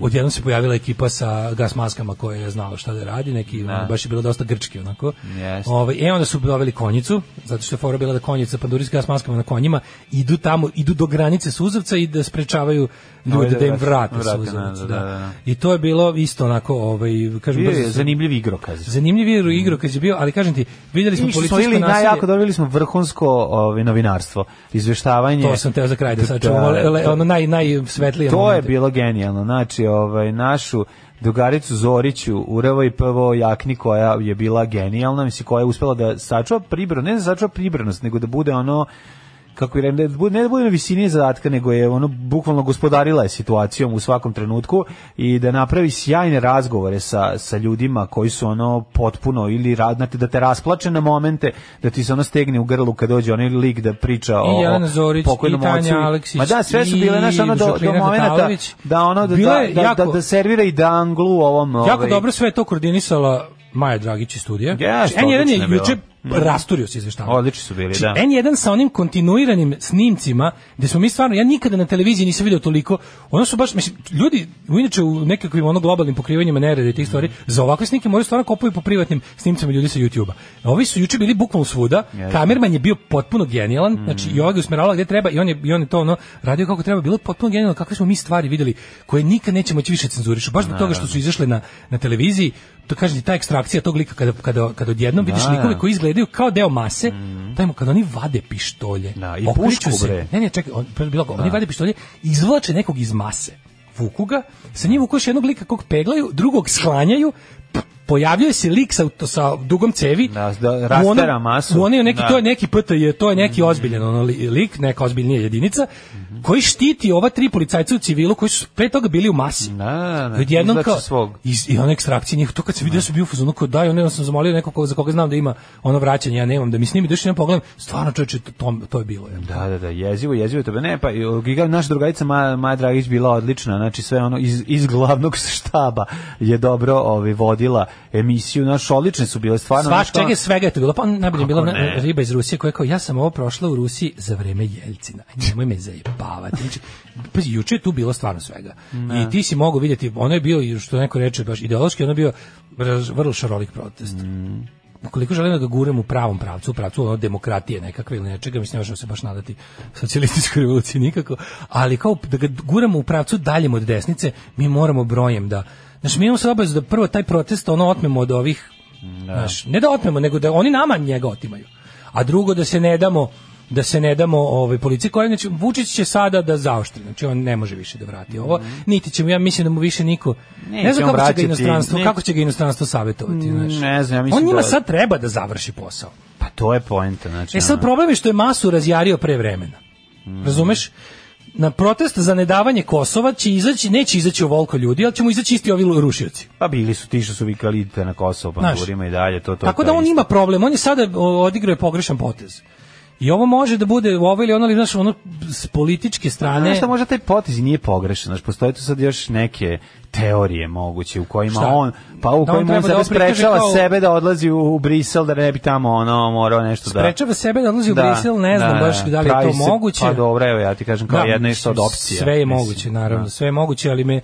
[SPEAKER 7] Odjednom se pojavila ekipa sa gas maskama koja je znala šta da radi, neki ono, baš je bilo dosta grčki onako.
[SPEAKER 6] Jeste.
[SPEAKER 7] Ovaj e onda su doveli konjicu, zato što je fora bila da konjica panduri s gas maskama na konjima idu tamo, idu do granice suzavca i da sprečavaju ljude
[SPEAKER 6] Ovdje
[SPEAKER 7] da im
[SPEAKER 6] vrate-
[SPEAKER 7] vrate,
[SPEAKER 6] vrate
[SPEAKER 7] suzavac.
[SPEAKER 6] nazad,
[SPEAKER 7] da.
[SPEAKER 6] da, da.
[SPEAKER 7] I to je bilo isto onako ovaj kažem
[SPEAKER 6] Bio
[SPEAKER 7] brzo
[SPEAKER 6] je
[SPEAKER 7] su-
[SPEAKER 6] zanimljiv igrokaz.
[SPEAKER 7] Zanimljiv je igro kad je bio, ali kažem ti, vidjeli smo
[SPEAKER 6] Mi smo
[SPEAKER 7] policijsko
[SPEAKER 6] ili
[SPEAKER 7] nasilje.
[SPEAKER 6] najjako dobili smo vrhunsko ovaj, novinarstvo, izveštavanje.
[SPEAKER 7] To sam teo za kraj da
[SPEAKER 6] Da,
[SPEAKER 7] sačuvamo, le- le-
[SPEAKER 6] to-
[SPEAKER 7] ono naj, najsvetlije
[SPEAKER 6] To je
[SPEAKER 7] momente.
[SPEAKER 6] bilo genijalno. Znači, ovaj, našu drugaricu Zoriću u i PVO jakni koja je bila genijalna, mislim, koja je uspela da sačuva pribranost, ne da sačuva pribranost, nego da bude ono kako je ne da bude, ne da bude na visini zadatka, nego je ono bukvalno gospodarila je situacijom u svakom trenutku i da napravi sjajne razgovore sa, sa ljudima koji su ono potpuno ili radnate, da te rasplače na momente, da ti se ono stegne u grlu kad dođe onaj lik da priča o,
[SPEAKER 7] I Jelena
[SPEAKER 6] o
[SPEAKER 7] Zorić, i
[SPEAKER 6] pokojnom ocu
[SPEAKER 7] Tanja Aleksić,
[SPEAKER 6] Ma da, sve su bile, znaš, ono,
[SPEAKER 7] i
[SPEAKER 6] do, do
[SPEAKER 7] Žaklina
[SPEAKER 6] momenta
[SPEAKER 7] Tatalović.
[SPEAKER 6] da ono, da,
[SPEAKER 7] Bilo
[SPEAKER 6] da,
[SPEAKER 7] je
[SPEAKER 6] da,
[SPEAKER 7] jako-
[SPEAKER 6] da, da servira i da anglu u ovom... ovaj-
[SPEAKER 7] Jako dobro sve je to koordinisala Maja Dragić iz studija.
[SPEAKER 6] Jeste,
[SPEAKER 7] Znači, N1
[SPEAKER 6] odlično
[SPEAKER 7] je
[SPEAKER 6] je bilo.
[SPEAKER 7] juče
[SPEAKER 6] Mm.
[SPEAKER 7] rasturio se izveštavanje. Znači,
[SPEAKER 6] Odlični su bili, da.
[SPEAKER 7] N1 sa onim kontinuiranim snimcima, gde smo mi stvarno, ja nikada na televiziji nisam video toliko, ono su baš, mislim, ljudi, u inače u nekakvim ono globalnim pokrivanjima nerede i tih stvari, za ovakve snimke moraju stvarno kopaju po privatnim snimcima ljudi sa YouTube-a. Ovi su juče bili bukvalno svuda, kamerman je bio potpuno genijalan, znači i ovaj ga je usmeravala gde treba i on je, i on je to ono radio kako treba, bilo je potpuno genijalno kakve smo mi stvari videli koje nikad nećemo moći više cenzurišu, baš zbog toga što su izašle na, na televiziji, to kažem ti, ta ekstrakcija tog lika kada, kada, kada odjednom vidiš
[SPEAKER 6] Da,
[SPEAKER 7] likove
[SPEAKER 6] da.
[SPEAKER 7] koji izgledaju kao deo mase, taj mu kad oni vade pištolje,
[SPEAKER 6] Da, i
[SPEAKER 7] okreću
[SPEAKER 6] pušku,
[SPEAKER 7] se-
[SPEAKER 6] bre.
[SPEAKER 7] Ne, ne, čekaj, on, pre- bilo, ga- oni vade pištolje, izvlače nekog iz mase, vuku ga, sa njim vuku još jednog lika kog peglaju, drugog sklanjaju, p- pojavljuje se lik sa, auto- sa dugom cevi.
[SPEAKER 6] Da, da, rastera
[SPEAKER 7] u onom-
[SPEAKER 6] masu.
[SPEAKER 7] u onoj neki,
[SPEAKER 6] Da. Mhm.
[SPEAKER 7] To je neki PTJ, to je neki ozbiljan ono, li- lik, neka ozbiljnija jedinica, koji štiti ova tri policajca u civilu koji su pre toga bili u masi.
[SPEAKER 6] Da, da,
[SPEAKER 7] Odjednom
[SPEAKER 6] izvlače
[SPEAKER 7] kao,
[SPEAKER 6] svog.
[SPEAKER 7] iz, i one ekstrakcije njih, to kad se vidio su bio u fazonu kao daj, ono ja sam zamolio nekog ko- za koga znam da ima ono vraćanje, ja nemam, da mi snimi došli na pogledam, stvarno čoveče, to, to, to je bilo. Je.
[SPEAKER 6] Da, da, da, jezivo, jezivo je tebe. Ne, pa i, o, Giga, naša drugarica Maja, Maja Dragić bila odlična, znači sve ono iz, iz glavnog štaba je dobro ovaj, vodila emisiju, naš odlične su bile stvarno.
[SPEAKER 7] Svaš,
[SPEAKER 6] znaš, ono, kao-
[SPEAKER 7] čega je svega je to bilo, pa najbolje
[SPEAKER 6] Kako
[SPEAKER 7] je bila na-
[SPEAKER 6] ne?
[SPEAKER 7] riba iz Rusije koja je kao, ja sam ovo prošla u Rusiji za vreme Jeljcina, Aj, nemoj me zajebavati. Znači, pazi, juče je tu bilo stvarno svega. I ti si mogao vidjeti, ono je bio, i što neko reče, baš ideološki, ono je bio raz- vrlo šarolik protest. Ukoliko želimo da ga guremo u pravom pravcu, u pravcu ono demokratije nekakve ili nečega, mislim, ne možemo se baš nadati socijalističkoj revoluciji nikako, ali kao da ga guramo u pravcu daljem od desnice, mi moramo brojem da... Znači, mi imamo se obavezu da prvo taj protest ono otmemo od ovih Znaš, ne da otmemo, nego da oni nama njega otimaju. A drugo da se ne damo da se ne damo ovaj policiji koja znači Vučić će sada da zaoštri. Znači on ne može više da vrati ovo. Niti ćemo ja mislim da mu više niko
[SPEAKER 6] Mhm. Neće
[SPEAKER 7] ne znam
[SPEAKER 6] on
[SPEAKER 7] kako će ga
[SPEAKER 6] vraćati,
[SPEAKER 7] inostranstvo,
[SPEAKER 6] ne-
[SPEAKER 7] kako će ga inostranstvo savjetovati, znaš.
[SPEAKER 6] Mm, Ne znam, ja mislim
[SPEAKER 7] on njima
[SPEAKER 6] da-
[SPEAKER 7] sad treba da završi posao.
[SPEAKER 6] Pa to je poenta, znači.
[SPEAKER 7] E sad
[SPEAKER 6] ono.
[SPEAKER 7] problem je što je masu razjario pre vremena.
[SPEAKER 6] Mm.
[SPEAKER 7] Razumeš? Na protest za nedavanje Kosova će izaći, neće izaći ovoliko ljudi, ali ćemo izaći isti ovi rušioci.
[SPEAKER 6] Pa bili su ti što su vikali idite na Kosovo, pa
[SPEAKER 7] Znaš.
[SPEAKER 6] govorimo i dalje, to, to.
[SPEAKER 7] Tako
[SPEAKER 6] to
[SPEAKER 7] da
[SPEAKER 6] je
[SPEAKER 7] on
[SPEAKER 6] isto.
[SPEAKER 7] ima problem, on je sada o, odigrao je pogrešan potez. I ovo može da bude ovo ili ono, ali znaš, ono s političke strane...
[SPEAKER 6] Znaš šta, možda taj potez i nije pogrešan, znaš, postoje tu sad još neke teorije moguće u kojima
[SPEAKER 7] Šta?
[SPEAKER 6] on, pa u
[SPEAKER 7] Da on
[SPEAKER 6] kojima on,
[SPEAKER 7] treba da
[SPEAKER 6] sebe
[SPEAKER 7] on prikaže
[SPEAKER 6] sprečava
[SPEAKER 7] kao-
[SPEAKER 6] sebe da odlazi u, u Brisel, da ne bi tamo ono morao nešto da...
[SPEAKER 7] Sprečava sebe da odlazi u Brisel, ne znam baš da li je
[SPEAKER 6] pravi
[SPEAKER 7] to
[SPEAKER 6] se-
[SPEAKER 7] moguće.
[SPEAKER 6] Pa dobro, evo ja ti kažem kao jedna isto od
[SPEAKER 7] mislim,
[SPEAKER 6] opcija.
[SPEAKER 7] Sve je
[SPEAKER 6] mislim,
[SPEAKER 7] moguće, naravno,
[SPEAKER 6] da.
[SPEAKER 7] sve je moguće, ali me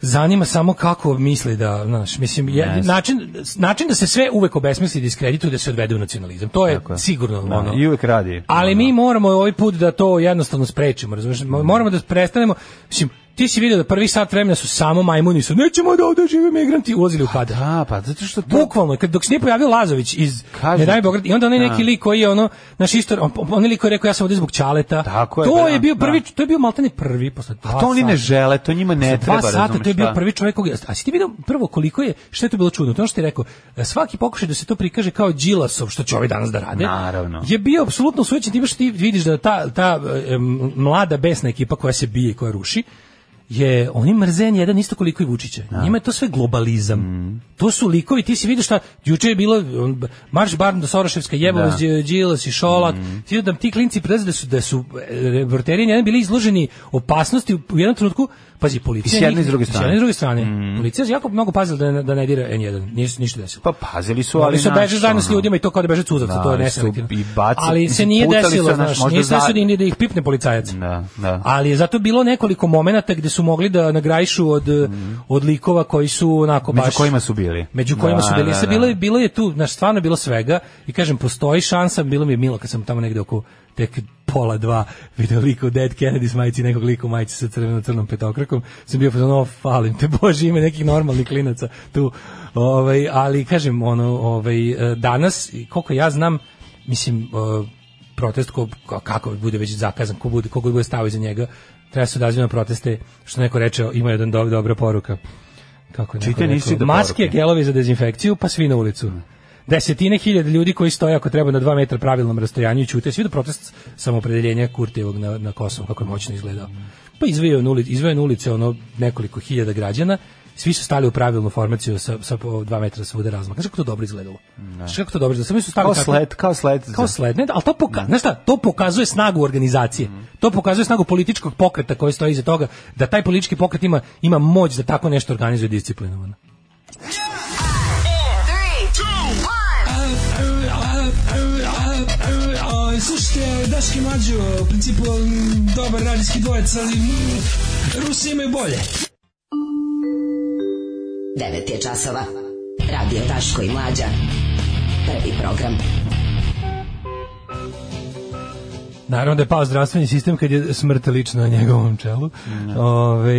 [SPEAKER 7] zanima samo kako misli da, znaš, mislim, je,
[SPEAKER 6] Ne znam.
[SPEAKER 7] način, način da se sve uvek obesmisli, diskredituje, da se odvede u nacionalizam. To je
[SPEAKER 6] Tako je.
[SPEAKER 7] sigurno
[SPEAKER 6] Da,
[SPEAKER 7] ono.
[SPEAKER 6] I uvek radi.
[SPEAKER 7] Ali
[SPEAKER 6] Ono.
[SPEAKER 7] mi moramo ovaj put da to jednostavno sprečimo, razumiješ? Moramo da prestanemo, mislim, ti si vidio da prvi sat vremena su samo majmuni su, nećemo da ovde žive migranti, ulazili u kada.
[SPEAKER 6] Da, pa zato što to...
[SPEAKER 7] Bukvalno, kad dok se nije pojavio Lazović iz
[SPEAKER 6] Kažem
[SPEAKER 7] Ne daj
[SPEAKER 6] ti.
[SPEAKER 7] Beograd i onda onaj neki
[SPEAKER 6] Da.
[SPEAKER 7] lik koji je ono naš istor, on, on onaj lik koji je rekao ja sam ovdje zbog Čaleta.
[SPEAKER 6] Tako je,
[SPEAKER 7] to
[SPEAKER 6] pa
[SPEAKER 7] je
[SPEAKER 6] da,
[SPEAKER 7] bio
[SPEAKER 6] da.
[SPEAKER 7] prvi, to je bio maltene prvi posle dva
[SPEAKER 6] A pa to oni
[SPEAKER 7] sata.
[SPEAKER 6] ne žele, to njima ne
[SPEAKER 7] Za
[SPEAKER 6] treba,
[SPEAKER 7] dva sata
[SPEAKER 6] razumeš,
[SPEAKER 7] pa to je bio
[SPEAKER 6] da.
[SPEAKER 7] prvi čovjek koga, a si ti vidio prvo koliko je, što je to bilo čudno, to je ono što je rekao, svaki pokušaj da se to prikaže kao Đilasov, što će ovi danas da rade,
[SPEAKER 6] Naravno.
[SPEAKER 7] je bio apsolutno sujećen time što ti vidiš da ta, ta em, mlada besna ekipa koja se bije i koja ruši, je oni mrzen jedan isto koliko i Vučića. Njima je to sve globalizam.
[SPEAKER 6] Mm.
[SPEAKER 7] To su likovi, ti si vidio šta, juče je bilo on, Marš Barn do Soroševska jebala
[SPEAKER 6] Da. Mm.
[SPEAKER 7] Đilas i Šolak. Ti vidio da ti klinci prelaze da su, da su e, reporteri jedan bili izloženi opasnosti u u jednom trenutku, pazi, policija.
[SPEAKER 6] I s jedne
[SPEAKER 7] njih-
[SPEAKER 6] i s druge strane. Mm.
[SPEAKER 7] s jedne i s druge strane. Policija je jako mnogo pazila da ne, da ne dira N1. Nije se ništa desilo.
[SPEAKER 6] Pa pazili su, ali...
[SPEAKER 7] Ali su
[SPEAKER 6] znaš,
[SPEAKER 7] beže zajedno s
[SPEAKER 6] ono.
[SPEAKER 7] ljudima i to kao da beže cuzavca,
[SPEAKER 6] Da,
[SPEAKER 7] to je
[SPEAKER 6] ali su
[SPEAKER 7] neselektivno.
[SPEAKER 6] i baci-
[SPEAKER 7] ali se
[SPEAKER 6] mislim,
[SPEAKER 7] nije
[SPEAKER 6] pucali su,
[SPEAKER 7] desilo,
[SPEAKER 6] znaš,
[SPEAKER 7] znaš,
[SPEAKER 6] možda
[SPEAKER 7] nije se desilo
[SPEAKER 6] za-
[SPEAKER 7] ni da ih pipne policajac.
[SPEAKER 6] Da, da.
[SPEAKER 7] Ali je zato bilo nekoliko momenata gdje su mogli da nagrajišu od, od likova koji su onako baš...
[SPEAKER 6] Mhm. Među kojima su bili.
[SPEAKER 7] Među kojima su
[SPEAKER 6] Da,
[SPEAKER 7] bili.
[SPEAKER 6] da,
[SPEAKER 7] Sve
[SPEAKER 6] da.
[SPEAKER 7] bilo, je, bilo je tu, znaš, stvarno je bilo svega i kažem, postoji šansa, bilo mi je milo kad sam tamo negde oko tek pola dva video lika u Dead Kennedy s majici, nekog lika u majici sa crveno-crnom petokrakom, sam bio pozvano, falim te, bože, ime nekih normalnih klinaca tu, ovaj, ali kažem, ono, ovaj, eh, danas, i koliko ja znam, mislim, eh, protest ko, ka- kako bude već zakazan, ko bude, koga bude stavio iza njega, treba se odazivi na proteste, što neko reče, ima jedan do, dobra poruka. Kako je neko
[SPEAKER 6] Čite, nisi
[SPEAKER 7] rekao?
[SPEAKER 6] do
[SPEAKER 7] Maske,
[SPEAKER 6] poruke.
[SPEAKER 7] gelovi za dezinfekciju, pa svi na ulicu. Desetine hiljada ljudi koji stoje ako treba na dva metra pravilnom rastojanju i ćute. Svi do protest samopredeljenja Kurtijevog na, na Kosovu, kako je moćno izgledao. Pa izveo je na ulici, izveo je na ulice ono nekoliko hiljada građana, svi su stali u pravilnu formaciju sa, sa po dva metra svuda razmak. Znaš kako to dobro izgledalo? Znaš kako to dobro izgledalo? Samo su stali
[SPEAKER 6] Kao
[SPEAKER 7] tako-
[SPEAKER 6] sled, kao sled.
[SPEAKER 7] kao sledne, ali to, poka znaš šta, to pokazuje snagu organizacije.
[SPEAKER 6] Mhm.
[SPEAKER 7] To pokazuje snagu političkog pokreta koji stoji iza toga, da taj politički pokret ima, ima moć da tako nešto organizuje disciplinovano.
[SPEAKER 10] Slušajte, Daški Mađo, u principu m, dobar radijski dvojec, ali m, Rusi imaju bolje.
[SPEAKER 8] 9 je časova. Radio Daško i Mlađa. Prvi program.
[SPEAKER 7] Naravno da je pao zdravstveni sistem kad je smrt lično na njegovom čelu. Ove,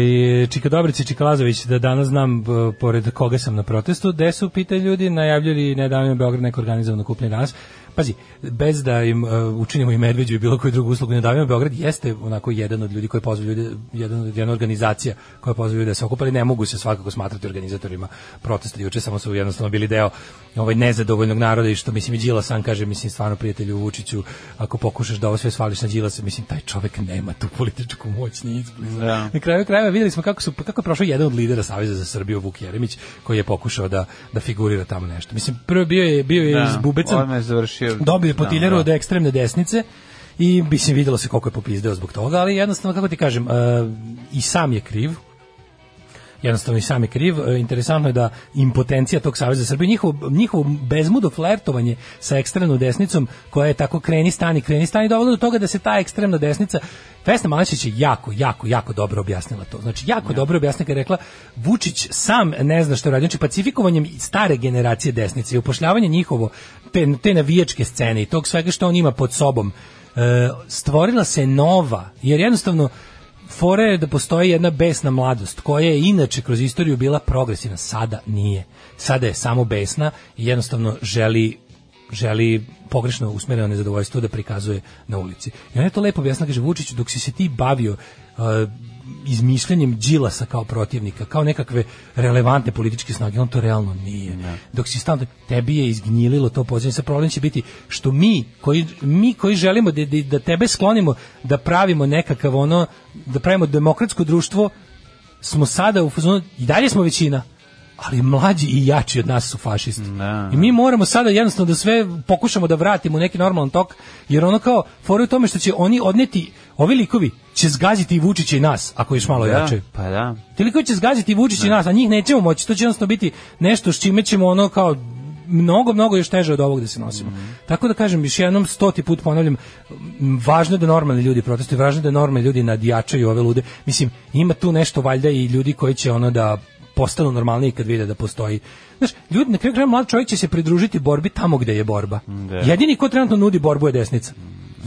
[SPEAKER 7] Čika Dobrić i Čika Lazović, da danas znam e, b- pored koga sam na protestu, gde su, pita ljudi, najavljali nedavno u Beograd neko organizovano kupljenje danas. pazi, bez da im e, učinimo i Medveđu i bilo koju drugu uslugu ne davimo, Beograd jeste onako jedan od ljudi koji pozvaju ljude, jedan, od- jedna organizacija koja pozvaju ljude da se okupali, ne mogu se svakako smatrati organizatorima protesta, juče samo su jednostavno bili deo ovaj nezadovoljnog naroda i što mislim i Đila sam kaže, mislim stvarno prijatelju Vučiću, ako pokušaš da ovo sve svališ na Đilasa, mislim taj čovek nema tu političku moć ni izbliza.
[SPEAKER 6] Da.
[SPEAKER 7] Na kraju krajeva videli smo kako su kako je prošao jedan od lidera Saveza za Srbiju Vuk Jeremić koji je pokušao da da figurira tamo nešto. Mislim prvo bio je bio je
[SPEAKER 6] Da,
[SPEAKER 7] iz Bubeca.
[SPEAKER 6] odmah je završio-
[SPEAKER 7] Dobio je
[SPEAKER 6] Da,
[SPEAKER 7] potiljeru
[SPEAKER 6] da.
[SPEAKER 7] od ekstremne desnice i mislim videlo se koliko je popizdeo zbog toga, ali jednostavno kako ti kažem, e, i sam je kriv, jednostavno i sam je kriv. E, Interesantno je da impotencija tog Saveza Srbije, njihovo, njihovo bezmudo flertovanje sa ekstremnom desnicom koja je tako kreni stani, kreni stani, dovoljno do toga da se ta ekstremna desnica Vesna Malešić je jako, jako, jako dobro objasnila to. Znači, jako dobro objasnila kada je rekla Vučić sam ne zna što radi. Znači, pacifikovanjem stare generacije desnice i upošljavanje njihovo, te, te navijačke scene i tog svega što on ima pod sobom, e, stvorila se nova, jer jednostavno fora je da postoji jedna besna mladost koja je inače kroz istoriju bila progresivna, sada nije. Sada je samo besna i jednostavno želi želi pogrešno usmereno nezadovoljstvo da prikazuje na ulici. I ona je to lepo objasnila, kaže Vučiću, dok si se ti bavio uh, izmišljanjem Đilasa kao protivnika, kao nekakve relevantne političke snage, on to realno nije. Dok si stalno, tebi je izgnjililo to pozivanje, sa problem će biti što mi koji, mi koji želimo da, da, da tebe sklonimo da pravimo nekakav ono, da pravimo demokratsko društvo, smo sada u fazonu, i dalje smo većina, ali mlađi i jači od nas su fašisti. I mi moramo sada jednostavno da sve pokušamo da vratimo u neki normalan tok, jer ono kao, fora je u tome što će oni odneti, ovi likovi će zgaziti i Vučića i nas, ako još malo
[SPEAKER 6] Da,
[SPEAKER 7] jače.
[SPEAKER 6] pa da.
[SPEAKER 7] Ti likovi će zgaziti i Vučić i nas, a njih nećemo moći, to će jednostavno biti nešto s čime ćemo ono kao mnogo, mnogo još teže od ovog da se nosimo. Tako da kažem, još jednom stoti put ponavljam, m, važno je da normalni ljudi protestuju, važno je da normalni ljudi nadjačaju ove lude. Mislim, ima tu nešto valjda i ljudi koji će ono da postanu normalniji kad vide da postoji. Znaš, ljudi, na kraju kraja mlad čovjek će se pridružiti borbi tamo gde je borba. Jedini ko trenutno nudi borbu je desnica.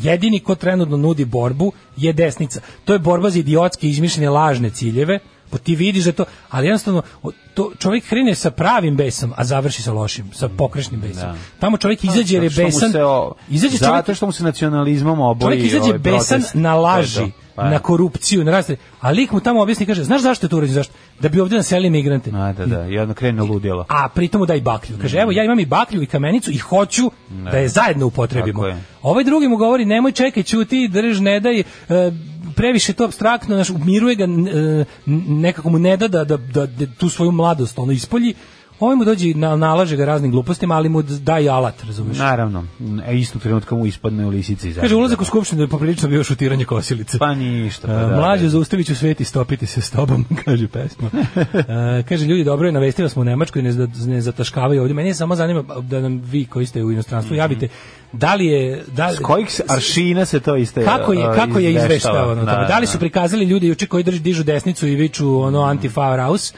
[SPEAKER 7] Jedini ko trenutno nudi borbu je desnica. To je borba za idiotske izmišljene lažne ciljeve, pa ti vidiš da to, ali jednostavno o- to čovjek krene sa pravim besom, a završi sa lošim, sa pokrešnim besom. Tamo čovjek izađe jer je
[SPEAKER 6] Mm, Pa, Zato što mu
[SPEAKER 7] besan.
[SPEAKER 6] se o-
[SPEAKER 7] Izađe čovjek
[SPEAKER 6] Zato što mu se nacionalizmom oboji
[SPEAKER 7] Čovjek izađe
[SPEAKER 6] ovaj
[SPEAKER 7] besan
[SPEAKER 6] protest.
[SPEAKER 7] na
[SPEAKER 6] To je
[SPEAKER 7] laži,
[SPEAKER 6] to. Pa,
[SPEAKER 7] na korupciju, na razne. A lik mu tamo objasni i kaže, znaš zašto je to urađeno, zašto? Da bi ovdje naselili migrante.
[SPEAKER 6] A, da, da, i onda krene ludjelo.
[SPEAKER 7] A pritom daj baklju. Kaže, evo ja imam i baklju i kamenicu i hoću da je zajedno upotrebimo.
[SPEAKER 6] Tako je.
[SPEAKER 7] Ovaj drugi mu govori, nemoj čekaj, ćuti, drž, ne daj, e, previše je to abstraktno, znaš, umiruje ga, n- e, n- nekako mu ne da da, da, da, da tu svoju mladost ono ispolji. Ovaj mu dođe i na, nalaže ga raznim glupostima, ali mu d- daje alat, razumeš?
[SPEAKER 6] Naravno, e, istog trenutka mu ispadne u lisici. i
[SPEAKER 7] Kaže,
[SPEAKER 6] zajedno.
[SPEAKER 7] ulazak u skupštinu je poprilično bio šutiranje kosilice.
[SPEAKER 6] Pa ništa. Pa,
[SPEAKER 7] E,
[SPEAKER 6] da,
[SPEAKER 7] Mlađe,
[SPEAKER 6] da.
[SPEAKER 7] zaustavit ću svet i stopiti se s tobom, kaže pesma. E, kaže, ljudi, dobro je, navestili smo u Nemačku i ne, za- ne zataškavaju ovdje. Mene je samo zanima pa, da nam vi koji ste u inostranstvu javite, da li je... Da,
[SPEAKER 6] Mhm. S kojih se aršina se to iste
[SPEAKER 7] kako je
[SPEAKER 6] e,
[SPEAKER 7] kako je
[SPEAKER 6] izveštava?
[SPEAKER 7] izveštavano o tome? Da li su prikazali ljudi juče koji drži dižu desnicu i viču ono anti raus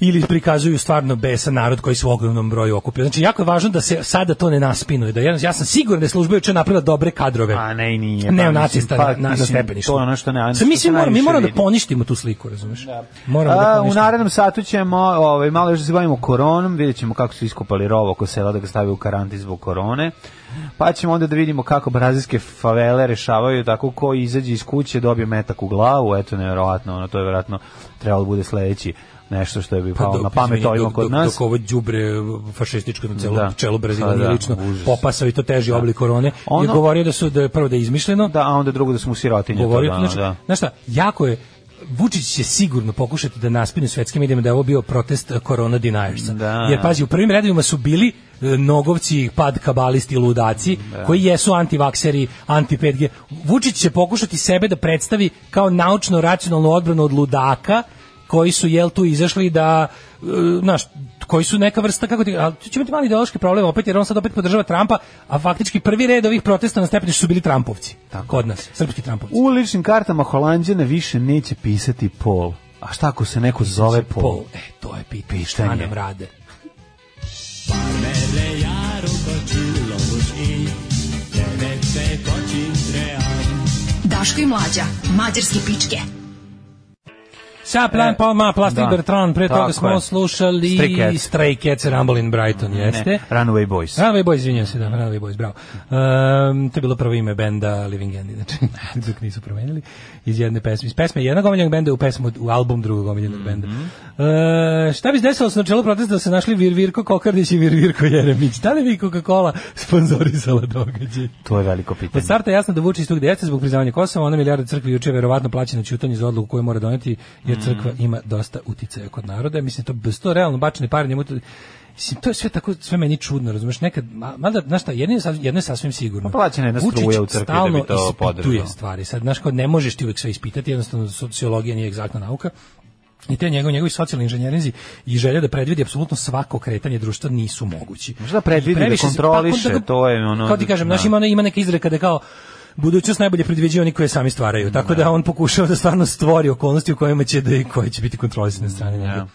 [SPEAKER 7] ili prikazuju stvarno besan narod koji se u ogromnom broju okupio. Znači jako je važno da se sada to ne naspinuje. Da jednostavno- ja sam siguran da je služba juče napravila dobre kadrove.
[SPEAKER 6] A Pa ne, i nije.
[SPEAKER 7] Ne,
[SPEAKER 6] mislim,
[SPEAKER 7] nacista
[SPEAKER 6] pa,
[SPEAKER 7] na, na, na
[SPEAKER 6] mislim,
[SPEAKER 7] stepeništu.
[SPEAKER 6] To je ono što ne,
[SPEAKER 7] Sad mi
[SPEAKER 6] što se
[SPEAKER 7] svi moramo, mi
[SPEAKER 6] najviše
[SPEAKER 7] moramo da
[SPEAKER 6] vidi.
[SPEAKER 7] poništimo tu sliku, razumeš? Moramo da
[SPEAKER 6] A, u
[SPEAKER 7] poništimo.
[SPEAKER 6] narednom satu ćemo, ovaj, malo još da se bavimo koronom, vidjet ćemo kako su iskopali rovo oko sela da ga stave u karantin zbog korone, pa ćemo onda da vidimo kako brazilske favele rešavaju tako ko izađe iz kuće dobije metak u glavu, eto nevjerojatno, ono, to je vjerojatno trebalo da bude sledeći nešto što je bi palo
[SPEAKER 7] Pa
[SPEAKER 6] Pa,
[SPEAKER 7] dok-
[SPEAKER 6] na pamet
[SPEAKER 7] izvini,
[SPEAKER 6] ovima
[SPEAKER 7] dok-
[SPEAKER 6] kod
[SPEAKER 7] dok-
[SPEAKER 6] nas.
[SPEAKER 7] Dok ovo đubre fašističko na celu
[SPEAKER 6] Da.
[SPEAKER 7] čelu Brazila
[SPEAKER 6] Pa
[SPEAKER 7] nije
[SPEAKER 6] da,
[SPEAKER 7] lično
[SPEAKER 6] užas.
[SPEAKER 7] popasao i to teži oblik korone. Je
[SPEAKER 6] Ono-
[SPEAKER 7] govorio da su da je prvo da je izmišljeno,
[SPEAKER 6] Da, a onda drugo da smo sirotinje. to
[SPEAKER 7] govorio,
[SPEAKER 6] da,
[SPEAKER 7] znači,
[SPEAKER 6] da.
[SPEAKER 7] znaš šta, jako je Vučić će sigurno pokušati da naspine svetskim medijima da je ovo bio protest eh, korona deniersa.
[SPEAKER 6] Da.
[SPEAKER 7] Jer pazi, u prvim redovima su bili eh, nogovci, pad kabalisti, ludaci, koji jesu antivakseri, anti 5G. Vučić će pokušati sebe da predstavi kao naučno racionalnu odbranu od ludaka koji su jel tu izašli da eh, znaš, koji su neka vrsta kako ti, ali tu će imati mali ideološki problem opet jer on sad opet podržava Trampa, a faktički prvi red ovih protesta na stepeništu su bili Trampovci. Kod nas, srpski Trampovci.
[SPEAKER 6] U ličnim kartama Holandjana više neće pisati pol. A šta ako se neko zove pol?
[SPEAKER 7] Pol. E, to je pitanje. Šta
[SPEAKER 6] Pitanje.
[SPEAKER 7] nam rade?
[SPEAKER 5] Daško i mlađa, mađarske pičke.
[SPEAKER 7] Sa plan
[SPEAKER 6] E,
[SPEAKER 7] pa ma plastik
[SPEAKER 6] da.
[SPEAKER 7] Bertrand, pre
[SPEAKER 6] Tako
[SPEAKER 7] toga smo
[SPEAKER 6] je.
[SPEAKER 7] slušali
[SPEAKER 6] Stray Cats.
[SPEAKER 7] Stray Cats Rumble in Brighton, jeste.
[SPEAKER 6] Ne, Runaway Boys.
[SPEAKER 7] Runaway Boys, izvinjam se, da, Runaway Boys, bravo. Um, to je bilo prvo ime benda Living End, znači, dok nisu promenili, iz jedne pesme. Iz pesme jednog omiljenog benda u pesmu, u album drugog omiljenog
[SPEAKER 6] Mhm.
[SPEAKER 7] benda. E, šta bi se desilo s načelu protesta da se našli Vir Virko Kokardić i Vir Virko Jeremić? Da li bi Coca-Cola sponzorisala događaj?
[SPEAKER 6] To je veliko pitanje.
[SPEAKER 7] Od starta je jasno da vuče iz tog djece zbog priznavanja Kosova, ona milijarda crkvi juče je verovatno plaćena ćutanje za odluku koju mora doneti, jer crkva
[SPEAKER 6] Mm.
[SPEAKER 7] ima dosta uticaja kod naroda. Mislim, to bez to realno bačene pare njemu... to- Mislim, to je sve tako, sve meni čudno, razumeš, nekad, ma- mada, znaš šta, jedno je, sa- jedno je sasvim sigurno.
[SPEAKER 6] Pa plaćena je jedna struja
[SPEAKER 7] Vučić
[SPEAKER 6] u crkvi da bi
[SPEAKER 7] stalno
[SPEAKER 6] to
[SPEAKER 7] ispituje
[SPEAKER 6] podržao.
[SPEAKER 7] stvari, sad, znaš, kao ne možeš ti uvek sve ispitati, jednostavno, sociologija nije egzaktna nauka, i te njegov, njegovi socijalni inženjerinzi i želja da predvidi apsolutno svako kretanje društva nisu mogući.
[SPEAKER 6] Možda predvidi, da
[SPEAKER 7] Previše se-
[SPEAKER 6] kontroliše,
[SPEAKER 7] pa, onda ga-
[SPEAKER 6] to je ono-
[SPEAKER 7] Kao ti kažem,
[SPEAKER 6] da.
[SPEAKER 7] znaš, ima, ona- ima neka izreka da je kao budućnost najbolje predviđaju oni koje sami stvaraju. Tako da on pokušava da stvarno stvori okolnosti u kojima će da koje će biti kontrolisane strane njega.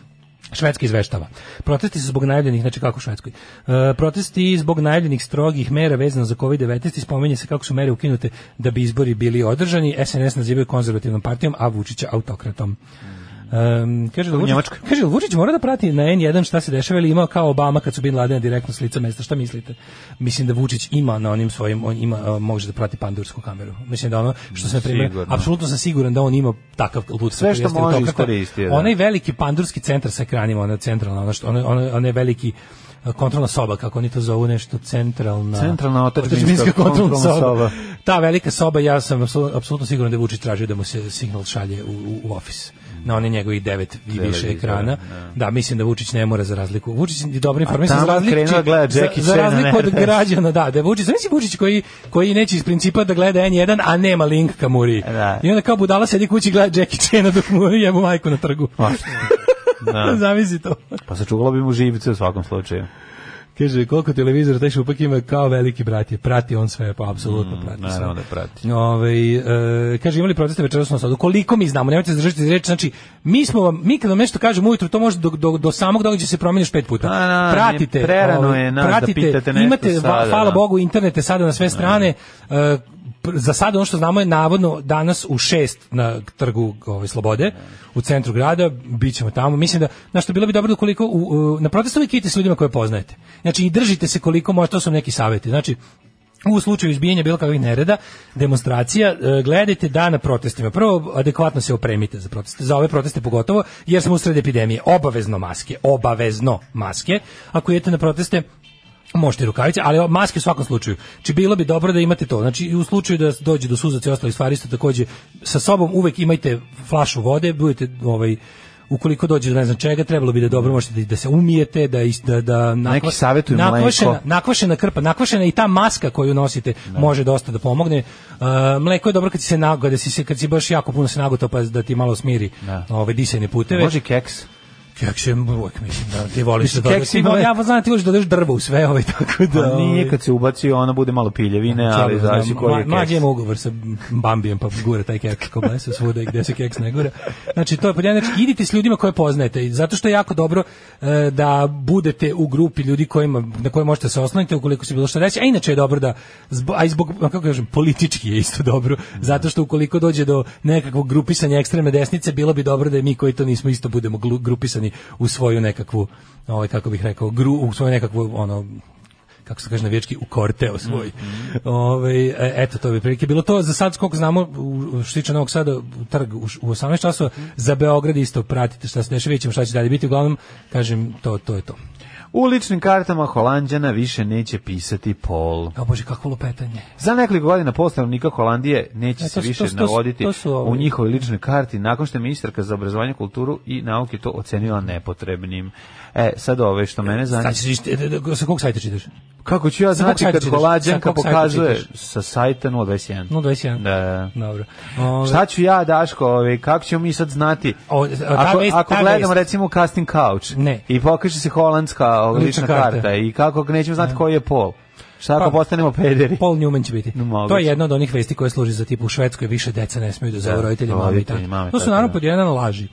[SPEAKER 7] Švedska izveštava. Protesti su zbog najavljenih, znači kako u Švedskoj. E, protesti zbog najavljenih strogih mera vezano za COVID-19 i spomenje se kako su mere ukinute da bi izbori bili održani. SNS nazivaju konzervativnom partijom, a Vučića autokratom. Em, kaže, da Vučić,
[SPEAKER 6] Njemačkoj.
[SPEAKER 7] kaže, Vučić mora da prati na N1 šta se dešava ili imao kao Obama kad su bin Laden direktno s lica mesta, šta mislite? Mislim da Vučić ima na onim svojim, on ima, a, može da prati pandursku kameru. Mislim da ono, što sam na primjer,
[SPEAKER 6] Sigurno.
[SPEAKER 7] apsolutno sam siguran da on ima takav lut.
[SPEAKER 6] Sve što može iskoristio, da.
[SPEAKER 7] Onaj veliki pandurski centar sa ekranima, ona centralna, ona što, ona, ona, ona je veliki a, kontrolna soba, kako oni to zovu, nešto centralna...
[SPEAKER 6] Centralna otadžbinska
[SPEAKER 7] kontrolna,
[SPEAKER 6] kontrolna
[SPEAKER 7] soba.
[SPEAKER 6] soba.
[SPEAKER 7] Ta velika soba, ja sam apsolu- apsolutno siguran da je Vučić tražio da mu se signal šalje u, u, u ofis na one njegovih devet i više
[SPEAKER 6] Televizora,
[SPEAKER 7] ekrana. Da. mislim da Vučić ne mora za razliku. Vučić je
[SPEAKER 6] A
[SPEAKER 7] dobro informisan za
[SPEAKER 6] tamo
[SPEAKER 7] razliku,
[SPEAKER 6] krenuo gleda
[SPEAKER 7] za,
[SPEAKER 6] Jackie
[SPEAKER 7] za
[SPEAKER 6] Chan na
[SPEAKER 7] razliku od
[SPEAKER 6] RTS.
[SPEAKER 7] građana, da, da je Vučić, znači Vučić koji, koji neće iz principa da gleda N1, a nema link ka Muri.
[SPEAKER 6] Da.
[SPEAKER 7] I onda kao budala sedi kući i gleda Jackie Chana dok Muri jemu majku na trgu.
[SPEAKER 6] Da.
[SPEAKER 7] Zamisli to.
[SPEAKER 6] Pa sačuvalo bi mu živce u svakom slučaju.
[SPEAKER 7] Kaže, koliko televizora taj šupak ima kao veliki brat je. Prati on sve, pa apsolutno prati sve.
[SPEAKER 6] Mm, Naravno da prati.
[SPEAKER 7] Ovaj e, kaže imali proteste večeras na sadu. Koliko mi znamo, nemojte zadržati reč, znači mi smo vam mi kad vam nešto kažemo ujutru, to može do, do, do samog događaja se promeniš pet puta.
[SPEAKER 6] Pa, da,
[SPEAKER 7] pratite,
[SPEAKER 6] ne, prerano
[SPEAKER 7] ovaj,
[SPEAKER 6] je nas da
[SPEAKER 7] pratite,
[SPEAKER 6] pitate nešto
[SPEAKER 7] imate va-
[SPEAKER 6] sada,
[SPEAKER 7] hvala
[SPEAKER 6] da.
[SPEAKER 7] Bogu internete sada na sve strane. e, pr- za sada ono što znamo je navodno danas u šest na trgu ovaj, Slobode u centru grada, bit ćemo tamo. Mislim da, znaš što, bilo bi dobro da koliko, u, u- na protestu uvijek idite s ljudima koje poznajete. Znači i držite se koliko može, to su neki savjeti. Znači, u slučaju izbijanja bilo kakvih nereda, demonstracija, e, gledajte da na protestima. Prvo, adekvatno se opremite za proteste, za ove proteste pogotovo, jer smo usred epidemije. Obavezno maske, obavezno maske. Ako idete na proteste, možete i rukavice, ali maske u svakom slučaju. Či bilo bi dobro da imate to. Znači, i u slučaju da dođe do suzaca i ostalih stvari, isto takođe sa sobom uvek imajte flašu vode, budete ovaj, ukoliko dođe do ne znam čega, trebalo bi da dobro možete da se umijete, da, is- da, da
[SPEAKER 6] Neki savjetuju mleko.
[SPEAKER 7] nakvašena, nakvašena krpa, nakvašena i ta maska koju nosite može dosta da pomogne. E, mleko je dobro kad si se nagode, si se kad si baš jako puno se nagutao pa da ti malo smiri
[SPEAKER 6] Da.
[SPEAKER 7] ove disajne puteve.
[SPEAKER 6] Može keks.
[SPEAKER 7] Keks je uvek, mislim, da ti voliš da
[SPEAKER 6] Mislim,
[SPEAKER 7] dodaš.
[SPEAKER 6] keks
[SPEAKER 7] Ti
[SPEAKER 6] ima
[SPEAKER 7] voli-
[SPEAKER 6] le-
[SPEAKER 7] Ja pa znam, ti voliš da dodaš drvo u sve ove, tako da...
[SPEAKER 6] Da,
[SPEAKER 7] ovaj,
[SPEAKER 6] nije kad se ubaci, ona bude malo piljevine,
[SPEAKER 7] slabo
[SPEAKER 6] ali
[SPEAKER 7] znam.
[SPEAKER 6] zavisi koji je
[SPEAKER 7] Ma- Mlađe
[SPEAKER 6] keks.
[SPEAKER 7] ima ugovor sa Bambijem, pa gura taj keks ko blesa svuda i gde se keks ne gura. Znači, to je pod jedan, znači, idite s ljudima koje poznajete, i zato što je jako dobro e, da budete u grupi ljudi kojima, na koje možete se osloniti ukoliko se bilo što reći, a inače je dobro da, zbo- a i zbog, a kako kažem, politički je isto dobro, zato što ukoliko dođe do nekakvog grupisanja ekstremne desnice, bilo bi dobro da i mi koji to nismo isto budemo glu- grupisani u svoju nekakvu, ovaj, kako bih rekao, gru, u svoju nekakvu, ono, kako se kaže na vječki, u korteo svoj. Ovaj, e, eto, to bi prilike bilo to. Za sad, koliko znamo, u- što se tiče Novog Sada, u trg u, š- u 18 časova, za Beograd isto pratite šta se dešava, vidjet ćemo šta će dalje biti. Uglavnom, kažem, to, to je to.
[SPEAKER 6] U ličnim kartama Holandjana više neće pisati pol.
[SPEAKER 7] A bože, kakvo lupetanje.
[SPEAKER 6] Za nekoliko godina po stanovnika Holandije neće
[SPEAKER 7] E, to
[SPEAKER 6] se
[SPEAKER 7] su-
[SPEAKER 6] više
[SPEAKER 7] to su- to su-
[SPEAKER 6] navoditi
[SPEAKER 7] to su ovi-
[SPEAKER 6] u njihovoj ličnoj karti, nakon što je ministarka za obrazovanje, kulturu i nauke to ocenila nepotrebnim. E, sad ove što mene zanima.
[SPEAKER 7] Sad ćeš, ište- e, e, sa kog sajta čitaš?
[SPEAKER 6] Kako ću ja
[SPEAKER 7] Sa kog
[SPEAKER 6] znati
[SPEAKER 7] sajta
[SPEAKER 6] kad
[SPEAKER 7] čitaš?
[SPEAKER 6] Holandjanka
[SPEAKER 7] Sa kog sajta
[SPEAKER 6] pokazuje
[SPEAKER 7] čitaš?
[SPEAKER 6] sa sajta 021?
[SPEAKER 7] 021.
[SPEAKER 6] Da, da.
[SPEAKER 7] Dobro. Ovaj,
[SPEAKER 6] Šta ću ja, Daško, ovaj, kako ćemo mi sad znati?
[SPEAKER 7] O, ta
[SPEAKER 6] ako
[SPEAKER 7] vest-
[SPEAKER 6] ako
[SPEAKER 7] ta
[SPEAKER 6] gledamo
[SPEAKER 7] vest.
[SPEAKER 6] recimo casting couch
[SPEAKER 7] Ne.
[SPEAKER 6] i pokaže se holandska ovaj,
[SPEAKER 7] Lična
[SPEAKER 6] lična
[SPEAKER 7] karta.
[SPEAKER 6] karta. i kako nećemo znati koji je pol. Šta ako
[SPEAKER 7] Pa-
[SPEAKER 6] postanemo pederi?
[SPEAKER 7] Paul Newman će biti.
[SPEAKER 6] No, moguće.
[SPEAKER 7] to je jedna od onih vesti koje služi za tipu u Švedskoj više deca ne smeju da zovu
[SPEAKER 6] Da,
[SPEAKER 7] roditelji mame i
[SPEAKER 6] roditelji,
[SPEAKER 7] tate.
[SPEAKER 6] mame i
[SPEAKER 7] To su
[SPEAKER 6] tate,
[SPEAKER 7] naravno
[SPEAKER 6] da. Mm.
[SPEAKER 7] pod jedan laži.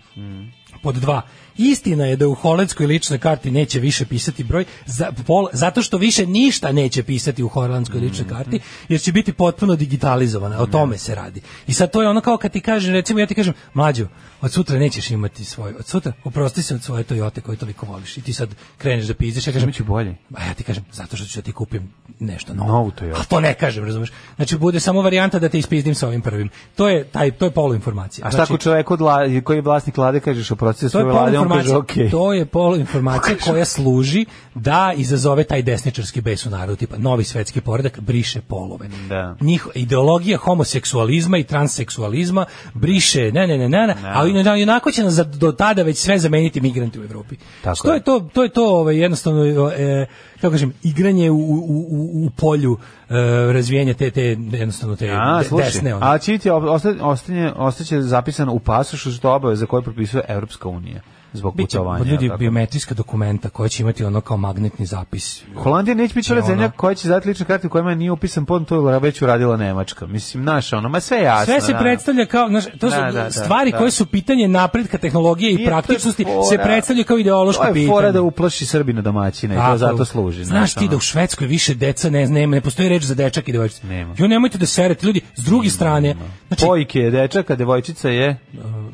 [SPEAKER 7] Pod dva, istina je da u holandskoj ličnoj karti neće više pisati broj, za, pol, zato što više ništa neće pisati u holandskoj
[SPEAKER 6] Mhm.
[SPEAKER 7] ličnoj karti, jer će biti potpuno digitalizovana, o tome se radi. I sad to je ono kao kad ti kažem, recimo ja ti kažem, mlađo, od sutra nećeš imati svoj, od sutra oprosti se od svoje Toyota koju toliko voliš i ti sad kreneš da pizdiš, ja kažem,
[SPEAKER 6] Biće bolje.
[SPEAKER 7] a ja ti kažem, zato što ću da ti kupim nešto novo.
[SPEAKER 6] Novu Toyota.
[SPEAKER 7] A to ne kažem, razumeš? Znači, bude samo varijanta da te ispizdim sa ovim prvim. To je, taj, to je poluinformacija. Znači,
[SPEAKER 6] A šta ako čovjek od la- koji je vlasnik lade kažeš o procesu svoje lade, on kaže
[SPEAKER 7] poluinformacija-
[SPEAKER 6] okej.
[SPEAKER 7] To je poluinformacija koja služi da izazove taj desničarski bes u narodu, tipa novi svetski poredak briše polove.
[SPEAKER 6] Da.
[SPEAKER 7] Njih, ideologija homoseksualizma i transseksualizma briše, ne, ne, ne, ne, ne, ali ne, onako će nas za- do tada već sve zameniti migranti u Evropi.
[SPEAKER 6] Tako
[SPEAKER 7] Što
[SPEAKER 6] je.
[SPEAKER 7] je to, to je to ovaj, jednostavno, e, kako kažem, igranje u, u, u, u polju e, razvijenja te, te, jednostavno, te
[SPEAKER 6] A,
[SPEAKER 7] de-
[SPEAKER 6] slušaj,
[SPEAKER 7] desne. ono.
[SPEAKER 6] a čit je ostane, ostaće zapisano u pasošu što je obaveza koju propisuje Evropska unija zbog
[SPEAKER 7] Biće
[SPEAKER 6] putovanja.
[SPEAKER 7] ljudi
[SPEAKER 6] jel tako?
[SPEAKER 7] biometrijska dokumenta koja će imati ono kao magnetni zapis.
[SPEAKER 6] Holandija neće biti ona
[SPEAKER 7] Ono.
[SPEAKER 6] zemlja koja će dati lične karte u kojima nije upisan pon, to je već uradila Nemačka. Mislim, naša, ono, ma sve je jasno.
[SPEAKER 7] Sve se
[SPEAKER 6] da.
[SPEAKER 7] predstavlja kao, znaš, to su
[SPEAKER 6] Da, da, da,
[SPEAKER 7] stvari
[SPEAKER 6] da.
[SPEAKER 7] koje su pitanje napretka tehnologije i
[SPEAKER 6] Nije, to je
[SPEAKER 7] praktičnosti se
[SPEAKER 6] fora.
[SPEAKER 7] predstavlja kao ideološko
[SPEAKER 6] To je
[SPEAKER 7] pitanje.
[SPEAKER 6] fora da uplaši Srbina domaćina i to
[SPEAKER 7] Tako.
[SPEAKER 6] zato služi. ono.
[SPEAKER 7] Znaš ti da u Švedskoj više deca ne nema, ne postoji reč za dečak i devojčica.
[SPEAKER 6] Nema.
[SPEAKER 7] Jo nemojte da serete ljudi s druge strane. Znači,
[SPEAKER 6] Pojke je dečaka, devojčica je...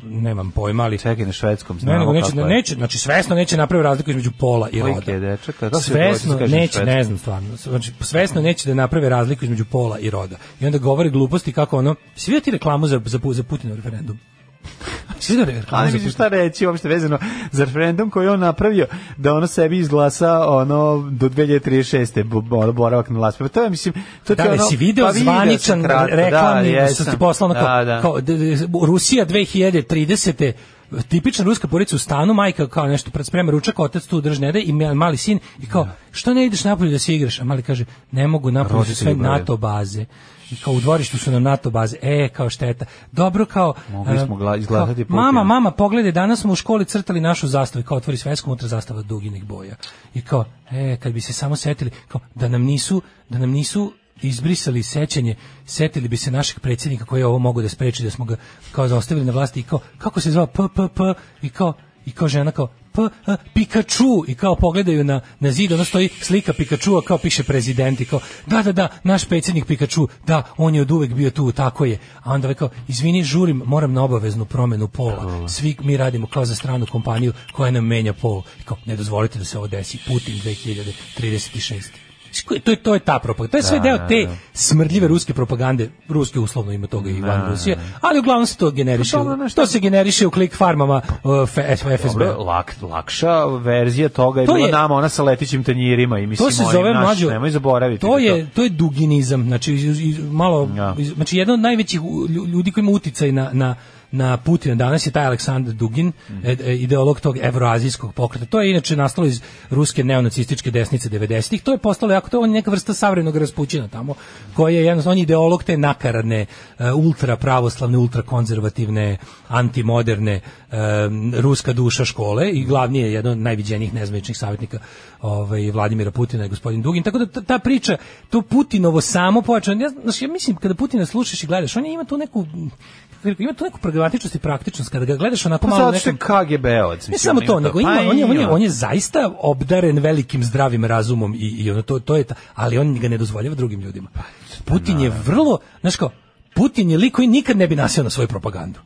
[SPEAKER 7] nemam pojma, ali
[SPEAKER 6] Čekaj, na švedskom znamo
[SPEAKER 7] ne, nego neće,
[SPEAKER 6] kako je.
[SPEAKER 7] neće, znači svesno neće napraviti razliku između pola i
[SPEAKER 6] Pojke
[SPEAKER 7] roda.
[SPEAKER 6] je dečak, a kako se
[SPEAKER 7] svesno
[SPEAKER 6] devojčica kaže na
[SPEAKER 7] neće,
[SPEAKER 6] švedskom?
[SPEAKER 7] ne znam stvarno. Znači svesno neće da naprave razliku između pola i roda. I onda govore gluposti kako ono, svi vidio ti reklamu za za, za Putinov referendum. Svi vidio
[SPEAKER 6] A
[SPEAKER 7] reklamu
[SPEAKER 6] ne
[SPEAKER 7] za
[SPEAKER 6] mislim
[SPEAKER 7] Putinov
[SPEAKER 6] šta reći uopšte vezano za referendum koji je on napravio da ono sebi izglasa ono do 2036. bo- bo- boravak na vlasti. Pa to je mislim to ti
[SPEAKER 7] Da,
[SPEAKER 6] je
[SPEAKER 7] ali
[SPEAKER 6] ono
[SPEAKER 7] si video
[SPEAKER 6] pa vidio sam
[SPEAKER 7] zvaničan
[SPEAKER 6] kratko,
[SPEAKER 7] reklamni
[SPEAKER 6] da,
[SPEAKER 7] što ti
[SPEAKER 6] jesam.
[SPEAKER 7] poslao na kao,
[SPEAKER 6] da, da.
[SPEAKER 7] kao, d- d- Rusija 2030 tipična ruska porodica u stanu, majka kao nešto pred sprema ručak, otac tu drž ne da i ma- mali sin i kao, što ne ideš napolje da se igraš? A mali kaže, ne mogu napolje su
[SPEAKER 6] Roditelji
[SPEAKER 7] sve
[SPEAKER 6] broje.
[SPEAKER 7] NATO baze. I kao u dvorištu su nam NATO baze. E, kao šteta. Dobro kao...
[SPEAKER 6] Mogli smo
[SPEAKER 7] e,
[SPEAKER 6] gla- izglasati
[SPEAKER 7] kao,
[SPEAKER 6] Putina.
[SPEAKER 7] Mama, mama, pogledaj, danas smo u školi crtali našu zastavu i kao otvori svesku, unutra zastava duginih boja. I kao, e, kad bi se samo setili, kao, da nam nisu, da nam nisu izbrisali sećanje, setili bi se našeg predsjednika koji je ovo mogu da spreči, da smo ga kao zaostavili na vlasti i kao, kako se zvao, p, p, p, i kao, i kao žena kao, p, a, Pikachu, i kao pogledaju na, na zid, ono stoji slika Pikachua, kao piše prezident, i kao, da, da, da, naš predsjednik Pikachu, da, on je od uvek bio tu, tako je. A onda ovaj kao, izvini, žurim, moram na obaveznu promenu pola. Svi mi radimo kao za stranu kompaniju koja nam menja pol. I kao, ne dozvolite da se ovo desi, Putin 2036. Ko- To je, to je ta propaganda. To je sve deo te smrdljive ruske propagande, ruske uslovno ima toga i van Rusije, ali uglavnom se to generiše.
[SPEAKER 6] dobro, znaš
[SPEAKER 7] to se generiše u klik farmama uh, F- FSB.
[SPEAKER 6] Dobro, lak, lakša verzija toga je
[SPEAKER 7] To
[SPEAKER 6] bila
[SPEAKER 7] je-
[SPEAKER 6] nama ona sa letićim tanjirima i mislim
[SPEAKER 7] to se
[SPEAKER 6] onim
[SPEAKER 7] zove
[SPEAKER 6] naš,
[SPEAKER 7] mlađo.
[SPEAKER 6] nemoj zaboraviti
[SPEAKER 7] To
[SPEAKER 6] da
[SPEAKER 7] je to je duginizam, znači iz, iz, malo
[SPEAKER 6] Ja.
[SPEAKER 7] iz- znači jedan od najvećih u- lju- ljudi koji ima uticaj na na na Putina danas je taj Aleksandar Dugin,
[SPEAKER 6] Mhm.
[SPEAKER 7] e, e, ideolog tog evroazijskog pokreta. To je inače nastalo iz ruske neonacističke desnice 90-ih. To je postalo jako, to je on neka vrsta savremenog raspućina tamo, koji je jednostavno on je ideolog te nakaradne, e, ultra pravoslavne, ultra konzervativne, antimoderne, e, ruska duša škole i glavni je jedan od najviđenijih nezvaničnih savjetnika ovaj, Vladimira Putina i gospodin Dugin. Tako da ta, ta priča, to Putinovo samo pojačano, ja, znaš, ja mislim kada Putina slušaš i gledaš, on je ima tu neku kako bih rekao, ima tu neku pragmatičnost i praktičnost kada ga gledaš onako
[SPEAKER 6] Pa
[SPEAKER 7] malo u
[SPEAKER 6] zato što je
[SPEAKER 7] nekom
[SPEAKER 6] KGB-ovac.
[SPEAKER 7] ne samo to,
[SPEAKER 6] Pa
[SPEAKER 7] nego ima, on, je, on, je, on je zaista obdaren velikim zdravim razumom i, i ono, to, to je ta, ali on ga ne dozvoljava drugim ljudima.
[SPEAKER 6] Pa,
[SPEAKER 7] Putin je vrlo, znaš kao, Putin je lik koji nikad ne bi nasio na svoju propagandu.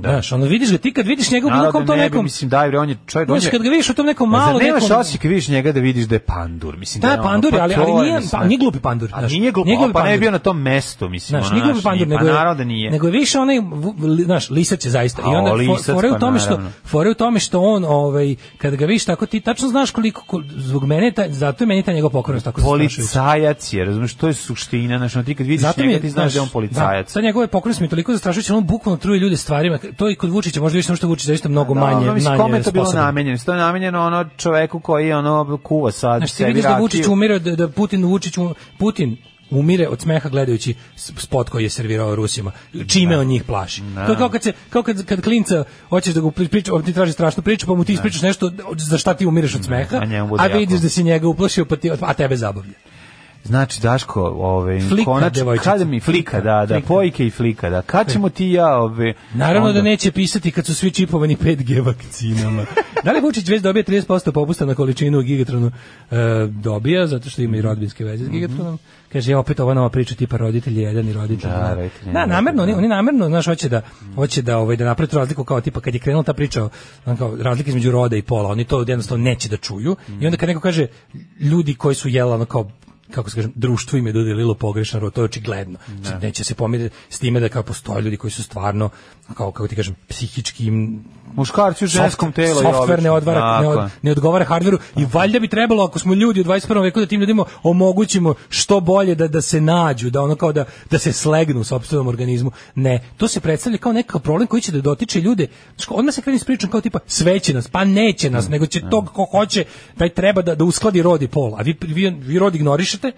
[SPEAKER 7] Znaš, ono vidiš ga, ti kad vidiš njega u bilo kom to
[SPEAKER 6] ne bi,
[SPEAKER 7] nekom...
[SPEAKER 6] mislim, daj, bre, on je čovjek, on
[SPEAKER 7] Znaš,
[SPEAKER 6] je...
[SPEAKER 7] kad ga vidiš u tom nekom
[SPEAKER 6] Ma,
[SPEAKER 7] malo
[SPEAKER 6] Zar nemaš
[SPEAKER 7] nekom...
[SPEAKER 6] osjećaj kad vidiš njega da vidiš da je pandur? Mislim,
[SPEAKER 7] Da,
[SPEAKER 6] je ono,
[SPEAKER 7] pandur je, ali-
[SPEAKER 6] to
[SPEAKER 7] ali
[SPEAKER 6] je,
[SPEAKER 7] nije-
[SPEAKER 6] mislim,
[SPEAKER 7] pa nije glupi pandur,
[SPEAKER 6] A
[SPEAKER 7] znaš.
[SPEAKER 6] nije glupi,
[SPEAKER 7] Nije glupi
[SPEAKER 6] a pa ne
[SPEAKER 7] pandur.
[SPEAKER 6] bi bio na tom mestu, mislim.
[SPEAKER 7] Znaš,
[SPEAKER 6] ono,
[SPEAKER 7] nije glupi pandur,
[SPEAKER 6] nije-
[SPEAKER 7] nego je,
[SPEAKER 6] Pa naravno da nije.
[SPEAKER 7] nego je više onaj, v- li- znaš, lisac je zaista. I
[SPEAKER 6] A,
[SPEAKER 7] onda
[SPEAKER 6] o,
[SPEAKER 7] fo-
[SPEAKER 6] lisac,
[SPEAKER 7] fora je u
[SPEAKER 6] pa
[SPEAKER 7] tome što,
[SPEAKER 6] naravno.
[SPEAKER 7] fora je u tome što on, ovaj, kada ga vidiš tako, ti tačno znaš koliko, ko- zbog mene, je ta, zato je meni ta njegov pokornost tako zastrašujuća.
[SPEAKER 6] policajac je, razumiješ, to je suština, znači, ono, ti kad vidiš
[SPEAKER 7] Zato mi
[SPEAKER 6] njega,
[SPEAKER 7] je,
[SPEAKER 6] ti znaš da je on policajac.
[SPEAKER 7] Da, sad njegove pokrene mi je toliko zastrašujuće, on bukvalno truje ljude stvarima. To i kod Vučića, možda više samo što je Vučić zaista mnogo manje,
[SPEAKER 6] ono, mislim,
[SPEAKER 7] manje
[SPEAKER 6] kome je to bilo
[SPEAKER 7] sposoban.
[SPEAKER 6] namenjeno? To je namenjeno ono čoveku koji ono kuva sad
[SPEAKER 7] Znaš, Znači, ti
[SPEAKER 6] sebi
[SPEAKER 7] vidiš da
[SPEAKER 6] rakiju.
[SPEAKER 7] Vučić umire, da, da Putin, Vučić, um- Putin umire od smeha gledajući s- spot koji je servirao Rusima. Čime on njih plaši. To je kao kad, se, kao kad, kad klinca hoćeš da ga pri- priča, on ti traži strašnu priču, pa mu ti ispričaš nešto za šta ti umireš od smeha,
[SPEAKER 6] a njemu bude
[SPEAKER 7] a
[SPEAKER 6] jako.
[SPEAKER 7] vidiš da si njega uplašio, pa ti, a tebe zabavlja.
[SPEAKER 6] Znači Daško, ovaj
[SPEAKER 7] Flika,
[SPEAKER 6] konačno
[SPEAKER 7] devojčica.
[SPEAKER 6] kada mi flika, da, da,
[SPEAKER 7] Flika.
[SPEAKER 6] pojke i flika, da. Kad ćemo ti i ja, ovaj
[SPEAKER 7] Naravno
[SPEAKER 6] onda-
[SPEAKER 7] da neće pisati kad su svi čipovani 5G vakcinama. da li Vučić već dobija 30% popusta na količinu u Gigatronu? E, dobija, zato što ima i rodbinske veze s
[SPEAKER 6] Mhm.
[SPEAKER 7] Gigatronom. Kaže, ja opet ova nova priča tipa roditelj jedan i roditelj
[SPEAKER 6] Da,
[SPEAKER 7] dva.
[SPEAKER 6] roditelj
[SPEAKER 7] Da,
[SPEAKER 6] jedan,
[SPEAKER 7] namerno, oni, oni namerno, znaš, hoće da, hoće da, ovaj, da naprave tu razliku kao tipa kad je krenula ta priča, on kao, razlika između roda i pola, oni to jednostavno neće da čuju. I onda kad neko kaže, ljudi koji su jela, ono kao, kako se kažem, društvo im je dodelilo pogrešan rod, to je očigledno. Znači, Neće se pomiriti s time da kao postoje ljudi koji su stvarno, kao, kako ti kažem, psihički im
[SPEAKER 6] muškarci u ženskom
[SPEAKER 7] soft-
[SPEAKER 6] telu i
[SPEAKER 7] software ne,
[SPEAKER 6] obično.
[SPEAKER 7] odvara, ne,
[SPEAKER 6] Tako
[SPEAKER 7] od-
[SPEAKER 6] je.
[SPEAKER 7] ne odgovara hardveru i valjda bi trebalo ako smo ljudi u 21. veku da tim ljudima omogućimo što bolje da da se nađu, da ono kao da da se slegnu u sopstvenom organizmu. Ne, to se predstavlja kao nekakav problem koji će da dotiče ljude. Znaš, kao, Odmah se krene s pričom kao tipa sve će nas, pa neće
[SPEAKER 6] Mm,
[SPEAKER 7] nas, nego će tog ko hoće, taj treba da, da uskladi rod i pol. A vi, vi, vi rod ignorišete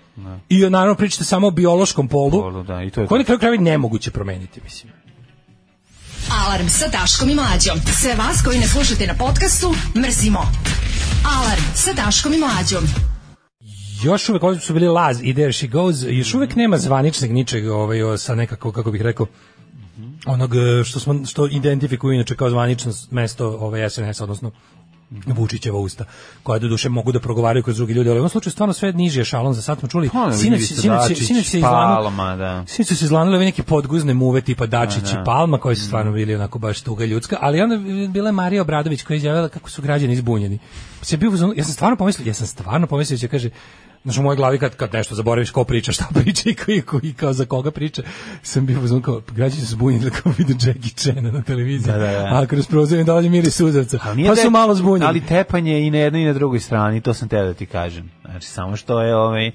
[SPEAKER 7] i naravno pričate samo o biološkom polu,
[SPEAKER 6] Polu, da, i to je to.
[SPEAKER 7] koji na kraju krajeva i nemoguće promeniti, mislim.
[SPEAKER 5] Alarm sa Daškom i Mlađom. Sve vas koji ne slušate na podcastu, mrzimo. Alarm sa Daškom i Mlađom.
[SPEAKER 7] još uvek ovdje su bili Laz i There She Goes, još
[SPEAKER 6] Mhm.
[SPEAKER 7] uvek nema zvaničnog ničeg ovaj, o, sa nekako, kako bih rekao,
[SPEAKER 6] Mhm.
[SPEAKER 7] onog e, što, smo, što identifikuju inače kao zvanično s- mesto ovaj, SNS, odnosno
[SPEAKER 6] Mhm.
[SPEAKER 7] Vučićeva usta, koja doduše mogu da progovaraju kroz drugi ljudi, ali u ovom slučaju stvarno sve niži je šalon, za sad smo čuli,
[SPEAKER 6] Pa, ono,
[SPEAKER 7] sinoć
[SPEAKER 6] vidi se
[SPEAKER 7] sinoć-
[SPEAKER 6] Dačić,
[SPEAKER 7] sinoć se izlanilo,
[SPEAKER 6] Palma, da.
[SPEAKER 7] sinoć su se izlanile ove neke podguzne muve tipa Dačić
[SPEAKER 6] Pa, da.
[SPEAKER 7] i Palma koji su stvarno bili onako baš tuga ljudska, ali onda je bila Marija Obradović koja je izjavila kako su građani izbunjeni. Pa sam bio u fazonu- ja sam stvarno pomislio, ja sam stvarno pomislio će kaže Znaš, u mojoj glavi kad, kad nešto zaboraviš ko priča, šta priča i, koji, koji, kao za koga priča, sam bio uzman kao, pa građani su zbunjeni da kao vide Jackie Chana na televiziji,
[SPEAKER 6] Da, da, da.
[SPEAKER 7] a kroz prozor im dalje miri suzavca,
[SPEAKER 6] Ali nije
[SPEAKER 7] pa su
[SPEAKER 6] te-
[SPEAKER 7] malo zbunjeni.
[SPEAKER 6] Ali tepanje i na jednoj i na drugoj strani, to sam teo da ti kažem. Znači, samo što je ovaj,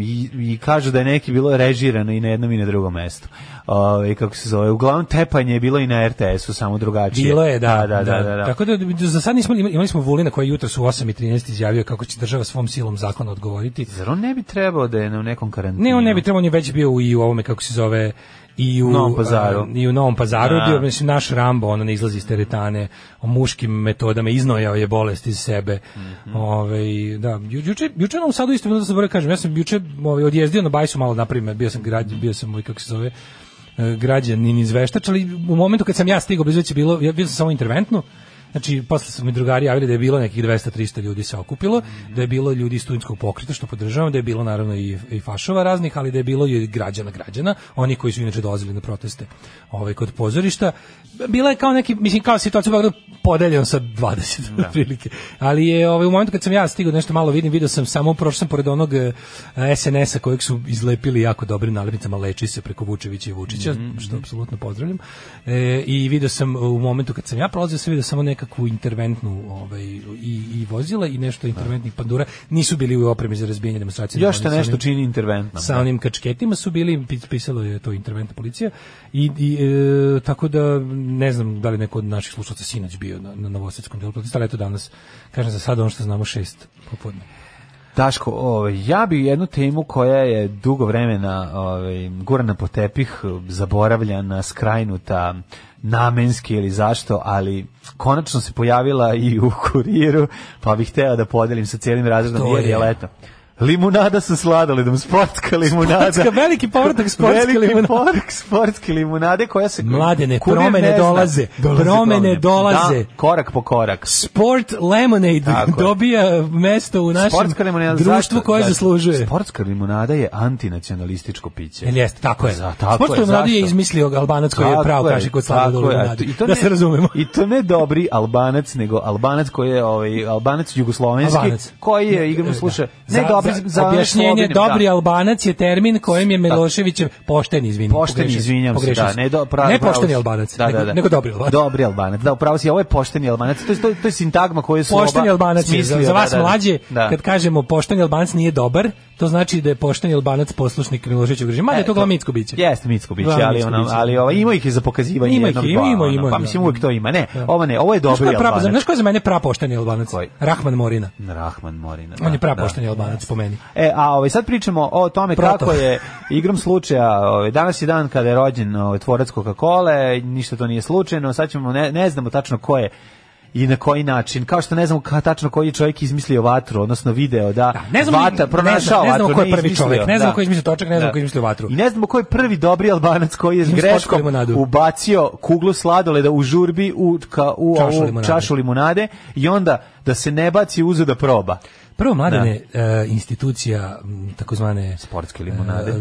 [SPEAKER 6] i, i kažu da je neki bilo režirano i na jednom i na drugom mestu. Ovaj, kako se zove, uglavnom tepanje je bilo i na RTS-u, samo drugačije.
[SPEAKER 7] Bilo je, da.
[SPEAKER 6] da, da, da, da.
[SPEAKER 7] Tako da za sad nismo imali, imali smo Vulina koji je jutros u 8:13 izjavio kako će država svom silom zakona odgovoriti.
[SPEAKER 6] Zar on ne bi trebao da je na nekom karantinu?
[SPEAKER 7] Ne, on ne bi trebao, on je već bio u, i u ovome, kako se zove, i u
[SPEAKER 6] Novom Pazaru.
[SPEAKER 7] a, I u Novom Pazaru
[SPEAKER 6] Da.
[SPEAKER 7] bio, mislim, naš Rambo, ono ne izlazi iz teretane, o muškim metodama, iznojao je bolest iz sebe.
[SPEAKER 6] Mhm.
[SPEAKER 7] Ovaj, da, ju, juče, juče nam sad isto, bilo da se bore kažem, ja sam juče ovaj, odjezdio na bajsu malo napravim, bio sam, grad, bio sam, ovaj, kako se zove, eh, građanin izveštač, ali u momentu kad sam ja stigao, blizu već je bilo, ja bio sam samo interventno, Znači, posle su mi drugari javili da je bilo nekih 200-300 ljudi se okupilo, da je bilo ljudi iz studentskog pokreta, što podržavam, da je bilo naravno i, i fašova raznih, ali da je bilo i građana građana, oni koji su inače dolazili na proteste ovaj, kod pozorišta. Bila je kao neki, mislim, kao situacija u Beogradu podeljena sa 20 da. prilike. Ali je ovaj, u momentu kad sam ja stigao da nešto malo vidim, video sam samo, prošao sam pored onog eh, SNS-a kojeg su izlepili jako dobrim nalepnicama, leči se preko Vučevića i Vučića,
[SPEAKER 6] Mhm.
[SPEAKER 7] što apsolutno pozdravljam. E, I video sam u momentu kad sam ja prolazio, sam video samo nekakvu interventnu ovaj, i, i vozila i nešto interventnih pandura. Nisu bili u opremi za razbijanje demonstracije.
[SPEAKER 6] Još te
[SPEAKER 7] Oni sa
[SPEAKER 6] nešto
[SPEAKER 7] onim-
[SPEAKER 6] čini interventno.
[SPEAKER 7] sa onim kačketima su bili, pis- pisalo je to interventna policija i, i e, tako da ne znam da li neko od naših slušalaca sinoć bio na, na Novosadskom delu protesta, ali eto danas, kažem za sada ono što znamo šest popodne.
[SPEAKER 6] Daško, ovaj, ja bi jednu temu koja je dugo vremena ovaj, gurana po tepih, zaboravljana, skrajnuta, namenski ili zašto, ali konačno se pojavila i u kuriru, pa bih hteo da podelim sa cijelim razredom,
[SPEAKER 7] Što
[SPEAKER 6] jer je
[SPEAKER 7] je?
[SPEAKER 6] leto. Limunada sa sladoledom, sportska limunada.
[SPEAKER 7] Sportska, veliki povratak sportske
[SPEAKER 6] Veliki
[SPEAKER 7] limunade.
[SPEAKER 6] povratak sportske limunade koja se...
[SPEAKER 7] Mladene,
[SPEAKER 6] kurir
[SPEAKER 7] promene
[SPEAKER 6] ne zna.
[SPEAKER 7] dolaze, promene dolaze.
[SPEAKER 6] Da, korak po korak.
[SPEAKER 7] Sport Lemonade
[SPEAKER 6] Tako je.
[SPEAKER 7] dobija mesto u našem
[SPEAKER 6] Sportska limunada
[SPEAKER 7] društvu
[SPEAKER 6] zašto?
[SPEAKER 7] koje
[SPEAKER 6] Zato-
[SPEAKER 7] zaslužuje.
[SPEAKER 6] Sportska limunada je antinacionalističko piće.
[SPEAKER 7] Jel jeste, tako je.
[SPEAKER 6] Za- tako je,
[SPEAKER 7] Sportska limunadu je
[SPEAKER 6] zašto?
[SPEAKER 7] izmislio Albanac koji je
[SPEAKER 6] Tako
[SPEAKER 7] pravo kašik od slada
[SPEAKER 6] tako
[SPEAKER 7] do
[SPEAKER 6] je.
[SPEAKER 7] limunade.
[SPEAKER 6] I to
[SPEAKER 7] Da
[SPEAKER 6] ne-
[SPEAKER 7] se razumemo.
[SPEAKER 6] I to ne dobri Albanac, nego Albanac koji je ovaj Albanac jugoslovenski,
[SPEAKER 7] Albanac.
[SPEAKER 6] koji je igram sluša. Ne
[SPEAKER 7] Za-
[SPEAKER 6] dobri
[SPEAKER 7] za-
[SPEAKER 6] za
[SPEAKER 7] objašnjenje,
[SPEAKER 6] Slovenijom,
[SPEAKER 7] dobri
[SPEAKER 6] da.
[SPEAKER 7] Albanac je termin kojim je Milošević pošten izvinjam.
[SPEAKER 6] Pošteni, izvinjam se, da, ne do, pravo,
[SPEAKER 7] ne
[SPEAKER 6] pravo
[SPEAKER 7] pošteni
[SPEAKER 6] si.
[SPEAKER 7] Albanac,
[SPEAKER 6] da,
[SPEAKER 7] nego,
[SPEAKER 6] da, da.
[SPEAKER 7] nego dobri Albanac.
[SPEAKER 6] Dobri Albanac, da, upravo si, ovo je pošteni Albanac, to je, to, je- to je sintagma koju su
[SPEAKER 7] Pošteni
[SPEAKER 6] oba
[SPEAKER 7] Albanac, je, za,
[SPEAKER 6] smislio,
[SPEAKER 7] za
[SPEAKER 6] da,
[SPEAKER 7] vas
[SPEAKER 6] da, da.
[SPEAKER 7] mlađe,
[SPEAKER 6] Da.
[SPEAKER 7] kad kažemo pošteni Albanac nije dobar, to znači da je pošteni Albanac poslušnik Miloševiću režimu, mada je
[SPEAKER 6] E,
[SPEAKER 7] to glavnicko biće.
[SPEAKER 6] Jeste Micko biće,
[SPEAKER 7] Glavno
[SPEAKER 6] ali
[SPEAKER 7] Micko
[SPEAKER 6] ona,
[SPEAKER 7] biće.
[SPEAKER 6] ali ova ima ih je za pokazivanje
[SPEAKER 7] Ima ih,
[SPEAKER 6] jednog
[SPEAKER 7] ima,
[SPEAKER 6] dva,
[SPEAKER 7] ima,
[SPEAKER 6] ono,
[SPEAKER 7] ima,
[SPEAKER 6] pa
[SPEAKER 7] da.
[SPEAKER 6] mislim uvijek to ima. Ne, ovo ne, ovo je
[SPEAKER 7] Znaš ko
[SPEAKER 6] dobri
[SPEAKER 7] je pra,
[SPEAKER 6] Albanac.
[SPEAKER 7] znaš ko je za mene prapošteni Albanac?
[SPEAKER 6] Koji?
[SPEAKER 7] Rahman Morina.
[SPEAKER 6] Rahman Morina.
[SPEAKER 7] On je
[SPEAKER 6] da,
[SPEAKER 7] prapošteni
[SPEAKER 6] da.
[SPEAKER 7] Albanac po meni.
[SPEAKER 6] E, a ovaj, sad pričamo o tome
[SPEAKER 7] Proto.
[SPEAKER 6] kako je igrom slučaja, ovaj, danas je dan kada je rođen ovaj, tvorac Coca-Cola, ništa to nije slučajno, sad ćemo, ne, ne znamo tačno ko je i na koji način. Kao što ne znamo ka, tačno koji je čovjek izmislio vatru, odnosno video da,
[SPEAKER 7] ne znamo ni- ne
[SPEAKER 6] vata
[SPEAKER 7] znam-
[SPEAKER 6] pronašao
[SPEAKER 7] ne znamo
[SPEAKER 6] vatru,
[SPEAKER 7] ko je
[SPEAKER 6] ne
[SPEAKER 7] prvi
[SPEAKER 6] izmislio,
[SPEAKER 7] čovjek, ne znamo
[SPEAKER 6] da.
[SPEAKER 7] ko je izmislio točak, ne znamo
[SPEAKER 6] Da.
[SPEAKER 7] ko je izmislio vatru.
[SPEAKER 6] I ne znamo ko je prvi dobri albanac koji je s
[SPEAKER 7] Ili spočku
[SPEAKER 6] greškom
[SPEAKER 7] limonadu.
[SPEAKER 6] ubacio kuglu sladoleda u žurbi u, ka, u
[SPEAKER 7] Čašu
[SPEAKER 6] ovu
[SPEAKER 7] limunade.
[SPEAKER 6] čašu limunade i onda da se ne baci uzu da proba.
[SPEAKER 7] Prvo mladene e, institucija m, takozvane eh,
[SPEAKER 6] sportske limunade.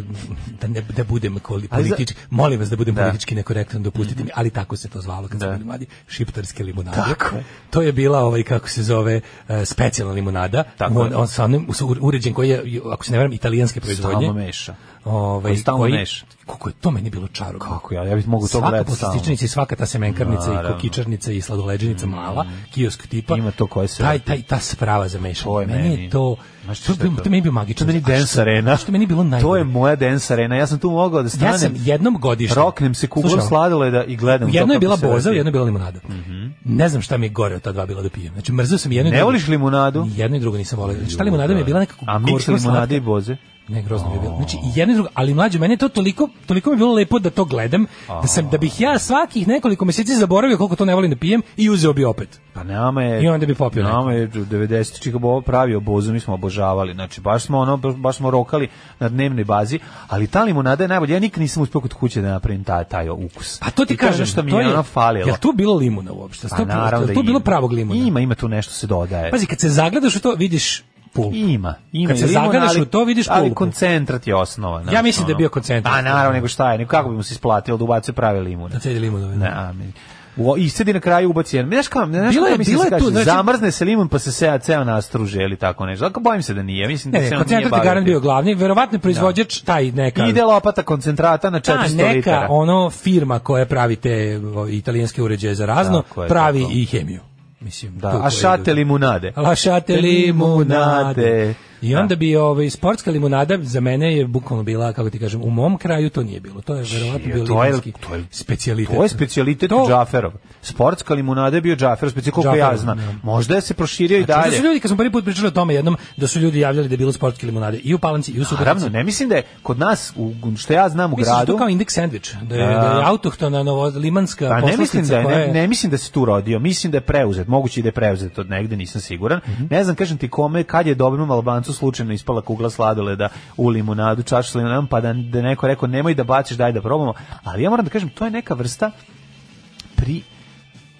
[SPEAKER 7] da ne da budem koli,
[SPEAKER 6] Ali za-
[SPEAKER 7] politički, molim vas da budem
[SPEAKER 6] Da. Mhm.
[SPEAKER 7] politički nekorektan, dopustite mi, ali tako se to zvalo kad smo bili mladi, šiptarske limunade.
[SPEAKER 6] Tako je.
[SPEAKER 7] To je bila ovaj kako se zove e, specijalna limunada,
[SPEAKER 6] Tako
[SPEAKER 7] on,
[SPEAKER 6] je.
[SPEAKER 7] on sa onim sa u- uređen koji je ako se ne varam italijanske proizvodnje.
[SPEAKER 6] Stalno meša.
[SPEAKER 7] Ovaj
[SPEAKER 6] Koji stalno
[SPEAKER 7] koji-
[SPEAKER 6] meša.
[SPEAKER 7] Kako je to meni bilo čarobno.
[SPEAKER 6] Kako ja, ja bih mogu to
[SPEAKER 7] Svaka
[SPEAKER 6] gledati stalno.
[SPEAKER 7] poslastičnica i svaka ta semenkarnica i
[SPEAKER 6] Naravno. Mm.
[SPEAKER 7] kokičarnica i sladoleđenica mala, kiosk tipa.
[SPEAKER 6] Ima to koje se-
[SPEAKER 7] Taj, taj, ta sprava za mešanje.
[SPEAKER 6] To je
[SPEAKER 7] meni, je
[SPEAKER 6] meni.
[SPEAKER 7] to...
[SPEAKER 6] Znaš
[SPEAKER 7] to,
[SPEAKER 6] šta je
[SPEAKER 7] je,
[SPEAKER 6] to?
[SPEAKER 7] to meni je bio magičan.
[SPEAKER 6] To je meni
[SPEAKER 7] A što-
[SPEAKER 6] dance arena.
[SPEAKER 7] Što je meni bilo najbolje.
[SPEAKER 6] To je moja dance arena. Ja sam tu mogao da stanem.
[SPEAKER 7] Ja sam jednom godišnje...
[SPEAKER 6] Roknem se kuglom
[SPEAKER 7] Slušaj,
[SPEAKER 6] sladoleda i gledam.
[SPEAKER 7] u
[SPEAKER 6] to
[SPEAKER 7] jednoj je
[SPEAKER 6] kako
[SPEAKER 7] bila
[SPEAKER 6] se
[SPEAKER 7] boza, u
[SPEAKER 6] razvija.
[SPEAKER 7] jednoj je bila limonada. Ne znam šta mi je gore od ta dva bila da pijem. Znači, mrzio sam i jednu i
[SPEAKER 6] Ne
[SPEAKER 7] drugu.
[SPEAKER 6] voliš limunadu?
[SPEAKER 7] Ni jednu i drugu nisam volio. Znači, ta limonada mi je bila nekako
[SPEAKER 6] A miks
[SPEAKER 7] gorko slatka.
[SPEAKER 6] limunade i boze?
[SPEAKER 7] Ne, grozno bi bilo. Znači, i jedno i drugo, ali mlađe, meni je to toliko, toliko mi je bilo lepo da to gledam, da, sam, da bih ja svakih nekoliko meseci zaboravio koliko to ne volim da pijem i uzeo bi opet.
[SPEAKER 6] Pa nama je...
[SPEAKER 7] I onda bi popio
[SPEAKER 6] Nama je 90 čika bo pravio bozu, mi smo obožavali. Znači, baš smo, ono, baš, baš smo rokali na dnevnoj bazi, ali ta limonada je najbolja. Ja nikad nisam uspio kod kuće da napravim taj, taj ukus.
[SPEAKER 7] A to
[SPEAKER 6] I
[SPEAKER 7] ti
[SPEAKER 6] je
[SPEAKER 7] kažem,
[SPEAKER 6] nešto mi
[SPEAKER 7] to
[SPEAKER 6] je ono falilo.
[SPEAKER 7] Jel tu bilo limuna uopšte?
[SPEAKER 6] Pa
[SPEAKER 7] Sto-
[SPEAKER 6] naravno
[SPEAKER 7] jel
[SPEAKER 6] da
[SPEAKER 7] tu bilo
[SPEAKER 6] ima.
[SPEAKER 7] pravog limuna?
[SPEAKER 6] Ima, ima tu nešto se dodaje.
[SPEAKER 7] Pazi, kad se zagledaš u to, vidiš pulp.
[SPEAKER 6] Ima, ima.
[SPEAKER 7] Kad se
[SPEAKER 6] i limun,
[SPEAKER 7] zagledaš
[SPEAKER 6] ali-
[SPEAKER 7] u to, vidiš
[SPEAKER 6] Ali
[SPEAKER 7] pulpu.
[SPEAKER 6] koncentrat je osnova. znaš,
[SPEAKER 7] Ja mislim da je
[SPEAKER 6] ono.
[SPEAKER 7] bio koncentrat.
[SPEAKER 6] A naravno, nego šta je, nego kako bi mu se isplatilo da ubace prave limune.
[SPEAKER 7] Na cedi limun. ovaj.
[SPEAKER 6] Ne, a mi- U, I sedi na kraju ubaci jedan. Znaš kao, znaš
[SPEAKER 7] Bilo je-
[SPEAKER 6] kako mislim
[SPEAKER 7] bilo
[SPEAKER 6] da
[SPEAKER 7] je
[SPEAKER 6] se
[SPEAKER 7] tu,
[SPEAKER 6] kaže,
[SPEAKER 7] znači-
[SPEAKER 6] zamrzne se limun pa se seja ceo nastruže ili tako nešto. Dakle, bojim se da nije. Mislim da
[SPEAKER 7] Ne,
[SPEAKER 6] se
[SPEAKER 7] ne,
[SPEAKER 6] on nije
[SPEAKER 7] koncentrat je
[SPEAKER 6] bavio
[SPEAKER 7] garant
[SPEAKER 6] tim.
[SPEAKER 7] bio glavni, verovatno je proizvođač taj neka...
[SPEAKER 6] Ide lopata koncentrata na
[SPEAKER 7] ta
[SPEAKER 6] 400
[SPEAKER 7] neka
[SPEAKER 6] litara.
[SPEAKER 7] ono firma koja pravi te o, italijanske uređaje za razno,
[SPEAKER 6] Tako je,
[SPEAKER 7] pravi
[SPEAKER 6] tako.
[SPEAKER 7] i hemiju. Mislim,
[SPEAKER 6] Da,
[SPEAKER 7] tu
[SPEAKER 6] a
[SPEAKER 7] koje
[SPEAKER 6] šate
[SPEAKER 7] idu.
[SPEAKER 6] limunade.
[SPEAKER 7] Lašate limunade. I
[SPEAKER 6] Da.
[SPEAKER 7] onda bi ovaj sportska limunada za mene je bukvalno bila kako ti kažem u mom kraju to nije bilo. To je verovatno bio
[SPEAKER 6] to je-
[SPEAKER 7] limunski
[SPEAKER 6] to je-
[SPEAKER 7] specijalitet.
[SPEAKER 6] To je specijalitet
[SPEAKER 7] To-
[SPEAKER 6] Džaferov. Sportska limunada je bio Džaferov, specijal koliko ja
[SPEAKER 7] Džaferov,
[SPEAKER 6] znam.
[SPEAKER 7] da.
[SPEAKER 6] Možda je se proširio i
[SPEAKER 7] Znači, da
[SPEAKER 6] dalje.
[SPEAKER 7] su ljudi kad smo prvi put pričali o tome jednom da su ljudi javljali da je bilo sportske limunade i u Palanci i u Subotici.
[SPEAKER 6] Naravno, ne mislim da je kod nas, u, što ja znam u
[SPEAKER 7] Misliš da
[SPEAKER 6] gradu...
[SPEAKER 7] to kao indeks sandvič, da je,
[SPEAKER 6] Da.
[SPEAKER 7] da je autohtona novolimanska
[SPEAKER 6] Pa ne
[SPEAKER 7] poslastica
[SPEAKER 6] mislim da je,
[SPEAKER 7] koja
[SPEAKER 6] ne,
[SPEAKER 7] je-
[SPEAKER 6] ne mislim da se tu rodio, mislim da je preuzet, moguće i da je preuzet od negde, nisam siguran.
[SPEAKER 7] Mhm.
[SPEAKER 6] Ne znam, kažem ti kome, kad je dobrom Albancu slučajno ispala kugla sladoleda u limunadu, čašu s limunadom, pa da, da je neko rekao nemoj da baciš, daj da probamo. Ali ja moram da kažem, to je neka vrsta pri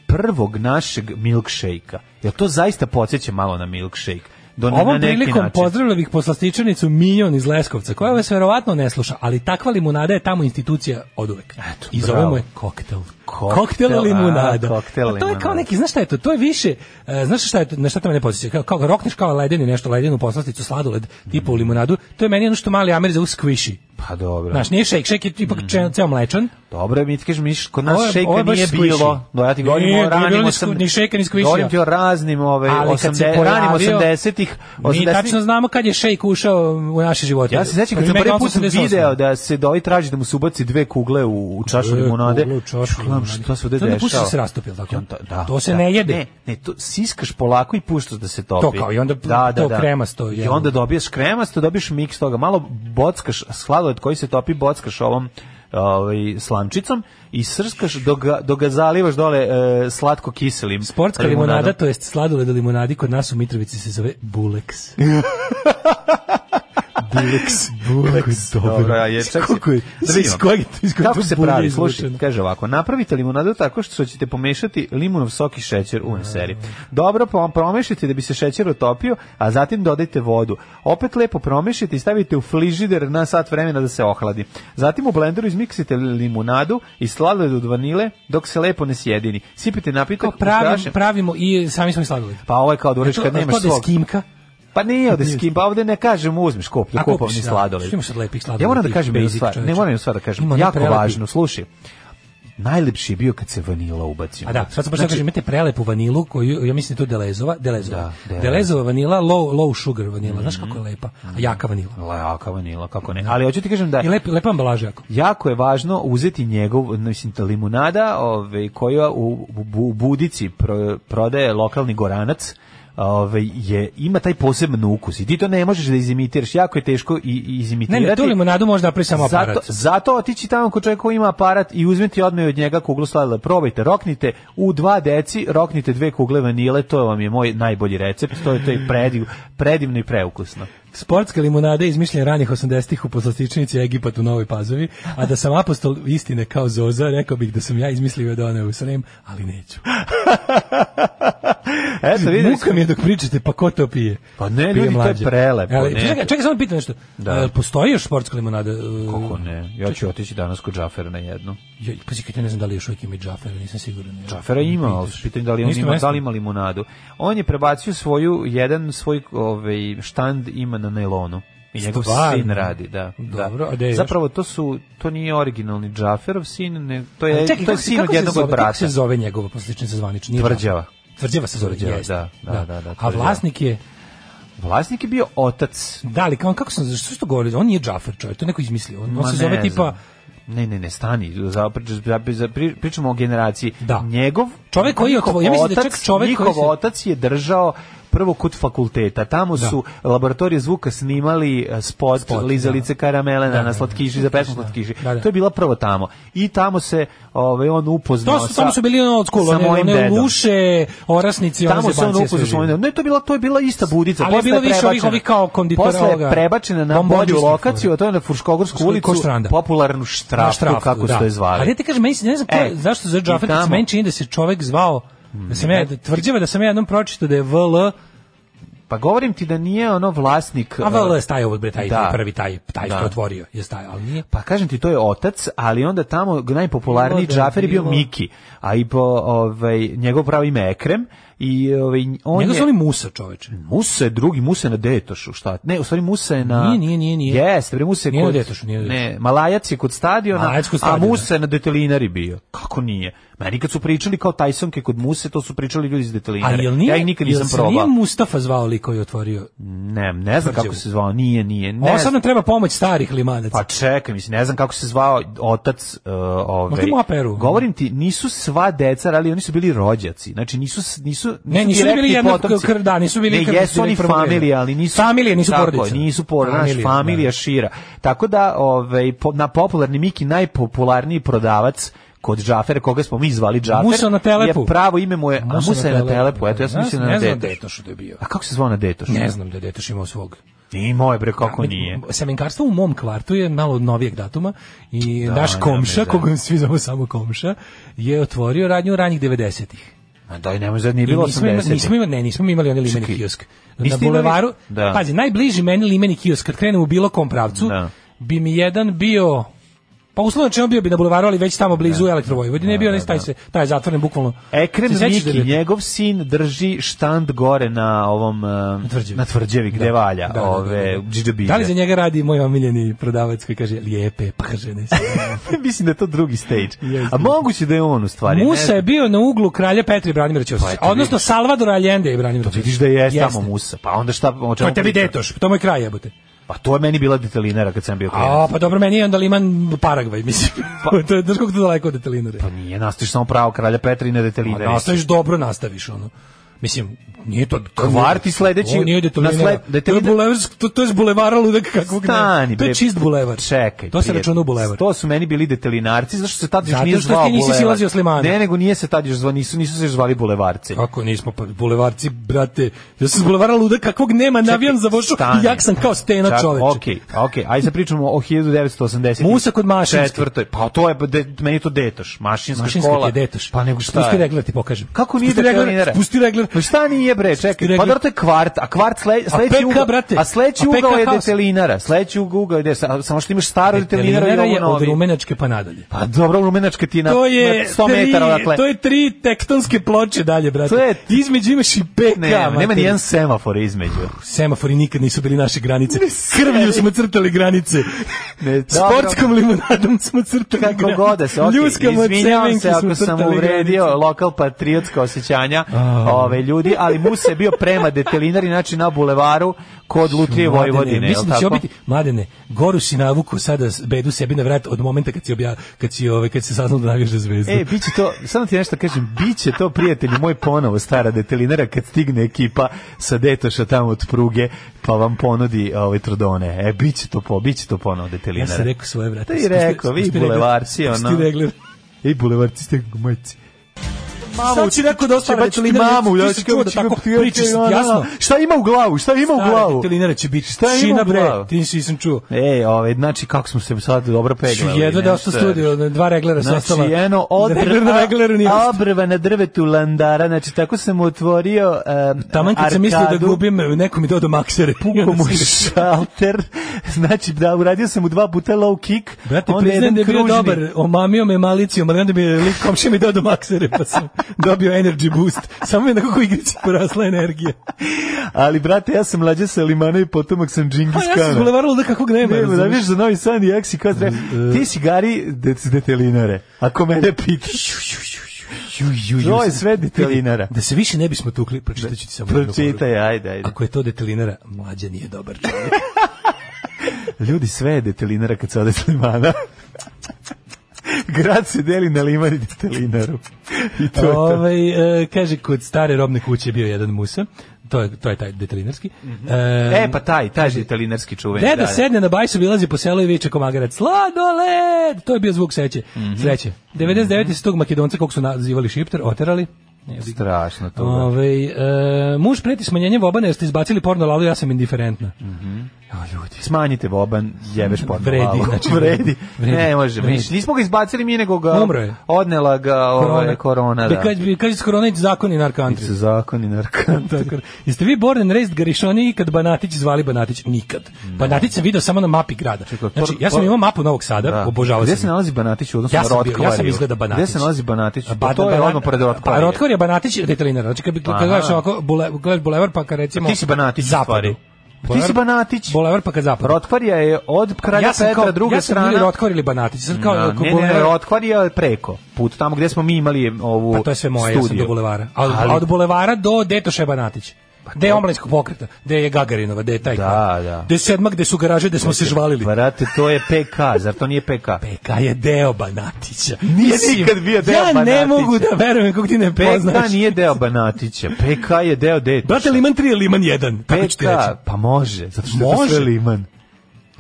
[SPEAKER 6] prvog našeg milkshake-a. Jer to zaista podsjeća malo na milkshake. Do, na- na
[SPEAKER 7] Ovom
[SPEAKER 6] neki
[SPEAKER 7] prilikom
[SPEAKER 6] način.
[SPEAKER 7] pozdravila bih poslastičanicu Mijon iz Leskovca, koja vas verovatno ne sluša, ali takva limunada je tamo institucija od uvek.
[SPEAKER 6] Eto,
[SPEAKER 7] I
[SPEAKER 6] bravo.
[SPEAKER 7] zovemo je koktel.
[SPEAKER 6] Koktel,
[SPEAKER 7] Koktel
[SPEAKER 6] a,
[SPEAKER 7] limunada.
[SPEAKER 6] koktel
[SPEAKER 7] A to je
[SPEAKER 6] limunada.
[SPEAKER 7] kao neki, znaš šta je to? To je više, e, znaš šta je to, na šta to mene podsjeća? Kao, kao rokneš kao ledeni nešto, ledenu poslasticu, sladoled, tipa u limunadu, to je meni ono što mali Ameri zovu squishy.
[SPEAKER 6] Pa dobro.
[SPEAKER 7] Znaš, nije shake, shake je ipak mm. ceo mlečan.
[SPEAKER 6] Dobro, mi ti kažeš, miš, kod
[SPEAKER 7] Ovo
[SPEAKER 6] nas
[SPEAKER 7] je- ovo
[SPEAKER 6] šejka
[SPEAKER 7] je baš
[SPEAKER 6] nije
[SPEAKER 7] squishy.
[SPEAKER 6] bilo. Da, ja ti govorim
[SPEAKER 7] Nije,
[SPEAKER 6] o
[SPEAKER 7] nije bilo
[SPEAKER 6] ranim
[SPEAKER 7] ni
[SPEAKER 6] osam-
[SPEAKER 7] squ- ni šejka, ni squishy-a.
[SPEAKER 6] Govorim ti o raznim, ove,
[SPEAKER 7] Ali kad se
[SPEAKER 6] 80, ranim
[SPEAKER 7] pojavio,
[SPEAKER 6] 80-ih.
[SPEAKER 7] Mi
[SPEAKER 6] 80-ih.
[SPEAKER 7] tačno znamo kad je shake ušao u naše živote.
[SPEAKER 6] Ja se sećam kad sam
[SPEAKER 7] Mega
[SPEAKER 6] prvi put
[SPEAKER 7] 88.
[SPEAKER 6] video da se dovi traži da mu se ubaci dve kugle u, u čašu
[SPEAKER 7] Dve
[SPEAKER 6] limunade.
[SPEAKER 7] kugle u čašu
[SPEAKER 6] Čekam,
[SPEAKER 7] limunade.
[SPEAKER 6] Šta se ovde
[SPEAKER 7] To ne
[SPEAKER 6] dešava?
[SPEAKER 7] pušiš da se rastopi, jel tako?
[SPEAKER 6] I onda- Da,
[SPEAKER 7] To se
[SPEAKER 6] da.
[SPEAKER 7] ne jede.
[SPEAKER 6] Ne, ne, to siskaš polako i puštaš da se topi.
[SPEAKER 7] To kao, i onda to kremasto,
[SPEAKER 6] I
[SPEAKER 7] jel?
[SPEAKER 6] onda dobiješ kremasto, dobiješ miks toga. Malo bockaš sladoled koji se topi, bockaš ovom ovaj slamčicom i srskaš dok ga, dok ga zalivaš dole e, slatko kiselim
[SPEAKER 7] Sportska
[SPEAKER 6] limunadom.
[SPEAKER 7] limonada, to jest sladoled u limonadi, kod nas u Mitrovici se zove buleks. buleks. Buleks.
[SPEAKER 6] Dobro, a je čak
[SPEAKER 7] Koliko je,
[SPEAKER 6] da
[SPEAKER 7] iz
[SPEAKER 6] vidimo.
[SPEAKER 7] kojeg, iz kojeg
[SPEAKER 6] Kako
[SPEAKER 7] to
[SPEAKER 6] se
[SPEAKER 7] bulje
[SPEAKER 6] pravi?
[SPEAKER 7] izvučeno.
[SPEAKER 6] Slušaj, kaže ovako, napravite limunadu tako što ćete pomešati limunov sok i šećer u seri. Dobro pom- promešajte da bi se šećer otopio, a zatim dodajte vodu. Opet lepo promešajte i stavite u frižider na sat vremena da se ohladi. Zatim u blenderu izmiksite limunadu i sladoled od vanile dok se lepo ne sjedini. Sipite napitak u
[SPEAKER 7] Pa Pravim,
[SPEAKER 6] prašen-
[SPEAKER 7] pravimo i sami smo i sladoled.
[SPEAKER 6] Pa ovo je kao da ureš
[SPEAKER 7] To-
[SPEAKER 6] kad nemaš
[SPEAKER 7] to da je
[SPEAKER 6] svog.
[SPEAKER 7] skimka.
[SPEAKER 6] Pa nije ovde skim, pa ovde ne kažem uzmeš koplju,
[SPEAKER 7] A kupiš,
[SPEAKER 6] kupovni
[SPEAKER 7] da.
[SPEAKER 6] sladoled.
[SPEAKER 7] Što imaš od lepih sladoleda,
[SPEAKER 6] Ja moram da
[SPEAKER 7] tih
[SPEAKER 6] kažem jednu
[SPEAKER 7] basic,
[SPEAKER 6] stvar, ne
[SPEAKER 7] čoveče?
[SPEAKER 6] moram jednu stvar da kažem,
[SPEAKER 7] Ima onih
[SPEAKER 6] jako
[SPEAKER 7] prelepih.
[SPEAKER 6] važno, slušaj. Najlepši je bio kad se vanila ubaci.
[SPEAKER 7] A da, sad sam baš znači, kažem, imate prelepu vanilu koju, ja mislim da je to Delezova, Delezova.
[SPEAKER 6] Da, Mhm. Delezova.
[SPEAKER 7] Delezova vanila, low, low sugar vanila, znaš kako je lepa, a jaka vanila.
[SPEAKER 6] Laka vanila, kako ne. Ali hoću ti kažem da
[SPEAKER 7] I lep, lepa ambalaža jako.
[SPEAKER 6] jako je važno uzeti njegov, mislim, ta limunada, ovaj koja u, u, bu- u budici pro- prodaje lokalni goranac, ovaj, je, ima taj poseban ukus i ti to ne možeš da izimitiraš, jako je teško i, i izimitirati.
[SPEAKER 7] Ne, ne, tu limonadu možda napravi samo aparat.
[SPEAKER 6] Zato, zato otići tamo kod čovjeka koji ima aparat i uzmeti odme od njega kuglu sladila. Probajte, roknite u dva deci, roknite dve kugle vanile, to vam je moj najbolji recept, to je, to je prediv, predivno i preukusno.
[SPEAKER 7] Sportska limonada je izmišljena ranih 80-ih u poslastičnici Egipat u Novoj Pazovi, a da sam apostol istine kao Zoza, rekao bih da sam ja izmislio da ona je u Srem, ali neću.
[SPEAKER 6] Eto, videli
[SPEAKER 7] Muka mi je dok pričate, pa ko to pije?
[SPEAKER 6] Pa ne,
[SPEAKER 7] Pije
[SPEAKER 6] ljudi, to je
[SPEAKER 7] mlađe.
[SPEAKER 6] prelepo,
[SPEAKER 7] Ali,
[SPEAKER 6] ne.
[SPEAKER 7] čekaj, čekaj, samo pitam nešto.
[SPEAKER 6] Da.
[SPEAKER 7] Da. postoji još sportska limonada? E,
[SPEAKER 6] Kako ne? Ja ću otići danas kod Džafera na jednu.
[SPEAKER 7] joj, Pazi, kad ja ne znam da li još uvijek ima i džafera, nisam siguran.
[SPEAKER 6] Džafera ima, ali pitanje da li on
[SPEAKER 7] Isto
[SPEAKER 6] ima,
[SPEAKER 7] mesto.
[SPEAKER 6] da li ima limonadu. On je prebacio svoju, jedan svoj ovaj, štand ima na nailonu. I njegov
[SPEAKER 7] Stvarno?
[SPEAKER 6] sin radi, da. da.
[SPEAKER 7] Dobro, a gde je još?
[SPEAKER 6] Zapravo to su to nije originalni Džaferov sin, ne, to
[SPEAKER 7] Ali
[SPEAKER 6] je
[SPEAKER 7] E, čekaj,
[SPEAKER 6] E, to je
[SPEAKER 7] kako se-
[SPEAKER 6] sin
[SPEAKER 7] kako
[SPEAKER 6] od
[SPEAKER 7] se
[SPEAKER 6] jednog
[SPEAKER 7] zove-
[SPEAKER 6] od brata.
[SPEAKER 7] Kako se zove njegova poslastičnica zvanična? Nije
[SPEAKER 6] Tvrđava.
[SPEAKER 7] Džafera. Tvrđava se zove,
[SPEAKER 6] Tvrđava,
[SPEAKER 7] jeste.
[SPEAKER 6] da, da, da, da,
[SPEAKER 7] A
[SPEAKER 6] Tvrđava.
[SPEAKER 7] vlasnik je,
[SPEAKER 6] Vlasnik je bio otac.
[SPEAKER 7] da li, kao, kako sam, zašto su to govorili? On nije Džafer, čovjek, to je neko izmislio. On, on
[SPEAKER 6] Ma
[SPEAKER 7] se
[SPEAKER 6] ne
[SPEAKER 7] zove
[SPEAKER 6] znam.
[SPEAKER 7] tipa,
[SPEAKER 6] Ne, ne, ne, stani. Za, prič, za- za- pri- pričamo o generaciji.
[SPEAKER 7] Da.
[SPEAKER 6] Njegov,
[SPEAKER 7] Čovek koji je
[SPEAKER 6] njihov
[SPEAKER 7] otvo- ja mislim da čak
[SPEAKER 6] otac-
[SPEAKER 7] čovek koji
[SPEAKER 6] njihov
[SPEAKER 7] se-
[SPEAKER 6] otac je držao prvo kod fakulteta. Tamo su laboratorije zvuka snimali eh, spot,
[SPEAKER 7] Spot,
[SPEAKER 6] lizalice karamele
[SPEAKER 7] Da,
[SPEAKER 6] na,
[SPEAKER 7] da,
[SPEAKER 6] na slatkiši, za pesmu slatkiši.
[SPEAKER 7] da, da.
[SPEAKER 6] To je bila prvo tamo. I tamo se ovaj, on upoznao
[SPEAKER 7] to su,
[SPEAKER 6] sa-
[SPEAKER 7] tamo su bili ono od
[SPEAKER 6] sa
[SPEAKER 7] skula, one,
[SPEAKER 6] mojim
[SPEAKER 7] one
[SPEAKER 6] dedom.
[SPEAKER 7] luše, orasnici, one
[SPEAKER 6] Tamo se on
[SPEAKER 7] zebancije, sve
[SPEAKER 6] upoznao sa
[SPEAKER 7] živo.
[SPEAKER 6] mojim dedom. Ne, to je bila, to je bila ista budica.
[SPEAKER 7] Ali je
[SPEAKER 6] Posle
[SPEAKER 7] bilo više ovih-
[SPEAKER 6] prebačena-
[SPEAKER 7] ovih kao konditora
[SPEAKER 6] Posle je
[SPEAKER 7] ovoga.
[SPEAKER 6] prebačena na bolju
[SPEAKER 7] Bombonijskih
[SPEAKER 6] lokaciju,
[SPEAKER 7] fora.
[SPEAKER 6] a to je na Fruškogorsku
[SPEAKER 7] Ko
[SPEAKER 6] ulicu,
[SPEAKER 7] Štranda.
[SPEAKER 6] popularnu štraftu,
[SPEAKER 7] štraftu,
[SPEAKER 6] kako
[SPEAKER 7] da.
[SPEAKER 6] ste je zvali.
[SPEAKER 7] Ali ja ti kažem, meni se ne znam ko je-
[SPEAKER 6] E,
[SPEAKER 7] zašto za
[SPEAKER 6] i
[SPEAKER 7] Džafer, kad
[SPEAKER 6] tamo. Mm-hmm.
[SPEAKER 7] se meni čini da se čovek zvao, da sam ja, da tvrđava da sam ja jednom pročitao da je VL,
[SPEAKER 6] Pa govorim ti da nije ono vlasnik...
[SPEAKER 7] a VL je
[SPEAKER 6] e,
[SPEAKER 7] stajao od bre, taj,
[SPEAKER 6] Da.
[SPEAKER 7] prvi taj, taj
[SPEAKER 6] Da.
[SPEAKER 7] što je otvorio, je stajao, ali nije.
[SPEAKER 6] Pa kažem ti, to je otac, ali onda tamo najpopularniji
[SPEAKER 7] Bilo da je
[SPEAKER 6] Džafer je bio
[SPEAKER 7] bilo.
[SPEAKER 6] Miki, a i po ovaj, njegov pravo ime je Ekrem, i ovaj, on
[SPEAKER 7] Njega
[SPEAKER 6] je...
[SPEAKER 7] su oni Musa, čoveče.
[SPEAKER 6] Musa je drugi, Musa je na Detošu, šta? Ne, u stvari Musa je na...
[SPEAKER 7] Nije, nije, nije, nije.
[SPEAKER 6] Jeste, bre, Musa je
[SPEAKER 7] Nije na
[SPEAKER 6] kod...
[SPEAKER 7] Detošu, nije na Detošu.
[SPEAKER 6] Ne, Malajac je kod stadiona,
[SPEAKER 7] Malajac kod
[SPEAKER 6] a
[SPEAKER 7] stadiona.
[SPEAKER 6] Musa je na Detelinari bio. Kako nije? Meni kad su pričali kao Tysonke kod Muse, to su pričali ljudi iz Detelinare.
[SPEAKER 7] Ali jel nije,
[SPEAKER 6] ja ih nikad
[SPEAKER 7] jel
[SPEAKER 6] nisam
[SPEAKER 7] se
[SPEAKER 6] probao.
[SPEAKER 7] nije Mustafa zvao lik koji je otvorio?
[SPEAKER 6] Ne, ne znam kako
[SPEAKER 7] Tvrđavu.
[SPEAKER 6] se zvao, nije, nije. Ne
[SPEAKER 7] Ovo
[SPEAKER 6] znam.
[SPEAKER 7] sad nam treba pomoć starih limanaca.
[SPEAKER 6] Pa čekaj, mislim, ne znam kako se zvao otac uh, ovaj.
[SPEAKER 7] Možda ima Peru.
[SPEAKER 6] Govorim ti, nisu sva deca, ali oni su bili rođaci. Znači nisu s- nisu
[SPEAKER 7] Ne, nisu
[SPEAKER 6] direktni
[SPEAKER 7] bili jedno
[SPEAKER 6] potomci.
[SPEAKER 7] kr- da, nisu bili
[SPEAKER 6] ne,
[SPEAKER 7] kr-
[SPEAKER 6] jesu oni
[SPEAKER 7] direktni roditelji.
[SPEAKER 6] familija, ali nisu
[SPEAKER 7] Familije, nisu
[SPEAKER 6] tako,
[SPEAKER 7] porodice.
[SPEAKER 6] nisu porodice,
[SPEAKER 7] Familije,
[SPEAKER 6] familija, familija
[SPEAKER 7] da.
[SPEAKER 6] šira. Tako da, ovaj po- na popularni Miki najpopularniji prodavac kod Džafera, koga smo mi zvali Džafer,
[SPEAKER 7] Musa na Telepu.
[SPEAKER 6] je pravo ime mu je, e, a Musa je na telepu, eto, ja sam mislio na
[SPEAKER 7] Ne znam
[SPEAKER 6] Detoš.
[SPEAKER 7] Detošu da je bio.
[SPEAKER 6] A kako se zvao na Detošu?
[SPEAKER 7] Ne znam da je Detoš imao svog.
[SPEAKER 6] Imao je, bre, kako nije.
[SPEAKER 7] Semenkarstvo u mom kvartu je malo od novijeg datuma i naš
[SPEAKER 6] ne, ne,
[SPEAKER 7] komša,
[SPEAKER 6] da.
[SPEAKER 7] koga svi zovemo samo komša, je otvorio radnju ranih 90-ih.
[SPEAKER 6] Ma daj, nemoj, zar nije
[SPEAKER 7] I
[SPEAKER 6] bilo
[SPEAKER 7] nismo imali,
[SPEAKER 6] 80.
[SPEAKER 7] nismo imali, ne, nismo mi imali onaj limeni
[SPEAKER 6] Čekaj.
[SPEAKER 7] kiosk. Na
[SPEAKER 6] Niste imali-
[SPEAKER 7] bulevaru,
[SPEAKER 6] Da.
[SPEAKER 7] pazi, najbliži meni limeni kiosk, kad krenem u bilo kom pravcu,
[SPEAKER 6] Da.
[SPEAKER 7] bi mi jedan bio, pa uslovno čemu bio bi na bulevaru, ali već tamo blizu elektrovojvodine, je bio onaj taj, se, taj zatvoren bukvalno.
[SPEAKER 6] Ekrem
[SPEAKER 7] Se sećaš da
[SPEAKER 6] Miki,
[SPEAKER 7] je-
[SPEAKER 6] njegov sin drži štand gore na ovom na
[SPEAKER 7] tvrđavi.
[SPEAKER 6] na tvrđavi gde valja
[SPEAKER 7] Da, da, da,
[SPEAKER 6] ove
[SPEAKER 7] da, da.
[SPEAKER 6] džidžabije.
[SPEAKER 7] Da li za njega radi moj omiljeni prodavac koji kaže lijepe, pa kaže ne znam."
[SPEAKER 6] Mislim da je to drugi stage.
[SPEAKER 7] Jeste.
[SPEAKER 6] A moguće da je on u stvari. ne
[SPEAKER 7] Musa
[SPEAKER 6] znam.
[SPEAKER 7] je bio na uglu kralja Petra i Branimira Ćosića,
[SPEAKER 6] Pa eto,
[SPEAKER 7] odnosno Salvadora Allende i Branimira Ćosića.
[SPEAKER 6] Vidiš da je
[SPEAKER 7] Jeste.
[SPEAKER 6] tamo Musa. Pa onda šta, o
[SPEAKER 7] To
[SPEAKER 6] čemu
[SPEAKER 7] je tebi
[SPEAKER 6] pričam?
[SPEAKER 7] detoš, to je moj kraj jebote.
[SPEAKER 6] Pa to je meni bila detelinera kad sam bio
[SPEAKER 7] A,
[SPEAKER 6] klinac.
[SPEAKER 7] pa dobro, meni je onda liman Paragvaj, mislim.
[SPEAKER 6] Pa-
[SPEAKER 7] to je, znaš koliko to daleko od detelinare.
[SPEAKER 6] Pa nije, nastojiš samo pravo kralja Petra i na
[SPEAKER 7] Pa,
[SPEAKER 6] detelineri.
[SPEAKER 7] nastaviš dobro, nastaviš, ono. Mislim, nije to
[SPEAKER 6] Kvart i sledeći-
[SPEAKER 7] Ovo nije detelinara.
[SPEAKER 6] na sled-
[SPEAKER 7] to, je
[SPEAKER 6] detelina-
[SPEAKER 7] bulevarsk- to, to je bulevara ludak kakvog ne.
[SPEAKER 6] Stani,
[SPEAKER 7] To je
[SPEAKER 6] bre.
[SPEAKER 7] čist bulevar.
[SPEAKER 6] Čekaj.
[SPEAKER 7] To se
[SPEAKER 6] prijatelj.
[SPEAKER 7] računa u bulevar.
[SPEAKER 6] To su meni bili detelinarci, zašto se tad još
[SPEAKER 7] Zato
[SPEAKER 6] nije
[SPEAKER 7] što ti
[SPEAKER 6] zvao bulevar.
[SPEAKER 7] nisi silazio s limana.
[SPEAKER 6] Ne, nego nije se tad još zvao, nisu, nisu se još zvali bulevarci.
[SPEAKER 7] Kako nismo pa bulevarci, brate. Ja sam s bulevara luda kakvog nema, navijam za vošu
[SPEAKER 6] Stani.
[SPEAKER 7] i jak sam kao stena
[SPEAKER 6] Čak,
[SPEAKER 7] čoveče.
[SPEAKER 6] Okej, okej. Ajde sad pričamo o 1980.
[SPEAKER 7] Musa kod Mašinske.
[SPEAKER 6] Četvrtoj. Pa to je de, meni je to detoš, mašinska,
[SPEAKER 7] Mašinski
[SPEAKER 6] škola.
[SPEAKER 7] ti je detoš.
[SPEAKER 6] Pa nego šta?
[SPEAKER 7] Spusti
[SPEAKER 6] je?
[SPEAKER 7] regler ti pokažem.
[SPEAKER 6] Kako nije
[SPEAKER 7] Spusti regler?
[SPEAKER 6] detelinera?
[SPEAKER 7] Spusti regler.
[SPEAKER 6] Pa šta nije bre, čekaj. Pa
[SPEAKER 7] regler.
[SPEAKER 6] dobro to je kvart, a kvart sle, sledeći
[SPEAKER 7] PK,
[SPEAKER 6] ugao,
[SPEAKER 7] brate.
[SPEAKER 6] a sledeći
[SPEAKER 7] A PK
[SPEAKER 6] ugao je
[SPEAKER 7] haos.
[SPEAKER 6] detelinara. Sledeći ugao ugao je de- sa- samo što imaš staro detelinara i
[SPEAKER 7] Detelinara
[SPEAKER 6] ovo
[SPEAKER 7] je od
[SPEAKER 6] novi.
[SPEAKER 7] rumenačke pa nadalje.
[SPEAKER 6] Pa dobro, rumenačka ti je na,
[SPEAKER 7] to je
[SPEAKER 6] na 100
[SPEAKER 7] tri,
[SPEAKER 6] metara odatle.
[SPEAKER 7] To je tri tektonske ploče dalje, brate.
[SPEAKER 6] To je-
[SPEAKER 7] Između imaš i PK.
[SPEAKER 6] Ne, nema
[SPEAKER 7] mater.
[SPEAKER 6] ni jedan semafor između.
[SPEAKER 7] Semafori nikad nisu bili naše granice. Krvlju smo crtali granice.
[SPEAKER 6] Ne, dobro.
[SPEAKER 7] Sportskom limonadom smo crtali
[SPEAKER 6] Kako
[SPEAKER 7] granice.
[SPEAKER 6] god da se, okej,
[SPEAKER 7] Ljuskama od
[SPEAKER 6] izvinjavam
[SPEAKER 7] semenki
[SPEAKER 6] se
[SPEAKER 7] smo
[SPEAKER 6] ako sam
[SPEAKER 7] crtali
[SPEAKER 6] uvredio
[SPEAKER 7] granice.
[SPEAKER 6] lokal patriotska osjećanja ove ovaj, ljudi, ali autobuse je bio prema detelinar, inače na bulevaru kod Lutrije
[SPEAKER 7] Mladene,
[SPEAKER 6] Vojvodine.
[SPEAKER 7] Mislim
[SPEAKER 6] jel
[SPEAKER 7] da će
[SPEAKER 6] tako?
[SPEAKER 7] biti, mladene, goru si navuku sada s- bedu sebi na vrat od momenta kad si, obja, kad si, ove, kad si saznal da navijaš za zvezdu.
[SPEAKER 6] E, biće to, samo ti nešto kažem, biće to, prijatelji, moj ponovo stara detelinara kad stigne ekipa sa detoša tamo od pruge, pa vam ponudi ovaj trodone. E, biće to, po, biće to ponovo
[SPEAKER 7] ja
[SPEAKER 6] detelinara.
[SPEAKER 7] sam rekao svoje vrate.
[SPEAKER 6] Ti rekao, vi bulevarci, ono. I bulevarci ste majci.
[SPEAKER 7] Mamu, Sad si rekao da ostane
[SPEAKER 6] Baći mamu, ja ću kao da tako ono,
[SPEAKER 7] pričaš, jasno.
[SPEAKER 6] Šta ima u glavu? Šta ima u glavu?
[SPEAKER 7] Telinara će biti
[SPEAKER 6] Šta ima
[SPEAKER 7] šina
[SPEAKER 6] u
[SPEAKER 7] bre,
[SPEAKER 6] glavu?
[SPEAKER 7] ti nisi sam čuo.
[SPEAKER 6] Ej, ovaj, znači, kako smo se sad dobro
[SPEAKER 7] Ću
[SPEAKER 6] peglali.
[SPEAKER 7] jedva da
[SPEAKER 6] nešto
[SPEAKER 7] ostao
[SPEAKER 6] je.
[SPEAKER 7] studio, na dva reglera su ostala.
[SPEAKER 6] Znači, jedno odr,
[SPEAKER 7] Na regleru nije
[SPEAKER 6] a,
[SPEAKER 7] ostao.
[SPEAKER 6] obrva na drvetu landara, znači, tako sam otvorio um,
[SPEAKER 7] Taman kad sam mislio da gubim, neko mi dodao maksere.
[SPEAKER 6] Pukao mu šalter, znači da uradio sam mu dva puta low kick,
[SPEAKER 7] Brate,
[SPEAKER 6] onda
[SPEAKER 7] priznajem
[SPEAKER 6] jedan
[SPEAKER 7] da je bio
[SPEAKER 6] kružni.
[SPEAKER 7] dobar, omamio me malicijom, ali onda mi je lik komšija mi dao do maksere, pa sam dobio energy boost. Samo mi je nekako igrica porasla energija.
[SPEAKER 6] Ali, brate, ja sam mlađe sa Limana i potomak sam Džingis
[SPEAKER 7] A ja sam zbulevaralo da kakvog nema,
[SPEAKER 6] Ne, da
[SPEAKER 7] razumiješ?
[SPEAKER 6] viš za Novi Sad i Jaksi kao treba.
[SPEAKER 7] e.
[SPEAKER 6] Ti si Gari de- s detelinare. Ako mene pitaš.
[SPEAKER 7] Ju, ju, ju.
[SPEAKER 6] To je sve detelinara.
[SPEAKER 7] Da se više ne bismo tukli, pročitat ću ti samo jednu poruku.
[SPEAKER 6] Pročitaj, ajde, ajde.
[SPEAKER 7] Ako je to detelinara, mlađa nije dobar čovjek.
[SPEAKER 6] Ljudi, sve je detelinara kad se ode s limana. Grad se deli na liman i detelinaru. I to je to.
[SPEAKER 7] Ovaj, e, kaže, kod stare robne kuće je bio jedan musa, to je, to je taj detelinarski. E,
[SPEAKER 6] E, pa taj, taj detelinarski čuven.
[SPEAKER 7] Deda sedne na bajsu, bilazi po selu i viče komagarac, sladoled! To je bio zvuk seće.
[SPEAKER 6] Mhm.
[SPEAKER 7] Sreće. 99. su tog makedonca, kog su nazivali šipter, oterali.
[SPEAKER 6] Strašno to. da.
[SPEAKER 7] Ove, e, muž preti smanjenjem vobane jer ste izbacili porno lalu, ja sam indiferentna.
[SPEAKER 6] Mhm.
[SPEAKER 7] O, ljudi.
[SPEAKER 6] Smanjite Boban, jebeš pot.
[SPEAKER 7] Vredi, znači,
[SPEAKER 6] vredi.
[SPEAKER 7] vredi.
[SPEAKER 6] Ne može,
[SPEAKER 7] Vredi.
[SPEAKER 6] vredi. nismo ga izbacili mi, nego ga
[SPEAKER 7] Umro je.
[SPEAKER 6] odnela ga ovaj, korona.
[SPEAKER 7] Be-
[SPEAKER 6] da.
[SPEAKER 7] Kad, bi- kad, korona i zakon i
[SPEAKER 6] Su
[SPEAKER 7] narkantri.
[SPEAKER 6] zakoni narkanta.
[SPEAKER 7] Tako. Jeste vi born and raised Garišoni i kad Banatić zvali Banatić? Nikad. Banatić sam video samo na mapi grada. Znači, ja sam imao mapu Novog Sada,
[SPEAKER 6] Da.
[SPEAKER 7] obožavao
[SPEAKER 6] Gde
[SPEAKER 7] sam.
[SPEAKER 6] se
[SPEAKER 7] je.
[SPEAKER 6] nalazi Banatić u odnosu
[SPEAKER 7] Ja
[SPEAKER 6] na
[SPEAKER 7] sam, bio,
[SPEAKER 6] Rotkovariju?
[SPEAKER 7] ja sam izgleda Banatić.
[SPEAKER 6] Gde se nalazi Banatić? Pa,
[SPEAKER 7] Ba-
[SPEAKER 6] to je
[SPEAKER 7] Banan-
[SPEAKER 6] ono pored Rotkovarije.
[SPEAKER 7] Pa Rotkvar je Banatić detelinara. Znači kad, bi- kad
[SPEAKER 6] Aha.
[SPEAKER 7] gledaš ovako, bule, gledaš bulevar pa kad recimo...
[SPEAKER 6] Pa ti si Banatić u
[SPEAKER 7] zapadu.
[SPEAKER 6] stvari. Pa ti
[SPEAKER 7] Bulevar-
[SPEAKER 6] si Banatić.
[SPEAKER 7] Bulevar pa kad zapadu.
[SPEAKER 6] Rotkvarija je od kralja
[SPEAKER 7] ja sam
[SPEAKER 6] Petra
[SPEAKER 7] kao,
[SPEAKER 6] druga
[SPEAKER 7] ja sam
[SPEAKER 6] strana.
[SPEAKER 7] ili Rotkvar ili Banatić. Sad kao,
[SPEAKER 6] Na,
[SPEAKER 7] ako
[SPEAKER 6] ne, ne,
[SPEAKER 7] bulevar-
[SPEAKER 6] ne, Rotkvarija je preko. Put tamo gde smo mi imali ovu
[SPEAKER 7] Pa to je sve moje, ja sam
[SPEAKER 6] studiju.
[SPEAKER 7] do bulevara. A od,
[SPEAKER 6] Ali- Pa
[SPEAKER 7] a od bulevara do Detoša Banatić. Gde je omladinskog pokreta, gde je Gagarinova, gde je taj
[SPEAKER 6] Da,
[SPEAKER 7] kvart.
[SPEAKER 6] da.
[SPEAKER 7] Gde je sedma, gde su garaže, gde smo se žvalili.
[SPEAKER 6] Brate, Pa to je PK, zar to nije PK?
[SPEAKER 7] PK je deo Banatića.
[SPEAKER 6] Nije nikad bio deo Banatića.
[SPEAKER 7] ja
[SPEAKER 6] Pa
[SPEAKER 7] ne mogu da verujem kako ti ne poznaš.
[SPEAKER 6] PK nije deo Banatića, PK je deo Detiša.
[SPEAKER 7] Brate, Liman 3 ili Liman 1? Kako ću
[SPEAKER 6] PK,
[SPEAKER 7] ti reći?
[SPEAKER 6] pa može, zato što je to
[SPEAKER 7] Može.
[SPEAKER 6] sve liman.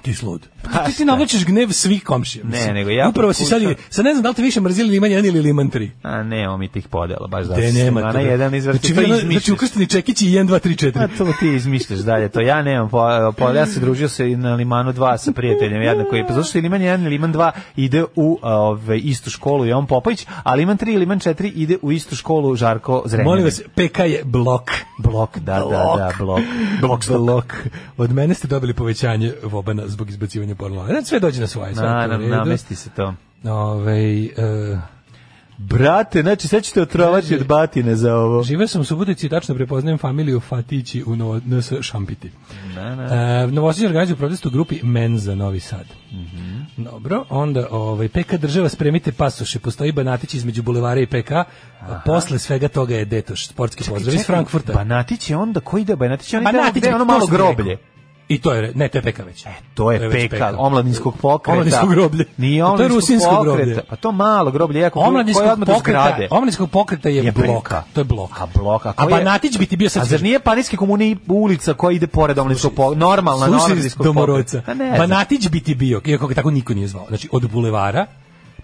[SPEAKER 7] Ti slud.
[SPEAKER 6] Pa
[SPEAKER 7] ti si
[SPEAKER 6] šta?
[SPEAKER 7] navlačiš gnev svih komšija. mislim.
[SPEAKER 6] nego ja
[SPEAKER 7] Upravo si sad,
[SPEAKER 6] pokušavam-
[SPEAKER 7] sad ne znam da li te više mrzili Liman 1 ili Liman 3.
[SPEAKER 6] A nemamo mi tih podela, baš da.
[SPEAKER 7] Da, nema
[SPEAKER 6] Ana
[SPEAKER 7] te.
[SPEAKER 6] Pa jedan izvrti, to
[SPEAKER 7] Znači,
[SPEAKER 6] Pa,
[SPEAKER 7] vi ono-
[SPEAKER 6] izmišljaš.
[SPEAKER 7] znači ukršteni čekići i 1, 2, 3, 4.
[SPEAKER 6] A to ti izmišljaš dalje, to ja nemam, po, po, ja se družio se i na Limanu 2 sa prijateljem jednako koji, pa zato što je Liman 1 i Liman 2 ide u a, ove, istu školu Jovan Popović, a Liman 3 i Liman 4 ide u istu školu Žarko Zrenjanin.
[SPEAKER 7] Molim vas, PK je blok.
[SPEAKER 6] Blok, da, da, da, blok. Blok,
[SPEAKER 7] blok. Od mene ste dobili povećanje vobana zbog izbacivanja pornolana. Znači, sve dođe na svoje. Sve
[SPEAKER 6] Na,
[SPEAKER 7] je to
[SPEAKER 6] na,
[SPEAKER 7] u redu.
[SPEAKER 6] namesti se to.
[SPEAKER 7] Ovej, e,
[SPEAKER 6] Brate, znači sve ćete otrovati od batine za ovo.
[SPEAKER 7] Živeo sam u Subotici i tačno prepoznajem familiju Fatići u Novo, NS Šampiti.
[SPEAKER 6] Na, na.
[SPEAKER 7] E, Novosadđe organizuju protest u grupi Men za Novi Sad.
[SPEAKER 6] Mhm.
[SPEAKER 7] Dobro, onda ovaj, PK država spremite pasoše, postoji Banatić između Bulevara i PK, a posle svega toga je Detoš, sportski pozdrav iz Frankfurta. E,
[SPEAKER 6] Banatić je onda, ko ide Banatić? je On ide
[SPEAKER 7] Banatić,
[SPEAKER 6] gde je ono
[SPEAKER 7] to
[SPEAKER 6] malo
[SPEAKER 7] sam ti
[SPEAKER 6] groblje. E,
[SPEAKER 7] rekao. I to je, re- ne, to je PK već.
[SPEAKER 6] To je
[SPEAKER 7] već
[SPEAKER 6] PK, omladinskog pokreta.
[SPEAKER 7] Omladinskog groblje.
[SPEAKER 6] Nije
[SPEAKER 7] A to je
[SPEAKER 6] omladinskog
[SPEAKER 7] rusinsko
[SPEAKER 6] pokreta.
[SPEAKER 7] groblje.
[SPEAKER 6] Pa to malo groblje, jako koje je
[SPEAKER 7] Omladinskog
[SPEAKER 6] odmah do
[SPEAKER 7] pokreta,
[SPEAKER 6] zgrade.
[SPEAKER 7] omladinskog pokreta je,
[SPEAKER 6] Je PK.
[SPEAKER 7] bloka. To je blok.
[SPEAKER 6] A blok, a
[SPEAKER 7] A
[SPEAKER 6] koji je-
[SPEAKER 7] Banatić bi ti bio sad...
[SPEAKER 6] A zar nije Paninski komuni ulica koja ide pored omladinskog pokreta? Normalna,
[SPEAKER 7] Slušaj
[SPEAKER 6] omladinskog
[SPEAKER 7] domorodca.
[SPEAKER 6] Pa ne, znam.
[SPEAKER 7] Banatić bi ti bio, iako ga tako niko nije zvao. Znači, od bulevara,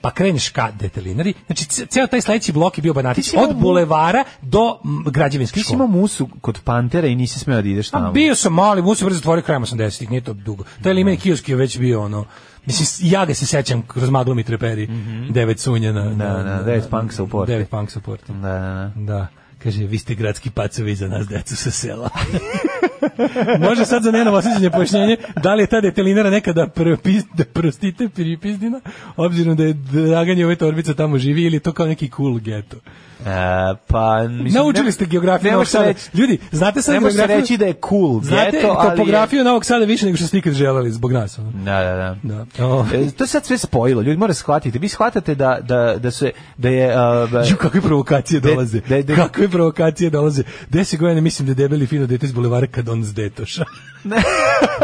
[SPEAKER 7] pa kreneš ka detelinari. Znači, ce- ceo taj sledeći blok je bio Banatić.
[SPEAKER 6] si imao
[SPEAKER 7] Od
[SPEAKER 6] mu-
[SPEAKER 7] bulevara do m, građevinske
[SPEAKER 6] Ti si
[SPEAKER 7] škole.
[SPEAKER 6] imao musu kod Pantera i nisi smeo da ideš tamo.
[SPEAKER 7] A bio sam mali, mu se brzo zatvorio krajem 80-ih, nije to dugo. Taj limen kiosk je već bio ono, Mislim, ja ga se sećam kroz maglu mi treperi, devet sunja na...
[SPEAKER 6] Mhm. da, devet punk support.
[SPEAKER 7] Devet punk support.
[SPEAKER 6] Da, da, da.
[SPEAKER 7] Da, kaže, vi ste gradski pacovi za nas, decu sa sela. Može sad za njeno osjećanje pojašnjenje da li je ta detelinara nekada prepis, da prostite pripizdina, obzirom da je Dragan ove torbica tamo živi ili je to kao neki cool geto.
[SPEAKER 6] E, pa, mislim,
[SPEAKER 7] Naučili
[SPEAKER 6] ne-
[SPEAKER 7] ste geografiju
[SPEAKER 6] ne
[SPEAKER 7] Novog
[SPEAKER 6] može se
[SPEAKER 7] Sada.
[SPEAKER 6] reći-
[SPEAKER 7] Ljudi, znate sad
[SPEAKER 6] ne može se
[SPEAKER 7] geografiju?
[SPEAKER 6] reći da je cool
[SPEAKER 7] Znate
[SPEAKER 6] geto, ali je-
[SPEAKER 7] topografiju Novog Sada više nego što ste ikad želeli zbog nas. ono.
[SPEAKER 6] Da, da, da.
[SPEAKER 7] da. O.
[SPEAKER 6] E, to je sad sve spojilo. Ljudi mora shvatiti. Vi shvatate da, da, da, se, da je... a, ba-
[SPEAKER 7] Ju, kakve provokacije
[SPEAKER 6] De-
[SPEAKER 7] dolaze.
[SPEAKER 6] de- de-
[SPEAKER 7] kakve provokacije dolaze. Deset godina mislim da je debeli fino dete iz bulevara kad on s detoša.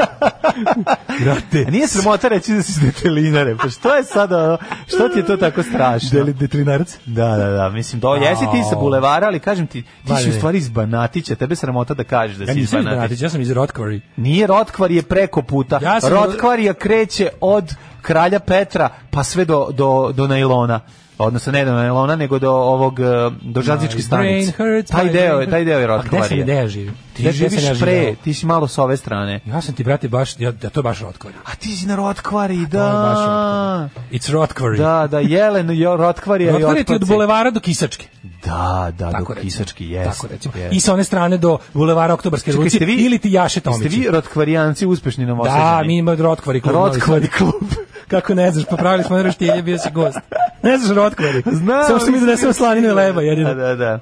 [SPEAKER 7] Brate.
[SPEAKER 6] A nije sramota reći da si s detelinare. Pa što je sad ono, što ti je to tako strašno?
[SPEAKER 7] Deli detrinarac?
[SPEAKER 6] Da, da, da, mislim, to jesi ti sa bulevara, ali kažem ti, ti si
[SPEAKER 7] Vale.
[SPEAKER 6] u stvari iz Banatića, tebe je sramota da kažeš da
[SPEAKER 7] Ja
[SPEAKER 6] si iz
[SPEAKER 7] nisam iz Banatića,
[SPEAKER 6] Banatića.
[SPEAKER 7] ja sam iz Rotkvari.
[SPEAKER 6] Nije Rotkvar je preko puta.
[SPEAKER 7] Ja sam-
[SPEAKER 6] Rotkvar je kreće od kralja Petra pa sve do, do, do Nailona. Odnosno ne do Nailona, nego do ovog, eh, do žazičke
[SPEAKER 7] My
[SPEAKER 6] stanice.
[SPEAKER 7] brain hurts,
[SPEAKER 6] Taj
[SPEAKER 7] my
[SPEAKER 6] deo, je-
[SPEAKER 7] brain
[SPEAKER 6] taj deo je
[SPEAKER 7] hurts. A
[SPEAKER 6] Rotkvar.
[SPEAKER 7] gde sam- gde ja živim?
[SPEAKER 6] Ti
[SPEAKER 7] Gde- gde sam ja
[SPEAKER 6] živiš
[SPEAKER 7] živeo?
[SPEAKER 6] pre, ti si malo s ove strane.
[SPEAKER 7] Ja sam ti, brate, baš, ja, da to je baš Rotkvari.
[SPEAKER 6] A ti si na Rotkvari,
[SPEAKER 7] To je baš
[SPEAKER 6] da.
[SPEAKER 7] Rotkvari. It's Rotkvari.
[SPEAKER 6] Da, da, Jelen, jo, Rotkvar je
[SPEAKER 7] Rotkvar je ti od
[SPEAKER 6] Jotpaci.
[SPEAKER 7] bulevara do Kisačke.
[SPEAKER 6] Da, da, do
[SPEAKER 7] Tako recimo.
[SPEAKER 6] Kisački, jeste.
[SPEAKER 7] Tako recimo.
[SPEAKER 6] jeste.
[SPEAKER 7] I sa one strane do bulevara Oktobarske
[SPEAKER 6] Čekaj,
[SPEAKER 7] revolucije
[SPEAKER 6] jeste vi-
[SPEAKER 7] ili ti Jaše Tomića.
[SPEAKER 6] Jeste vi rotkvarijanci uspešni na
[SPEAKER 7] Da, mi imamo Rotkvari klub.
[SPEAKER 6] Rotkvari
[SPEAKER 7] Novi Sad. Kako ne znaš, popravili smo na roštilje, bio si gost. Ne znaš Rotkvari. Samo što mi donesemo slaninu i leba, jedino.
[SPEAKER 6] Da, da, da.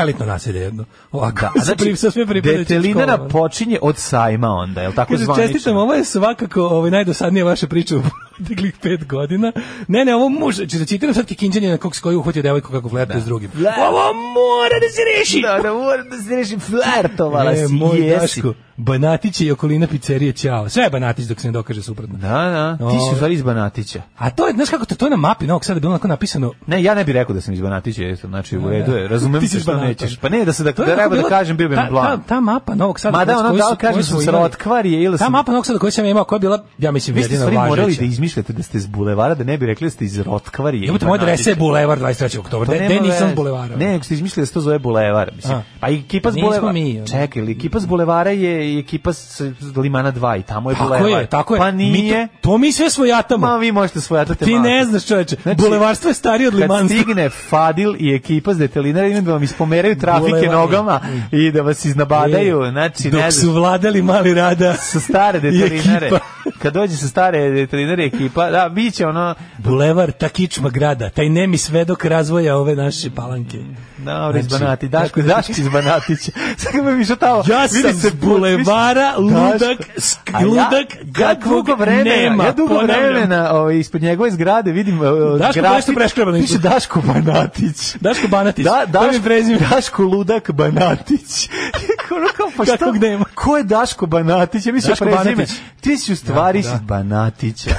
[SPEAKER 7] Elitno naselje jedno. Ovako,
[SPEAKER 6] Da, znači,
[SPEAKER 7] sa pri- sa sve pripadajućim
[SPEAKER 6] detelinara
[SPEAKER 7] školama.
[SPEAKER 6] počinje od sajma onda, je li tako
[SPEAKER 7] Kaže,
[SPEAKER 6] zvanično?
[SPEAKER 7] čestitam, ovo je svakako ovaj, najdosadnija vaša priča u proteklih pet godina. Ne, ne, ovo može, če da citiram sad kikinđanje na kog s koji uhvatio devojku kako flertuje s drugim. Ovo mora da se reši!
[SPEAKER 6] Da, da, moram da se rešim, flertovala
[SPEAKER 7] E,
[SPEAKER 6] si,
[SPEAKER 7] moj
[SPEAKER 6] jesi.
[SPEAKER 7] Daško, Banatić je i okolina pizzerije Ćao. Sve je Banatić dok se ne dokaže suprotno.
[SPEAKER 6] Da, da, ti si u
[SPEAKER 7] Ove.
[SPEAKER 6] stvari iz Banatića.
[SPEAKER 7] A to je, znaš kako to, to je na mapi Novog Sada bilo onako napisano
[SPEAKER 6] Ne, ja ne bih rekao da sam iz Banatića, jesam, znači u
[SPEAKER 7] E,
[SPEAKER 6] redu je, razumem
[SPEAKER 7] Ti
[SPEAKER 6] se
[SPEAKER 7] si
[SPEAKER 6] što
[SPEAKER 7] Banata.
[SPEAKER 6] nećeš. Pa ne, da se da,
[SPEAKER 7] To je
[SPEAKER 6] da
[SPEAKER 7] onako
[SPEAKER 6] treba da
[SPEAKER 7] bila-
[SPEAKER 6] kažem, bio bi mi
[SPEAKER 7] ta, ta,
[SPEAKER 6] blan.
[SPEAKER 7] ta mapa Novog Sada.
[SPEAKER 6] Ma da,
[SPEAKER 7] kroz
[SPEAKER 6] ono,
[SPEAKER 7] koju
[SPEAKER 6] da
[SPEAKER 7] su-
[SPEAKER 6] li kažem
[SPEAKER 7] koju smo
[SPEAKER 6] sam
[SPEAKER 7] imali-
[SPEAKER 6] Rotkvarije ili
[SPEAKER 7] Ta
[SPEAKER 6] sam-
[SPEAKER 7] mapa Novog Sada koju sam ja imao, koja je bila, ja mislim,
[SPEAKER 6] Vi ste
[SPEAKER 7] jedina
[SPEAKER 6] stvari morali
[SPEAKER 7] važeća.
[SPEAKER 6] da izmišljate da ste iz bulevara, da ne bi rekli da ste iz Rotkvarije.
[SPEAKER 7] Jebote,
[SPEAKER 6] i
[SPEAKER 7] moja
[SPEAKER 6] Banatića.
[SPEAKER 7] adresa je Bulevar 23. oktobar.
[SPEAKER 6] Pa
[SPEAKER 7] De,
[SPEAKER 6] nema
[SPEAKER 7] de nisam
[SPEAKER 6] veze.
[SPEAKER 7] s Bulevara.
[SPEAKER 6] Ne, nego ste izmislili da se to zove bulevar. Mislim.
[SPEAKER 7] A.
[SPEAKER 6] Pa i ekipa s
[SPEAKER 7] Nismo
[SPEAKER 6] bulevara.
[SPEAKER 7] mi, ono.
[SPEAKER 6] Čekaj, ali ekipa s bulevara je i ekipa s s Limana 2 i tamo je
[SPEAKER 7] Tako
[SPEAKER 6] bulevar.
[SPEAKER 7] je, tako je.
[SPEAKER 6] Pa
[SPEAKER 7] Mi
[SPEAKER 6] nije.
[SPEAKER 7] to, to mi sve svojatamo.
[SPEAKER 6] Ma vi možete svojatati
[SPEAKER 7] Ti
[SPEAKER 6] mapu.
[SPEAKER 7] ne znaš, čoveče.
[SPEAKER 6] Znači,
[SPEAKER 7] Bulevarstvo je starije od E,
[SPEAKER 6] Kad
[SPEAKER 7] limanstva.
[SPEAKER 6] stigne Fadil i ekipa s detelinara, imam da vam ispomeraju trafike
[SPEAKER 7] Bulevar.
[SPEAKER 6] nogama i da vas iznabadaju.
[SPEAKER 7] E,
[SPEAKER 6] Znači,
[SPEAKER 7] Dok
[SPEAKER 6] ne znaš.
[SPEAKER 7] su vladali mali rada.
[SPEAKER 6] sa stare detelinare.
[SPEAKER 7] ekipa.
[SPEAKER 6] Kad dođe sa stare detelinare ekipa, da, bit će ono,
[SPEAKER 7] Bulevar, ta kičma grada, taj nemi svedok razvoja ove naše palanke.
[SPEAKER 6] Dobro, iz
[SPEAKER 7] Znači,
[SPEAKER 6] Banati, Daško,
[SPEAKER 7] tako da-
[SPEAKER 6] Daško iz Banatića. Sad kad bi mi išao tamo,
[SPEAKER 7] Ja
[SPEAKER 6] vidi
[SPEAKER 7] sam
[SPEAKER 6] se
[SPEAKER 7] se
[SPEAKER 6] put,
[SPEAKER 7] bulevara,
[SPEAKER 6] viš-
[SPEAKER 7] ludak,
[SPEAKER 6] Daško.
[SPEAKER 7] sk-
[SPEAKER 6] A ja-
[SPEAKER 7] ludak,
[SPEAKER 6] ja
[SPEAKER 7] kakvog
[SPEAKER 6] dugo vremena,
[SPEAKER 7] nema,
[SPEAKER 6] ja dugo
[SPEAKER 7] ponavljam.
[SPEAKER 6] vremena, ovaj, ispod njegove zgrade vidim uh,
[SPEAKER 7] Daško
[SPEAKER 6] grafit,
[SPEAKER 7] nešto preškrebano
[SPEAKER 6] piše
[SPEAKER 7] ispod.
[SPEAKER 6] Daško Banatić.
[SPEAKER 7] Daško Banatić.
[SPEAKER 6] Da,
[SPEAKER 7] To mi je
[SPEAKER 6] Daško,
[SPEAKER 7] prezime.
[SPEAKER 6] Daško Ludak Banatić. Ono kao, pa šta?
[SPEAKER 7] Kakvog nema.
[SPEAKER 6] Ko je Daško Banatić? Ja mislim
[SPEAKER 7] Daško
[SPEAKER 6] prezime.
[SPEAKER 7] Banatić.
[SPEAKER 6] Ti si u stvari
[SPEAKER 7] Da,
[SPEAKER 6] da,
[SPEAKER 7] da.
[SPEAKER 6] Banatića.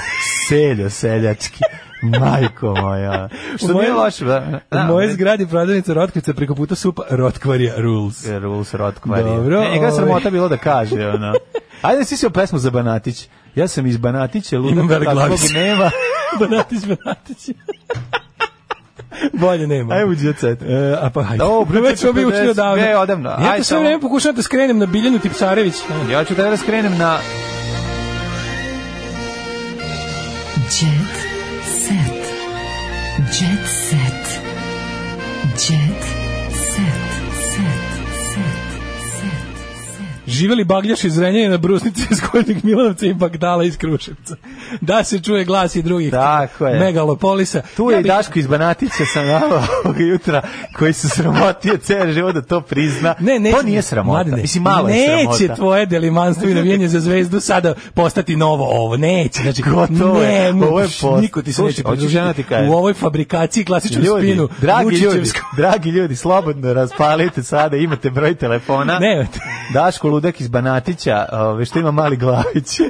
[SPEAKER 6] Seljo, seljački. Majko moja. Što
[SPEAKER 7] U
[SPEAKER 6] nije
[SPEAKER 7] mojoj-
[SPEAKER 6] loše. Da, da,
[SPEAKER 7] U mojoj
[SPEAKER 6] ne-
[SPEAKER 7] zgradi prodavnica Rotkvica preko puta supa Rotkvarija Rules.
[SPEAKER 6] Jer Rules Rod kvarije.
[SPEAKER 7] Dobro,
[SPEAKER 6] Ne, njega je
[SPEAKER 7] ovaj.
[SPEAKER 6] sramota bilo da kaže, ono. Ajde, si se o pesmu za Banatić. Ja sam iz Banatića, ludak
[SPEAKER 7] Imam velik
[SPEAKER 6] takvog
[SPEAKER 7] glavicu.
[SPEAKER 6] nema.
[SPEAKER 7] Banatić, Banatić. Bolje nema.
[SPEAKER 6] Ajmo, jet set.
[SPEAKER 7] E, a pa hajde.
[SPEAKER 6] Dobro,
[SPEAKER 7] Već smo mi
[SPEAKER 6] 50,
[SPEAKER 7] učili odavno.
[SPEAKER 6] ne, odavno.
[SPEAKER 7] Ja
[SPEAKER 6] Ajde,
[SPEAKER 7] to sve
[SPEAKER 6] samo-
[SPEAKER 7] vreme pokušavam da skrenem na Biljanu Tipsarević. E,
[SPEAKER 6] Ja ću tada da skrenem na...
[SPEAKER 5] Jet set. Jet set. Jet set. Set. Set. Set.
[SPEAKER 7] Živeli bagljaš iz Renjanja na Brusnici iz Koljnih Milanovca i Bagdala iz Kruševca. Da se čuje glas i drugih
[SPEAKER 6] Tako je.
[SPEAKER 7] megalopolisa.
[SPEAKER 6] Tu je
[SPEAKER 7] Ja
[SPEAKER 6] i
[SPEAKER 7] bih-
[SPEAKER 6] Daško iz Banatića sam navao ovog jutra, koji se sramotio cijel život da to prizna.
[SPEAKER 7] Ne, ne,
[SPEAKER 6] to nije sramota.
[SPEAKER 7] Mladene,
[SPEAKER 6] Mislim, malo je sramota.
[SPEAKER 7] Neće tvoje delimanstvo i navijenje za zvezdu sada postati novo ovo. Neće. Znači,
[SPEAKER 6] Gotovo je.
[SPEAKER 7] ne,
[SPEAKER 6] Ovo je
[SPEAKER 7] možeš,
[SPEAKER 6] post-
[SPEAKER 7] Niko ti se
[SPEAKER 6] Slušaj,
[SPEAKER 7] neće
[SPEAKER 6] hoću žena ti
[SPEAKER 7] pridružiti
[SPEAKER 6] kažem.
[SPEAKER 7] u ovoj fabrikaciji klasičnom
[SPEAKER 6] Ljudi,
[SPEAKER 7] spinu.
[SPEAKER 6] dragi ljudi,
[SPEAKER 7] Vučićevskom.
[SPEAKER 6] dragi ljudi, slobodno raspalite sada, imate broj telefona.
[SPEAKER 7] Ne,
[SPEAKER 6] Daško Ludak iz Banatića, ove, što ima mali glavić.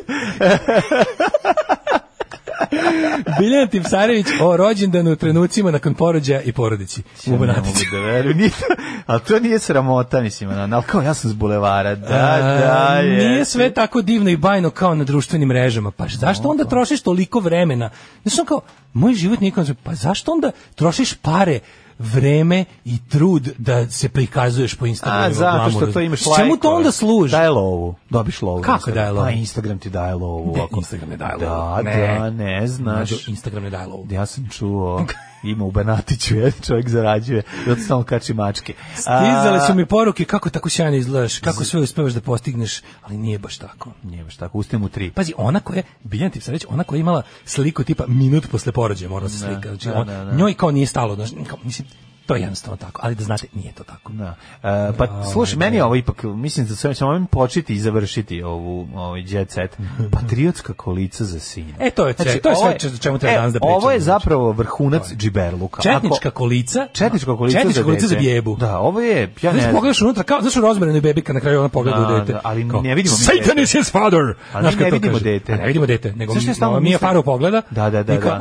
[SPEAKER 7] Biljana Tipsarević o rođendanu u trenucima nakon porođaja i porodici. U
[SPEAKER 6] Ne
[SPEAKER 7] Banatiću.
[SPEAKER 6] mogu da verujem. Nije to- ali to nije sramota, mislim, ono, ali kao ja sam s bulevara, da, da,
[SPEAKER 7] A,
[SPEAKER 6] je.
[SPEAKER 7] Nije sve tako divno i bajno kao na društvenim mrežama. Pa zašto onda ono trošiš toliko vremena? Znaš, on kao, moj život nikom... Pa zašto onda trošiš pare vreme i trud da se prikazuješ po Instagramu.
[SPEAKER 6] A, zato što to imaš
[SPEAKER 7] lajkova. Čemu to
[SPEAKER 6] lajkova.
[SPEAKER 7] onda služi?
[SPEAKER 6] Daje lovu. Dobiš lovu.
[SPEAKER 7] Kako
[SPEAKER 6] Instagram.
[SPEAKER 7] daje lovu?
[SPEAKER 6] Pa Instagram ti daje lovu.
[SPEAKER 7] Ne,
[SPEAKER 6] ako-
[SPEAKER 7] Instagram ne daje
[SPEAKER 6] Da,
[SPEAKER 7] lovu. Ne.
[SPEAKER 6] da, ne znaš.
[SPEAKER 7] Mlađo, Instagram ne daje lovu.
[SPEAKER 6] Ja sam čuo, ima u Banatiću, jedan čovjek zarađuje, zato samo kači mačke. A,
[SPEAKER 7] Stizale su mi poruke kako tako sjajno izgledaš, kako sve uspevaš da postigneš, ali nije baš tako.
[SPEAKER 6] Nije baš tako, uste mu tri.
[SPEAKER 7] Pazi, ona koja, biljan ti sam reći, ona koja je imala sliku tipa minut posle porođaja mora se
[SPEAKER 6] Da,
[SPEAKER 7] slika. Znači,
[SPEAKER 6] da,
[SPEAKER 7] on-
[SPEAKER 6] da, da.
[SPEAKER 7] njoj kao nije stalo, znaš, kao, mislim, to je jednostavno tako, ali da znate, nije to tako.
[SPEAKER 6] Da. E, pa slušaj, meni je ovo ipak, mislim da sam ćemo ovim početi i završiti ovu ovaj jet set. Patriotska kolica za sina.
[SPEAKER 7] E, to je ce- to je
[SPEAKER 6] Pa Znači, ovo
[SPEAKER 7] sve o čemu treba
[SPEAKER 6] e,
[SPEAKER 7] danas da
[SPEAKER 6] Ovo je
[SPEAKER 7] pričamo, znači.
[SPEAKER 6] zapravo vrhunac džiberluka.
[SPEAKER 7] Četnička
[SPEAKER 6] Ako-
[SPEAKER 7] kolica.
[SPEAKER 6] Četnička kolica,
[SPEAKER 7] Četnička
[SPEAKER 6] za,
[SPEAKER 7] kolica za
[SPEAKER 6] dete.
[SPEAKER 7] bijebu.
[SPEAKER 6] Da, ovo je, ja ne
[SPEAKER 7] Znaš,
[SPEAKER 6] znam.
[SPEAKER 7] pogledaš unutra, kao, znaš u rozmerenu bebi kad na kraju ona pogleda
[SPEAKER 6] Da,
[SPEAKER 7] u dete.
[SPEAKER 6] da, ali
[SPEAKER 7] Kao,
[SPEAKER 6] ne vidimo mi
[SPEAKER 7] Satan
[SPEAKER 6] dete."
[SPEAKER 7] is his father.
[SPEAKER 6] Ali
[SPEAKER 7] Znaš
[SPEAKER 6] mi
[SPEAKER 7] kad
[SPEAKER 6] ne
[SPEAKER 7] to
[SPEAKER 6] vidimo
[SPEAKER 7] kaže?
[SPEAKER 6] dete.
[SPEAKER 7] A Ne vidimo dete, nego
[SPEAKER 6] Znaš šta
[SPEAKER 7] mi,
[SPEAKER 6] ja stalno
[SPEAKER 7] Mija
[SPEAKER 6] mislim?
[SPEAKER 7] Farov pogleda.
[SPEAKER 6] Da, da, da,
[SPEAKER 7] I kao,
[SPEAKER 6] da.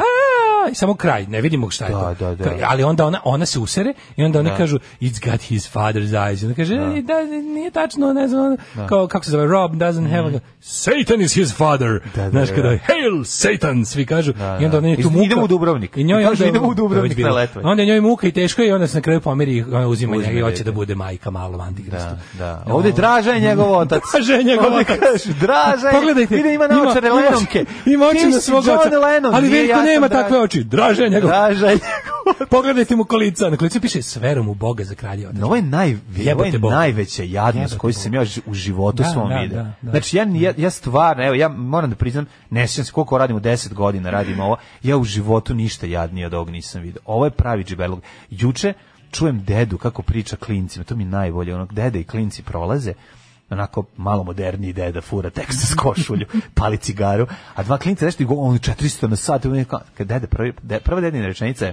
[SPEAKER 7] "A", i samo kraj, ne vidimo šta je to.
[SPEAKER 6] Da, da, da.
[SPEAKER 7] Kao, Ali onda ona, ona se usere i onda oni
[SPEAKER 6] Da.
[SPEAKER 7] kažu it's got his father's eyes. I Ona kaže, "E, da, nije tačno, ne znam, kao, kako se zove, Rob doesn't have a... Satan is his father.
[SPEAKER 6] Mhm. Da, da,
[SPEAKER 7] Znaš
[SPEAKER 6] da.
[SPEAKER 7] kada, hail Satan, svi kažu. I onda ona je
[SPEAKER 6] Iz-
[SPEAKER 7] tu muka.
[SPEAKER 6] idemo u Dubrovnik.
[SPEAKER 7] I njoj
[SPEAKER 6] I kažu,
[SPEAKER 7] onda-
[SPEAKER 6] idemo u
[SPEAKER 7] to je
[SPEAKER 6] Dubrovnik
[SPEAKER 7] već bilo.
[SPEAKER 6] na letovanje.
[SPEAKER 7] Onda je njoj muka i teško je i onda se na kraju pomeri i ona uzima
[SPEAKER 6] Uzme
[SPEAKER 7] njega i hoće
[SPEAKER 6] dete.
[SPEAKER 7] da bude majka malom ono. antikristu.
[SPEAKER 6] Da. Ovde Draža je njegov otac.
[SPEAKER 7] Draža je njegov
[SPEAKER 6] Ovde
[SPEAKER 7] otac.
[SPEAKER 6] kaže, Draža je,
[SPEAKER 7] Pogledajte,
[SPEAKER 6] vidi, ima naočare
[SPEAKER 7] ima-
[SPEAKER 6] Lenomke.
[SPEAKER 7] Ima oči
[SPEAKER 6] Ti
[SPEAKER 7] na
[SPEAKER 6] si
[SPEAKER 7] svog
[SPEAKER 6] John
[SPEAKER 7] oca.
[SPEAKER 6] Lennon,
[SPEAKER 7] ali
[SPEAKER 6] nije,
[SPEAKER 7] Veljko
[SPEAKER 6] ja sam
[SPEAKER 7] nema
[SPEAKER 6] Draža.
[SPEAKER 7] takve oči. Draža je njegov.
[SPEAKER 6] Draža je njegov
[SPEAKER 7] Pogledajte mu kolica. Na kolicu piše s verom u Boga za kralja otac.
[SPEAKER 6] No, ovo je, naj, ovo je
[SPEAKER 7] Jebote Bog.
[SPEAKER 6] najveća jadnost
[SPEAKER 7] Jebote
[SPEAKER 6] koju
[SPEAKER 7] Bog.
[SPEAKER 6] sam ja ž- u životu
[SPEAKER 7] Da,
[SPEAKER 6] svom
[SPEAKER 7] da,
[SPEAKER 6] vidio.
[SPEAKER 7] da, da.
[SPEAKER 6] Znači, ja, ja, ja stvarno, evo, ja moram da priznam, ne sjećam se koliko radimo, 10 godina radim ovo, ja u životu ništa jadnije od ovog nisam vidio. Ovo je pravi džiberlog. Juče čujem dedu kako priča klincima, to mi je najbolje, onog dede i klinci prolaze, onako malo moderniji deda fura teksas košulju, pali cigaru, a dva klinca nešto i go, on 400 na sat, i on je kao- kad dede, prvi, de, prva dedina rečenica je,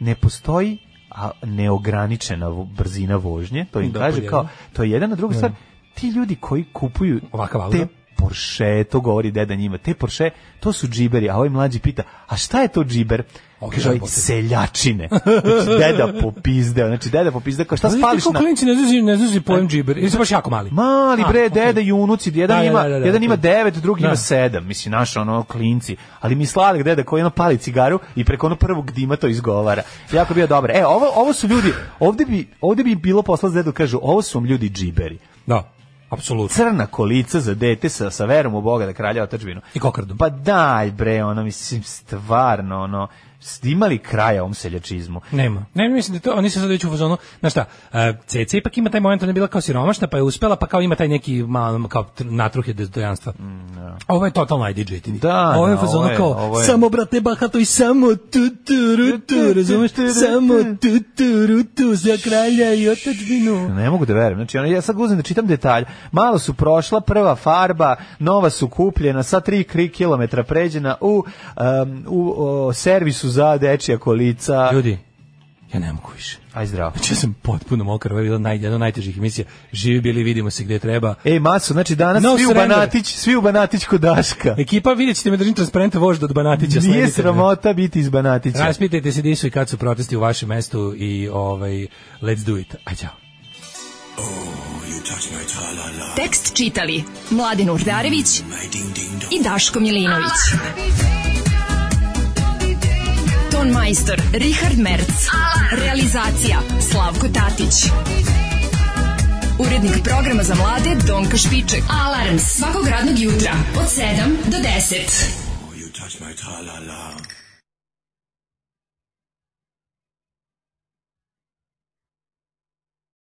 [SPEAKER 6] ne postoji a neograničena vo- brzina vožnje, to im
[SPEAKER 7] Da,
[SPEAKER 6] kaže
[SPEAKER 7] pod
[SPEAKER 6] kao,
[SPEAKER 7] jedan.
[SPEAKER 6] to je jedna, a druga stvar, ti ljudi koji kupuju
[SPEAKER 7] Ovakav auto?
[SPEAKER 6] te Porsche, to govori deda njima, te Porsche, to su džiberi, a ovaj mlađi pita, a šta je to džiber?
[SPEAKER 7] O,
[SPEAKER 6] Kaže, ovaj,
[SPEAKER 7] jebote.
[SPEAKER 6] seljačine. Znači, deda popizdeo, znači, deda popizdeo, kao, šta
[SPEAKER 7] Ali
[SPEAKER 6] spališ
[SPEAKER 7] kako
[SPEAKER 6] na...
[SPEAKER 7] klinci ne znaš ne znaš pojem džiber. Ili su baš jako mali.
[SPEAKER 6] E, Mali bre,
[SPEAKER 7] A, okej.
[SPEAKER 6] deda i unuci, jedan
[SPEAKER 7] Da, da,
[SPEAKER 6] ima,
[SPEAKER 7] da, da, da,
[SPEAKER 6] jedan
[SPEAKER 7] to-
[SPEAKER 6] ima devet, drugi
[SPEAKER 7] Da.
[SPEAKER 6] ima sedam, mislim, naš ono klinci, ali mi sladak deda koji ono pali cigaru i preko ono prvog dima to izgovara. Jako bio dobro. E, ovo, ovo su ljudi, ovde bi, ovde bi bilo posla za dedu, kažu, ovo su vam ljudi džiberi.
[SPEAKER 7] Da. Apsolutno.
[SPEAKER 6] Crna kolica za dete sa, sa verom u Boga da kralja otačbinu.
[SPEAKER 7] I kokardom.
[SPEAKER 6] Pa daj bre, ono, mislim, stvarno, ono, s- ima li kraja ovom seljačizmu?
[SPEAKER 7] Nema. Ne, mislim da to, oni se sad već u fazonu, znaš šta, e, Ceca ipak ima taj moment, ona je bila kao siromašna, pa je uspela, pa kao ima taj neki malo, kao tr- natruh je dostojanstva. Ovo je totalno IDJ TV.
[SPEAKER 6] Mm, Da,
[SPEAKER 7] ovo je u
[SPEAKER 6] da,
[SPEAKER 7] fazonu
[SPEAKER 6] ovo je-
[SPEAKER 7] kao,
[SPEAKER 6] ovo je-
[SPEAKER 7] samo brate bahato i samo tu tu ru tu, razumeš, samo tu tu ru tu za kralja i otadbinu.
[SPEAKER 6] Ne mogu da verujem. Znači, ono, ja sad uzem da čitam detalj. Malo su prošla, prva farba, nova su kupljena, sa 3 kri kilometra pređena u, um, u o, servisu za dečija kolica.
[SPEAKER 7] Ljudi, ja ne mogu više.
[SPEAKER 6] Aj zdravo.
[SPEAKER 7] Znači, ja sam potpuno mokar, ovo je bila naj, jedna od najtežih emisija. Živi bili, vidimo se gde treba.
[SPEAKER 6] Ej, maso, znači danas
[SPEAKER 7] No
[SPEAKER 6] svi u
[SPEAKER 7] surrender. E,
[SPEAKER 6] Banatić, svi u Banatić kod Daška.
[SPEAKER 7] Ekipa, vidjet ćete me držim transparente vožda od Banatića.
[SPEAKER 6] Nije
[SPEAKER 7] sledite me.
[SPEAKER 6] sramota biti iz Banatića.
[SPEAKER 7] Raspitajte se gdje su i kad su protesti u vašem mestu i ovaj, let's do it. Aj, ćao.
[SPEAKER 5] Tekst čitali Mladin Urdarević i Daško Milinović. Ton majstor Richard Merc. Realizacija Slavko Tatić. Urednik programa za mlade Donka Špiček. Alarms svakog radnog jutra od 7 do 10.
[SPEAKER 11] You touch my tra-la-la.